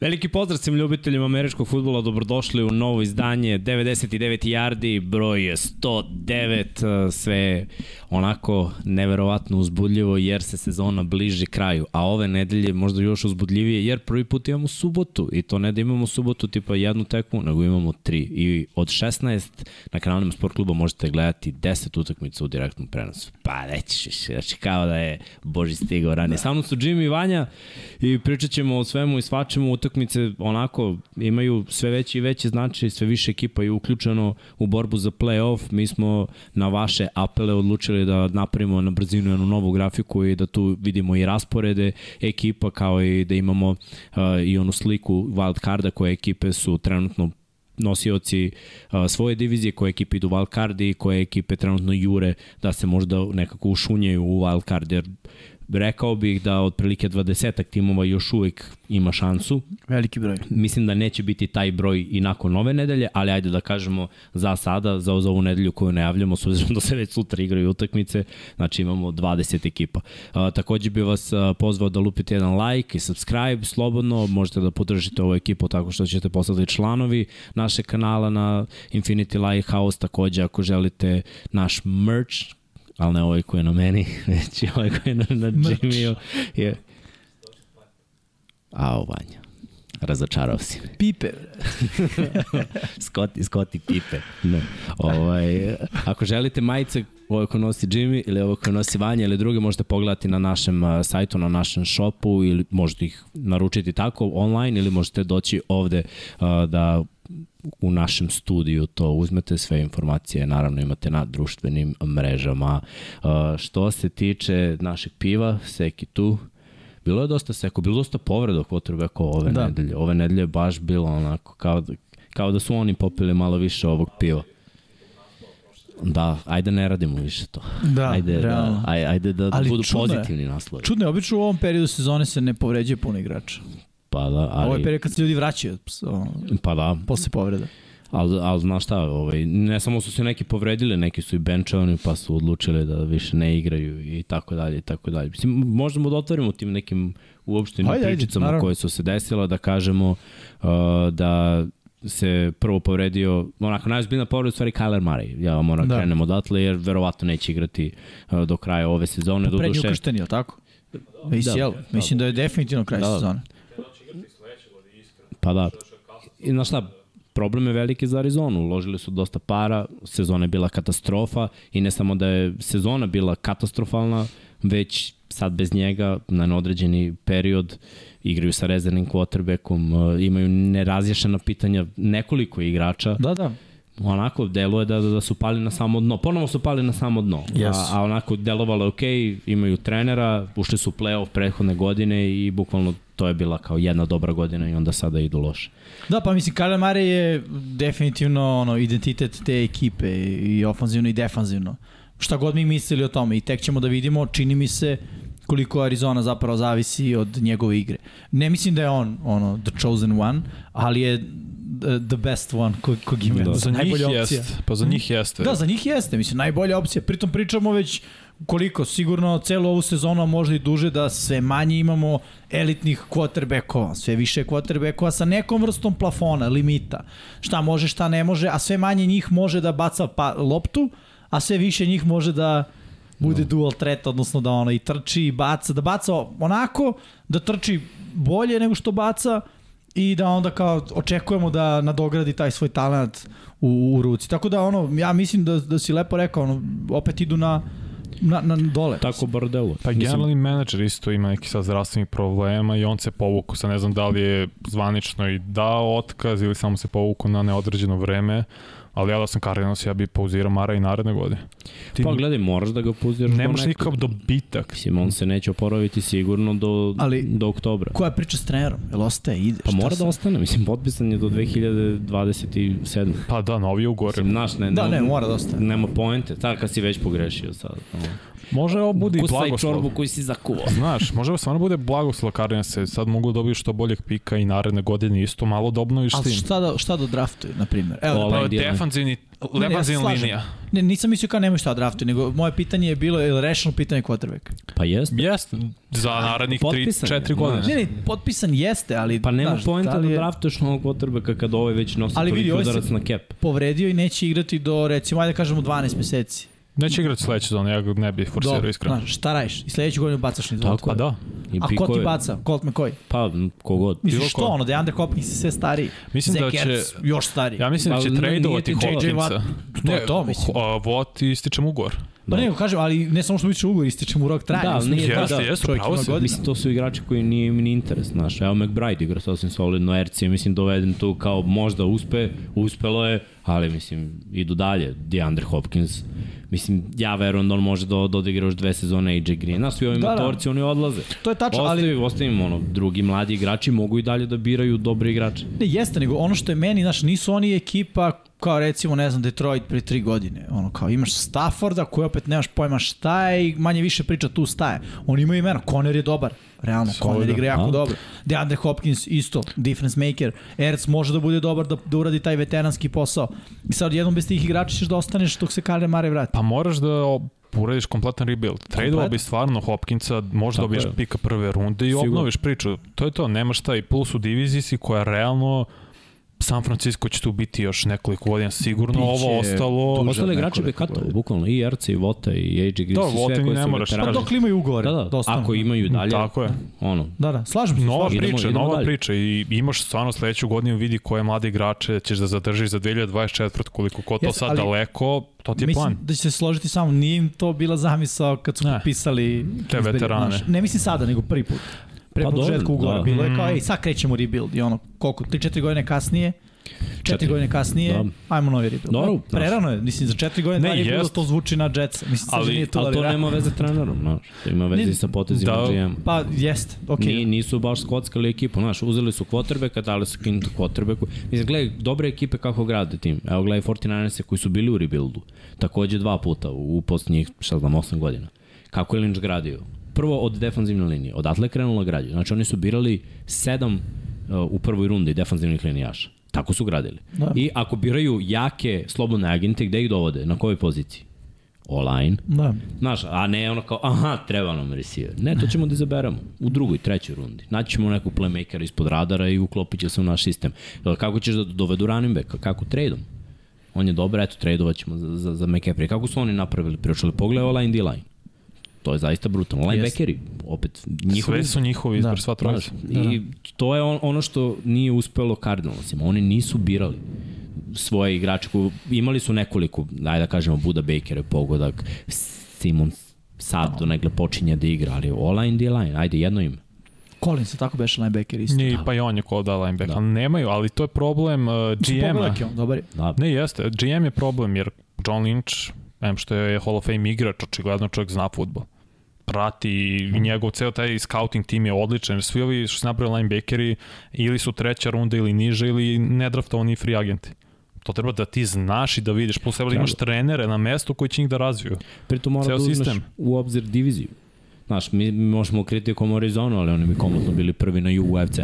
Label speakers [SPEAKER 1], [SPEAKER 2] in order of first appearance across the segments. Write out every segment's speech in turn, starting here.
[SPEAKER 1] Veliki pozdrav svim ljubiteljima američkog futbola, dobrodošli u novo izdanje 99 yardi, broj je 109, sve je onako neverovatno uzbudljivo jer se sezona bliži kraju, a ove nedelje možda još uzbudljivije jer prvi put imamo subotu i to ne da imamo subotu tipa jednu tekmu, nego imamo tri i od 16 na kanalima Sport kluba možete gledati 10 utakmica u direktnom prenosu. Pa rećiš, znači kao da je Boži stigao ranije. Da. Sa mnom su Jimmy i Vanja i pričat ćemo o svemu i svačemu utakmice onako imaju sve veći i veći značaj, sve više ekipa je uključeno u borbu za play-off. Mi smo na vaše apele odlučili da napravimo na brzinu jednu novu grafiku i da tu vidimo i rasporede ekipa kao i da imamo uh, i onu sliku wild carda koje ekipe su trenutno nosioci a, svoje divizije, koje ekipe idu wildcard i koje ekipe trenutno jure da se možda nekako ušunjaju u wildcard, jer rekao bih da otprilike 20 timova još uvek ima šansu.
[SPEAKER 2] Veliki broj.
[SPEAKER 1] Mislim da neće biti taj broj i nakon ove nedelje, ali ajde da kažemo za sada, za, za ovu nedelju koju najavljamo, s obzirom da se već sutra igraju utakmice, znači imamo 20 ekipa. A, takođe bih vas pozvao da lupite jedan like i subscribe, slobodno, možete da podržite ovu ekipu tako što ćete postati članovi naše kanala na Infinity Lighthouse, takođe ako želite naš merch, ali ne ovaj koji je na meni, već i ovaj koji je na, na Jimmyu. Je... Au, Vanja. Razočarao si me.
[SPEAKER 2] Pipe.
[SPEAKER 1] Skoti, Skoti pipe. Ne. Ovaj, ako želite majice ovo koje nosi Jimmy ili ovo koje nosi Vanja ili druge možete pogledati na našem sajtu, na našem shopu ili možete ih naručiti tako online ili možete doći ovde uh, da u našem studiju to uzmete, sve informacije naravno imate na društvenim mrežama. Uh, što se tiče našeg piva, Seki tu, bilo je dosta seko, bilo je dosta povreda quarterbacka ove da. nedelje. Ove nedelje je baš bilo onako kao da, kao da su oni popili malo više ovog piva. Da, ajde ne radimo više to.
[SPEAKER 2] Da,
[SPEAKER 1] ajde,
[SPEAKER 2] realno.
[SPEAKER 1] Da, aj, ajde da
[SPEAKER 2] Ali
[SPEAKER 1] budu
[SPEAKER 2] čudno je.
[SPEAKER 1] pozitivni naslovi.
[SPEAKER 2] Čudno je, obično u ovom periodu sezone se ne povređuje puno igrača.
[SPEAKER 1] Pa da,
[SPEAKER 2] Ali... Ovo je
[SPEAKER 1] ali,
[SPEAKER 2] period kad se ljudi vraćaju o,
[SPEAKER 1] pa da,
[SPEAKER 2] posle povreda.
[SPEAKER 1] ali, ali znaš šta, ovaj, ne samo su se neki povredili, neki su i benchovani pa su odlučili da više ne igraju i tako dalje i tako dalje. Mislim, možemo da otvorimo tim nekim uopštenim
[SPEAKER 2] Ajde, ajde,
[SPEAKER 1] pričicama
[SPEAKER 2] naravno.
[SPEAKER 1] koje su se desila, da kažemo uh, da se prvo povredio, onako najozbiljna povreda je u stvari Kyler Murray. Ja moram da.
[SPEAKER 2] Da.
[SPEAKER 1] krenem odatle jer verovatno neće igrati uh, do kraja ove sezone. Do
[SPEAKER 2] Pa Prednji ukršteni, je li tako? ACL. Da, Mislim da je definitivno kraj
[SPEAKER 1] Da.
[SPEAKER 2] da. sezone.
[SPEAKER 1] Pa da. I znaš šta, problem je veliki za Arizonu. Uložili su dosta para, sezona je bila katastrofa i ne samo da je sezona bila katastrofalna, već sad bez njega na neodređeni period igraju sa rezervnim quarterbackom, e, imaju nerazješena pitanja nekoliko igrača.
[SPEAKER 2] Da, da.
[SPEAKER 1] Onako, deluje da, da su pali na samo dno. Ponovo su pali na samo dno.
[SPEAKER 2] Jesu.
[SPEAKER 1] A, a onako, delovalo je okej, imaju trenera, ušli su u play-off prethodne godine i bukvalno to je bila kao jedna dobra godina i onda sada idu loše.
[SPEAKER 2] Da, pa mislim, Kyler Murray je definitivno ono, identitet te ekipe i ofanzivno i defanzivno. Šta god mi mislili o tome i tek ćemo da vidimo, čini mi se koliko Arizona zapravo zavisi od njegove igre. Ne mislim da je on ono, the chosen one, ali je the- the best one kog, kog ima. Da. Za najbolja opcija.
[SPEAKER 3] Jest, pa za njih jeste.
[SPEAKER 2] Da, za njih jeste, mislim, najbolja opcija. Pritom pričamo već koliko, sigurno celu ovu sezonu, a možda i duže, da sve manje imamo elitnih quarterbackova, sve više quarterbackova sa nekom vrstom plafona, limita. Šta može, šta ne može, a sve manje njih može da baca pa, loptu, a sve više njih može da bude dual threat, odnosno da ona i trči i baca, da baca onako, da trči bolje nego što baca, i da onda kao očekujemo da nadogradi taj svoj talent u, u ruci. Tako da ono, ja mislim da, da si lepo rekao, ono, opet idu na, na, na dole.
[SPEAKER 1] Tako bar deluje.
[SPEAKER 3] Pa generalni menadžer isto ima neki sad zdravstvenih problema i on se povukao, sad ne znam da li je zvanično i dao otkaz ili samo se povukao na neodređeno vreme, ali ja da sam Cardinals, ja bi pauzirao Mara i naredne godine. Ti
[SPEAKER 1] Pa gledaj, moraš da ga puziraš
[SPEAKER 3] ne
[SPEAKER 1] do
[SPEAKER 3] možeš
[SPEAKER 1] nekog.
[SPEAKER 3] nikakav dobitak.
[SPEAKER 1] Mislim, on se neće oporaviti sigurno do,
[SPEAKER 2] Ali-
[SPEAKER 1] do oktobra.
[SPEAKER 2] Koja je priča s trenerom? Jel ostaje, ide?
[SPEAKER 1] Pa
[SPEAKER 2] Šta
[SPEAKER 1] mora
[SPEAKER 2] se-
[SPEAKER 1] da ostane, mislim, potpisan je do 2027.
[SPEAKER 3] Pa da, novi je u gore.
[SPEAKER 1] Mislim, Znaš, ne,
[SPEAKER 2] Da, ne, mora da ostane.
[SPEAKER 1] Nema poente, tako kad si već pogrešio sad.
[SPEAKER 3] Može ovo bude i
[SPEAKER 1] Kusaj
[SPEAKER 3] blagoslov.
[SPEAKER 1] čorbu koju si zakuvao.
[SPEAKER 3] Znaš, može ovo stvarno bude blagoslov Cardinals, sad mogu da dobiju što boljeg pika i naredne godine isto malo da obnoviš
[SPEAKER 2] Ali
[SPEAKER 3] tim.
[SPEAKER 2] šta da, šta da draftuju, na primjer? Evo,
[SPEAKER 1] Ola-
[SPEAKER 2] da,
[SPEAKER 3] Pa
[SPEAKER 1] Line,
[SPEAKER 3] defanzivni,
[SPEAKER 2] Ne, ne, ja se
[SPEAKER 3] defanzivna
[SPEAKER 2] slažem.
[SPEAKER 3] linija.
[SPEAKER 2] Ne, nisam mislio kao nemoj šta draftu, nego moje pitanje je bilo, je li rešeno pitanje quarterbacka?
[SPEAKER 1] Pa jeste.
[SPEAKER 3] Jeste, za narednih
[SPEAKER 1] potpisan je,
[SPEAKER 3] 3-4
[SPEAKER 1] da.
[SPEAKER 3] godine.
[SPEAKER 2] Ne, ne, potpisan jeste, ali...
[SPEAKER 1] Pa nema
[SPEAKER 2] znaš,
[SPEAKER 1] poenta
[SPEAKER 2] li
[SPEAKER 1] da
[SPEAKER 2] je
[SPEAKER 1] draftuješ novog quarterbacka kad ovaj već nosi
[SPEAKER 2] Ali
[SPEAKER 1] ali
[SPEAKER 2] vidi,
[SPEAKER 1] toliko
[SPEAKER 2] ovaj se-
[SPEAKER 1] udarac na cap.
[SPEAKER 2] Povredio i neće igrati do, recimo, ajde da kažemo 12 meseci.
[SPEAKER 3] Neće igrati sledeće zone, ja ga ne bih forsirao
[SPEAKER 2] Dobro,
[SPEAKER 3] iskreno.
[SPEAKER 2] znaš, šta radiš? I sledeću godinu bacaš na izvodu.
[SPEAKER 1] Tako
[SPEAKER 3] Pa
[SPEAKER 1] je.
[SPEAKER 3] da.
[SPEAKER 1] I
[SPEAKER 2] A ko ti
[SPEAKER 1] pikove-
[SPEAKER 2] baca? Colt McCoy?
[SPEAKER 1] Pa, m, kogod.
[SPEAKER 2] Mislim,
[SPEAKER 3] Bilo
[SPEAKER 2] što
[SPEAKER 3] ko.
[SPEAKER 2] ono, DeAndre Hopkins je sve stariji.
[SPEAKER 3] Mislim
[SPEAKER 2] Zach
[SPEAKER 3] da će-
[SPEAKER 2] Ertz još stariji.
[SPEAKER 3] Ja mislim da
[SPEAKER 1] Ali
[SPEAKER 3] će
[SPEAKER 1] Pa ne-
[SPEAKER 3] tradeovati
[SPEAKER 1] nije ti JJ
[SPEAKER 2] Watt-
[SPEAKER 3] Hopkinsa.
[SPEAKER 2] To je to, mislim.
[SPEAKER 3] Vot i stičem ugovor.
[SPEAKER 2] Pa
[SPEAKER 1] Da.
[SPEAKER 2] nego kažem, ali ne samo što biće ugovor, ističe mu rok trajanja.
[SPEAKER 1] Da, ali
[SPEAKER 2] mislim,
[SPEAKER 1] nije-
[SPEAKER 2] je
[SPEAKER 1] Jeste,
[SPEAKER 2] da,
[SPEAKER 3] jeste,
[SPEAKER 2] čovjek
[SPEAKER 3] pravo
[SPEAKER 2] ima
[SPEAKER 3] si.
[SPEAKER 2] godina.
[SPEAKER 1] Mislim, to su igrači koji nije im ni interes, znaš. Evo, McBride igra sasvim solidno, RC je, mislim, doveden tu kao možda uspe, uspelo je, ali, mislim, idu dalje. DeAndre Hopkins, mislim, ja verujem da on može da, da odigra još dve sezone AJ Greena, svi ovi
[SPEAKER 2] Da,
[SPEAKER 1] da,
[SPEAKER 2] da.
[SPEAKER 1] motorci, oni odlaze.
[SPEAKER 2] To je tačno, ali-
[SPEAKER 1] Ostavi, ostavim, ono, drugi mladi igrači mogu i dalje da biraju dobre igrače.
[SPEAKER 2] Ne, jeste, nego ono što je meni, znaš, nisu oni ekipa kao recimo, ne znam, Detroit pre tri godine. Ono, kao imaš Stafforda koji opet nemaš pojma šta je i manje više priča tu staje. Oni imaju imena, Conner je dobar. Realno,
[SPEAKER 3] Solidno.
[SPEAKER 2] Conner igra jako
[SPEAKER 1] Da.
[SPEAKER 2] dobro. DeAndre Hopkins isto, difference maker. Ertz može da bude dobar da, da uradi taj veteranski posao. I sad jednom bez tih igrača ćeš da ostaneš dok se Kare Mare vrati.
[SPEAKER 3] Pa moraš da o- uradiš kompletan rebuild. Tradeova bi stvarno Hopkinsa, možda
[SPEAKER 1] Pa Tako
[SPEAKER 3] dobiješ
[SPEAKER 1] je.
[SPEAKER 3] pika prve runde i
[SPEAKER 1] Sigurno.
[SPEAKER 3] obnoviš priču. To je to, nemaš šta i plus u diviziji si koja realno San Francisco će tu biti još nekoliko godina sigurno,
[SPEAKER 1] Biće
[SPEAKER 3] ovo ostalo...
[SPEAKER 1] Ostale igrače bi
[SPEAKER 4] nekoliko
[SPEAKER 1] katalo, bukvalno, i RC, i Vota, i AJ Greena,
[SPEAKER 3] Da,
[SPEAKER 1] svi sve
[SPEAKER 3] Vota i
[SPEAKER 1] koji
[SPEAKER 3] ne
[SPEAKER 1] su
[SPEAKER 3] moraš,
[SPEAKER 1] veterani.
[SPEAKER 2] Pa
[SPEAKER 3] kažem.
[SPEAKER 2] dok imaju ugovore.
[SPEAKER 1] Da, da,
[SPEAKER 2] ostanu.
[SPEAKER 1] ako imaju dalje,
[SPEAKER 3] Tako je.
[SPEAKER 1] ono,
[SPEAKER 2] Da, da, slažem se.
[SPEAKER 3] Nova
[SPEAKER 2] slažem
[SPEAKER 1] Idemo-
[SPEAKER 2] se.
[SPEAKER 3] priča,
[SPEAKER 1] idemo
[SPEAKER 3] nova
[SPEAKER 1] dalje.
[SPEAKER 3] priča i imaš stvarno sledeću godinu vidi koje mlade igrače ćeš da zadržiš za 2024 koliko ko to
[SPEAKER 2] Jeste,
[SPEAKER 3] sad
[SPEAKER 2] ali-
[SPEAKER 3] daleko, to ti je
[SPEAKER 2] mislim
[SPEAKER 3] plan.
[SPEAKER 2] da će se složiti samo, nije im to bila zamisao kad su
[SPEAKER 3] Ne.
[SPEAKER 2] potpisali
[SPEAKER 3] Te
[SPEAKER 2] Kingsbury,
[SPEAKER 3] veterane.
[SPEAKER 2] znaš. ne mislim sada, nego prvi put. Pre
[SPEAKER 1] Pa
[SPEAKER 2] pa početka
[SPEAKER 1] dobro,
[SPEAKER 2] ugovora.
[SPEAKER 1] da.
[SPEAKER 2] Bilo je kao,
[SPEAKER 3] Mm.
[SPEAKER 2] ej, sad krećemo rebuild i ono, koliko, 3-4 godine kasnije, 4
[SPEAKER 1] Četiri.
[SPEAKER 2] godine kasnije,
[SPEAKER 1] Da.
[SPEAKER 2] ajmo novi rebuild.
[SPEAKER 1] Dobro,
[SPEAKER 2] Ono,
[SPEAKER 1] znaš.
[SPEAKER 2] Prerano je, mislim, za 4 godine
[SPEAKER 3] Ne,
[SPEAKER 2] dva rebuilda
[SPEAKER 3] jest.
[SPEAKER 2] to zvuči na Jetsa. Mislim, sad
[SPEAKER 3] Ali-
[SPEAKER 2] nije to,
[SPEAKER 1] Ali to
[SPEAKER 2] da-
[SPEAKER 1] nema veze s trenerom, znaš. To ima veze
[SPEAKER 2] Ne-
[SPEAKER 1] i sa potezima
[SPEAKER 3] Da.
[SPEAKER 1] da, GM.
[SPEAKER 2] Pa, jest, okej.
[SPEAKER 1] Okay. nisu baš skockali ekipu, znaš, uzeli su quarterbacka, dali su kintu quarterbacku. Mislim, gledaj, dobre ekipe kako grade tim. Evo, gledaj 49-se koji su bili u rebuildu. Takođe dva puta u, u posljednjih, šta znam, 8 godina. Kako je Lynch gradio? Prvo od defanzivne linije. Odatle je krenulo građe. Znači, oni su birali sedam uh, u prvoj rundi defanzivnih linijaša. Tako su gradili.
[SPEAKER 2] Da.
[SPEAKER 1] Da. I ako biraju jake slobodne agente, gde ih dovode? Na kojoj poziciji? Online.
[SPEAKER 2] Da.
[SPEAKER 1] Znaš, a ne ono kao, aha, treba nam receiver. Ne, to ćemo da izaberemo u drugoj, trećoj rundi. Naći ćemo nekog playmakera ispod radara i uklopit će se u naš sistem. Jel, Kako ćeš da dovedu running backa? Kako tradom? On je dobar, eto, tradovat ćemo za, za, za McCaffrey. Kako su oni napravili priču? Pogledaj ovaj line D-line. To je zaista brutalno. Linebackeri, opet, njihovi
[SPEAKER 3] Sve su njihovi
[SPEAKER 2] da,
[SPEAKER 3] izbor, sva trojica.
[SPEAKER 1] Znaš, I
[SPEAKER 3] da,
[SPEAKER 1] to je on, ono što nije uspelo Cardinalsima. Oni nisu birali svoje igrače. koji- Imali su nekoliko, ajde da kažemo, Buda Baker je pogodak, Simon sad do negle počinje da igra, ali online, D-line, ajde jedno ime.
[SPEAKER 2] Collins je tako beše linebacker isto.
[SPEAKER 3] Nije, pa i on je ko da linebacker. Da. Nemaju, ali to je problem uh, GM-a.
[SPEAKER 2] Pogledak je on, dobar je.
[SPEAKER 1] Da,
[SPEAKER 3] Ne, jeste. GM je problem jer John Lynch, em što je Hall of Fame igrač, očigledno čovjek zna futbol. Prati i njegov ceo taj scouting tim je odličan. jer Svi ovi što se napravili linebackeri ili su treća runda ili niže ili nedraftovani free agenti. To treba da ti znaš i da vidiš. Plus treba da imaš trenere na mestu koji će njih da razviju.
[SPEAKER 1] pritom mora
[SPEAKER 3] Ceo
[SPEAKER 1] da uzmeš
[SPEAKER 3] sistem.
[SPEAKER 1] u obzir diviziju. Znaš, mi, mi možemo kritikom Arizonu, ali oni bi komotno bili prvi na UFC,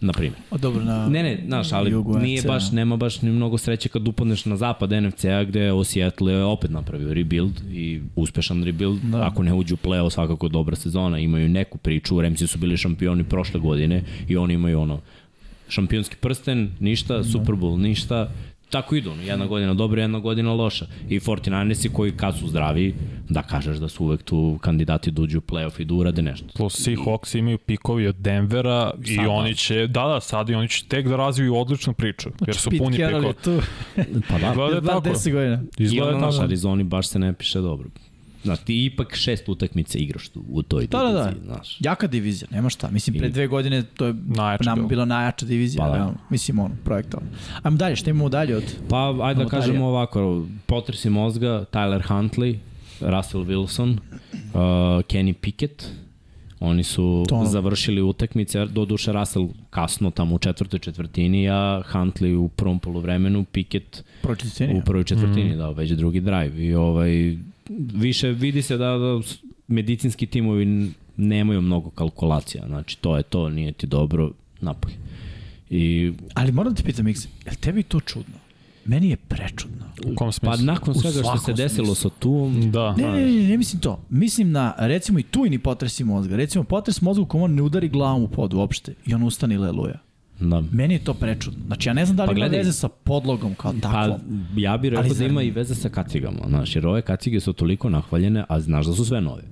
[SPEAKER 1] na primjer.
[SPEAKER 2] A dobro, na...
[SPEAKER 1] Ne, ne, znaš, ali
[SPEAKER 2] Jugu
[SPEAKER 1] nije
[SPEAKER 2] NFC-a.
[SPEAKER 1] baš, nema baš ni mnogo sreće kad upadneš na zapad NFC-a gde o Seattle je opet napravio rebuild i uspešan rebuild.
[SPEAKER 2] Da.
[SPEAKER 1] Da. Ako ne uđu u play-off, svakako je dobra sezona. Imaju neku priču, Remsi su bili šampioni prošle godine i oni imaju ono šampionski prsten, ništa, Super Bowl, ništa. Tako idu, ono, jedna godina dobra, jedna godina loša. I 49-si koji kad su zdravi, da kažeš da su uvek tu kandidati da uđu u play-off i da urade nešto.
[SPEAKER 3] Plus Seahawks imaju pikovi od Denvera i
[SPEAKER 1] Sada.
[SPEAKER 3] oni će, da da, sad i oni će tek da razviju odličnu priču. Jer su
[SPEAKER 2] Znači, Pete
[SPEAKER 3] puni
[SPEAKER 2] Carroll
[SPEAKER 3] pikova.
[SPEAKER 2] je tu.
[SPEAKER 1] Pa da,
[SPEAKER 3] Izgleda
[SPEAKER 2] Da,
[SPEAKER 3] tako.
[SPEAKER 2] 10 godina.
[SPEAKER 1] I ono,
[SPEAKER 3] Izgleda
[SPEAKER 1] znaš,
[SPEAKER 3] tako.
[SPEAKER 1] Arizoni baš se ne piše dobro. Znaš, ti ipak šest utakmica igraš tu, u toj
[SPEAKER 2] Da, da, da.
[SPEAKER 1] diviziji, znaš.
[SPEAKER 2] Jaka divizija, nema šta. Mislim, pre
[SPEAKER 1] I-
[SPEAKER 2] dve godine to je
[SPEAKER 3] Najjače
[SPEAKER 2] nama
[SPEAKER 3] bilo.
[SPEAKER 2] bila najjača divizija.
[SPEAKER 1] Pa da.
[SPEAKER 2] realno. Mislim, ono, projektovano. Ajmo dalje, šta imamo dalje od...
[SPEAKER 1] Pa, ajde
[SPEAKER 2] Novotarija.
[SPEAKER 1] da kažemo ovako, potresi mozga, Tyler Huntley, Russell Wilson, uh, Kenny Pickett, oni su
[SPEAKER 2] To ono.
[SPEAKER 1] završili utakmice, do duše Russell kasno tamo u četvrtoj četvrtini, a Huntley u prvom polovremenu, Pickett
[SPEAKER 2] Pročitini.
[SPEAKER 1] U prvoj četvrtini, mm. da, već drugi drive. I ovaj, više vidi se da, da s- medicinski timovi n- nemaju mnogo kalkulacija. Znači, to je to, nije ti dobro, napolje. I
[SPEAKER 2] Ali moram da te pitam, Mikse, je li tebi to čudno? Meni je prečudno.
[SPEAKER 3] U kom
[SPEAKER 1] Pa
[SPEAKER 3] smislu?
[SPEAKER 1] nakon
[SPEAKER 2] U
[SPEAKER 1] svega što se
[SPEAKER 2] svakom
[SPEAKER 1] desilo sa
[SPEAKER 2] smislu. Mm.
[SPEAKER 1] Tuom,
[SPEAKER 3] Da.
[SPEAKER 2] Ne, ne, ne, ne mislim to. Mislim na, recimo, i tujni potresi mozga. Recimo, potres mozga u kom on ne udari glavom u pod uopšte i on ustane i leluja.
[SPEAKER 1] da.
[SPEAKER 2] Meni je to prečudno. Znači, ja ne znam da li
[SPEAKER 1] Pa
[SPEAKER 2] ima
[SPEAKER 1] gledaj.
[SPEAKER 2] veze sa podlogom kao
[SPEAKER 1] Pa
[SPEAKER 2] takvom.
[SPEAKER 1] ja bih
[SPEAKER 2] Ali
[SPEAKER 1] rekao da
[SPEAKER 2] zar
[SPEAKER 1] ima
[SPEAKER 2] ne?
[SPEAKER 1] i veze sa kacigama, znaš, jer ove kacige su toliko nahvaljene, a znaš da su sve nove.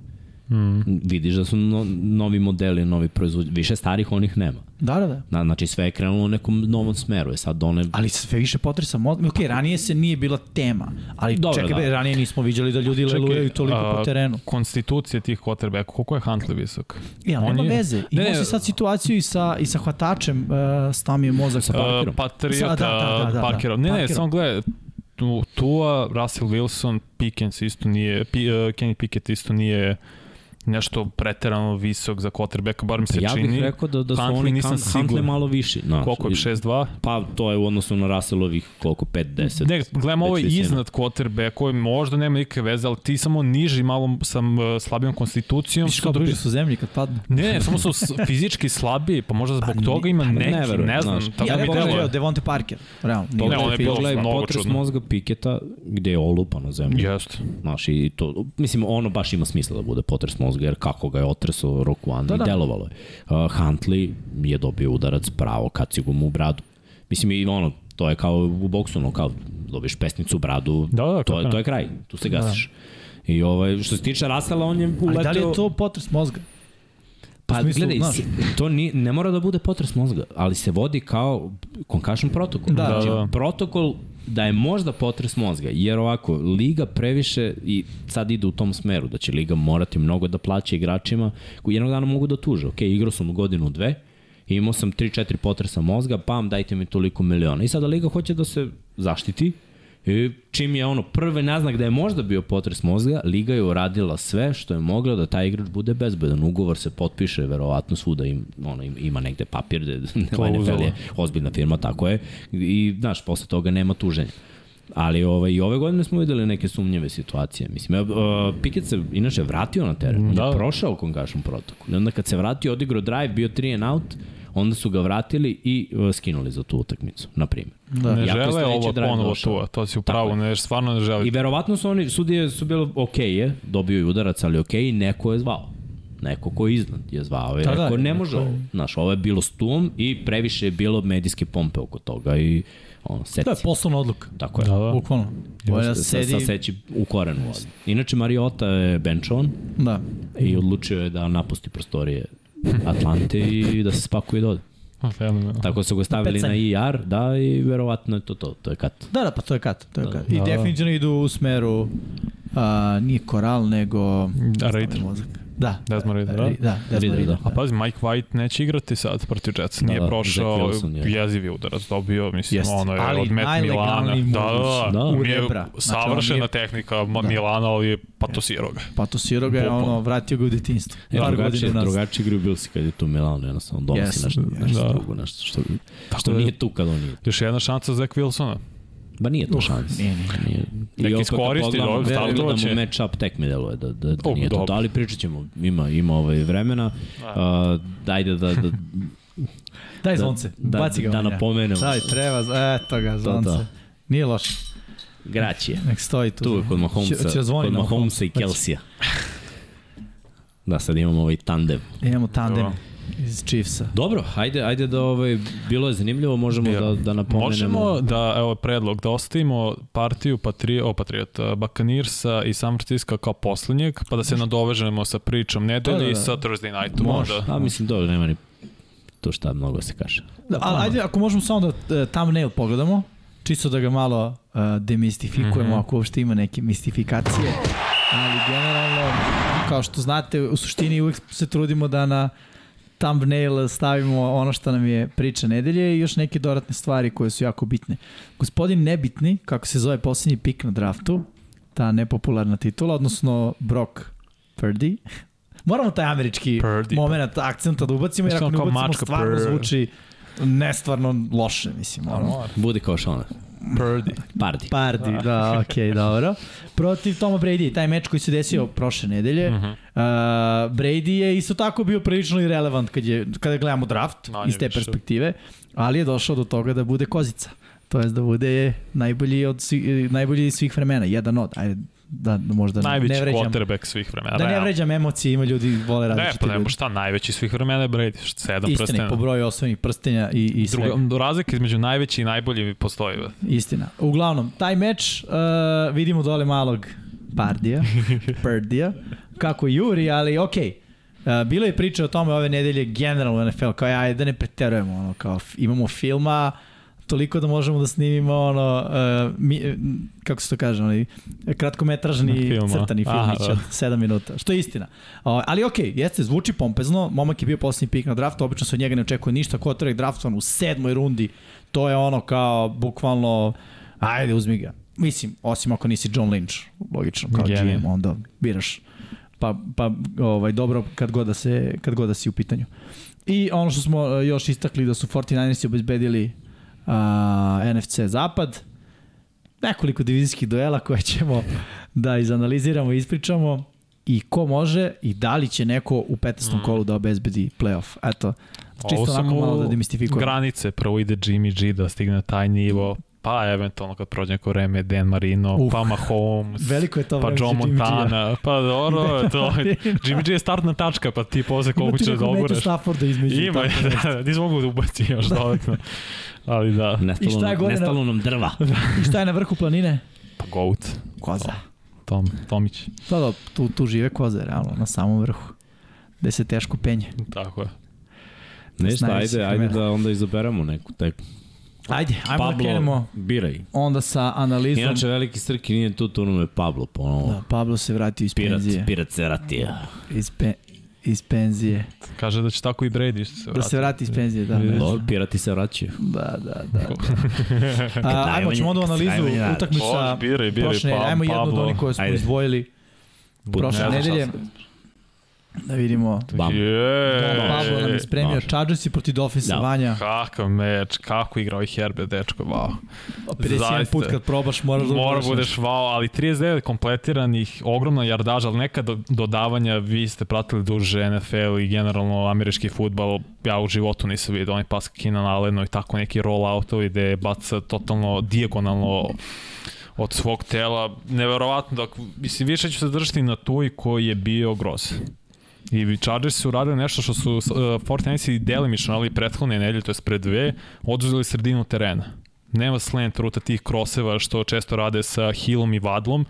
[SPEAKER 1] Mm. Vidiš da su no, novi modeli, novi proizvođači, više starih onih nema.
[SPEAKER 2] Da, da, da.
[SPEAKER 1] Na, znači sve je krenulo u nekom novom smeru, je sad one...
[SPEAKER 2] Ali sve više potresa
[SPEAKER 3] Pa
[SPEAKER 2] mozga. Ok, ranije se nije bila tema, ali
[SPEAKER 1] Dobro,
[SPEAKER 2] čekaj,
[SPEAKER 1] da.
[SPEAKER 2] bre, ranije nismo viđali da ljudi
[SPEAKER 3] Čekaj,
[SPEAKER 2] lelujaju toliko
[SPEAKER 3] a,
[SPEAKER 2] po terenu.
[SPEAKER 3] Konstitucija tih quarterbacka, koliko je Huntley visok?
[SPEAKER 2] Ja,
[SPEAKER 3] On
[SPEAKER 2] nema
[SPEAKER 3] je-
[SPEAKER 2] veze. Imao
[SPEAKER 1] ne.
[SPEAKER 2] si sad situaciju i sa, i sa hvatačem uh, stamio mozak. Sa
[SPEAKER 1] Parkerom.
[SPEAKER 3] Uh, Patriota,
[SPEAKER 2] Sa- da, da, da, da,
[SPEAKER 3] Parkera. Ne, ne,
[SPEAKER 2] Parkerom.
[SPEAKER 3] samo gledaj, tu, Tua, Russell Wilson, Pickens isto nije, P, uh, Kenny Pickett isto nije nešto preterano visok za quarterbacka, bar mi se
[SPEAKER 1] ja
[SPEAKER 3] čini.
[SPEAKER 1] bih rekao znači, da, da su
[SPEAKER 3] Huntley
[SPEAKER 1] oni
[SPEAKER 3] nisam
[SPEAKER 1] Hunt- Huntley
[SPEAKER 3] siguran.
[SPEAKER 1] malo viši. Znaš,
[SPEAKER 3] Koliko je, 6-2?
[SPEAKER 1] Pa to je u odnosu na Russellovih koliko, 5-10.
[SPEAKER 3] Ne, gledam ovo je
[SPEAKER 1] Već visina.
[SPEAKER 3] iznad quarterbacka, možda nema nikakve veze, ali ti samo niži, malo sam uh, slabijom konstitucijom.
[SPEAKER 2] Viš kao
[SPEAKER 3] Dobiješ-
[SPEAKER 2] bliže su zemlji kad padne.
[SPEAKER 3] Ne, ne, samo su s- fizički slabiji, pa možda zbog
[SPEAKER 2] Pa ne-
[SPEAKER 3] toga ima
[SPEAKER 2] pa ne
[SPEAKER 3] neki, ne,
[SPEAKER 1] verujem,
[SPEAKER 3] znam,
[SPEAKER 1] znaš.
[SPEAKER 3] tako
[SPEAKER 2] ja,
[SPEAKER 3] mi
[SPEAKER 2] bih
[SPEAKER 3] deluje.
[SPEAKER 2] deluje.
[SPEAKER 1] da
[SPEAKER 2] Devonte Parker, realno.
[SPEAKER 3] Ne,
[SPEAKER 2] Nije-
[SPEAKER 3] on je bio
[SPEAKER 1] pogledaj
[SPEAKER 3] mnogo
[SPEAKER 1] potres
[SPEAKER 3] čudno.
[SPEAKER 1] mozga Piketa gde je olupano zemlje.
[SPEAKER 3] Jeste.
[SPEAKER 1] Znaš, i to, mislim, ono baš ima smisla da bude potres mozga, jer kako ga je otresao Rokuan da,
[SPEAKER 2] da.
[SPEAKER 1] i delovalo je. Uh, Huntley je dobio udarac pravo kacigom u bradu. Mislim, i ono, to je kao u boksu, ono, kao dobiješ pesnicu u bradu,
[SPEAKER 3] Da,
[SPEAKER 1] to,
[SPEAKER 3] da, kako
[SPEAKER 1] je,
[SPEAKER 3] ne. Da.
[SPEAKER 1] to je kraj, tu se gasiš. I ovaj, što se tiče Rasela, on je uleteo...
[SPEAKER 2] Ali da li je to potres mozga?
[SPEAKER 1] Pa
[SPEAKER 2] U smislu,
[SPEAKER 1] gledaj,
[SPEAKER 2] znaš.
[SPEAKER 1] se- to ni, ne mora da bude potres mozga, ali se vodi kao concussion protokol.
[SPEAKER 2] Da.
[SPEAKER 1] znači,
[SPEAKER 3] Da, da.
[SPEAKER 1] protokol da je možda potres mozga, jer ovako, Liga previše i sad ide u tom smeru, da će Liga morati mnogo da plaća igračima koji jednog dana mogu da tuže. Ok, igrao sam godinu, dve, imao sam 3-4 potresa mozga, pam, dajte mi toliko miliona. I sada Liga hoće da se zaštiti, I čim je ono prvi naznak da je možda bio potres mozga, Liga je uradila sve što je mogla da taj igrač bude bezbedan. Ugovor se potpiše, verovatno svuda im, ono, im, ima negde papir, da NFL je ozbiljna firma, tako je. I, znaš, posle toga nema tuženja. Ali ovaj, i ove godine smo videli neke sumnjive situacije. Mislim, uh, Piket se inače vratio na teren. On
[SPEAKER 3] Da.
[SPEAKER 1] je prošao kongašom protokol. I onda kad se vratio, odigrao drive, bio 3 and out, onda su ga vratili i uh, skinuli za tu utakmicu, na primjer.
[SPEAKER 2] Da.
[SPEAKER 3] Ne
[SPEAKER 1] Jako je
[SPEAKER 3] žele
[SPEAKER 1] sledeći
[SPEAKER 3] ovo
[SPEAKER 1] drive
[SPEAKER 3] ponovo
[SPEAKER 1] došao.
[SPEAKER 3] tu, to si
[SPEAKER 1] Tako
[SPEAKER 3] upravo,
[SPEAKER 1] je.
[SPEAKER 3] ne, stvarno ne žele.
[SPEAKER 1] I verovatno su oni, sudije su bilo ok je, dobio je udarac, ali ok, neko je zvao. Neko ko je iznad je zvao. Je,
[SPEAKER 2] Da,
[SPEAKER 1] da,
[SPEAKER 2] da,
[SPEAKER 1] rekao, ne
[SPEAKER 2] neko
[SPEAKER 1] može
[SPEAKER 2] je-
[SPEAKER 1] ovo. Znaš, ovo je bilo stum i previše je bilo medijske pompe oko toga i ono, seci.
[SPEAKER 2] To je poslovna odluka.
[SPEAKER 1] Tako je.
[SPEAKER 3] Da, da.
[SPEAKER 2] Bukvalno. Bolje da sedi...
[SPEAKER 1] Sa, sa seći u korenu. odmah. Inače, Mariota je benchovan
[SPEAKER 2] Da.
[SPEAKER 1] i odlučio je da napusti prostorije Atlante i da se spakuje i da ode.
[SPEAKER 3] Fenomenalno.
[SPEAKER 1] Tako su ga stavili na
[SPEAKER 2] Pecanje.
[SPEAKER 1] IR, da, i verovatno je to to, to je kat.
[SPEAKER 2] Da, da, pa to je kat. To je kat. I
[SPEAKER 3] Da.
[SPEAKER 2] definitivno idu u smeru a, nije koral, nego...
[SPEAKER 3] Da, Reiter.
[SPEAKER 2] Mozak. Da.
[SPEAKER 3] Desmond Reiter, da.
[SPEAKER 2] Da, Desmond
[SPEAKER 1] Reader,
[SPEAKER 2] Reader.
[SPEAKER 1] da.
[SPEAKER 3] A pazi, Mike White neće igrati sad protiv Jetsa.
[SPEAKER 1] Da,
[SPEAKER 3] Nije
[SPEAKER 1] da, Zach
[SPEAKER 3] prošao,
[SPEAKER 1] Wilson je.
[SPEAKER 3] jezivi udarac dobio, mislim,
[SPEAKER 2] Jeste,
[SPEAKER 3] ono je
[SPEAKER 2] ali
[SPEAKER 3] od Matt Milana.
[SPEAKER 2] najlegalniji
[SPEAKER 3] Da,
[SPEAKER 2] moguć.
[SPEAKER 1] Da.
[SPEAKER 3] da, da.
[SPEAKER 1] U
[SPEAKER 3] Nije
[SPEAKER 2] rebra. Znači, on
[SPEAKER 3] savršena
[SPEAKER 2] nije- Da.
[SPEAKER 3] tehnika Ma- Milana, ali je patosirao ga.
[SPEAKER 2] Pa to Siro ga je
[SPEAKER 3] Bukvalno.
[SPEAKER 2] ono, vratio ga u detinjstvo.
[SPEAKER 1] E,
[SPEAKER 2] Par
[SPEAKER 1] drugačije,
[SPEAKER 2] godina unazad.
[SPEAKER 1] drugačije igraju Bilsi kad je tu Milano, jednostavno donosi
[SPEAKER 2] Yes.
[SPEAKER 1] nešto, nešto
[SPEAKER 3] Da.
[SPEAKER 1] drugo, nešto što, što
[SPEAKER 3] da-
[SPEAKER 1] nije tu kad on nije.
[SPEAKER 3] Još jedna šanca za Zach Wilsona.
[SPEAKER 1] Ba nije to šans.
[SPEAKER 2] Nije, nije.
[SPEAKER 1] Nije.
[SPEAKER 3] Nek
[SPEAKER 1] I opet
[SPEAKER 3] iskoristi,
[SPEAKER 1] kad pogledamo-
[SPEAKER 3] dobro,
[SPEAKER 1] kad
[SPEAKER 3] stavljalo
[SPEAKER 1] pogledamo
[SPEAKER 3] će.
[SPEAKER 1] match up tek mi deluje da, da, da
[SPEAKER 3] O,
[SPEAKER 1] nije to, to,
[SPEAKER 3] dobro.
[SPEAKER 1] ali pričat ćemo, ima, ima ovaj vremena. Uh, dajde da, da,
[SPEAKER 2] Da. Daj
[SPEAKER 1] Da-
[SPEAKER 2] zvonce,
[SPEAKER 1] da-
[SPEAKER 2] baci ga.
[SPEAKER 1] da
[SPEAKER 2] Vanja.
[SPEAKER 1] napomenemo.
[SPEAKER 2] Daj, treba, eto ga, zvonce.
[SPEAKER 1] to.
[SPEAKER 2] Nije loše,
[SPEAKER 1] graći je.
[SPEAKER 2] nek stoji tu.
[SPEAKER 1] Tu je kod Mahomesa,
[SPEAKER 2] Će- će da zvoni
[SPEAKER 1] kod
[SPEAKER 2] na
[SPEAKER 1] Mahomesa i
[SPEAKER 2] Homes.
[SPEAKER 1] Kelsija. Da, sad imamo ovaj tandem.
[SPEAKER 2] Imamo tandem
[SPEAKER 3] Dobro.
[SPEAKER 2] iz Chiefsa.
[SPEAKER 1] Dobro, ajde, ajde da ovaj, bilo je zanimljivo, možemo
[SPEAKER 3] Ja.
[SPEAKER 1] da, da napomenemo.
[SPEAKER 3] Možemo da, evo predlog, da ostavimo partiju Patri, o, Patriot, uh, Buccaneersa i San Francisco kao poslednjeg, pa da se nadovežemo sa pričom nedelje
[SPEAKER 2] Da, da,
[SPEAKER 3] i
[SPEAKER 2] da.
[SPEAKER 3] sa Thursday nightom.
[SPEAKER 2] Može.
[SPEAKER 3] onda.
[SPEAKER 1] A Pa mislim, dobro, nema ni to šta mnogo se kaže.
[SPEAKER 2] Da, ali ajde, ako možemo samo da e, thumbnail pogledamo, čisto da ga malo e, demistifikujemo, ako uopšte ima neke mistifikacije, ali generalno, kao što znate, u suštini uvek se trudimo da na thumbnail stavimo ono što nam je priča nedelje i još neke dodatne stvari koje su jako bitne. Gospodin Nebitni, kako se zove posljednji pik na draftu, ta nepopularna titula, odnosno Brock Purdy, Moramo taj američki
[SPEAKER 3] Purdy, pa.
[SPEAKER 2] moment akcenta da ubacimo, jer
[SPEAKER 3] Znači,
[SPEAKER 2] ako ne
[SPEAKER 3] ono kao
[SPEAKER 2] ubacimo
[SPEAKER 3] mačka,
[SPEAKER 2] stvarno
[SPEAKER 3] purr.
[SPEAKER 2] zvuči nestvarno loše, mislim. Ono.
[SPEAKER 1] Bude kao Šona.
[SPEAKER 3] Purdy.
[SPEAKER 1] Pardi.
[SPEAKER 2] Pardi, da, okej, dobro. Protiv Toma Brady, taj meč koji se desio
[SPEAKER 3] Mm.
[SPEAKER 2] prošle nedelje.
[SPEAKER 3] Mhm.
[SPEAKER 2] Uh, Brady je isto tako bio prilično irelevant kad je, kada gledamo draft
[SPEAKER 3] Manje
[SPEAKER 2] iz te
[SPEAKER 3] više.
[SPEAKER 2] perspektive, ali je došao do toga da bude kozica. To je da bude najbolji, od, svi- najbolji iz svih vremena, jedan od, ajde, da možda
[SPEAKER 3] Najveći
[SPEAKER 2] ne vređam.
[SPEAKER 3] quarterback svih vremena.
[SPEAKER 2] Da ne
[SPEAKER 3] realno.
[SPEAKER 2] vređam emocije, ima ljudi vole
[SPEAKER 3] Ne,
[SPEAKER 2] različite
[SPEAKER 3] pa ne,
[SPEAKER 2] ljudi.
[SPEAKER 3] šta, najveći svih vremena je Brady, šta, sedam
[SPEAKER 2] Istina,
[SPEAKER 3] prstena.
[SPEAKER 2] po broju osvojenih prstenja i, i svega.
[SPEAKER 3] Druga, do razlike između najveći i najbolji postoji. brate.
[SPEAKER 2] Istina. Uglavnom, taj meč uh, vidimo dole malog Pardija, Pardija, kako juri, ali okej. Uh, bilo je priče o tome ove nedelje generalno u NFL, kao ja, da ne preterujemo, ono, kao f- imamo filma, toliko da možemo da snimimo ono, uh, mi, eh, kako se to kaže, onaj kratkometražni
[SPEAKER 3] Film, a?
[SPEAKER 2] crtani
[SPEAKER 3] Aha,
[SPEAKER 2] filmić
[SPEAKER 3] da.
[SPEAKER 2] od 7 minuta, što je istina. O, ali okej, jeste, zvuči pompezno, momak je bio poslednji pik na draftu, obično se od njega ne očekuje ništa, kotorek draftovan u sedmoj rundi, to je ono kao bukvalno, ajde uzmi ga. Mislim, osim ako nisi John Lynch, logično, kao
[SPEAKER 3] Genije.
[SPEAKER 2] GM, onda biraš. Pa, pa ovaj, dobro kad god, da se, kad god da si u pitanju. I ono što smo e, još istakli da su 49ersi obezbedili a, NFC Zapad, nekoliko divizijskih duela koje ćemo da izanaliziramo i ispričamo i ko može i da li će neko u 15. kolu da obezbedi playoff. Eto,
[SPEAKER 3] Mm. Ovo
[SPEAKER 2] Znači, čisto onako
[SPEAKER 3] samo
[SPEAKER 2] malo da demistifikujem.
[SPEAKER 3] Granice, prvo ide Jimmy G da stigne na taj nivo, pa eventualno kad prođe neko vreme Dan Marino,
[SPEAKER 2] Uf.
[SPEAKER 3] pa Mahomes,
[SPEAKER 2] Veliko je to
[SPEAKER 3] pa
[SPEAKER 2] vreme
[SPEAKER 3] Joe
[SPEAKER 2] za Jimmy Da. G-a.
[SPEAKER 3] Montana, pa dobro, je to Jimmy G je startna tačka, pa ti posle koliko će da
[SPEAKER 2] Meću
[SPEAKER 3] ogureš.
[SPEAKER 2] Stafforda između.
[SPEAKER 3] Ima,
[SPEAKER 2] tako.
[SPEAKER 3] da, nisam mogu da ubaci još dodatno. Ali da,
[SPEAKER 1] Nestalo,
[SPEAKER 2] I šta je
[SPEAKER 1] nam-
[SPEAKER 2] godina-
[SPEAKER 1] nestalo nam drva.
[SPEAKER 2] I šta je na vrhu planine?
[SPEAKER 3] pa Goat,
[SPEAKER 2] Koza.
[SPEAKER 3] Tom, Tomić,
[SPEAKER 2] Da, da, tu, tu žive koze, realno, na samom vrhu. Gde se teško penje.
[SPEAKER 3] tako je.
[SPEAKER 1] Ništa,
[SPEAKER 2] Znaju se
[SPEAKER 1] ajde, ajde
[SPEAKER 2] vremena.
[SPEAKER 1] da onda izaberemo neku teku.
[SPEAKER 2] Ajde, ajmo da
[SPEAKER 1] Pablo,
[SPEAKER 2] krenemo
[SPEAKER 1] biraj.
[SPEAKER 2] onda sa analizom.
[SPEAKER 1] Inače, veliki srki nije tu, tu nam je Pablo ponovo.
[SPEAKER 2] Da, Pablo se vratio iz
[SPEAKER 1] Pirat,
[SPEAKER 2] penzije.
[SPEAKER 1] pirat se ratija.
[SPEAKER 2] Iz, pe, iz penzije.
[SPEAKER 3] Kaže da će tako i Brady se
[SPEAKER 2] Da se vrati iz penzije, da.
[SPEAKER 3] Vidiš?
[SPEAKER 2] Da,
[SPEAKER 1] Dobro, pirati se vraćaju.
[SPEAKER 2] da, da. da. A, ajmo,
[SPEAKER 1] najmanje-
[SPEAKER 2] ćemo onda u
[SPEAKER 1] kad se
[SPEAKER 2] analizu
[SPEAKER 1] najmanje radi.
[SPEAKER 2] utakmica
[SPEAKER 3] Može, biraj, biraj,
[SPEAKER 2] prošle nedelje.
[SPEAKER 3] Pa-
[SPEAKER 2] Ajmo jednu od
[SPEAKER 3] Pablo.
[SPEAKER 2] onih koje smo
[SPEAKER 1] Ajde.
[SPEAKER 2] izdvojili prošle
[SPEAKER 1] Ne znam šta
[SPEAKER 2] nedelje. Da vidimo.
[SPEAKER 1] Bam.
[SPEAKER 3] Je,
[SPEAKER 2] Pablo nam je spremio
[SPEAKER 1] može.
[SPEAKER 2] Chargersi protiv Dolphinsa
[SPEAKER 1] Da.
[SPEAKER 2] Vanja.
[SPEAKER 3] Kakav meč, kako igrao i Herbert, dečko, wow.
[SPEAKER 2] 51
[SPEAKER 3] Zaista.
[SPEAKER 2] put kad probaš moraš da
[SPEAKER 3] Mora
[SPEAKER 2] uložiš
[SPEAKER 3] budeš wow, ali 39 kompletiranih, ogromna jardaža, ali neka do, dodavanja, vi ste pratili duže NFL i generalno američki futbal, ja u životu nisam vidio onaj pas Keenan Allenu i tako neki roll-outovi gde baca totalno dijagonalno od svog tela, neverovatno da, mislim, više ću se držati na tuj koji je bio groz. I Chargers su uradili nešto što su uh, 49 delimično, ali prethodne nedelje, to je pre dve, oduzeli sredinu terena. Nema slant ruta tih kroseva što često rade sa Hillom i Vadlom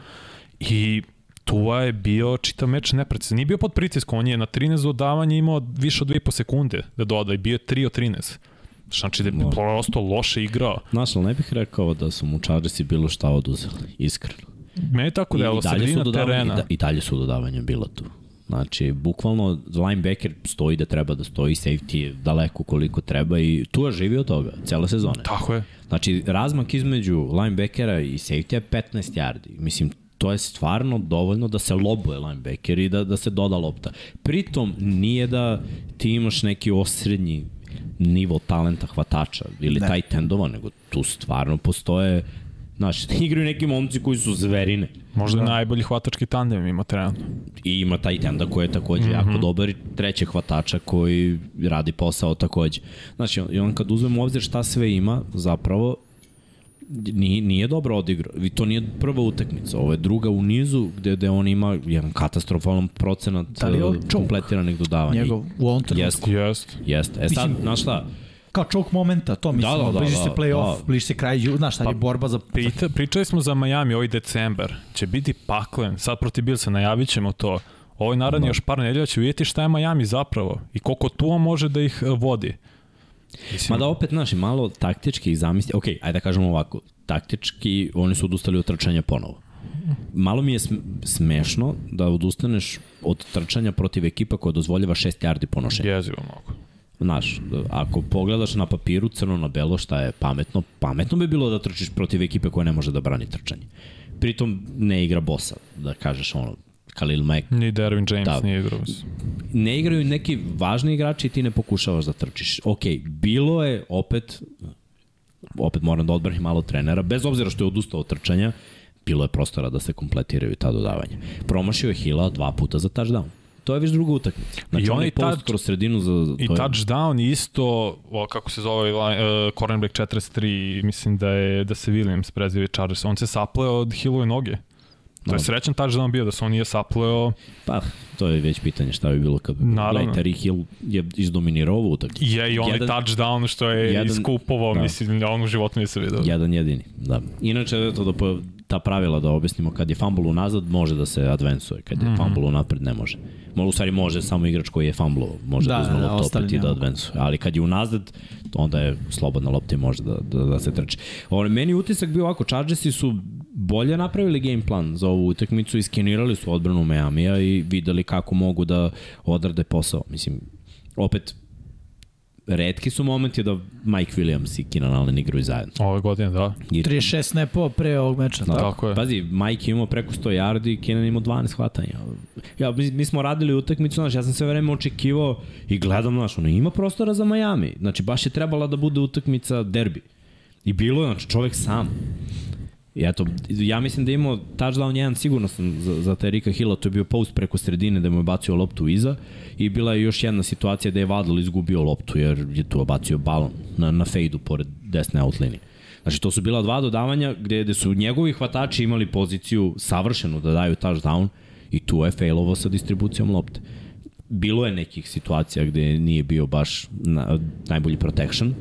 [SPEAKER 3] i Tua je bio čitav meč neprecizan. Nije bio pod pritiskom, on je na 13 dodavanja imao više od 2,5 sekunde da doda i bio je 3 od 13. Znači da je
[SPEAKER 1] Da.
[SPEAKER 3] prosto loše igrao.
[SPEAKER 1] Znaš, ali ne bih rekao da su mu Chargersi bilo šta oduzeli, iskreno.
[SPEAKER 3] Meni je tako delo, sredina
[SPEAKER 1] dodavanja, i,
[SPEAKER 3] terena.
[SPEAKER 1] da, i dalje su dodavanja bila tu. Znači, bukvalno linebacker stoji da treba da stoji, safety je daleko koliko treba i tu je živio od toga, cele sezone.
[SPEAKER 3] Tako je.
[SPEAKER 1] Znači, razmak između linebackera i safety je 15 yardi. Mislim, to je stvarno dovoljno da se lobuje linebacker i da, da se doda lopta. Pritom, nije da ti imaš neki osrednji nivo talenta hvatača ili
[SPEAKER 2] Ne.
[SPEAKER 1] taj tendova, nego tu stvarno postoje Znaš, igraju neki momci koji su zverine
[SPEAKER 3] Možda da. najbolji hvatački tandem ima trenutno.
[SPEAKER 1] i ima taj tenda koji je takođe mm -hmm.
[SPEAKER 2] Mhm.
[SPEAKER 1] jako dobar i trećeg hvatača koji radi posao takođe. Znači, i on kad uzmemo u obzir šta sve ima, zapravo nije, nije dobro odigrao. I to nije prva utakmica, ovo je druga u nizu gde, gde on ima jedan katastrofalan procenat
[SPEAKER 2] Da li je ovo
[SPEAKER 1] eh,
[SPEAKER 2] choke?
[SPEAKER 1] kompletiranih dodavanja.
[SPEAKER 2] njegov u ovom trenutku.
[SPEAKER 1] Jeste,
[SPEAKER 3] Jest.
[SPEAKER 1] jeste. E sad,
[SPEAKER 2] Mislim-
[SPEAKER 1] znaš šta?
[SPEAKER 2] Kao choke momenta, to mislim, da, da, da, bliži se
[SPEAKER 1] da,
[SPEAKER 2] play-off,
[SPEAKER 1] da. Pa,
[SPEAKER 2] bliži se kraj, ju- znaš, sad je borba za...
[SPEAKER 3] Pita, pričali smo za Miami ovaj decembar. Će biti paklen. Sad protiv Bilsa najavit ćemo to. Ovo je naravno
[SPEAKER 1] Da.
[SPEAKER 3] još par nedelja će vidjeti šta je Miami zapravo i koliko tu može da ih eh, vodi. Mislim,
[SPEAKER 1] Ma da opet, znaš, i malo taktički ih zamisli, ok, ajde da kažemo ovako, taktički oni su odustali od trčanja ponovo. Malo mi je sm- smešno da odustaneš od trčanja protiv ekipa koja dozvoljava 6 yardi ponošenja.
[SPEAKER 3] jezivo mnogo.
[SPEAKER 1] Znaš, ako pogledaš na papiru crno na belo šta je pametno, pametno bi bilo da trčiš protiv ekipe koja ne može da brani trčanje. Pritom ne igra bosa, da kažeš ono, Khalil Mack,
[SPEAKER 3] Ni Dervin James,
[SPEAKER 1] Da.
[SPEAKER 3] da. ni Idrus.
[SPEAKER 1] ne igraju neki važni igrači i ti ne pokušavaš da trčiš. Ok, bilo je opet, opet moram da odbranim malo trenera, bez obzira što je odustao od trčanja, bilo je prostora da se kompletiraju ta dodavanja. Promašio je Hila dva puta za touchdown. To je već druga utakmica. Znači,
[SPEAKER 3] I
[SPEAKER 1] I
[SPEAKER 3] on
[SPEAKER 1] on
[SPEAKER 3] i
[SPEAKER 1] je post
[SPEAKER 3] touch-
[SPEAKER 1] kroz sredinu za...
[SPEAKER 3] I
[SPEAKER 1] to je-
[SPEAKER 3] touchdown isto, o, kako se zove, uh, cornerback 43, mislim da je da se Williams prezivi Chargers. On se sapleo od hilove noge. To je
[SPEAKER 1] Dobro.
[SPEAKER 3] srećan touchdown bio da se on nije sapleo.
[SPEAKER 1] Pa, to je već pitanje šta bi bilo kad bi...
[SPEAKER 3] Naravno.
[SPEAKER 1] Gledaj, Terry Hill je izdominirao ovu utakmicu.
[SPEAKER 3] I je i onaj
[SPEAKER 1] Jedan-
[SPEAKER 3] touchdown što je
[SPEAKER 1] jedan-
[SPEAKER 3] iskupovao,
[SPEAKER 1] da.
[SPEAKER 3] mislim, da on u životu nisam vidio.
[SPEAKER 1] Jedan jedini, da. Inače, eto, da po, ta pravila da objasnimo, kad je fumble unazad, može da se advensuje, kad je mm -hmm. fumble unapred, ne može. Mo, u stvari može, samo igrač koji je fumble može da,
[SPEAKER 2] Da,
[SPEAKER 1] da uzme
[SPEAKER 2] da,
[SPEAKER 1] loptu
[SPEAKER 2] ostali
[SPEAKER 1] opet i
[SPEAKER 2] ne
[SPEAKER 1] da
[SPEAKER 2] mogu.
[SPEAKER 1] advensuje. Ali kad je unazad, onda je slobodna lopta i može da, da, da se trče. Ovo, meni je utisak bio ovako, Chargersi su bolje napravili game plan za ovu utakmicu, iskenirali su odbranu Miamija i videli kako mogu da odrade posao. Mislim, opet, redki su momenti da Mike Williams i Keenan Allen igraju zajedno.
[SPEAKER 3] Ove godine, da.
[SPEAKER 1] I
[SPEAKER 2] 36 snapova pre ovog meča,
[SPEAKER 1] Da.
[SPEAKER 2] tako?
[SPEAKER 3] Tako je.
[SPEAKER 1] Pazi, Mike je imao preko 100 yardi, Kenan je imao 12 hvatanja. Ja, mi, mi smo radili utakmicu, znaš, ja sam sve vreme očekivao i gledam, znaš, ono, ima prostora za Miami. Znači, baš je trebala da bude utakmica derbi. I bilo je, znači, čovek sam. I eto, ja mislim da je imao touchdown jedan, sigurno sam za, za Terika Hilla, to je bio post preko sredine da mu je bacio loptu iza i bila je još jedna situacija da je Vadal izgubio loptu jer je tu bacio balon na, na fejdu pored desne outline. Znači, to su bila dva dodavanja gde, gde su njegovi hvatači imali poziciju savršenu da daju touchdown i tu je failovo sa distribucijom lopte. Bilo je nekih situacija gde nije bio baš na, najbolji protection,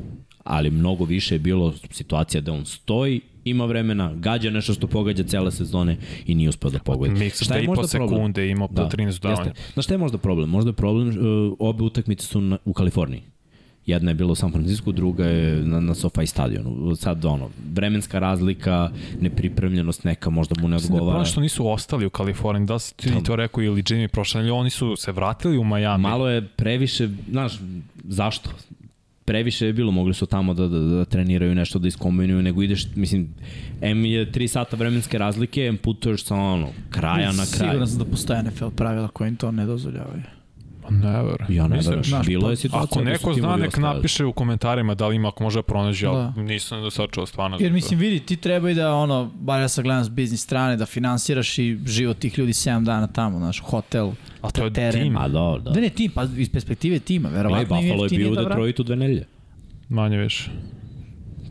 [SPEAKER 1] ali mnogo više je bilo situacija da on stoji, ima vremena, gađa nešto što pogađa cele sezone i nije uspeo da pogodi.
[SPEAKER 3] Mix
[SPEAKER 1] Šta
[SPEAKER 3] da
[SPEAKER 1] je
[SPEAKER 3] i po
[SPEAKER 1] možda problem? Da,
[SPEAKER 3] sekunde imao po 13 davanja.
[SPEAKER 1] jeste. Znaš šta je možda problem? Možda je problem, e, obe utakmice su na, u Kaliforniji. Jedna je bila u San Francisco, druga je na, na SoFi stadionu. Sad ono, vremenska razlika, nepripremljenost neka, možda mu ne
[SPEAKER 3] Ne
[SPEAKER 1] odgovara.
[SPEAKER 3] da problem što nisu ostali u Kaliforniji, da si ti to rekao ili Jimmy prošle, nedelje, oni su se vratili u Miami.
[SPEAKER 1] Malo je previše, znaš, zašto? Previše je bilo, mogli su tamo da, da, da treniraju nešto, da iskombinuju, nego ideš, mislim, M je 3 sata vremenske razlike, M putuješ sa ono, kraja na kraj.
[SPEAKER 2] Siguran sam da postoje NFL pravila koje im to ne dozvoljavaju.
[SPEAKER 3] Pa Ne verujem.
[SPEAKER 1] Ja ne
[SPEAKER 3] Mislim,
[SPEAKER 1] verujem,
[SPEAKER 2] znaš,
[SPEAKER 1] bilo
[SPEAKER 2] pa-
[SPEAKER 1] je situacija.
[SPEAKER 3] Ako
[SPEAKER 1] da su
[SPEAKER 3] neko zna,
[SPEAKER 1] timovi
[SPEAKER 3] nek
[SPEAKER 1] ostajali.
[SPEAKER 3] napiše u komentarima da li ima, ako može da pronađe, ja
[SPEAKER 2] Da.
[SPEAKER 3] nisam do sad čuo stvarno.
[SPEAKER 2] Jer mislim, vidi, ti treba i da, ono, bar ja sad gledam s biznis strane, da finansiraš i život tih ljudi 7 dana tamo, znaš, hotel,
[SPEAKER 3] A to je
[SPEAKER 2] teren.
[SPEAKER 3] tim.
[SPEAKER 1] A da, da.
[SPEAKER 2] Da ne, tim, pa iz perspektive tima,
[SPEAKER 1] Gledaj,
[SPEAKER 2] verovatno im
[SPEAKER 1] Buffalo je bio u
[SPEAKER 2] da vrati.
[SPEAKER 1] Detroitu dve nelje.
[SPEAKER 3] Manje više.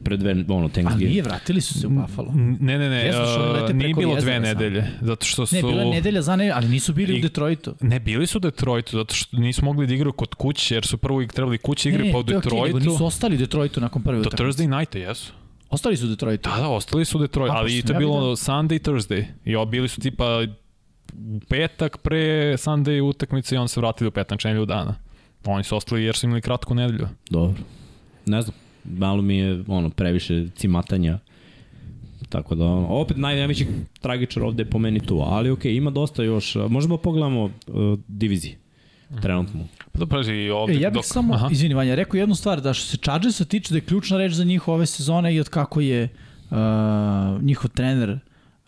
[SPEAKER 1] Pred dve, ono,
[SPEAKER 2] Ali nije,
[SPEAKER 1] Thanksgiving.
[SPEAKER 2] vratili su se u Buffalo.
[SPEAKER 3] Ne, ne, ne,
[SPEAKER 2] Jesmo, što oni lete
[SPEAKER 3] uh, nije
[SPEAKER 2] preko
[SPEAKER 3] bilo dve
[SPEAKER 2] jezera samo.
[SPEAKER 3] nedelje, zato što su...
[SPEAKER 2] Ne, bila je nedelja za ne, ali nisu bili
[SPEAKER 3] I-
[SPEAKER 2] u Detroitu.
[SPEAKER 3] Ne, bili su u Detroitu, zato što nisu mogli da igraju kod kuće, jer su prvo ig- trebali kuće igre,
[SPEAKER 2] Ne,
[SPEAKER 3] pa u
[SPEAKER 2] to je okej, nego
[SPEAKER 3] Detroitu.
[SPEAKER 2] nisu ostali u Detroitu nakon prve
[SPEAKER 3] Do
[SPEAKER 2] utakmice.
[SPEAKER 3] Thursday night, jesu.
[SPEAKER 2] Ostali su u Detroitu.
[SPEAKER 3] Da, da, ostali su u Detroitu,
[SPEAKER 2] A,
[SPEAKER 3] ali
[SPEAKER 2] pošto
[SPEAKER 3] to je
[SPEAKER 2] ja
[SPEAKER 3] bilo
[SPEAKER 2] vidim.
[SPEAKER 3] Sunday, Thursday. I o, bili su tipa u petak pre Sunday utakmice i on se vratili u petnač nedelju dana. Oni su ostali jer su imali kratku nedelju.
[SPEAKER 1] Dobro. Ne znam, malo mi je, ono, previše cimatanja. Tako da, ono, opet naj, najveći tragičar ovde je po meni tu, ali okej, okay, ima dosta još. Možemo pogledamo uh, divizije, trenutno.
[SPEAKER 3] Pa da paži,
[SPEAKER 2] E,
[SPEAKER 3] ovde
[SPEAKER 2] ja bih
[SPEAKER 3] dok...
[SPEAKER 2] samo,
[SPEAKER 3] Aha.
[SPEAKER 2] izvini Vanja, rekao jednu stvar, da što se Chargersa tiče da je ključna reč za njih ove sezone i od kako je uh, njihov trener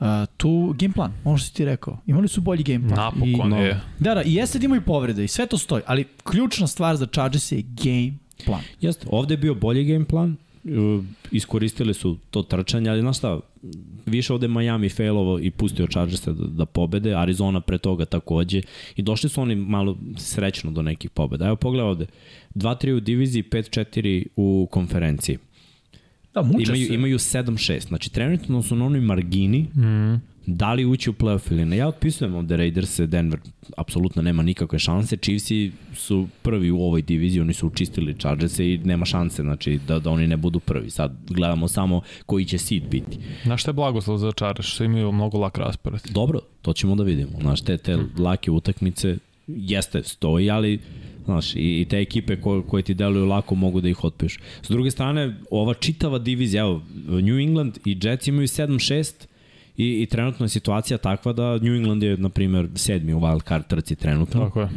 [SPEAKER 2] uh, tu game plan, ono što si ti rekao. Imali su bolji game plan.
[SPEAKER 3] Napokon
[SPEAKER 2] I,
[SPEAKER 3] je.
[SPEAKER 2] Da, da, i jeste da imaju povrede i sve to stoji, ali ključna stvar za Chargers je game plan.
[SPEAKER 1] Jeste, ovde je bio bolji game plan, e, iskoristili su to trčanje, ali znaš šta, više ovde Miami failovo i pustio Chargersa da, da pobede, Arizona pre toga takođe i došli su oni malo srećno do nekih pobeda. Evo pogledaj ovde, 2-3 u diviziji, 5-4 u konferenciji.
[SPEAKER 2] Da, muče
[SPEAKER 1] Imaju,
[SPEAKER 2] se.
[SPEAKER 1] imaju 7-6, znači trenutno su na onoj margini
[SPEAKER 2] Mhm.
[SPEAKER 1] mm. da li ući u playoff ili ne. Ja otpisujem ovde Raiders, Denver apsolutno nema nikakve šanse, Chiefsi su prvi u ovoj diviziji, oni su učistili Chargers i nema šanse znači, da, da oni ne budu prvi. Sad gledamo samo koji će seed biti.
[SPEAKER 3] Znaš šta je blagoslov za Čareš? Što imaju mnogo lak raspored.
[SPEAKER 1] Dobro, to ćemo da vidimo. Znaš, te, te lake utakmice jeste, stoji, ali znaš, i, i te ekipe ko, koje ti deluju lako mogu da ih otpišu. S druge strane, ova čitava divizija, evo, New England i Jets imaju 7-6, I, I trenutno je situacija takva da New England je, na primjer, sedmi u wild card trci trenutno.
[SPEAKER 3] Tako je.
[SPEAKER 1] E,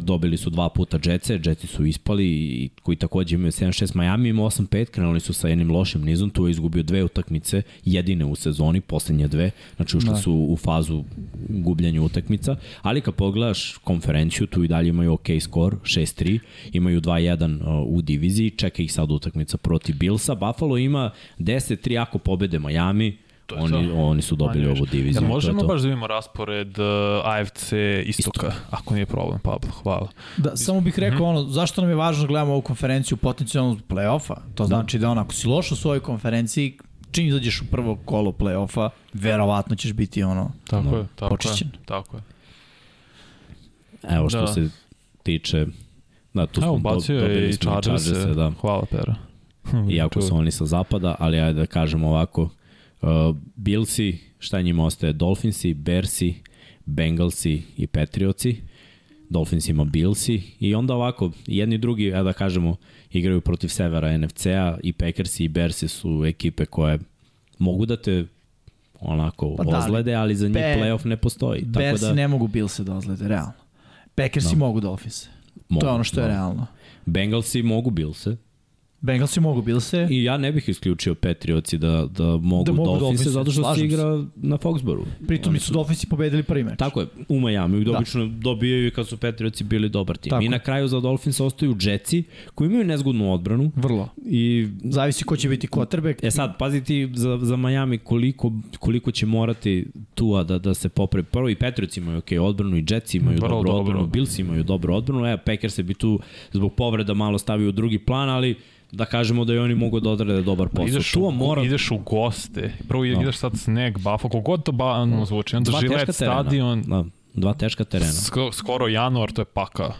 [SPEAKER 1] dobili su dva puta Jetsa, Jetsi su ispali i koji takođe imaju 7-6 Miami, ima 8-5, krenuli su sa jednim lošim nizom, tu je izgubio dve utakmice, jedine u sezoni, poslednje dve, znači
[SPEAKER 3] Da.
[SPEAKER 1] ušli su u fazu gubljenja utakmica, ali kad pogledaš konferenciju, tu i dalje imaju ok skor, 6-3, imaju 2-1 e, u diviziji, čeka ih sad utakmica protiv Billsa, Buffalo ima 10-3 ako pobede Miami,
[SPEAKER 3] to je
[SPEAKER 1] Oni,
[SPEAKER 3] to.
[SPEAKER 1] oni su dobili
[SPEAKER 3] Manje-više.
[SPEAKER 1] ovu diviziju.
[SPEAKER 3] Jel
[SPEAKER 1] to je
[SPEAKER 3] možemo
[SPEAKER 1] to.
[SPEAKER 3] baš da vidimo raspored uh, AFC Istoka, ako nije problem, Pablo, hvala.
[SPEAKER 2] Da, samo bih rekao
[SPEAKER 3] Mhm.
[SPEAKER 2] ono, zašto nam je važno da gledamo ovu konferenciju potencijalno zbog play-offa? To znači da ono, ako si loš u svojoj konferenciji, čim izađeš u prvo kolo play-offa, verovatno ćeš biti ono...
[SPEAKER 3] Tako
[SPEAKER 1] No,
[SPEAKER 3] je, tako
[SPEAKER 2] počišćen.
[SPEAKER 3] je. Tako je.
[SPEAKER 1] Evo što
[SPEAKER 3] Da.
[SPEAKER 1] se tiče da tu
[SPEAKER 3] Evo,
[SPEAKER 1] smo do,
[SPEAKER 3] bacio je
[SPEAKER 1] dobili
[SPEAKER 3] i
[SPEAKER 1] smo i
[SPEAKER 3] Chargers-e.
[SPEAKER 1] Chargers-e, da.
[SPEAKER 3] Hvala, Pera.
[SPEAKER 1] Iako su oni sa zapada, ali ajde da kažemo ovako. Uh, Billsi, šta njima ostaje? Dolphinsi, Bearsi, Bengalsi i Patriotsi. Dolphins ima Billsi i onda ovako, jedni i drugi, ja da kažemo, igraju protiv severa NFC-a i Packersi i Bearsi su ekipe koje mogu da te onako
[SPEAKER 2] Pa
[SPEAKER 1] pa
[SPEAKER 2] da, ali
[SPEAKER 1] ozlede, ali za njih
[SPEAKER 2] Pe-
[SPEAKER 1] playoff ne postoji. Tako
[SPEAKER 2] Bersi
[SPEAKER 1] da,
[SPEAKER 2] da... ne mogu Bilse da ozlede, realno. Packersi mogu Dolphins.
[SPEAKER 1] mogu,
[SPEAKER 2] To je ono što je
[SPEAKER 1] da.
[SPEAKER 2] realno.
[SPEAKER 1] Bengalsi mogu Billse,
[SPEAKER 2] Bengalsi mogu e, Bilse.
[SPEAKER 1] I ja ne bih isključio Patriotsi da, da mogu, da
[SPEAKER 2] mogu
[SPEAKER 1] mogu Dolphinse,
[SPEAKER 2] Dolphinse,
[SPEAKER 1] zato što se
[SPEAKER 2] slažem se.
[SPEAKER 1] igra na Foxboru.
[SPEAKER 2] Pritom su Dolphinsi pobedili prvi meč.
[SPEAKER 1] Tako je, u Miami, da.
[SPEAKER 2] Da.
[SPEAKER 1] obično dobijaju i kad su Patriotsi bili dobar tim.
[SPEAKER 2] Tako.
[SPEAKER 1] I na kraju za Dolphins ostaju Jetsi, koji imaju nezgodnu odbranu.
[SPEAKER 2] Vrlo.
[SPEAKER 1] I
[SPEAKER 2] Zavisi ko će biti quarterback.
[SPEAKER 1] E sad, pazi ti za, za Miami koliko, koliko će morati Tua da, da se popravi. Prvo i Patriots imaju ok, odbranu i Jets imaju
[SPEAKER 3] Vrlo
[SPEAKER 1] Vrlo dobru
[SPEAKER 3] dobro.
[SPEAKER 1] odbranu, Bills imaju dobru odbranu, e, Packers se bi tu zbog povreda malo stavio u drugi plan, ali da kažemo da i oni mogu da odrade dobar posao.
[SPEAKER 3] Pa Ideš
[SPEAKER 1] Tua
[SPEAKER 3] u,
[SPEAKER 1] mora
[SPEAKER 3] ideš u goste. Prvo no.
[SPEAKER 1] Da.
[SPEAKER 3] ideš sad sneg, bafo, kogod to banalno zvuči. Onda
[SPEAKER 1] dva teška
[SPEAKER 3] žilet,
[SPEAKER 1] terena.
[SPEAKER 3] stadion,
[SPEAKER 1] Da, dva teška terena.
[SPEAKER 3] sko, skoro januar, to je paka.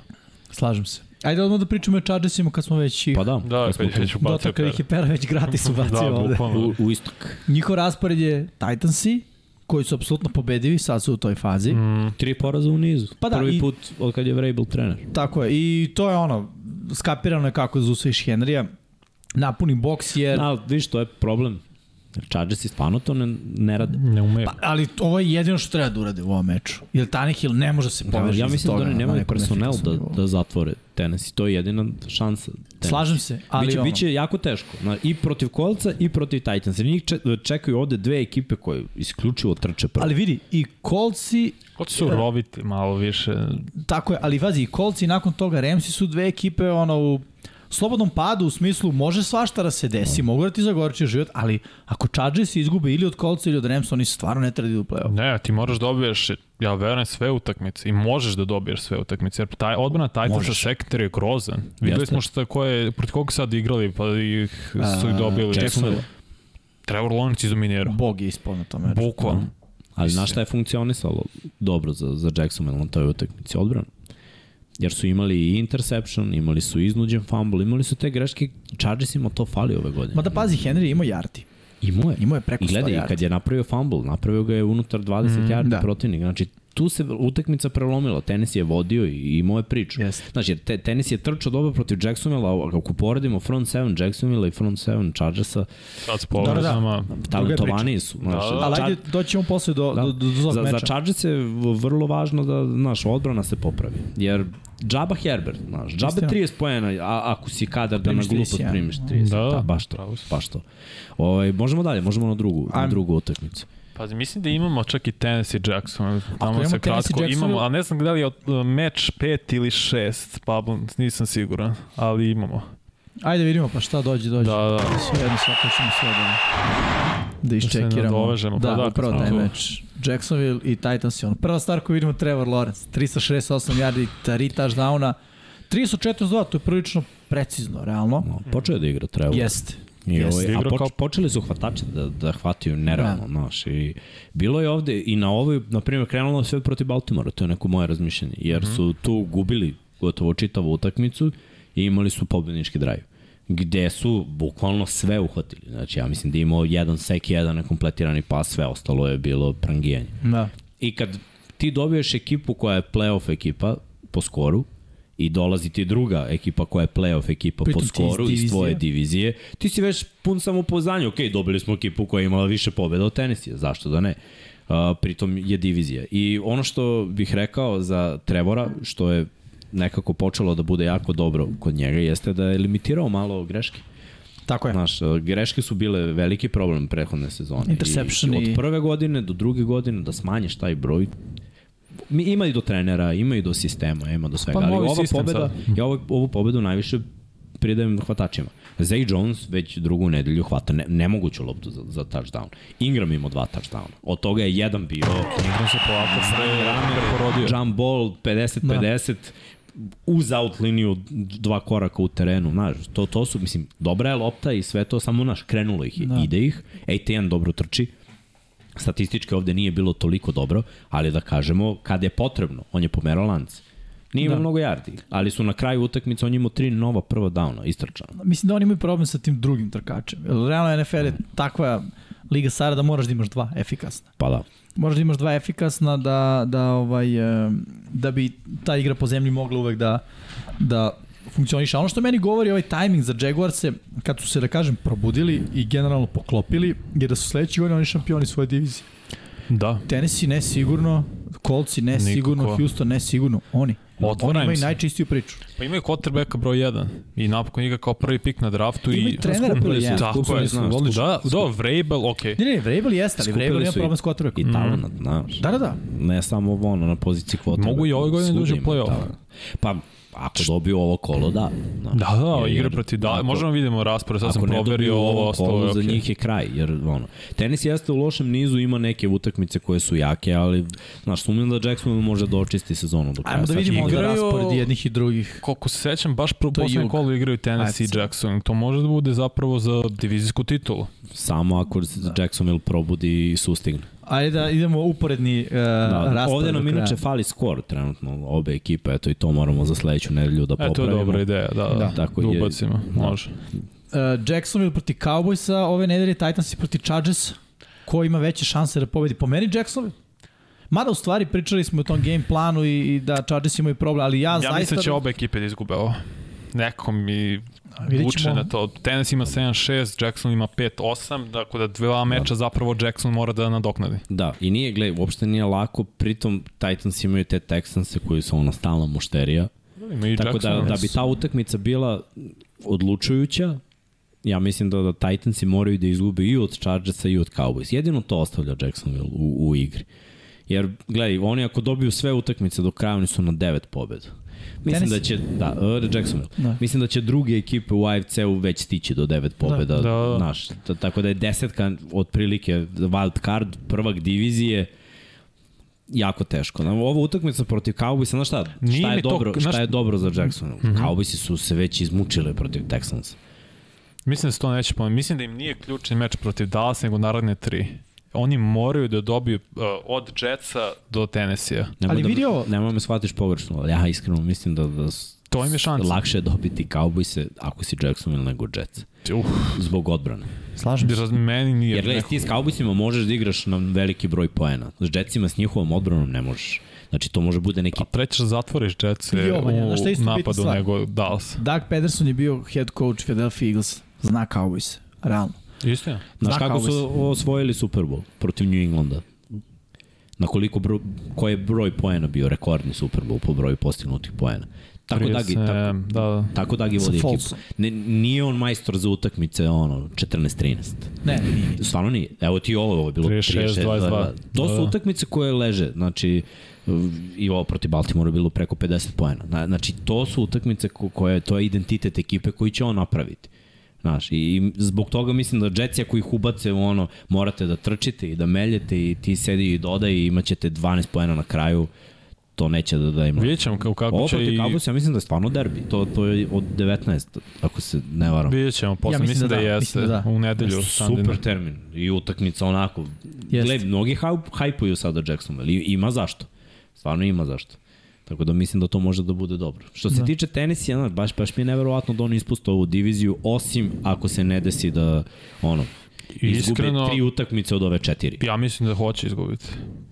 [SPEAKER 2] Slažem se. Ajde odmah da pričamo o Chargersima kad smo već ih
[SPEAKER 1] Pa da,
[SPEAKER 3] Da,
[SPEAKER 1] kad smo
[SPEAKER 3] kad
[SPEAKER 1] tu.
[SPEAKER 3] ću bacio
[SPEAKER 2] dotakli
[SPEAKER 3] Pera.
[SPEAKER 2] ih je pera već gratis ubacio
[SPEAKER 3] Da,
[SPEAKER 2] ovde.
[SPEAKER 3] bukvalno.
[SPEAKER 1] u, u istok.
[SPEAKER 2] Njihov raspored je Titansi, koji su apsolutno pobedivi, sad su u toj fazi. Mm.
[SPEAKER 1] Tri poraza u nizu.
[SPEAKER 2] Pa da,
[SPEAKER 1] Prvi
[SPEAKER 2] i-
[SPEAKER 1] put od kad je Vrabel trener.
[SPEAKER 2] Tako je, i to je ono, skapirano je kako zusviš Henrya, napuni boks jer...
[SPEAKER 1] Da, ali vidiš, to je problem. Chargersi stvarno to ne, ne rade.
[SPEAKER 3] Ne ume.
[SPEAKER 2] Pa, ali ovo je jedino što treba da urade u ovom meču. Jer Tannehill ne može se
[SPEAKER 1] Da,
[SPEAKER 2] poveći
[SPEAKER 1] ja mislim da oni nemaju personel da,
[SPEAKER 2] da...
[SPEAKER 1] da zatvore Tennessee. To je jedina šansa. Tennessee.
[SPEAKER 2] Slažem se, ali
[SPEAKER 1] biće,
[SPEAKER 2] ono,
[SPEAKER 1] biće jako teško. Na, I protiv Kolca i protiv Titans. Njih če- čekaju ovde dve ekipe koje isključivo trče prvo.
[SPEAKER 2] Ali vidi, i kolci,
[SPEAKER 3] Ko će se uroviti malo više?
[SPEAKER 2] tako je, ali vazi, i kolci i nakon toga Remsi su dve ekipe ono u slobodnom padu u smislu može svašta da se desi, mogu da ti zagorčuje život, ali ako Chargers izgube ili od kolca ili od Remsa, oni stvarno ne treba da idu u play-off.
[SPEAKER 3] Ne, ti moraš dobiješ, ja verujem, sve utakmice. I možeš da dobiješ sve utakmice. Jer taj, odbrana Titansa
[SPEAKER 2] Možeš.
[SPEAKER 3] sektor je grozan. Videli
[SPEAKER 1] Jeste.
[SPEAKER 3] smo što je, ko je, proti koga sad igrali, pa ih su ih
[SPEAKER 2] A,
[SPEAKER 3] dobili.
[SPEAKER 1] Jacksonville.
[SPEAKER 3] Trevor Lawrence izdominirao.
[SPEAKER 2] Bog je ispod na tome.
[SPEAKER 3] Bukvalno.
[SPEAKER 1] Ali znaš šta je funkcionisalo dobro za, za Jacksonville na toj utakmici odbranu? Jer su imali i interception, imali su iznuđen fumble, imali su te greške. Chargersima to fali ove godine.
[SPEAKER 2] Ma da pazi, Henry je imao yardi.
[SPEAKER 1] Imao je.
[SPEAKER 2] Imao je preko
[SPEAKER 1] I
[SPEAKER 2] 100
[SPEAKER 1] gledaj, i
[SPEAKER 2] yardi.
[SPEAKER 1] kad je napravio fumble, napravio ga je unutar 20 mm, yardi
[SPEAKER 2] da.
[SPEAKER 1] da. protivnik. Znači, tu se utakmica prelomila. Tenis je vodio i imao je priču.
[SPEAKER 2] Jeste.
[SPEAKER 1] Znači, te, tenis je trčao dobro protiv Jacksonville, a ako poredimo front 7 Jacksonville i front 7 Chargersa,
[SPEAKER 3] Sad s
[SPEAKER 2] da.
[SPEAKER 3] povredama.
[SPEAKER 1] talentovaniji su. Znači,
[SPEAKER 3] Da, da.
[SPEAKER 2] Ali
[SPEAKER 1] Char-
[SPEAKER 2] ajde, doćemo posle do, da. do, do, do
[SPEAKER 1] za,
[SPEAKER 2] meča.
[SPEAKER 1] za Chargers je v- vrlo važno da naš odbrana se popravi. Jer Džaba Herbert, znaš, Džaba
[SPEAKER 2] Istina.
[SPEAKER 1] 30 poena, a ako si kadar da na
[SPEAKER 2] Primiš
[SPEAKER 1] glupost
[SPEAKER 2] 31.
[SPEAKER 1] primiš 30.
[SPEAKER 3] Da,
[SPEAKER 1] Da, da baš
[SPEAKER 3] pravo
[SPEAKER 1] to,
[SPEAKER 3] si.
[SPEAKER 1] baš to. Ovaj možemo dalje, možemo na drugu, na
[SPEAKER 2] Ajme.
[SPEAKER 1] drugu utakmicu.
[SPEAKER 3] Pazi, mislim da imamo čak i Tennessee Jackson. Tamo
[SPEAKER 2] imamo Tennessee
[SPEAKER 3] se kratko
[SPEAKER 2] Jackson-
[SPEAKER 3] imamo, a ne znam da li je od- meč 5 ili 6, Pablo, nisam siguran, ali imamo.
[SPEAKER 2] Ajde vidimo pa šta dođe, dođe.
[SPEAKER 3] Da, da.
[SPEAKER 2] Sve jedno svako ćemo sve da, da iščekiramo.
[SPEAKER 3] nadovežemo, pa
[SPEAKER 2] da,
[SPEAKER 3] da,
[SPEAKER 2] upravo
[SPEAKER 3] kad smo
[SPEAKER 2] taj
[SPEAKER 3] tu.
[SPEAKER 2] meč. Jacksonville i Titans i ono. Prva stvar koju vidimo Trevor Lawrence. 368 yardi, 3 touchdowna. 342, to je prilično precizno, realno.
[SPEAKER 1] No, počeo je da igra Trevor.
[SPEAKER 2] Jeste.
[SPEAKER 1] I
[SPEAKER 2] Jeste.
[SPEAKER 1] ovaj, a
[SPEAKER 3] Igrao
[SPEAKER 1] poč,
[SPEAKER 3] kao-
[SPEAKER 1] počeli su hvatači da, da hvataju nerealno,
[SPEAKER 2] Da.
[SPEAKER 1] znaš, i bilo je ovde i na ovoj, na primjer, krenulo sve protiv Baltimora, to je neko moje razmišljanje, jer
[SPEAKER 2] Mhm.
[SPEAKER 1] su tu gubili gotovo čitavu utakmicu i imali su pobednički drive gde su bukvalno sve uhvatili. Znači, ja mislim da je imao jedan sek, jedan nekompletirani pas, sve ostalo je bilo prangijanje.
[SPEAKER 2] Da.
[SPEAKER 1] I kad ti dobiješ ekipu koja je playoff ekipa po skoru, i dolazi ti druga ekipa koja je playoff ekipa po
[SPEAKER 2] Pritom ti iz
[SPEAKER 1] skoru iz,
[SPEAKER 2] divizije.
[SPEAKER 1] tvoje divizije, ti si već pun samopouzdanja. Ok, dobili smo ekipu koja je imala više pobjeda od tenisija, zašto da ne? Uh, pritom je divizija. I ono što bih rekao za Trevora, što je nekako počelo da bude jako dobro kod njega, jeste da je limitirao malo greške.
[SPEAKER 2] Tako je.
[SPEAKER 1] Znaš, greške su bile veliki problem prethodne sezone.
[SPEAKER 2] Interception
[SPEAKER 1] I,
[SPEAKER 2] i-
[SPEAKER 1] Od prve godine do druge godine da smanjiš taj broj Mi, ima i do trenera, ima i do sistema, ima do svega,
[SPEAKER 3] Pa
[SPEAKER 1] ali
[SPEAKER 3] novi
[SPEAKER 1] ova
[SPEAKER 3] sistem
[SPEAKER 1] pobeda,
[SPEAKER 3] sad.
[SPEAKER 1] ja ovu, ovu pobedu najviše pridajem hvatačima. Zay Jones već drugu nedelju hvata ne, nemoguću loptu za, za touchdown. Ingram imao dva touchdowna. Od toga je jedan bio
[SPEAKER 3] Ingram se polako sve Ramir porodio. Da.
[SPEAKER 1] jump ball 50-50 uz out liniju dva koraka u terenu, znaš, to, to su, mislim, dobra je lopta i sve to, samo, znaš, krenulo ih je, da. ide ih, ATN dobro trči, statistički ovde nije bilo toliko dobro, ali da kažemo, kada je potrebno, on je pomerao lance. Nije imao da. mnogo jardi, ali su na kraju utakmice, on je imao tri nova prva downa, istrčana.
[SPEAKER 2] Mislim da oni imaju problem sa tim drugim trkačem. Jer Realno NFL je takva liga Sara da moraš da imaš dva efikasna.
[SPEAKER 1] Pa da.
[SPEAKER 2] Moraš da imaš dva efikasna da, da, ovaj, e, da bi ta igra po zemlji mogla uvek da, da funkcioniše. A Ono što meni govori ovaj tajming za Jaguarse, kad su se, da kažem, probudili i generalno poklopili, je da su sledeći godin oni šampioni svoje divizije.
[SPEAKER 3] Da.
[SPEAKER 2] Tennessee ne sigurno, Colts ne
[SPEAKER 3] Nikako.
[SPEAKER 2] sigurno, Houston ne sigurno, oni.
[SPEAKER 3] Otvara
[SPEAKER 2] oni
[SPEAKER 3] im
[SPEAKER 2] imaju
[SPEAKER 3] se.
[SPEAKER 2] najčistiju priču.
[SPEAKER 3] Pa imaju quarterbacka broj 1 i napokon igra kao prvi pik na draftu
[SPEAKER 2] Imaju
[SPEAKER 3] i...
[SPEAKER 2] trenera broj jedan.
[SPEAKER 3] Tako
[SPEAKER 1] Skupili
[SPEAKER 3] je,
[SPEAKER 1] su,
[SPEAKER 3] znaš.
[SPEAKER 1] skupili
[SPEAKER 3] Da, da, Vrabel, okej.
[SPEAKER 2] Ne, ne, Vrabel jeste, ali
[SPEAKER 1] Skupili
[SPEAKER 2] Vrabel ima
[SPEAKER 1] su i-
[SPEAKER 2] problem s quarterbackom.
[SPEAKER 3] Mm.
[SPEAKER 1] I talent, znaš.
[SPEAKER 2] Da, da, da.
[SPEAKER 1] Ne samo ovo, ono, na poziciji kvota.
[SPEAKER 3] Mogu i ove godine da uđu u play-off.
[SPEAKER 1] Pa, ako dobiju ovo kolo, da. znaš.
[SPEAKER 3] Da, da,
[SPEAKER 1] Jer-
[SPEAKER 3] igra protiv da.
[SPEAKER 1] ako-
[SPEAKER 3] Možemo vidimo raspored, sad sam
[SPEAKER 1] Ako ne dobiju
[SPEAKER 3] proverio ovo,
[SPEAKER 1] ovo
[SPEAKER 3] ostalo
[SPEAKER 1] kolo,
[SPEAKER 3] je
[SPEAKER 1] za
[SPEAKER 3] okej.
[SPEAKER 1] njih je kraj, jer ono, tenis jeste u lošem nizu, ima neke utakmice koje su jake, ali, znaš, sumnjam da Jackson može da očisti sezonu do kraja.
[SPEAKER 2] Ajmo da
[SPEAKER 1] Sad
[SPEAKER 2] vidimo
[SPEAKER 1] ćemo
[SPEAKER 2] onda
[SPEAKER 1] vidjeti.
[SPEAKER 3] igraju-
[SPEAKER 2] raspored jednih i drugih.
[SPEAKER 3] Koliko se sećam, baš pro
[SPEAKER 2] To je
[SPEAKER 3] poslednje
[SPEAKER 2] jug.
[SPEAKER 3] kolo igraju Tennessee
[SPEAKER 2] AFC.
[SPEAKER 3] i Jackson. To može da bude zapravo za divizijsku titulu.
[SPEAKER 1] Samo ako se
[SPEAKER 2] Da.
[SPEAKER 1] Jacksonville probudi i sustigne.
[SPEAKER 2] Ajde da idemo uporedni uh,
[SPEAKER 1] Da, da.
[SPEAKER 2] raspored.
[SPEAKER 1] Ovde
[SPEAKER 2] do
[SPEAKER 1] nam
[SPEAKER 2] kraja.
[SPEAKER 1] inače fali skor trenutno obe ekipe, eto i to moramo za sledeću nedelju da
[SPEAKER 3] E, to
[SPEAKER 1] popravimo.
[SPEAKER 3] je dobra ideja, da, da,
[SPEAKER 1] Da.
[SPEAKER 3] da,
[SPEAKER 1] Tako
[SPEAKER 3] tako
[SPEAKER 1] je.
[SPEAKER 3] da ubacimo, može.
[SPEAKER 2] Uh, Jacksonville proti Cowboysa, ove nedelje Titans i proti Chargers. Ko ima veće šanse da pobedi? Po meni Jacksonville. Mada u stvari pričali smo o tom game planu i, i da Chargers imaju problem, ali ja,
[SPEAKER 3] Ja
[SPEAKER 2] zaista...
[SPEAKER 3] mislim da će obe ekipe da izgube ovo. Neko mi
[SPEAKER 2] Vidjet
[SPEAKER 3] vuče
[SPEAKER 2] ćemo.
[SPEAKER 3] na to. Tennessee ima 7-6, Jackson ima 5-8, tako da dva meča zapravo Jackson mora da nadoknadi.
[SPEAKER 1] Da, i nije, gledaj, uopšte nije lako, pritom Titans imaju te Texanse koji su ono stalna mušterija,
[SPEAKER 3] Ima i
[SPEAKER 1] Tako da,
[SPEAKER 3] Jackson.
[SPEAKER 1] da bi ta utakmica bila odlučujuća, ja mislim da, da Titansi moraju da izgube i od Chargersa i od Cowboys. Jedino to ostavlja Jacksonville u, u igri. Jer, gledaj, oni ako dobiju sve utakmice do kraja, oni su na devet pobjeda. Mislim
[SPEAKER 2] Tennessee.
[SPEAKER 1] da će, da, uh, Jacksonville.
[SPEAKER 2] Da.
[SPEAKER 1] Mislim da će druge ekipe u AFC-u već stići do devet pobjeda.
[SPEAKER 3] Da, da.
[SPEAKER 1] Naš, tako da je desetka otprilike wild card, prvak divizije, jako teško. Na Ova utakmica protiv Cowboysa, znaš šta?
[SPEAKER 3] Nije
[SPEAKER 1] šta je
[SPEAKER 3] mi to-
[SPEAKER 1] dobro,
[SPEAKER 3] znaš- Mhm.
[SPEAKER 1] šta je dobro za Jacksonville? Mm -hmm. Cowboysi su se već izmučili protiv Texansa.
[SPEAKER 3] Mislim da se to neće pomenuti. Mislim da im nije ključni meč protiv Dallas, nego naredne tri. Oni moraju da dobiju uh, od Jetsa do Tennessee-a.
[SPEAKER 1] Nemoj
[SPEAKER 2] Ali
[SPEAKER 1] da,
[SPEAKER 2] vidi ovo.
[SPEAKER 1] Nemoj me shvatiš pogrešno, ali ja iskreno mislim da, da s-
[SPEAKER 3] To im je šansa.
[SPEAKER 1] lakše je dobiti Cowboyse ako si Jacksonville nego Jets.
[SPEAKER 3] Uf,
[SPEAKER 1] Zbog odbrane.
[SPEAKER 2] Slažem se.
[SPEAKER 3] raz- meni nije.
[SPEAKER 1] Jer gledaj,
[SPEAKER 3] neko-
[SPEAKER 1] ti s Cowboysima možeš da igraš na veliki broj poena. S Jetsima s njihovom odbranom ne možeš. Znači to može bude neki
[SPEAKER 3] A prećeš da zatvoriš Jetsa
[SPEAKER 2] I ovo, znaš šta je
[SPEAKER 3] u
[SPEAKER 2] isto bitna
[SPEAKER 3] napadu
[SPEAKER 2] stvar?
[SPEAKER 3] nego Dallas.
[SPEAKER 2] Doug Pederson je bio head coach Philadelphia Eagles. Zna Cowboys. Realno.
[SPEAKER 3] Isto je.
[SPEAKER 1] Znaš
[SPEAKER 2] Zna
[SPEAKER 1] kako su
[SPEAKER 2] Cowboys.
[SPEAKER 1] osvojili Super Bowl protiv New Englanda? Na koliko bro, koji je broj poena bio rekordni Super Bowl po broju postignutih poena? Tako da gi tako,
[SPEAKER 3] da, da.
[SPEAKER 1] tako da gi
[SPEAKER 2] Sa
[SPEAKER 1] vodi ekipu.
[SPEAKER 2] Folsom.
[SPEAKER 1] Ne, nije on majstor za utakmice ono 14-13.
[SPEAKER 2] Ne, ne, nije.
[SPEAKER 1] Stvarno nije. Evo ti ovo, ovo je bilo
[SPEAKER 3] 36,
[SPEAKER 1] 36-22.
[SPEAKER 3] 22.
[SPEAKER 1] To
[SPEAKER 3] Da,
[SPEAKER 1] su
[SPEAKER 3] da.
[SPEAKER 1] utakmice koje leže. Znači, i ovo protiv Baltimora je bilo preko 50 poena. Na- Znači, to su utakmice ko- koje, to je identitet ekipe koji će on napraviti. Znaš, i, i zbog toga mislim da Jetsi ako ih ubace u ono, morate da trčite i da meljete i ti sedi i dodaj i imaćete 12 poena na kraju, to neće da da ima.
[SPEAKER 3] Vidjet ćemo kako, kako
[SPEAKER 1] Ovo
[SPEAKER 3] će
[SPEAKER 1] protiv
[SPEAKER 3] i...
[SPEAKER 1] Cowboys, ja mislim da je stvarno derbi. To, to je od 19, ako se ne varam.
[SPEAKER 3] Vidjet ćemo posle, ja mislim, da, da, jeste,
[SPEAKER 2] mislim da da.
[SPEAKER 3] u nedelju. Sunday
[SPEAKER 1] Super
[SPEAKER 3] night.
[SPEAKER 1] termin i utakmica onako.
[SPEAKER 2] Jeste.
[SPEAKER 1] Gle, mnogi hajp- hajpuju sada Jacksonville i ima zašto. Stvarno ima zašto. Tako da mislim da to može da bude dobro. Što se da. tiče tenisa, znaš, baš, baš mi je neverovatno da oni ispuste ovu diviziju, osim ako se ne desi da ono, izgube
[SPEAKER 3] Iskreno-
[SPEAKER 1] tri utakmice od ove četiri.
[SPEAKER 3] Ja mislim da hoće izgubiti.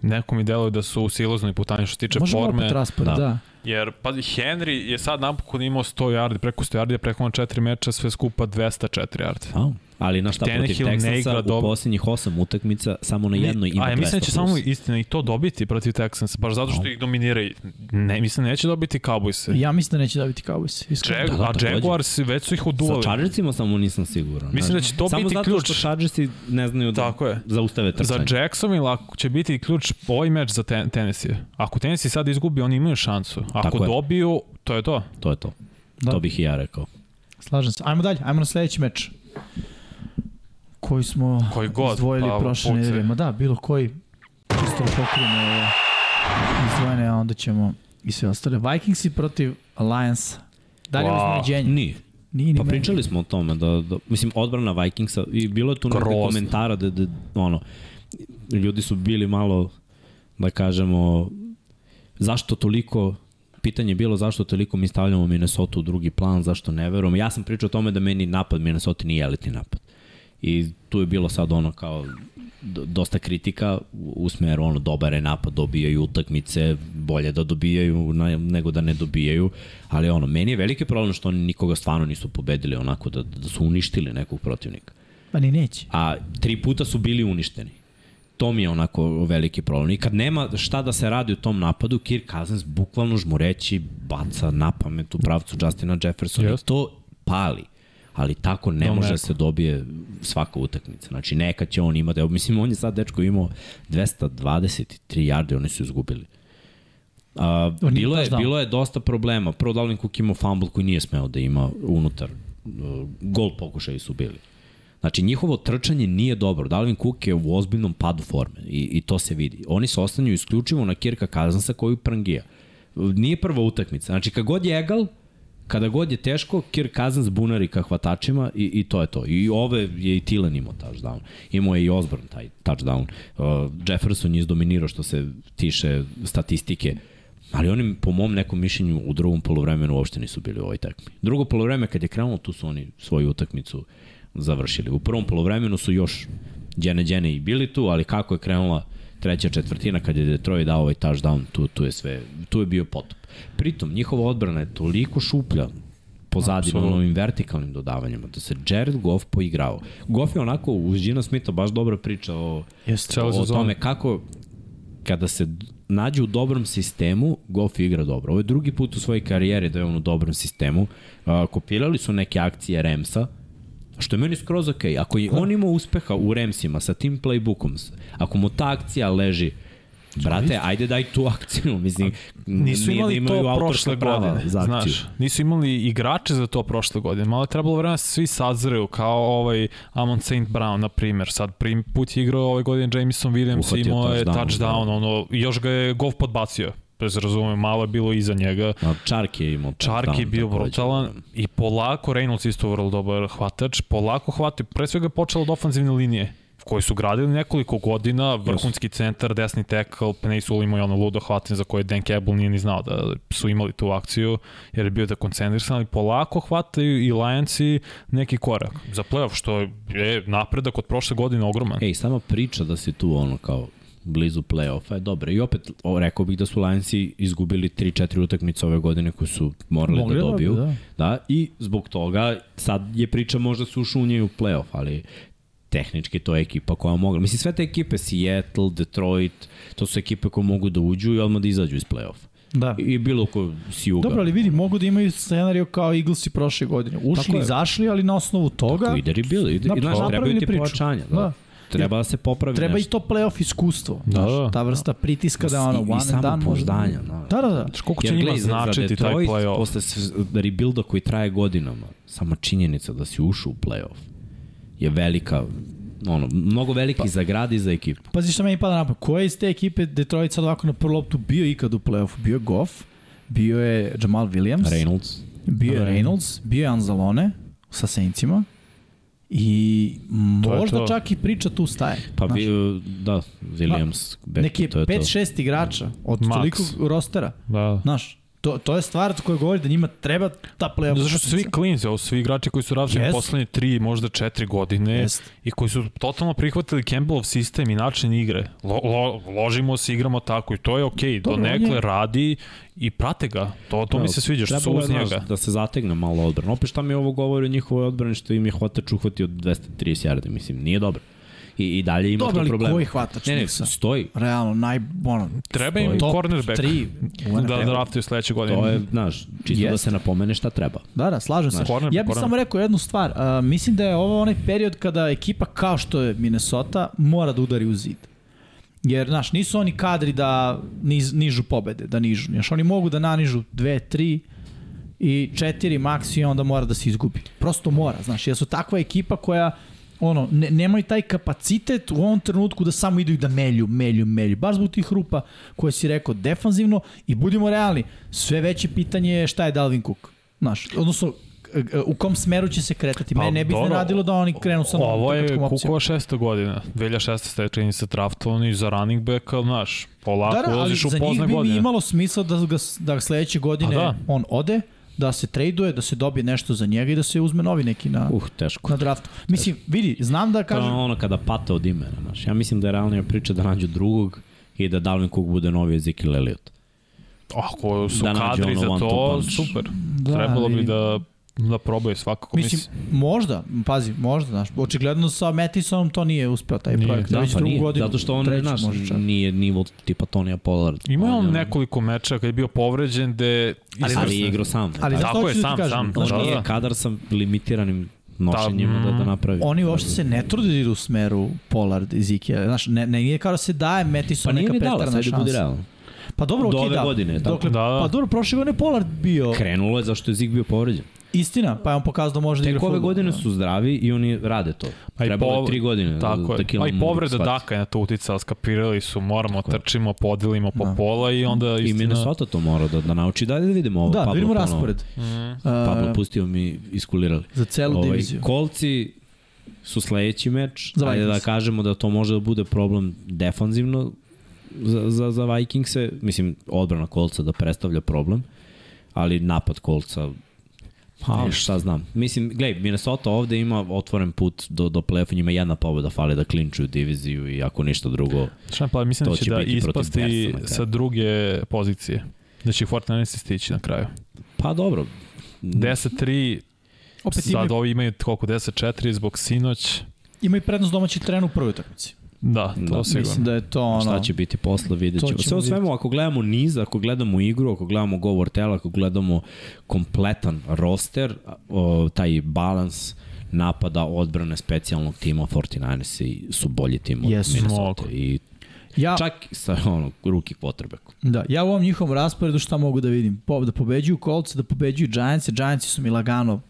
[SPEAKER 3] Neko mi deluje da su u siloznoj putanji što se tiče
[SPEAKER 2] Možemo
[SPEAKER 3] forme.
[SPEAKER 2] opet raspored,
[SPEAKER 1] Da.
[SPEAKER 2] da. da.
[SPEAKER 3] Jer, pazi, Henry je sad napokon imao 100 yardi, preko 100 yardi, preko na 4 meča, sve skupa 204 yardi.
[SPEAKER 1] A, ali na šta protiv
[SPEAKER 3] Tannehill ne igra
[SPEAKER 1] Texansa u
[SPEAKER 3] dobro.
[SPEAKER 1] poslednjih osam utakmica samo na jednoj ima
[SPEAKER 3] A ja
[SPEAKER 1] 200
[SPEAKER 3] mislim da će
[SPEAKER 1] plus.
[SPEAKER 3] samo istina i to dobiti protiv Texans, baš zato što ih dominiraju. Ne, mislim da neće dobiti Cowboys. Ja,
[SPEAKER 2] Ja mislim da neće dobiti Cowboys. Iskreno.
[SPEAKER 3] Jag,
[SPEAKER 1] Da, da,
[SPEAKER 3] a
[SPEAKER 1] takođe.
[SPEAKER 3] Jaguars već su ih
[SPEAKER 1] Sa
[SPEAKER 3] uduvali.
[SPEAKER 1] Chargersima samo nisam siguran.
[SPEAKER 3] Mislim
[SPEAKER 1] znaš.
[SPEAKER 3] da će to
[SPEAKER 1] samo
[SPEAKER 3] biti
[SPEAKER 1] zato
[SPEAKER 3] ključ.
[SPEAKER 1] što Chargersi ne znaju da
[SPEAKER 3] Tako je.
[SPEAKER 1] zaustave trčanje.
[SPEAKER 3] Za Jacksonville ako će biti ključ ovaj meč za ten, Tennessee. Ako Tennessee sad izgubi, oni imaju šansu. Ako
[SPEAKER 1] Tako je.
[SPEAKER 3] dobiju, to je to.
[SPEAKER 1] To je to. Da.
[SPEAKER 2] Da.
[SPEAKER 1] To bih i ja rekao.
[SPEAKER 2] Slažem se. Ajmo dalje, ajmo na sledeći meč. Koji smo
[SPEAKER 3] Koji god,
[SPEAKER 2] izdvojili
[SPEAKER 3] pa,
[SPEAKER 2] prošle
[SPEAKER 3] pucaj.
[SPEAKER 2] nedelje. Ma da, bilo koji. Čisto da pokrivimo ove izdvojene, a onda ćemo i sve ostale. Vikingsi protiv Alliance. Da li je
[SPEAKER 3] Wow.
[SPEAKER 2] uznenađenje?
[SPEAKER 1] Nije.
[SPEAKER 2] Nije ni
[SPEAKER 1] Pa
[SPEAKER 2] meni.
[SPEAKER 1] pričali smo o tome da, da mislim odbrana Vikingsa i bilo je tu nekog
[SPEAKER 3] Grozno.
[SPEAKER 1] komentara da, da ono ljudi su bili malo da kažemo zašto toliko pitanje je bilo zašto toliko mi stavljamo Minnesota u drugi plan, zašto ne verujemo. Ja sam pričao o tome da meni napad Minnesota nije elitni napad. I tu je bilo sad ono kao d- dosta kritika u- u smeru ono dobar je napad, dobijaju utakmice, bolje da dobijaju na- nego da ne dobijaju, ali ono meni je veliki problem što oni nikoga stvarno nisu pobedili onako da, da su uništili nekog protivnika
[SPEAKER 2] Pa ni neće.
[SPEAKER 1] a tri puta su bili uništeni. To mi je onako veliki problem. I kad nema šta da se radi u tom napadu, Kirk Cousins bukvalno žmureći baca na pamet u pravcu Justina Jeffersona. Yes.
[SPEAKER 3] Jest.
[SPEAKER 1] To pali. Ali tako ne
[SPEAKER 3] Da,
[SPEAKER 1] može da
[SPEAKER 3] neko.
[SPEAKER 1] se dobije svaka utakmica. Znači neka će on imati. Evo, mislim, on je sad dečko imao 223 jarde, oni su izgubili. A,
[SPEAKER 2] On nije
[SPEAKER 1] bilo, je,
[SPEAKER 2] baš dao.
[SPEAKER 1] bilo je dosta problema. Prvo Dalvin Cook imao fumble koji nije smeo da ima unutar. Uh, Gol pokušaji su bili. Znači, njihovo trčanje nije dobro. Dalvin Cook je u ozbiljnom padu forme i, i to se vidi. Oni se ostanju isključivo na Kirka Kazansa koju prangija. Nije prva utakmica. Znači, kad god je egal, kada god je teško, Kirk Cousins bunari ka hvatačima i, i to je to. I ove je i Tilen imao touchdown. Imao je i Osborn taj touchdown. Uh, Jefferson je izdominirao što se tiše statistike. Ali oni, po mom nekom mišljenju, u drugom polovremenu uopšte nisu bili u ovoj takmi. Drugo polovreme, kad je krenulo, tu su oni svoju utakmicu završili. U prvom polovremenu su još Đene Đene i bili tu, ali kako je krenula treća četvrtina kad je Detroit dao ovaj touchdown, tu, tu je sve, tu je bio potop. Pritom, njihova odbrana je toliko šuplja pozadi na
[SPEAKER 3] Apsolutno.
[SPEAKER 1] ovim vertikalnim dodavanjima, da se Jared Goff poigrao. Goff je onako, uz Gina Smitha baš dobra priča o,
[SPEAKER 2] Jeste.
[SPEAKER 3] Cela
[SPEAKER 1] o
[SPEAKER 3] sezona.
[SPEAKER 1] tome kako kada se d- nađe u dobrom sistemu, Goff igra dobro. Ovo je drugi put u svojoj karijeri da je on u dobrom sistemu. A, Kopirali su neke akcije Remsa, što je meni skroz ok. Ako je on imao uspeha u Remsima sa tim playbookom, s- ako mu ta akcija leži, brate, ajde daj tu akciju. Mislim,
[SPEAKER 3] Nisu
[SPEAKER 1] nije da
[SPEAKER 3] imali
[SPEAKER 1] imaju
[SPEAKER 3] to
[SPEAKER 1] autorska
[SPEAKER 3] prošle
[SPEAKER 1] prava
[SPEAKER 3] godine,
[SPEAKER 1] za akciju.
[SPEAKER 3] znaš. Nisu imali igrače za to prošle godine. Malo je trebalo vremena da se svi sazreju, kao ovaj Amon St. Brown, na primer. Sad prvi put je igrao ove godine Jameson Williams
[SPEAKER 1] Uhvatio
[SPEAKER 3] i imao je
[SPEAKER 1] touchdown, da.
[SPEAKER 3] touchdown. Ono, još ga je golf podbacio. Bez razume, malo je bilo iza njega.
[SPEAKER 1] A Čark je imao.
[SPEAKER 3] Čark je
[SPEAKER 1] touchdown
[SPEAKER 3] bio
[SPEAKER 1] Da, takođe. da.
[SPEAKER 3] brutalan i polako, Reynolds isto vrlo dobar hvatač, polako hvati, pre svega je počelo od ofanzivne linije koji su gradili nekoliko godina, vrhunski centar, desni tackle, Penny Sewell imao je ono ludo hvatanje za koje Dan Campbell nije ni znao da su imali tu akciju, jer je bio da koncentrisan, ali polako hvataju i Lions i neki korak za playoff, što je napredak od prošle godine ogroman.
[SPEAKER 1] Ej, sama priča da si tu ono kao blizu play-offa je dobra. I opet o, rekao bih da su Lionsi izgubili 3-4 utakmice ove godine koje su morali
[SPEAKER 2] Mogli
[SPEAKER 1] da
[SPEAKER 2] da,
[SPEAKER 1] dobiju.
[SPEAKER 2] da.
[SPEAKER 1] da. i zbog toga sad je priča možda su ušli u njej u play-off, ali tehnički to je ekipa koja mogla. Mislim, sve te ekipe, Seattle, Detroit, to su ekipe koje mogu da uđu i odmah da izađu iz play-offa.
[SPEAKER 2] Da.
[SPEAKER 1] I, i bilo ko si uga.
[SPEAKER 2] Dobro, ali vidi, mogu da imaju scenario kao Eaglesi prošle godine. Ušli,
[SPEAKER 1] Tako je.
[SPEAKER 2] izašli, ali na osnovu toga
[SPEAKER 1] Ide i bilo. Ide,
[SPEAKER 2] Da,
[SPEAKER 1] i, znaš, trebaju
[SPEAKER 2] napravili
[SPEAKER 1] ti
[SPEAKER 2] priču.
[SPEAKER 1] pojačanja. Da.
[SPEAKER 2] Da.
[SPEAKER 1] Treba da se popravi
[SPEAKER 2] treba i
[SPEAKER 1] nešto.
[SPEAKER 2] to playoff iskustvo.
[SPEAKER 3] Da,
[SPEAKER 2] znaš,
[SPEAKER 3] da.
[SPEAKER 2] ta vrsta pritiska da
[SPEAKER 1] I-
[SPEAKER 2] ono,
[SPEAKER 1] i
[SPEAKER 2] one and done može da...
[SPEAKER 1] samopouzdanja, da.
[SPEAKER 2] Da, da, da.
[SPEAKER 3] Znaš, Koliko će
[SPEAKER 1] Jer,
[SPEAKER 3] njima
[SPEAKER 1] gledaj, za- za
[SPEAKER 3] značiti taj
[SPEAKER 1] Detroit,
[SPEAKER 3] playoff?
[SPEAKER 1] Posle s- da rebuilda koji traje godinama, sama činjenica da si ušao u playoff je velika, ono, mnogo veliki pa. za grad i za ekipu.
[SPEAKER 2] Pazi što meni pada napad. Ko je iz te ekipe Detroit sad ovako na prvu loptu bio ikad u playoffu? Bio je Goff, bio je Jamal Williams,
[SPEAKER 1] Reynolds.
[SPEAKER 2] bio je
[SPEAKER 3] Reynolds.
[SPEAKER 2] Reynolds, bio je Anzalone sa Saintsima i
[SPEAKER 3] To je
[SPEAKER 2] možda
[SPEAKER 3] to.
[SPEAKER 2] čak i priča tu staje.
[SPEAKER 1] Pa
[SPEAKER 2] znaš.
[SPEAKER 1] vi, da, Williams. Beck,
[SPEAKER 2] neki
[SPEAKER 1] to je to.
[SPEAKER 2] 5-6 igrača od
[SPEAKER 3] Max.
[SPEAKER 2] tolikog rostera.
[SPEAKER 3] Da.
[SPEAKER 2] Znaš, to, to je stvar koja govori da njima treba ta playoff.
[SPEAKER 3] Zato što su svi klinci, ovo su svi igrači koji su različni yes.
[SPEAKER 2] Jest.
[SPEAKER 3] poslednje tri, možda četiri godine
[SPEAKER 2] Jest.
[SPEAKER 3] i koji su totalno prihvatili Campbellov sistem i način igre. Lo, lo, ložimo se, igramo tako i to je okej. Okay. Do
[SPEAKER 2] Dobro, on
[SPEAKER 3] nekle
[SPEAKER 2] je-
[SPEAKER 3] radi i prate ga. To, to mi se sviđa što su
[SPEAKER 1] Trebalo je,
[SPEAKER 3] uz
[SPEAKER 1] znaš,
[SPEAKER 3] njega.
[SPEAKER 1] Da se zategne malo odbrana. Opet šta mi ovo govori o njihovoj odbrani što im je hvatač uhvatio 230 jarde, mislim, nije dobro. I, i dalje ima
[SPEAKER 2] Dobro,
[SPEAKER 1] tu
[SPEAKER 2] ali
[SPEAKER 1] problema.
[SPEAKER 2] koji hvatač
[SPEAKER 1] Ne, ne,
[SPEAKER 2] Nixa?
[SPEAKER 1] stoji.
[SPEAKER 2] Realno, naj, ono,
[SPEAKER 3] Treba im
[SPEAKER 2] da Top
[SPEAKER 3] cornerback
[SPEAKER 2] tri u NFL.
[SPEAKER 3] da draftuju sledeće godine.
[SPEAKER 1] To je, znaš, čisto da
[SPEAKER 2] Jest.
[SPEAKER 1] se napomene šta treba.
[SPEAKER 2] Da, da, slažem se.
[SPEAKER 3] Znači, corner,
[SPEAKER 2] ja bih
[SPEAKER 3] corner.
[SPEAKER 2] samo rekao jednu stvar. Uh, mislim da je ovo onaj period kada ekipa kao što je Minnesota mora da udari u zid. Jer, znaš, nisu oni kadri da niz, nižu pobede, da nižu. Znaš, oni mogu da nanižu dve, tri i četiri maksi i onda mora da se izgubi. Prosto mora, znaš, jer su takva ekipa koja ono, ne, nemaju taj kapacitet u ovom trenutku da samo idu i da melju, melju, melju. Baš zbog tih rupa koje si rekao defanzivno i budimo realni, sve veće pitanje je šta je Dalvin Cook. Znaš, odnosno, g- g- u kom smeru će se kretati. Pa, Mene ne bi
[SPEAKER 3] dobro,
[SPEAKER 2] iznenadilo da oni krenu sa novom
[SPEAKER 3] Ovo je
[SPEAKER 2] trkačkom opcijom.
[SPEAKER 3] Kukova šesta godina. 2006. stečeni se draftovan i za running back, ali znaš, polako da, ulaziš u
[SPEAKER 2] za njih
[SPEAKER 3] pozne
[SPEAKER 2] bi
[SPEAKER 3] godine.
[SPEAKER 2] mi imalo smisla da, ga, s- da sledeće godine
[SPEAKER 3] A
[SPEAKER 1] Pa
[SPEAKER 3] da.
[SPEAKER 2] da. on ode, da se traduje, da se dobije nešto za njega i da se uzme novi neki na,
[SPEAKER 1] Uh, teško.
[SPEAKER 2] na draftu. Mislim, vidi, znam da
[SPEAKER 1] Kažem...
[SPEAKER 2] kažem...
[SPEAKER 1] Ono kada pate od imena, znaš. Ja mislim da je realnija priča da nađu drugog i da Dalvin Cook bude novi Ezekiel Elliott.
[SPEAKER 3] Ako su
[SPEAKER 1] Da
[SPEAKER 3] da
[SPEAKER 1] nađe
[SPEAKER 3] kadri
[SPEAKER 1] ono
[SPEAKER 3] za
[SPEAKER 1] one two
[SPEAKER 3] to,
[SPEAKER 1] punch.
[SPEAKER 3] super.
[SPEAKER 2] Da,
[SPEAKER 3] Da, Trebalo bi
[SPEAKER 2] vidi.
[SPEAKER 3] da, da probaju svakako.
[SPEAKER 2] Mislim,
[SPEAKER 3] Mislim,
[SPEAKER 2] možda, pazi, možda, znaš, očigledno sa Mattisonom to nije uspeo taj
[SPEAKER 3] Nije.
[SPEAKER 2] projekt.
[SPEAKER 3] Da,
[SPEAKER 2] već drugu godinu,
[SPEAKER 1] pa zato što on,
[SPEAKER 2] treću
[SPEAKER 1] znaš,
[SPEAKER 2] možda čak.
[SPEAKER 1] nije nivo tipa Tonija Pollard.
[SPEAKER 3] Ima
[SPEAKER 1] je
[SPEAKER 3] on
[SPEAKER 1] ono-
[SPEAKER 3] nekoliko meča kad je bio povređen gde...
[SPEAKER 1] Ali,
[SPEAKER 3] Izvrsno.
[SPEAKER 1] ali je igrao sam.
[SPEAKER 2] Ali
[SPEAKER 1] da,
[SPEAKER 2] znaš šta
[SPEAKER 3] Tako je,
[SPEAKER 2] hoću da ti
[SPEAKER 3] sam,
[SPEAKER 2] kažem?
[SPEAKER 3] sam,
[SPEAKER 2] Znaš,
[SPEAKER 1] on
[SPEAKER 3] da,
[SPEAKER 1] je
[SPEAKER 3] da.
[SPEAKER 1] kadar sa limitiranim nošenjima
[SPEAKER 3] Da,
[SPEAKER 1] da,
[SPEAKER 3] mm.
[SPEAKER 1] da, napravi.
[SPEAKER 2] Oni uopšte se ne trude da idu u smeru Pollard iz Ikea. Znaš, ne, ne, nije kao da se daje
[SPEAKER 1] Pa
[SPEAKER 2] Mattison
[SPEAKER 1] nije
[SPEAKER 2] neka
[SPEAKER 1] ni dala,
[SPEAKER 2] pretarana
[SPEAKER 1] sad je budi
[SPEAKER 2] šansa.
[SPEAKER 1] realno.
[SPEAKER 2] Pa dobro,
[SPEAKER 1] Do
[SPEAKER 2] okej,
[SPEAKER 1] ove
[SPEAKER 2] da.
[SPEAKER 1] godine, tako.
[SPEAKER 2] Dokle,
[SPEAKER 3] Da, da.
[SPEAKER 2] Pa dobro, prošle godine je Pollard bio...
[SPEAKER 1] Krenulo je zašto je Zig bio povređen.
[SPEAKER 2] Istina, pa je on pokazao da može da igra
[SPEAKER 1] Tek ove
[SPEAKER 2] fudbal.
[SPEAKER 1] godine su zdravi i oni rade to.
[SPEAKER 3] Pa i
[SPEAKER 1] Trebalo je
[SPEAKER 3] pov-
[SPEAKER 1] tri godine.
[SPEAKER 3] Tako je.
[SPEAKER 1] Killman
[SPEAKER 3] Pa i
[SPEAKER 1] mogu
[SPEAKER 3] povreda
[SPEAKER 1] shvati.
[SPEAKER 3] Daka je na to uticala, skapirali su, moramo, trčimo, podelimo
[SPEAKER 2] Da.
[SPEAKER 3] po pola i onda
[SPEAKER 1] I
[SPEAKER 3] istina...
[SPEAKER 1] Minnesota to mora da, da nauči. Dajde da vidimo ovo.
[SPEAKER 2] Da,
[SPEAKER 1] Pablo
[SPEAKER 2] da vidimo
[SPEAKER 1] ponovo.
[SPEAKER 2] raspored.
[SPEAKER 3] Mm.
[SPEAKER 1] Pablo
[SPEAKER 2] Uh,
[SPEAKER 1] pustio mi iskulirali.
[SPEAKER 2] za celu
[SPEAKER 1] Ovaj,
[SPEAKER 2] diviziju.
[SPEAKER 1] Kolci su sledeći meč.
[SPEAKER 2] Za
[SPEAKER 1] Ajde da
[SPEAKER 2] Vikings.
[SPEAKER 1] kažemo da to može da bude problem defanzivno za, za, za Vikingse. Mislim, odbrana kolca da predstavlja problem, ali napad kolca Pa, šta znam. Mislim, gledaj, Minnesota ovde ima otvoren put do, do play-offa, njima jedna pobeda fali da klinčuju diviziju i ako ništa drugo.
[SPEAKER 3] Šta pa mislim
[SPEAKER 1] To
[SPEAKER 3] da će,
[SPEAKER 1] će
[SPEAKER 3] da
[SPEAKER 1] biti protiv da. Tersa na
[SPEAKER 3] ispasti
[SPEAKER 1] kraju.
[SPEAKER 3] sa druge pozicije. Da će Fortnite stići na kraju.
[SPEAKER 1] Pa dobro.
[SPEAKER 3] 10-3,
[SPEAKER 2] Opet imaju,
[SPEAKER 3] sad ovi imaju koliko, 10-4 zbog sinoć.
[SPEAKER 2] imaju prednost domaćih terena u prvoj utakmici.
[SPEAKER 3] Da, to
[SPEAKER 1] Da,
[SPEAKER 3] sigurno.
[SPEAKER 2] Mislim da je to ono...
[SPEAKER 1] Šta će biti posle, vidjet
[SPEAKER 2] To
[SPEAKER 1] ćemo.
[SPEAKER 2] ćemo
[SPEAKER 1] Sve u svemu, ako gledamo niz, ako gledamo igru, ako gledamo govor tela, ako gledamo kompletan roster, o, taj balans napada, odbrane specijalnog tima 49ers i su bolji tim od
[SPEAKER 2] Jesu.
[SPEAKER 1] Minnesota.
[SPEAKER 3] Mogu.
[SPEAKER 1] I
[SPEAKER 2] Ja,
[SPEAKER 1] čak i sa ono, ruki potrebeku.
[SPEAKER 2] Da, ja u ovom njihovom rasporedu šta mogu da vidim? Po, da pobeđuju Colts, da pobeđuju Giants, Giants su mi lagano.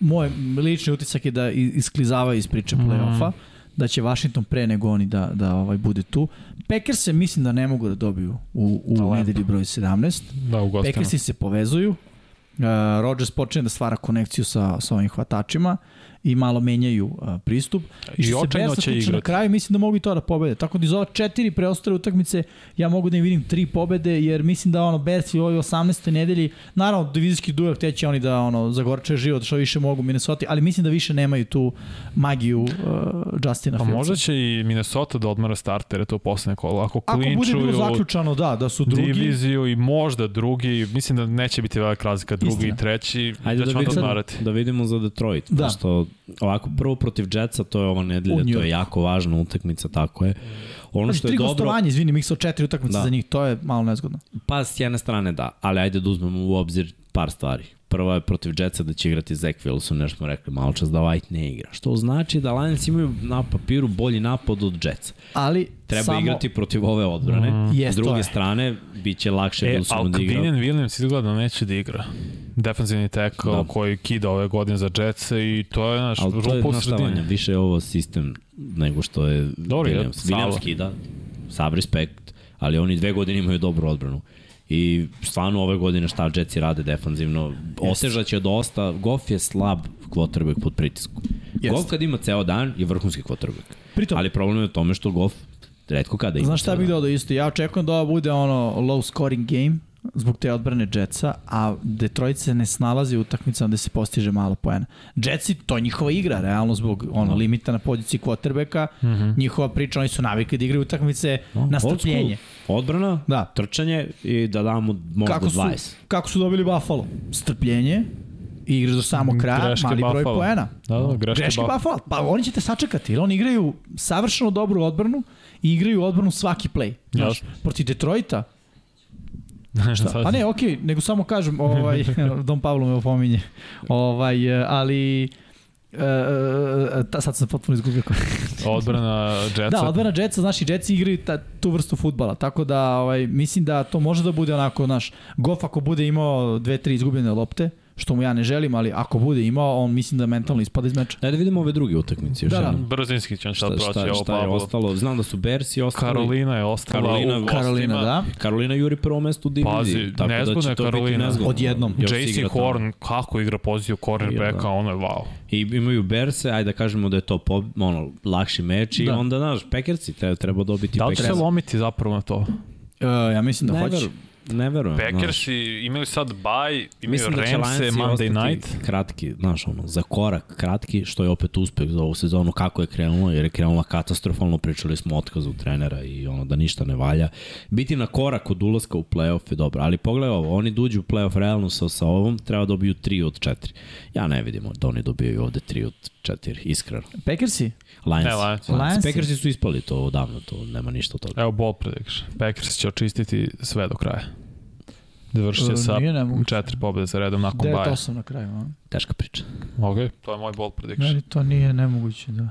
[SPEAKER 2] Moj lični utisak je da i- isklizavaju iz priče
[SPEAKER 1] Mhm.
[SPEAKER 2] play-offa, da će Washington pre nego oni da, da ovaj bude tu. Packers se mislim da ne mogu da dobiju u, u nedelji broj 17.
[SPEAKER 3] Da, u gostima.
[SPEAKER 2] Packersi se povezuju. Uh, Rodgers počne da stvara konekciju sa, sa ovim hvatačima i malo menjaju uh, pristup.
[SPEAKER 3] I
[SPEAKER 2] što se
[SPEAKER 3] očajno
[SPEAKER 2] Bersa
[SPEAKER 3] će
[SPEAKER 2] tiče Na
[SPEAKER 3] igrati.
[SPEAKER 2] kraju mislim da mogu i to da pobede. Tako da iz ova četiri preostale utakmice ja mogu da im vidim tri pobede jer mislim da ono Bersi u ovoj 18. nedelji naravno divizijski duel te će oni da ono zagorče život što više mogu Minnesota, ali mislim da više nemaju tu magiju uh, Justina
[SPEAKER 3] Pa
[SPEAKER 2] Fieldsa.
[SPEAKER 3] možda će i Minnesota da odmara startere to u poslednje kolo. Ako
[SPEAKER 2] Ako bude bilo
[SPEAKER 3] klinčuju
[SPEAKER 2] zaključano da, da su drugi,
[SPEAKER 3] diviziju i možda drugi, mislim da neće biti velika razlika drugi
[SPEAKER 2] Istina.
[SPEAKER 3] i treći,
[SPEAKER 1] Ajde
[SPEAKER 3] da
[SPEAKER 1] da,
[SPEAKER 3] ćemo da
[SPEAKER 1] vidimo,
[SPEAKER 3] odmarati.
[SPEAKER 1] da vidimo za Detroit.
[SPEAKER 2] Da.
[SPEAKER 1] Da. Što, ovako, prvo protiv Jetsa, to je ova
[SPEAKER 2] U
[SPEAKER 1] nedelja, to
[SPEAKER 2] Njujorku.
[SPEAKER 1] je jako važna utakmica, tako je. Ono
[SPEAKER 2] Pazi,
[SPEAKER 1] što
[SPEAKER 2] Znači, tri
[SPEAKER 1] je dobro,
[SPEAKER 2] gostovanja, izvini, mi sa četiri utakmice
[SPEAKER 1] Da.
[SPEAKER 2] za njih, to je malo nezgodno.
[SPEAKER 1] Pa s jedne strane da, ali ajde da uzmemo u obzir par stvari. Prva je protiv Jetsa da će igrati Zach Wilson, nešto smo rekli malo čas da White ne igra. Što znači da Lions imaju na papiru bolji napad od Jetsa.
[SPEAKER 2] Ali
[SPEAKER 1] Treba
[SPEAKER 2] samo...
[SPEAKER 1] Samo... igrati protiv ove odbrane. Mm.
[SPEAKER 2] Jest,
[SPEAKER 1] S
[SPEAKER 2] to
[SPEAKER 1] druge
[SPEAKER 2] je.
[SPEAKER 1] strane, bit će lakše e,
[SPEAKER 3] E,
[SPEAKER 1] Wilsonu
[SPEAKER 3] ali
[SPEAKER 1] da igra.
[SPEAKER 3] Kvinen Williams izgleda neće da igra. Defensivni tackle
[SPEAKER 1] Da.
[SPEAKER 3] koji kida ove godine za Jetsa i to je naš
[SPEAKER 1] Ali to je
[SPEAKER 3] rupa u
[SPEAKER 1] znaš šta, Vanja,
[SPEAKER 3] sredini.
[SPEAKER 1] više je ovo sistem nego što je
[SPEAKER 3] Dobro, je,
[SPEAKER 1] Williams.
[SPEAKER 3] Sava.
[SPEAKER 1] Williams kida, sav respekt, ali oni dve godine imaju dobru odbranu. I stvarno ove godine šta Jetsi rade defanzivno, otežaće dosta. Goff je slab quarterback pod pritiskom.
[SPEAKER 2] Jeste.
[SPEAKER 1] Goff kad ima ceo dan je vrhunski quarterback.
[SPEAKER 2] Pritom,
[SPEAKER 1] Ali problem je u tome što Goff redko kada ima.
[SPEAKER 2] Znaš šta
[SPEAKER 1] ceo
[SPEAKER 2] bih
[SPEAKER 1] dan.
[SPEAKER 2] dodao isto? Ja očekujem da ovo bude ono low scoring game zbog te odbrane Jetsa, a Detroit se ne snalazi u utakmicama gde se postiže malo poena. Jetsi, to je njihova igra, realno zbog
[SPEAKER 1] Da.
[SPEAKER 2] ono, limita na poziciji quarterbacka, njihova priča, oni su navikli da igraju utakmice
[SPEAKER 1] Mhm. No,
[SPEAKER 2] na
[SPEAKER 1] old school.
[SPEAKER 2] strpljenje.
[SPEAKER 1] Odbrana,
[SPEAKER 2] Da.
[SPEAKER 1] trčanje i da damo možda
[SPEAKER 2] Kako su,
[SPEAKER 1] 20.
[SPEAKER 2] kako su dobili Buffalo? Strpljenje, igraš do samog kraja,
[SPEAKER 3] Greške
[SPEAKER 2] mali broj
[SPEAKER 3] Buffalo.
[SPEAKER 2] poena.
[SPEAKER 3] Da, da, greške,
[SPEAKER 2] Greške
[SPEAKER 3] Buff-
[SPEAKER 2] Buffalo. Pa oni će te sačekati, jer oni igraju savršeno dobru odbranu i igraju odbranu svaki play. Znaš,
[SPEAKER 3] Jasno.
[SPEAKER 2] protiv Detroita,
[SPEAKER 3] Sad-
[SPEAKER 2] Pa ne, okej, okay, nego samo kažem, ovaj, Dom Pavlo me opominje, ovaj, eh, ali... Uh, ta, sad sam potpuno izgubio ko-
[SPEAKER 3] Odbrana Jetsa.
[SPEAKER 2] Da, odbrana Jetsa, znaš, i Jetsi igraju ta, tu vrstu futbala, tako da ovaj, mislim da to može da bude onako, znaš, Goff ako bude imao dve, tri izgubljene lopte, što mu ja ne želim, ali ako bude imao, on mislim da mentalno ispada iz meča.
[SPEAKER 1] Daj da vidimo ove druge utakmice. Još
[SPEAKER 2] Da, da.
[SPEAKER 1] jednom.
[SPEAKER 3] Brzinski će on
[SPEAKER 1] Šta,
[SPEAKER 3] sad proći
[SPEAKER 1] šta,
[SPEAKER 3] ovo
[SPEAKER 1] šta je
[SPEAKER 3] Pablo.
[SPEAKER 1] ostalo? Znam da su Bersi ostali.
[SPEAKER 3] Karolina je ostala
[SPEAKER 1] Karolina-
[SPEAKER 3] u gostima.
[SPEAKER 2] Karolina, da.
[SPEAKER 1] Karolina juri prvo mesto u diviziji.
[SPEAKER 3] Pazi,
[SPEAKER 1] tako da
[SPEAKER 3] nezgodna
[SPEAKER 1] će
[SPEAKER 3] je
[SPEAKER 1] to biti
[SPEAKER 3] Karolina.
[SPEAKER 1] nezgodno.
[SPEAKER 2] Odjednom.
[SPEAKER 1] Još
[SPEAKER 3] JC
[SPEAKER 1] igra tamo.
[SPEAKER 3] Horn, kako igra poziciju cornerbacka, ono je wow.
[SPEAKER 1] I imaju Berse, ajde da kažemo da je to po, ono, lakši meč i
[SPEAKER 2] Da.
[SPEAKER 1] onda, znaš, Pekerci treba, treba dobiti
[SPEAKER 3] Da li će se
[SPEAKER 1] Packersi.
[SPEAKER 3] lomiti zapravo na to?
[SPEAKER 2] E, ja mislim da
[SPEAKER 1] ne,
[SPEAKER 2] hoće.
[SPEAKER 1] verujem, ne verujem. Pa, znaš.
[SPEAKER 3] Packersi imaju sad baj, imaju
[SPEAKER 1] Mislim da će
[SPEAKER 3] Ramse,
[SPEAKER 1] Lionsi
[SPEAKER 3] Monday
[SPEAKER 1] ostati
[SPEAKER 3] night.
[SPEAKER 1] kratki, znaš, ono, za korak kratki, što je opet uspeh za ovu sezonu, kako je krenulo, jer je krenula katastrofalno, pričali smo o otkazu trenera i ono da ništa ne valja. Biti na korak od ulaska u play-off je dobro, ali pogledaj ovo, oni duđu u play-off realno sa, sa ovom, treba dobiju 3 od 4. Ja ne vidim da oni dobijaju ovde 3 od 4, iskreno.
[SPEAKER 2] Packersi?
[SPEAKER 1] Lions.
[SPEAKER 3] Ne, Lions.
[SPEAKER 2] Lions.
[SPEAKER 1] Packersi su ispali to odavno, to nema ništa od toga.
[SPEAKER 3] Evo ball prediction. Packers će očistiti sve do kraja. Završit
[SPEAKER 2] E,
[SPEAKER 3] će sa
[SPEAKER 2] nije nemoguće.
[SPEAKER 3] četiri pobjede za redom nakon baja.
[SPEAKER 2] 9-8 na kraju. A?
[SPEAKER 1] Teška priča.
[SPEAKER 3] Ok, to je moj ball prediction.
[SPEAKER 2] Meni to nije nemoguće, da.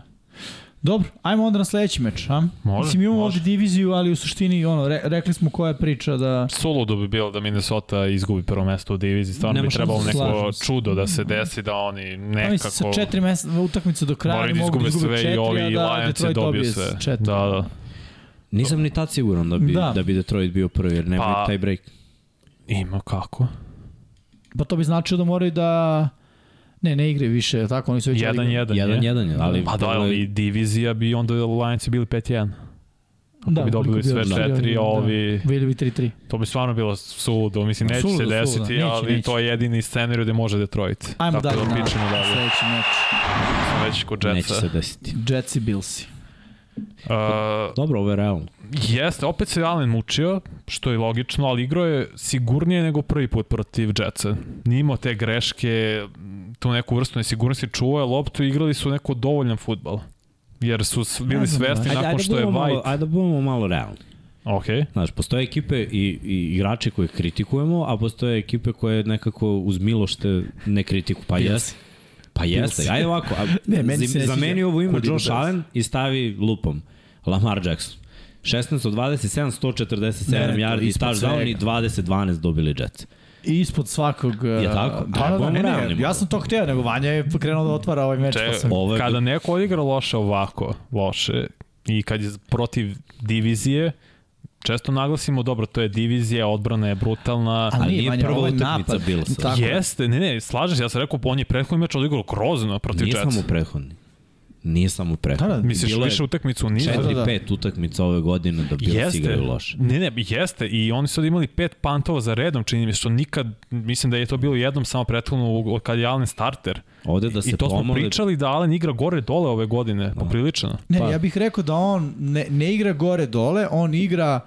[SPEAKER 2] Dobro, ajmo onda na sledeći meč, a?
[SPEAKER 3] Može,
[SPEAKER 2] Mislim, imamo
[SPEAKER 3] može.
[SPEAKER 2] ovde diviziju, ali u suštini, ono, re, rekli smo koja je priča da...
[SPEAKER 3] Suludo bi bilo da Minnesota izgubi prvo mesto u diviziji. Stvarno
[SPEAKER 1] Nema
[SPEAKER 3] bi
[SPEAKER 1] šanse,
[SPEAKER 3] trebalo neko
[SPEAKER 2] slažem se.
[SPEAKER 3] čudo da se desi da oni
[SPEAKER 2] Pa mislim, sa
[SPEAKER 3] nekako...
[SPEAKER 2] četiri mesta, utakmice do kraja,
[SPEAKER 3] Moraju
[SPEAKER 2] oni
[SPEAKER 3] da
[SPEAKER 2] mogu da
[SPEAKER 3] izgube
[SPEAKER 2] izgube
[SPEAKER 3] sve
[SPEAKER 2] četiri,
[SPEAKER 3] i
[SPEAKER 2] a
[SPEAKER 3] ovi i
[SPEAKER 2] da
[SPEAKER 3] Lions je
[SPEAKER 2] Detroit
[SPEAKER 3] dobio
[SPEAKER 2] dobije
[SPEAKER 3] sve.
[SPEAKER 2] četiri.
[SPEAKER 3] Da, da.
[SPEAKER 1] Nisam ni tad siguran da bi,
[SPEAKER 2] Da.
[SPEAKER 1] da. da bi Detroit bio prvi, jer nema
[SPEAKER 3] Pa-
[SPEAKER 1] pa, taj break.
[SPEAKER 3] Ima kako.
[SPEAKER 2] Pa to bi značilo da moraju da... Ne, ne igre više, jel tako, oni su već...
[SPEAKER 3] Jedan, jedan,
[SPEAKER 1] Znači, Jedan,
[SPEAKER 3] je.
[SPEAKER 1] jedan, je, ali...
[SPEAKER 3] Pa da,
[SPEAKER 1] pogledaj-
[SPEAKER 3] ali divizija bi onda Lions bili 5-1.
[SPEAKER 2] da,
[SPEAKER 3] Da, bi dobili
[SPEAKER 2] koliko
[SPEAKER 3] sve
[SPEAKER 2] bi dobili,
[SPEAKER 3] četiri,
[SPEAKER 2] da.
[SPEAKER 3] a ovi...
[SPEAKER 2] Bili bi 3-3.
[SPEAKER 3] To bi stvarno bilo suludo. Mislim,
[SPEAKER 2] Ma,
[SPEAKER 3] neće
[SPEAKER 2] suludo,
[SPEAKER 3] se
[SPEAKER 2] suludo.
[SPEAKER 3] desiti,
[SPEAKER 2] Neće,
[SPEAKER 3] ali
[SPEAKER 2] neće.
[SPEAKER 3] to je jedini scenarij gde može Detroit.
[SPEAKER 2] Ajmo
[SPEAKER 3] Tako
[SPEAKER 2] dalje
[SPEAKER 3] da
[SPEAKER 2] na
[SPEAKER 3] pričamo dalje.
[SPEAKER 2] sledeći meč.
[SPEAKER 3] Smo već kod
[SPEAKER 1] Neće
[SPEAKER 3] Jetsa.
[SPEAKER 1] se desiti.
[SPEAKER 2] Jets i Billsi.
[SPEAKER 3] Uh,
[SPEAKER 1] Dobro, ovo je realno.
[SPEAKER 3] Jeste, opet se Allen mučio, što je logično, ali igrao je sigurnije nego prvi put protiv Jetsa. Nije imao te greške, tu neku vrstu nesigurnosti čuvao je loptu i igrali su neko dovoljan futbal. Jer su s-
[SPEAKER 2] Ne
[SPEAKER 3] bili
[SPEAKER 2] znam, da.
[SPEAKER 3] svesni
[SPEAKER 2] ajde,
[SPEAKER 3] nakon što je
[SPEAKER 1] budemo malo-
[SPEAKER 3] White...
[SPEAKER 1] Ajde da budemo malo realni.
[SPEAKER 3] Ok,
[SPEAKER 1] Znaš, postoje ekipe i, i igrače koje kritikujemo, a postoje ekipe koje nekako uz milošte ne kritiku. Pa jeste. Pa jeste. Ajde ovako. A,
[SPEAKER 2] Ne, meni
[SPEAKER 1] za,
[SPEAKER 2] se ne sviđa
[SPEAKER 1] zameni ovo ime
[SPEAKER 2] kud idu
[SPEAKER 1] Josh
[SPEAKER 2] Bills.
[SPEAKER 1] Allen i stavi lupom. Lamar Jackson. 16 od 27, 147
[SPEAKER 2] Ne, ne, to
[SPEAKER 1] yardi,
[SPEAKER 2] ispod
[SPEAKER 1] staž down
[SPEAKER 2] svega.
[SPEAKER 1] i 20-12 dobili Jets.
[SPEAKER 2] I ispod svakog...
[SPEAKER 1] Je tako?
[SPEAKER 2] Da,
[SPEAKER 1] Da,
[SPEAKER 2] da, da,
[SPEAKER 1] budemo
[SPEAKER 2] ne, ne,
[SPEAKER 1] realni,
[SPEAKER 2] ja sam to hteo, nego Vanja je krenuo da otvara ovaj meč.
[SPEAKER 3] Če,
[SPEAKER 2] pa sam...
[SPEAKER 1] Ovo je-
[SPEAKER 3] kada neko odigra loše ovako, loše, i kad je protiv divizije, često naglasimo, dobro, to je divizija, odbrana je brutalna,
[SPEAKER 1] Ali
[SPEAKER 2] nije,
[SPEAKER 1] nije
[SPEAKER 2] Vanja,
[SPEAKER 1] prva
[SPEAKER 2] ovo je
[SPEAKER 1] utakmica
[SPEAKER 2] napad.
[SPEAKER 1] Billsa.
[SPEAKER 2] Tako je.
[SPEAKER 3] Jeste, ne, ne, slažeš, se, ja sam rekao, on je prethodni meč odigrao grozno protiv
[SPEAKER 1] Nije
[SPEAKER 3] Jetsa.
[SPEAKER 1] samo prethodni. Nije samo prethodni.
[SPEAKER 2] Da, da,
[SPEAKER 3] Misliš,
[SPEAKER 1] Bilo je
[SPEAKER 3] više utakmicu nisu?
[SPEAKER 2] Da, da, da.
[SPEAKER 1] 4-5 utakmica ove godine da Bills igraju loše.
[SPEAKER 3] Ne, ne, jeste. I oni su imali pet pantova za redom, čini mi se, što nikad, mislim da je to bilo jednom samo prethodno u- od kad je Allen starter.
[SPEAKER 1] Ovde da
[SPEAKER 3] I
[SPEAKER 1] se
[SPEAKER 3] to smo
[SPEAKER 1] pomoli, Da.
[SPEAKER 3] pričali da Allen igra gore dole ove godine, poprilično.
[SPEAKER 2] Ne,
[SPEAKER 1] Pa-
[SPEAKER 2] ja bih rekao da on ne, ne igra gore dole, on igra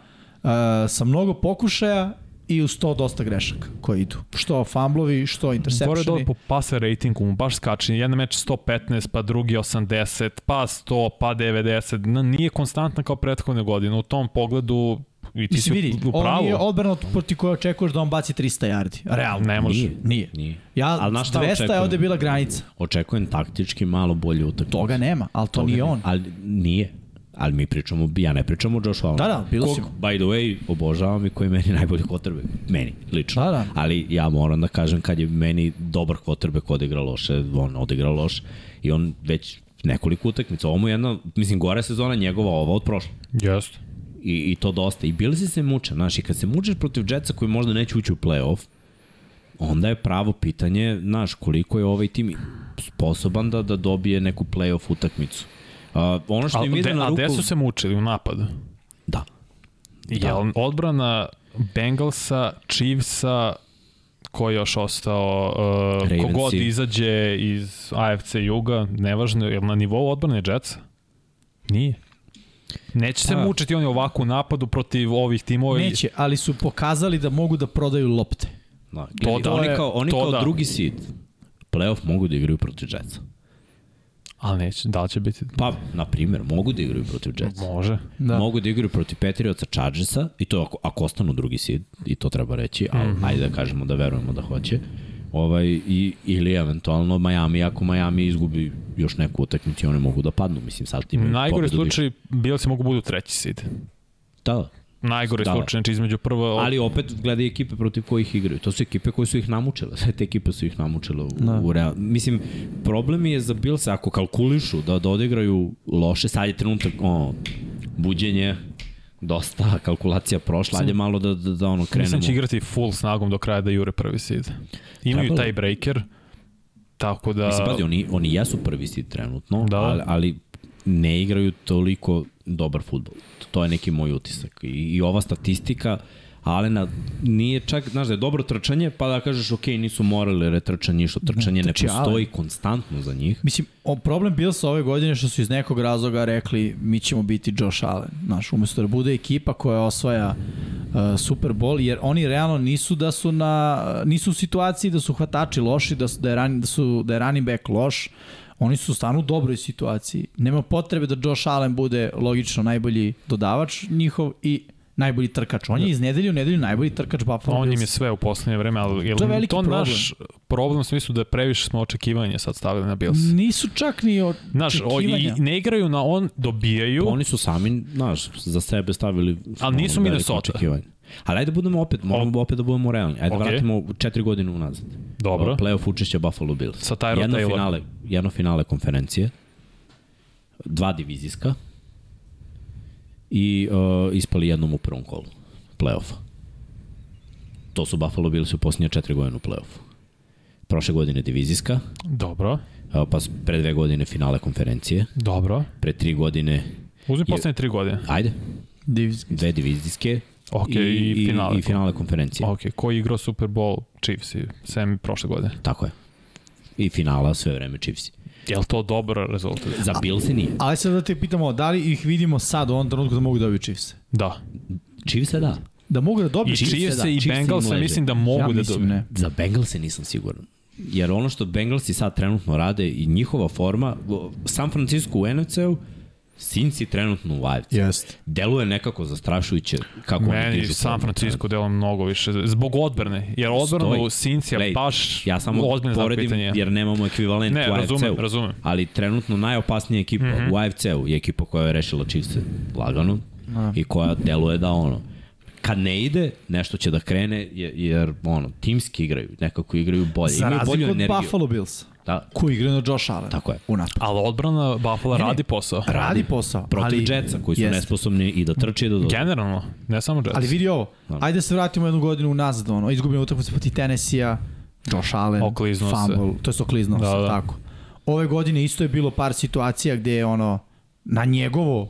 [SPEAKER 2] uh, sa mnogo pokušaja i uz to dosta grešaka koji idu. Što fumblovi, što
[SPEAKER 3] Gore dole
[SPEAKER 2] interseptioni.
[SPEAKER 3] po pase ratingu mu baš skače. Jedan meč 115, pa drugi 80, pa 100, pa 90. Na, nije konstantna kao prethodne godine. U tom pogledu i ti si
[SPEAKER 2] Mislim, vidi,
[SPEAKER 3] u- u
[SPEAKER 2] ovo nije
[SPEAKER 3] pravu.
[SPEAKER 2] odbrana od- proti koje očekuješ da on baci 300 yardi. Realno.
[SPEAKER 3] Ne može.
[SPEAKER 1] Nije.
[SPEAKER 2] Nije.
[SPEAKER 1] Nije.
[SPEAKER 2] Ja,
[SPEAKER 1] Ali znaš šta
[SPEAKER 2] 200 je
[SPEAKER 1] očekujem?
[SPEAKER 2] ovde bila granica.
[SPEAKER 1] očekujem taktički malo bolje utakmicu.
[SPEAKER 2] Toga nema, ali to nije on.
[SPEAKER 1] Ali nije. Ali mi pričamo, ja ne pričamo o Josh Allen.
[SPEAKER 2] Da, da, bilo si-
[SPEAKER 1] By the way, obožavam i koji je meni najbolji quarterback. Meni, lično.
[SPEAKER 2] Da, da.
[SPEAKER 1] Ali ja moram da kažem kad je meni dobar quarterback odigra loše, on odigra loše i on već nekoliko utakmica. Ovo mu je jedna, mislim, gore sezona njegova ova od prošle.
[SPEAKER 3] Jeste.
[SPEAKER 1] I, i to dosta. I bili si se muče, znaš, i kad se mučeš protiv Jetsa koji možda neće ući u play-off, onda je pravo pitanje, znaš, koliko je ovaj tim sposoban da, da dobije neku play-off utakmicu. A, ono što
[SPEAKER 3] A,
[SPEAKER 1] im ide
[SPEAKER 3] de,
[SPEAKER 1] na
[SPEAKER 3] a
[SPEAKER 1] ruku...
[SPEAKER 3] gde su se mučili u napadu?
[SPEAKER 1] Da.
[SPEAKER 3] Da. Jel odbrana Bengalsa, Chiefsa, ko je još ostao, uh,
[SPEAKER 1] Ravensi.
[SPEAKER 3] kogod izađe iz AFC Juga, nevažno, jel na nivou odbrane Jetsa? Nije. Neće se
[SPEAKER 2] Pa-
[SPEAKER 3] mučiti oni ovako u napadu protiv ovih timova. i-
[SPEAKER 2] Neće, ali su pokazali da mogu da prodaju lopte.
[SPEAKER 1] da. Gledaj,
[SPEAKER 3] da
[SPEAKER 1] oni
[SPEAKER 3] je-
[SPEAKER 1] kao, oni
[SPEAKER 3] to
[SPEAKER 1] kao
[SPEAKER 3] da.
[SPEAKER 1] drugi seed play-off mogu da igraju protiv Jetsa.
[SPEAKER 3] Ali neće, da li će biti?
[SPEAKER 1] Pa, na primjer, mogu da igraju protiv Jetsa.
[SPEAKER 3] Može.
[SPEAKER 2] Da.
[SPEAKER 1] Da. Mogu da igraju protiv Patriotsa Chargersa i to ako, ako ostanu drugi seed, i to treba reći, ali mm -hmm. ajde da kažemo da verujemo da hoće. Ovaj, i, ili eventualno Miami, ako Miami izgubi još neku utakmicu, oni mogu da padnu, mislim sad imaju
[SPEAKER 3] Najgori
[SPEAKER 1] pobedu više.
[SPEAKER 3] slučaj, Bilsi mogu budu treći sid.
[SPEAKER 1] Da,
[SPEAKER 3] najgore
[SPEAKER 1] Daleko.
[SPEAKER 3] slučaj, znači između prva...
[SPEAKER 1] Ali opet gledaj ekipe protiv kojih igraju. To su ekipe koje su ih namučile. Sve te ekipe su ih namučile u, da. u real. Mislim, problem je za Bills ako kalkulišu da, da odigraju loše, sad je trenutak o, buđenje, dosta kalkulacija prošla, ajde malo da, da, da ono krenemo.
[SPEAKER 3] Mislim da će igrati full snagom do kraja da jure prvi seed. Imaju
[SPEAKER 1] Trebalo.
[SPEAKER 3] taj breaker, tako da...
[SPEAKER 1] Mislim, pazi, oni, oni jesu prvi seed trenutno, da.
[SPEAKER 3] Da.
[SPEAKER 1] ali, ali ne igraju toliko dobar futbol. To je neki moj utisak. I, i ova statistika Alena nije čak, znaš da je dobro trčanje, pa da kažeš ok, nisu morali retrčanje, što
[SPEAKER 3] Da,
[SPEAKER 1] trčanje ne
[SPEAKER 2] Znači,
[SPEAKER 1] postoji konstantno za njih.
[SPEAKER 2] Mislim, o, problem bio sa ove godine što su iz nekog razloga rekli mi ćemo biti Josh Allen. Znaš, umesto da bude ekipa koja osvaja uh, Super Bowl, jer oni realno nisu da su na, nisu u situaciji da su hvatači loši, da su, da je, run, da su, da je running back loš, oni su stvarno u dobroj situaciji. Nema potrebe da Josh Allen bude logično najbolji dodavač njihov i najbolji trkač. On je iz nedelje u nedelju najbolji trkač Buffalo
[SPEAKER 3] Da. Pa On im je
[SPEAKER 2] Bills.
[SPEAKER 3] sve u poslednje vreme, ali je
[SPEAKER 2] To je
[SPEAKER 3] li
[SPEAKER 2] veliki
[SPEAKER 3] to
[SPEAKER 2] problem.
[SPEAKER 3] naš problem u smislu da previše smo očekivanje sad stavili na Bills?
[SPEAKER 2] Nisu čak ni od
[SPEAKER 3] Znaš, o, i,
[SPEAKER 2] očekivanja.
[SPEAKER 3] ne igraju na on, dobijaju,
[SPEAKER 1] Oni su sami, znaš, za sebe stavili
[SPEAKER 3] Ali nisu
[SPEAKER 1] ono, veliko
[SPEAKER 3] Minnesota.
[SPEAKER 1] očekivanje. Ali ajde da budemo opet, moramo opet da budemo realni. Ajde okay.
[SPEAKER 3] Ok.
[SPEAKER 1] vratimo četiri godine unazad.
[SPEAKER 3] Dobro.
[SPEAKER 1] Playoff učešća Buffalo Bills.
[SPEAKER 3] Sa Tyro
[SPEAKER 1] jedno
[SPEAKER 3] Taylor.
[SPEAKER 1] finale, jedno finale konferencije, dva divizijska i uh, ispali jednom u prvom kolu playoffa. To su Buffalo Bills u posljednje četiri godine u playoffu. Prošle godine divizijska,
[SPEAKER 3] dobro,
[SPEAKER 1] uh, pa s- pre dve godine finale konferencije,
[SPEAKER 3] dobro.
[SPEAKER 1] pre tri godine,
[SPEAKER 3] Uzmi poslednje tri godine.
[SPEAKER 1] ajde,
[SPEAKER 2] Divizijski.
[SPEAKER 1] dve divizijske
[SPEAKER 3] Ok, i finale.
[SPEAKER 1] i finale konferencije.
[SPEAKER 3] Ok, ko je igrao Super Bowl? Chiefs i Sam prošle godine.
[SPEAKER 1] Tako je. I finala sve vreme Chiefs.
[SPEAKER 3] Je li to dobar rezultat?
[SPEAKER 1] Za Bills nije.
[SPEAKER 2] Ali sad da te pitamo, da li ih vidimo sad u ovom trenutku da mogu da dobiju Chiefs?
[SPEAKER 3] Da.
[SPEAKER 1] Chiefs da.
[SPEAKER 2] Da mogu da
[SPEAKER 3] I
[SPEAKER 2] dobiju Chiefs?
[SPEAKER 1] Chiefse,
[SPEAKER 3] Chiefs
[SPEAKER 1] da,
[SPEAKER 3] i
[SPEAKER 1] Chiefse im
[SPEAKER 3] Bengals
[SPEAKER 1] leže.
[SPEAKER 3] mislim da mogu
[SPEAKER 2] ja
[SPEAKER 3] da
[SPEAKER 2] mislim
[SPEAKER 3] dobiju.
[SPEAKER 2] ne.
[SPEAKER 1] Za Bengalse nisam siguran. Jer ono što Bengalsi sad trenutno rade i njihova forma, go- San Francisco u NFC-u, Sinci trenutno u AFC. Yeah.
[SPEAKER 2] Jeste.
[SPEAKER 1] Deluje nekako zastrašujuće kako oni
[SPEAKER 3] Meni
[SPEAKER 1] da dižu. formu.
[SPEAKER 3] San Francisco delo mnogo više, zbog odbrane, jer odbrana
[SPEAKER 1] Stoji.
[SPEAKER 3] u Sincija
[SPEAKER 1] Gledaj,
[SPEAKER 3] baš
[SPEAKER 1] Ja samo
[SPEAKER 3] ozbiljno
[SPEAKER 1] poredim
[SPEAKER 3] pitanje.
[SPEAKER 1] jer nemamo ekvivalent
[SPEAKER 3] Ne,
[SPEAKER 1] u AFC-u.
[SPEAKER 3] razumem, razumem. Mhm.
[SPEAKER 1] Ali trenutno najopasnija ekipa mm -hmm. u AFC-u je ekipa koja je rešila Chiefs lagano i koja deluje da ono kad ne ide, nešto će da krene je- jer ono, timski igraju, nekako igraju bolje,
[SPEAKER 2] Za
[SPEAKER 1] Da, imaju
[SPEAKER 2] razliku
[SPEAKER 1] bolju
[SPEAKER 2] od
[SPEAKER 1] energiju.
[SPEAKER 2] Buffalo Bills,
[SPEAKER 1] Da,
[SPEAKER 2] koji igra na Josh Allen.
[SPEAKER 1] Tako je.
[SPEAKER 2] Unapred.
[SPEAKER 3] Ali odbrana Buffalo
[SPEAKER 2] Ne, ne.
[SPEAKER 3] radi posao.
[SPEAKER 2] Radi posao.
[SPEAKER 1] protiv
[SPEAKER 2] ali,
[SPEAKER 1] ali, Jetsa koji su
[SPEAKER 2] Jeste.
[SPEAKER 1] nesposobni i da trče i da dođe.
[SPEAKER 3] Generalno, ne samo Jets.
[SPEAKER 2] Ali vidi ovo, ajde da se vratimo jednu godinu unazad, ono, izgubljena utakmica protiv Tennessee-a, Josh Allen,
[SPEAKER 3] Okliznuo se.
[SPEAKER 2] fumble, to je okliznuo
[SPEAKER 3] Da,
[SPEAKER 2] se,
[SPEAKER 3] da.
[SPEAKER 2] tako. Ove godine isto je bilo par situacija gde je ono, na njegovo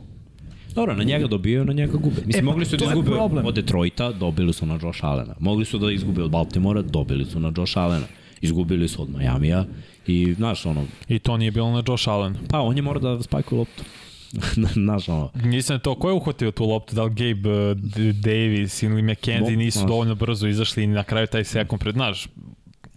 [SPEAKER 1] Dobro, na njega dobijaju, na njega gube. Mislim,
[SPEAKER 2] E,
[SPEAKER 1] e,
[SPEAKER 2] pa,
[SPEAKER 1] mogli su da
[SPEAKER 2] to je
[SPEAKER 1] izgube
[SPEAKER 2] problem.
[SPEAKER 1] od Detroita, dobili su na Josh Allena. Mogli su da izgube od Baltimora, dobili su na Josh Allena. Izgubili su od Majamija i, znaš, ono,
[SPEAKER 3] I to nije bilo na Josh Allen.
[SPEAKER 1] pa on je mora da spajkuje loptu. znaš, ono,
[SPEAKER 3] Nisam to, ko je uhvatio tu loptu, da li Gabe uh, D- Davis ili McKenzie
[SPEAKER 1] Mo-
[SPEAKER 3] nisu
[SPEAKER 1] može.
[SPEAKER 3] dovoljno brzo izašli i na kraju taj sekund pred, znaš,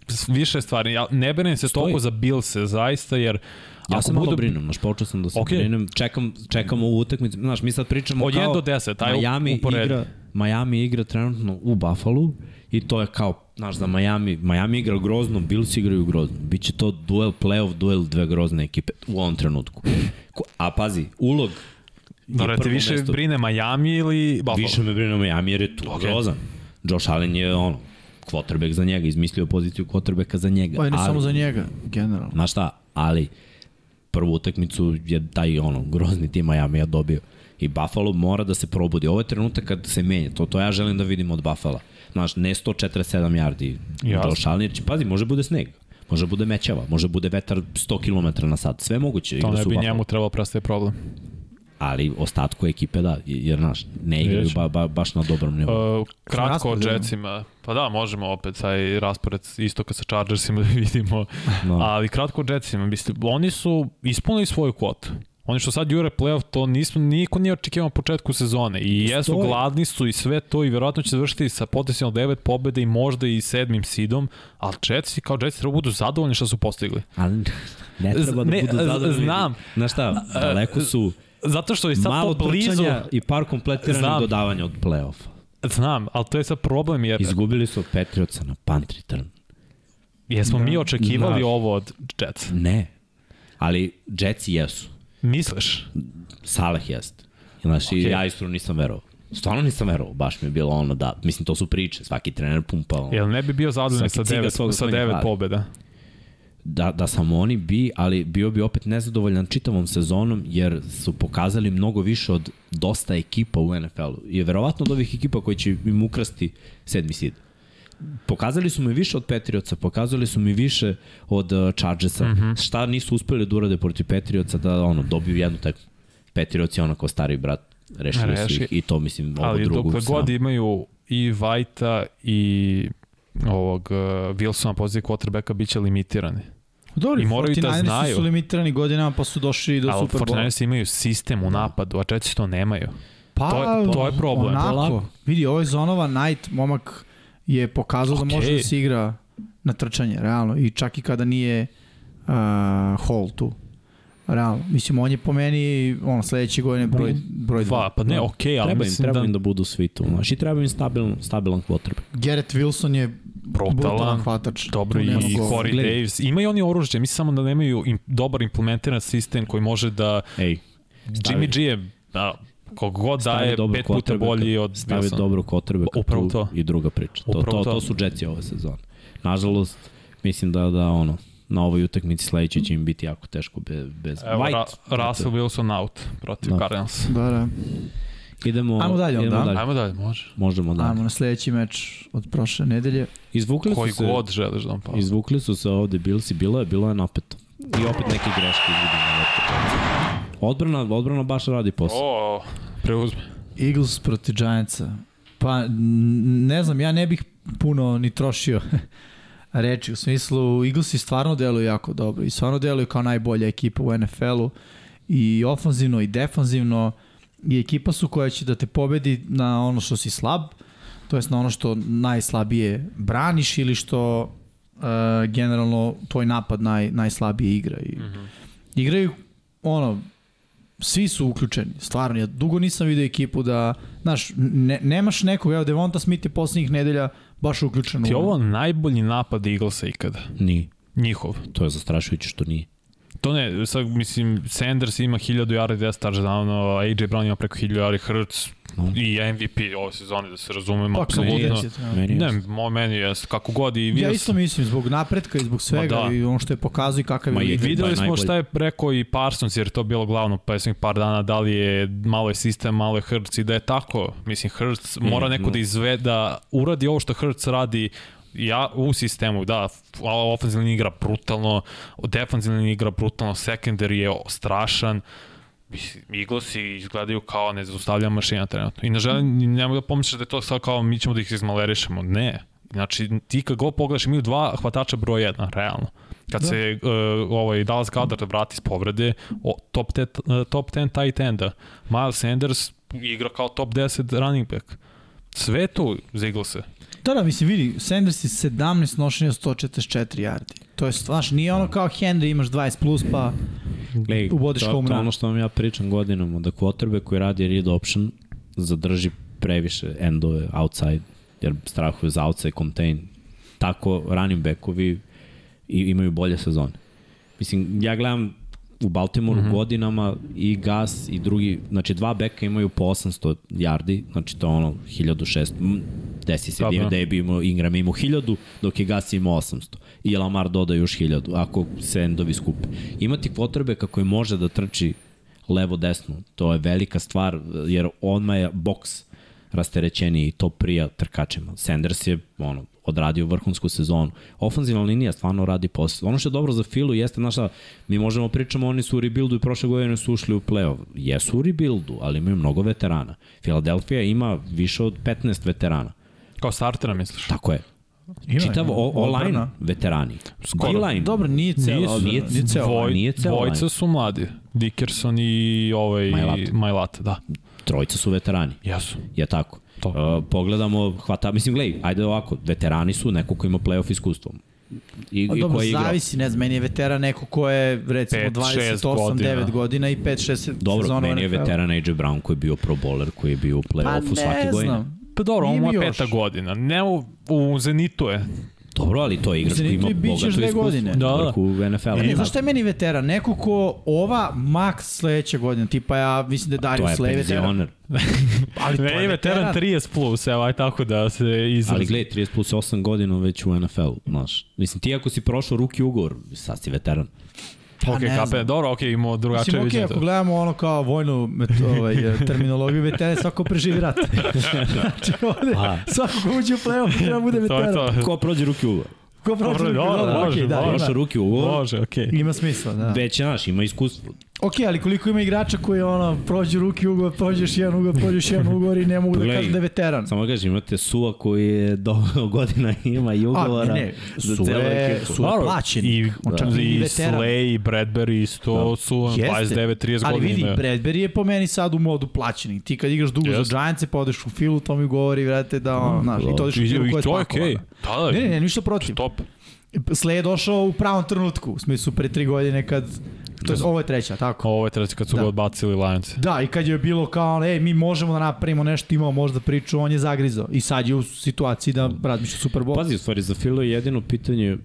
[SPEAKER 3] s- više stvari, ja ne brinem se toliko za Bilse, zaista, jer
[SPEAKER 1] ja
[SPEAKER 3] ako
[SPEAKER 1] se malo
[SPEAKER 3] budu-
[SPEAKER 1] brinem, znaš, počeo sam da se
[SPEAKER 3] Okej.
[SPEAKER 1] okay. brinem, čekam, čekam ovu utakmicu, znaš, mi sad pričamo
[SPEAKER 3] Od
[SPEAKER 1] kao...
[SPEAKER 3] 1 do 10, aj,
[SPEAKER 1] Miami
[SPEAKER 3] uporedi.
[SPEAKER 1] igra, Miami igra trenutno u Buffalo i to je kao, znaš, za Miami, Miami igra grozno, Bills igraju grozno. Biće to duel, playoff, duel dve grozne ekipe u ovom trenutku. Ko, a pazi, ulog je
[SPEAKER 3] Dobro, ti
[SPEAKER 1] prvo
[SPEAKER 3] Da više
[SPEAKER 1] mesto.
[SPEAKER 3] brine Miami ili Buffalo?
[SPEAKER 1] Više me brine Miami jer je tu okay.
[SPEAKER 3] Ok.
[SPEAKER 1] grozan. Josh Allen je ono, quarterback za njega, izmislio poziciju quarterbacka za njega.
[SPEAKER 2] Pa i ne
[SPEAKER 1] ali-
[SPEAKER 2] samo za njega, generalno.
[SPEAKER 1] Znaš šta, ali prvu utakmicu je taj ono, grozni tim Miami ja dobio. I Buffalo mora da se probudi. Ovo je trenutak kad se menja. To, to ja želim da vidim od Buffalo. Znaš, ne 147 yardi
[SPEAKER 3] Jasno.
[SPEAKER 1] Josh Allen, jer će, pazi, može bude sneg. Može bude mećava, može bude vetar 100 km na sat. Sve moguće.
[SPEAKER 3] To
[SPEAKER 1] igra
[SPEAKER 3] ne
[SPEAKER 1] da su u
[SPEAKER 3] bi
[SPEAKER 1] Buffalo.
[SPEAKER 3] njemu trebalo prestaje problem.
[SPEAKER 1] Ali ostatku ekipe da, jer znaš, ne igraju
[SPEAKER 3] Vidjet ćemo.
[SPEAKER 1] ba, ba, baš na dobrom nivou.
[SPEAKER 3] Uh, kratko o
[SPEAKER 2] raspored,
[SPEAKER 3] Jetsima. Pa da, možemo opet taj raspored istoka sa Chargersima da vidimo.
[SPEAKER 1] No.
[SPEAKER 3] No. Ali kratko o Jetsima. Mislim, oni su ispunili svoju kvotu. Oni što sad jure playoff, to nismo, niko nije očekivao na početku sezone. I jesu,
[SPEAKER 1] Stoji.
[SPEAKER 3] gladni su i sve to i verovatno će završiti sa potencijalno devet pobjede i možda i sedmim sidom, ali Jetsi kao Jetsi treba da budu zadovoljni što su postigli.
[SPEAKER 1] Ali ne
[SPEAKER 3] z-
[SPEAKER 1] treba da
[SPEAKER 3] ne,
[SPEAKER 1] budu
[SPEAKER 3] z-
[SPEAKER 1] zadovoljni.
[SPEAKER 3] znam.
[SPEAKER 1] Znaš šta, daleko su
[SPEAKER 3] Zato što je sad
[SPEAKER 1] malo
[SPEAKER 3] to blizu.
[SPEAKER 1] trčanja i par kompletiranih
[SPEAKER 3] Znam.
[SPEAKER 1] dodavanja od play-offa.
[SPEAKER 3] Znam, ali to je sad problem jer
[SPEAKER 1] Izgubili su od Patriotsa na punt return.
[SPEAKER 3] jesmo
[SPEAKER 1] Da.
[SPEAKER 3] mi očekivali
[SPEAKER 1] Znaš.
[SPEAKER 3] ovo od Jetsa.
[SPEAKER 1] Ne. Ali Jetsi jesu.
[SPEAKER 3] Misliš?
[SPEAKER 1] Salah jest. Znaš, okay. i
[SPEAKER 3] Okej.
[SPEAKER 1] ja istru nisam verovao. Stvarno nisam verovao, baš mi je bilo ono da, mislim to su priče, svaki trener pumpa. Ono.
[SPEAKER 3] Jel ne bi bio zadovoljan sa
[SPEAKER 1] Svaki ciga
[SPEAKER 3] devet,
[SPEAKER 1] svog
[SPEAKER 3] sa
[SPEAKER 1] konja
[SPEAKER 3] devet
[SPEAKER 1] hvali.
[SPEAKER 3] pobjeda?
[SPEAKER 1] Da, da samo oni bi, ali bio bi opet nezadovoljan čitavom sezonom jer su pokazali mnogo više od dosta ekipa u NFL-u. I verovatno od ovih ekipa koji će im ukrasti sedmi sid. Pokazali su mi više od Patriotsa, pokazali su mi više od uh, Chargersa. Mm
[SPEAKER 3] Mhm.
[SPEAKER 1] -hmm. Šta nisu uspeli da urade protiv Patriotsa da ono, dobiju jednu takvu. Patriots je ono kao stari brat, rešili Reši.
[SPEAKER 3] Reši.
[SPEAKER 1] su ih i to mislim ovo
[SPEAKER 3] Ali
[SPEAKER 1] drugo.
[SPEAKER 3] dokle
[SPEAKER 1] sram.
[SPEAKER 3] god imaju i Vajta i ovog uh, Wilsona pozicije quarterbacka bit će limitirani.
[SPEAKER 2] Pa Dobro,
[SPEAKER 3] I moraju i da
[SPEAKER 2] 49ersi
[SPEAKER 3] znaju.
[SPEAKER 2] su limitirani godinama pa su došli do
[SPEAKER 3] Ali
[SPEAKER 2] Super Bowla.
[SPEAKER 3] 49 imaju sistem
[SPEAKER 1] Da.
[SPEAKER 3] u napadu, a Jets to nemaju.
[SPEAKER 2] Pa,
[SPEAKER 3] to je- to je problem.
[SPEAKER 2] Onako,
[SPEAKER 1] Polako.
[SPEAKER 2] vidi, ovo je Zonova Knight, momak je pokazao okay. da
[SPEAKER 3] Okej.
[SPEAKER 2] može da se igra na trčanje, realno. I čak i kada nije uh, Hall tu. Realno. Mislim, on je po meni, ono, sledeće godine broj, broj
[SPEAKER 3] Dva,
[SPEAKER 2] dva.
[SPEAKER 3] pa ne, okej, okay, ali
[SPEAKER 1] Treba Da. im,
[SPEAKER 3] mislim
[SPEAKER 1] treba
[SPEAKER 3] da
[SPEAKER 1] im da budu svi tu. Znaš, i treba im stabilan, stabilan quarterback.
[SPEAKER 2] Garrett Wilson je brutalan,
[SPEAKER 3] brutalan,
[SPEAKER 2] hvatač.
[SPEAKER 3] dobro i
[SPEAKER 2] Tu nema govora.
[SPEAKER 3] Corey
[SPEAKER 1] Gledaj.
[SPEAKER 3] Davis. Imaju oni oružje, mislim samo da nemaju im, dobar implementiran sistem koji može da...
[SPEAKER 1] Ej,
[SPEAKER 3] Jimmy G je, da, koliko god
[SPEAKER 1] Stavi
[SPEAKER 3] daje,
[SPEAKER 1] dobrog
[SPEAKER 3] pet puta
[SPEAKER 1] quarterbacka,
[SPEAKER 3] bolji od
[SPEAKER 1] stavi
[SPEAKER 3] Wilsona.
[SPEAKER 1] dobro kotrbe
[SPEAKER 3] Upravo
[SPEAKER 1] tu
[SPEAKER 3] to.
[SPEAKER 1] i druga priča. To, to,
[SPEAKER 3] Upravo to.
[SPEAKER 1] to su Jetsi ove sezone. Nažalost, mislim da da ono na ovoj utakmici sledeće će im biti jako teško bez, bez
[SPEAKER 3] Evo,
[SPEAKER 1] White.
[SPEAKER 3] Ra Russell Wilson out protiv
[SPEAKER 1] Da.
[SPEAKER 3] Cardinals.
[SPEAKER 2] Da, da.
[SPEAKER 1] Idemo,
[SPEAKER 2] Ajmo dalje onda,
[SPEAKER 1] idemo
[SPEAKER 2] a?
[SPEAKER 1] dalje.
[SPEAKER 3] Ajmo dalje, može.
[SPEAKER 1] Možemo dalje.
[SPEAKER 2] Ajmo na sledeći meč od prošle nedelje.
[SPEAKER 1] Izvukli
[SPEAKER 3] Koji
[SPEAKER 1] su se,
[SPEAKER 3] god želiš da vam pa.
[SPEAKER 1] izvukli su se ovde Bills i bilo je, bilo je napeto. I opet neke greške vidimo. Odbrana, odbrana baš radi posao.
[SPEAKER 3] O, preuzme.
[SPEAKER 2] Eagles proti Giantsa. Pa, n- ne znam, ja ne bih puno ni trošio reči. U smislu, Eaglesi stvarno deluju jako dobro i stvarno deluju kao najbolja ekipa u NFL-u i ofanzivno i defanzivno i ekipa su koja će da te pobedi na ono što si slab, to jest na ono što najslabije braniš ili što uh, generalno tvoj napad naj, najslabije igra. I, mm -hmm. Igraju ono, svi su uključeni, stvarno. Ja dugo nisam video ekipu da, znaš, ne, nemaš nekog, evo Devonta Smith je poslednjih nedelja baš uključen.
[SPEAKER 3] Ti je
[SPEAKER 2] u-
[SPEAKER 3] ovo najbolji napad Eaglesa ikada.
[SPEAKER 1] Ni,
[SPEAKER 3] Njihov.
[SPEAKER 1] to je zastrašujuće što nije.
[SPEAKER 3] To ne, sad mislim, Sanders ima 1000 yardi, 10 touchdownova, AJ Brown ima preko 1000 yardi, Hurts
[SPEAKER 1] No.
[SPEAKER 3] i MVP ove sezone, da se razumemo,
[SPEAKER 2] Pa,
[SPEAKER 3] apsolutno.
[SPEAKER 2] kandidat je, da.
[SPEAKER 1] Meni je
[SPEAKER 3] Ne, mo, meni je, kako god i
[SPEAKER 2] Ja
[SPEAKER 3] vidio
[SPEAKER 2] isto
[SPEAKER 3] sam.
[SPEAKER 2] mislim, zbog napretka i zbog svega
[SPEAKER 3] Ma da.
[SPEAKER 2] i ono što je pokazao i kakav
[SPEAKER 1] Ma
[SPEAKER 2] je
[SPEAKER 1] i
[SPEAKER 2] lider.
[SPEAKER 1] vidi-
[SPEAKER 3] Videli
[SPEAKER 1] Ba,
[SPEAKER 3] smo
[SPEAKER 1] najbolji.
[SPEAKER 3] šta je rekao i Parsons, jer to je bilo glavno poslednjih par dana, da li je malo je sistem, malo je Hurts i da je tako. Mislim, Hurts mora neko
[SPEAKER 1] Mm, no.
[SPEAKER 3] da izvede, da uradi ovo što Hurts radi ja, u sistemu, da, ofenzivna igra brutalno, defenzivna igra brutalno, secondary je strašan, Mislim, Eaglesi izgledaju kao nezaustavlja mašina trenutno. I ne želim, ni- nemoj da pomisliš da je to sad kao mi ćemo da ih izmalerišemo. Ne. Znači, ti kad god pogledaš imaju dva hvatača broj jedan, realno. Kad da. se uh, ovaj Dallas Goddard vrati s povrede, o, top, te, uh, top 10 tight enda. Miles Sanders igra kao top 10 running back. Sve je tu za Eaglese.
[SPEAKER 2] Da, da, mislim, vidi, Sanders je 17 nošenja 144 yardi. To je, znaš, nije ono kao Henry, imaš 20 plus, pa
[SPEAKER 1] Gledaj,
[SPEAKER 2] ubodeš
[SPEAKER 1] to,
[SPEAKER 2] home
[SPEAKER 1] to je
[SPEAKER 2] run.
[SPEAKER 1] ono što vam ja pričam godinama, da quarterback koji radi read option zadrži previše endove outside, jer strahuju za outside contain. Tako running backovi i, imaju bolje sezone. Mislim, ja gledam u Baltimoru
[SPEAKER 2] Mhm.
[SPEAKER 1] mm -hmm. godinama i Gas i drugi, znači dva beka imaju po 800 yardi, znači to je ono 1600, mm, desi se
[SPEAKER 3] Dobro.
[SPEAKER 1] da da je bi imao Ingram imao 1000, dok je Gas imao 800. I Lamar doda još 1000, ako se endovi skupe. Imati potrebe kako je može da trči levo desno, to je velika stvar, jer onma je boks rasterećeniji i to prija trkačima. Sanders je ono, odradio vrhunsku sezonu. Ofanzivna linija stvarno radi posao. Ono što je dobro za Filu jeste, znaš šta, mi možemo pričamo, oni su u rebuildu i prošle godine su ušli u play-off. Jesu u rebuildu, ali imaju mnogo veterana. Filadelfija ima više od 15 veterana.
[SPEAKER 3] Kao startera, misliš?
[SPEAKER 2] Pa,
[SPEAKER 1] Tako je.
[SPEAKER 2] Ima,
[SPEAKER 1] Čitav
[SPEAKER 2] ima.
[SPEAKER 1] o- online
[SPEAKER 2] Odbrana.
[SPEAKER 1] veterani.
[SPEAKER 3] Skoro.
[SPEAKER 1] D-line.
[SPEAKER 2] Dobro, nije cela
[SPEAKER 1] Nije-
[SPEAKER 2] odbrana,
[SPEAKER 1] nije-
[SPEAKER 2] nije cela.
[SPEAKER 1] Dvoj- nije ceo
[SPEAKER 3] dvojica
[SPEAKER 1] line.
[SPEAKER 3] su mladi. Dickerson i ovaj,
[SPEAKER 1] Mailata.
[SPEAKER 3] Majlata, da.
[SPEAKER 1] Trojica su veterani.
[SPEAKER 3] Jesu.
[SPEAKER 1] Je tako.
[SPEAKER 3] To.
[SPEAKER 1] Uh, pogledamo, hvata, mislim, glej, ajde ovako, veterani su neko ko ima playoff iskustvo. I,
[SPEAKER 2] A
[SPEAKER 1] i
[SPEAKER 2] Pa dobro,
[SPEAKER 1] koji je igrao.
[SPEAKER 2] zavisi, ne znam, meni je veteran neko ko je recimo
[SPEAKER 3] Pet, šest
[SPEAKER 2] 28,
[SPEAKER 3] godina.
[SPEAKER 2] 9 godina i 5-6
[SPEAKER 1] Dobro,
[SPEAKER 2] sezona u
[SPEAKER 1] meni je
[SPEAKER 2] NFL-u.
[SPEAKER 1] veteran AJ Brown koji je bio pro bowler, koji je bio u
[SPEAKER 2] Pa
[SPEAKER 1] play-offu svake
[SPEAKER 2] ne
[SPEAKER 1] godine.
[SPEAKER 2] znam.
[SPEAKER 3] Pa dobro,
[SPEAKER 2] Nije
[SPEAKER 3] on mu
[SPEAKER 2] mi
[SPEAKER 3] je
[SPEAKER 2] još.
[SPEAKER 3] peta godina. Ne u, u Zenitu je.
[SPEAKER 1] Dobro, ali to je igrač
[SPEAKER 2] Mislim,
[SPEAKER 1] koji ima
[SPEAKER 2] i bit ćeš
[SPEAKER 1] bogato
[SPEAKER 2] dve
[SPEAKER 1] iskustvo.
[SPEAKER 2] godine.
[SPEAKER 1] Da,
[SPEAKER 3] Da, da.
[SPEAKER 1] da. U NFL-u.
[SPEAKER 2] Ne, znaš šta je meni veteran? Neko ko ova maks sledeće godine, tipa ja mislim da je
[SPEAKER 1] Pa To je
[SPEAKER 2] Darius Lej veteran.
[SPEAKER 1] penzioner.
[SPEAKER 2] Ali to
[SPEAKER 4] Ne,
[SPEAKER 2] je
[SPEAKER 4] je veteran
[SPEAKER 2] veteran.
[SPEAKER 4] 30 plus, evo, aj tako da se izrazi.
[SPEAKER 1] Ali gledaj, 30 plus 8 godina već u NFL-u, znaš. Mislim, ti ako si prošao ruki ugovor, sad si veteran.
[SPEAKER 2] Pa
[SPEAKER 3] ok,
[SPEAKER 2] ne
[SPEAKER 3] kape,
[SPEAKER 2] znam.
[SPEAKER 3] dobro, ok, imao drugačije
[SPEAKER 2] Mislim, okej,
[SPEAKER 3] viđenje.
[SPEAKER 2] ako gledamo ono kao vojnu met, ovaj, eh, terminologiju, veteran je svako ko preživi rat. znači, ovde,
[SPEAKER 3] Pa.
[SPEAKER 2] svako ko uđe u play-off treba bude
[SPEAKER 3] to je
[SPEAKER 2] veteran.
[SPEAKER 3] to.
[SPEAKER 1] Ko prođe ruki ugovor?
[SPEAKER 2] Ko prođe,
[SPEAKER 3] Dobro, dobro,
[SPEAKER 2] dobro,
[SPEAKER 3] može,
[SPEAKER 2] okej, da,
[SPEAKER 3] može.
[SPEAKER 2] ima-
[SPEAKER 1] Prošao ruki ugovor,
[SPEAKER 4] Može, okej.
[SPEAKER 2] Ima smisla, da.
[SPEAKER 1] već, znaš, ima iskustvo.
[SPEAKER 2] Ok, ali koliko ima igrača koji ono, prođu ruki ugovor, prođeš jedan ugovor, prođeš jedan ugovor i ne mogu da
[SPEAKER 1] Gledaj.
[SPEAKER 2] kažu da je veteran.
[SPEAKER 1] Samo kažem, imate Suva koji je do godina ima i ugovora.
[SPEAKER 2] A, ne, ne,
[SPEAKER 1] za
[SPEAKER 2] Suva
[SPEAKER 1] celu
[SPEAKER 2] je-
[SPEAKER 1] ekipu.
[SPEAKER 2] Suva je
[SPEAKER 3] Dobro,
[SPEAKER 2] plaćenik.
[SPEAKER 3] I,
[SPEAKER 2] On čak
[SPEAKER 3] da.
[SPEAKER 2] nije
[SPEAKER 3] i
[SPEAKER 2] veteran.
[SPEAKER 3] Slay i Bradbury isto da. su ono,
[SPEAKER 2] Jeste,
[SPEAKER 3] 29-30
[SPEAKER 2] Ali
[SPEAKER 3] godina.
[SPEAKER 2] vidi,
[SPEAKER 3] imaju.
[SPEAKER 2] Bradbury je po meni sad u modu plaćenik. Ti kad igraš dugo
[SPEAKER 3] Jeste.
[SPEAKER 2] za Giantse, pa odeš u filu, to mi govori, vrate, da on, znaš, i to odeš u filu
[SPEAKER 3] I,
[SPEAKER 2] koja
[SPEAKER 3] i
[SPEAKER 2] je
[SPEAKER 3] to je
[SPEAKER 2] spakovana.
[SPEAKER 3] okej. Okay. Da,
[SPEAKER 2] Ne, ne, ne, ništa protiv.
[SPEAKER 3] Top.
[SPEAKER 2] Slay je došao u pravom trenutku, u smislu pre tri godine kad, to je, ovo je treća, tako.
[SPEAKER 3] Ovo je treći kad su
[SPEAKER 2] Da.
[SPEAKER 3] da. ga odbacili Lions.
[SPEAKER 2] Da, i kad je bilo kao, ej, mi možemo da napravimo nešto, imao možda priču, on je zagrizao. I sad je u situaciji da razmišlja Super Bowl.
[SPEAKER 1] Pazi, u stvari, za Filo je jedino pitanje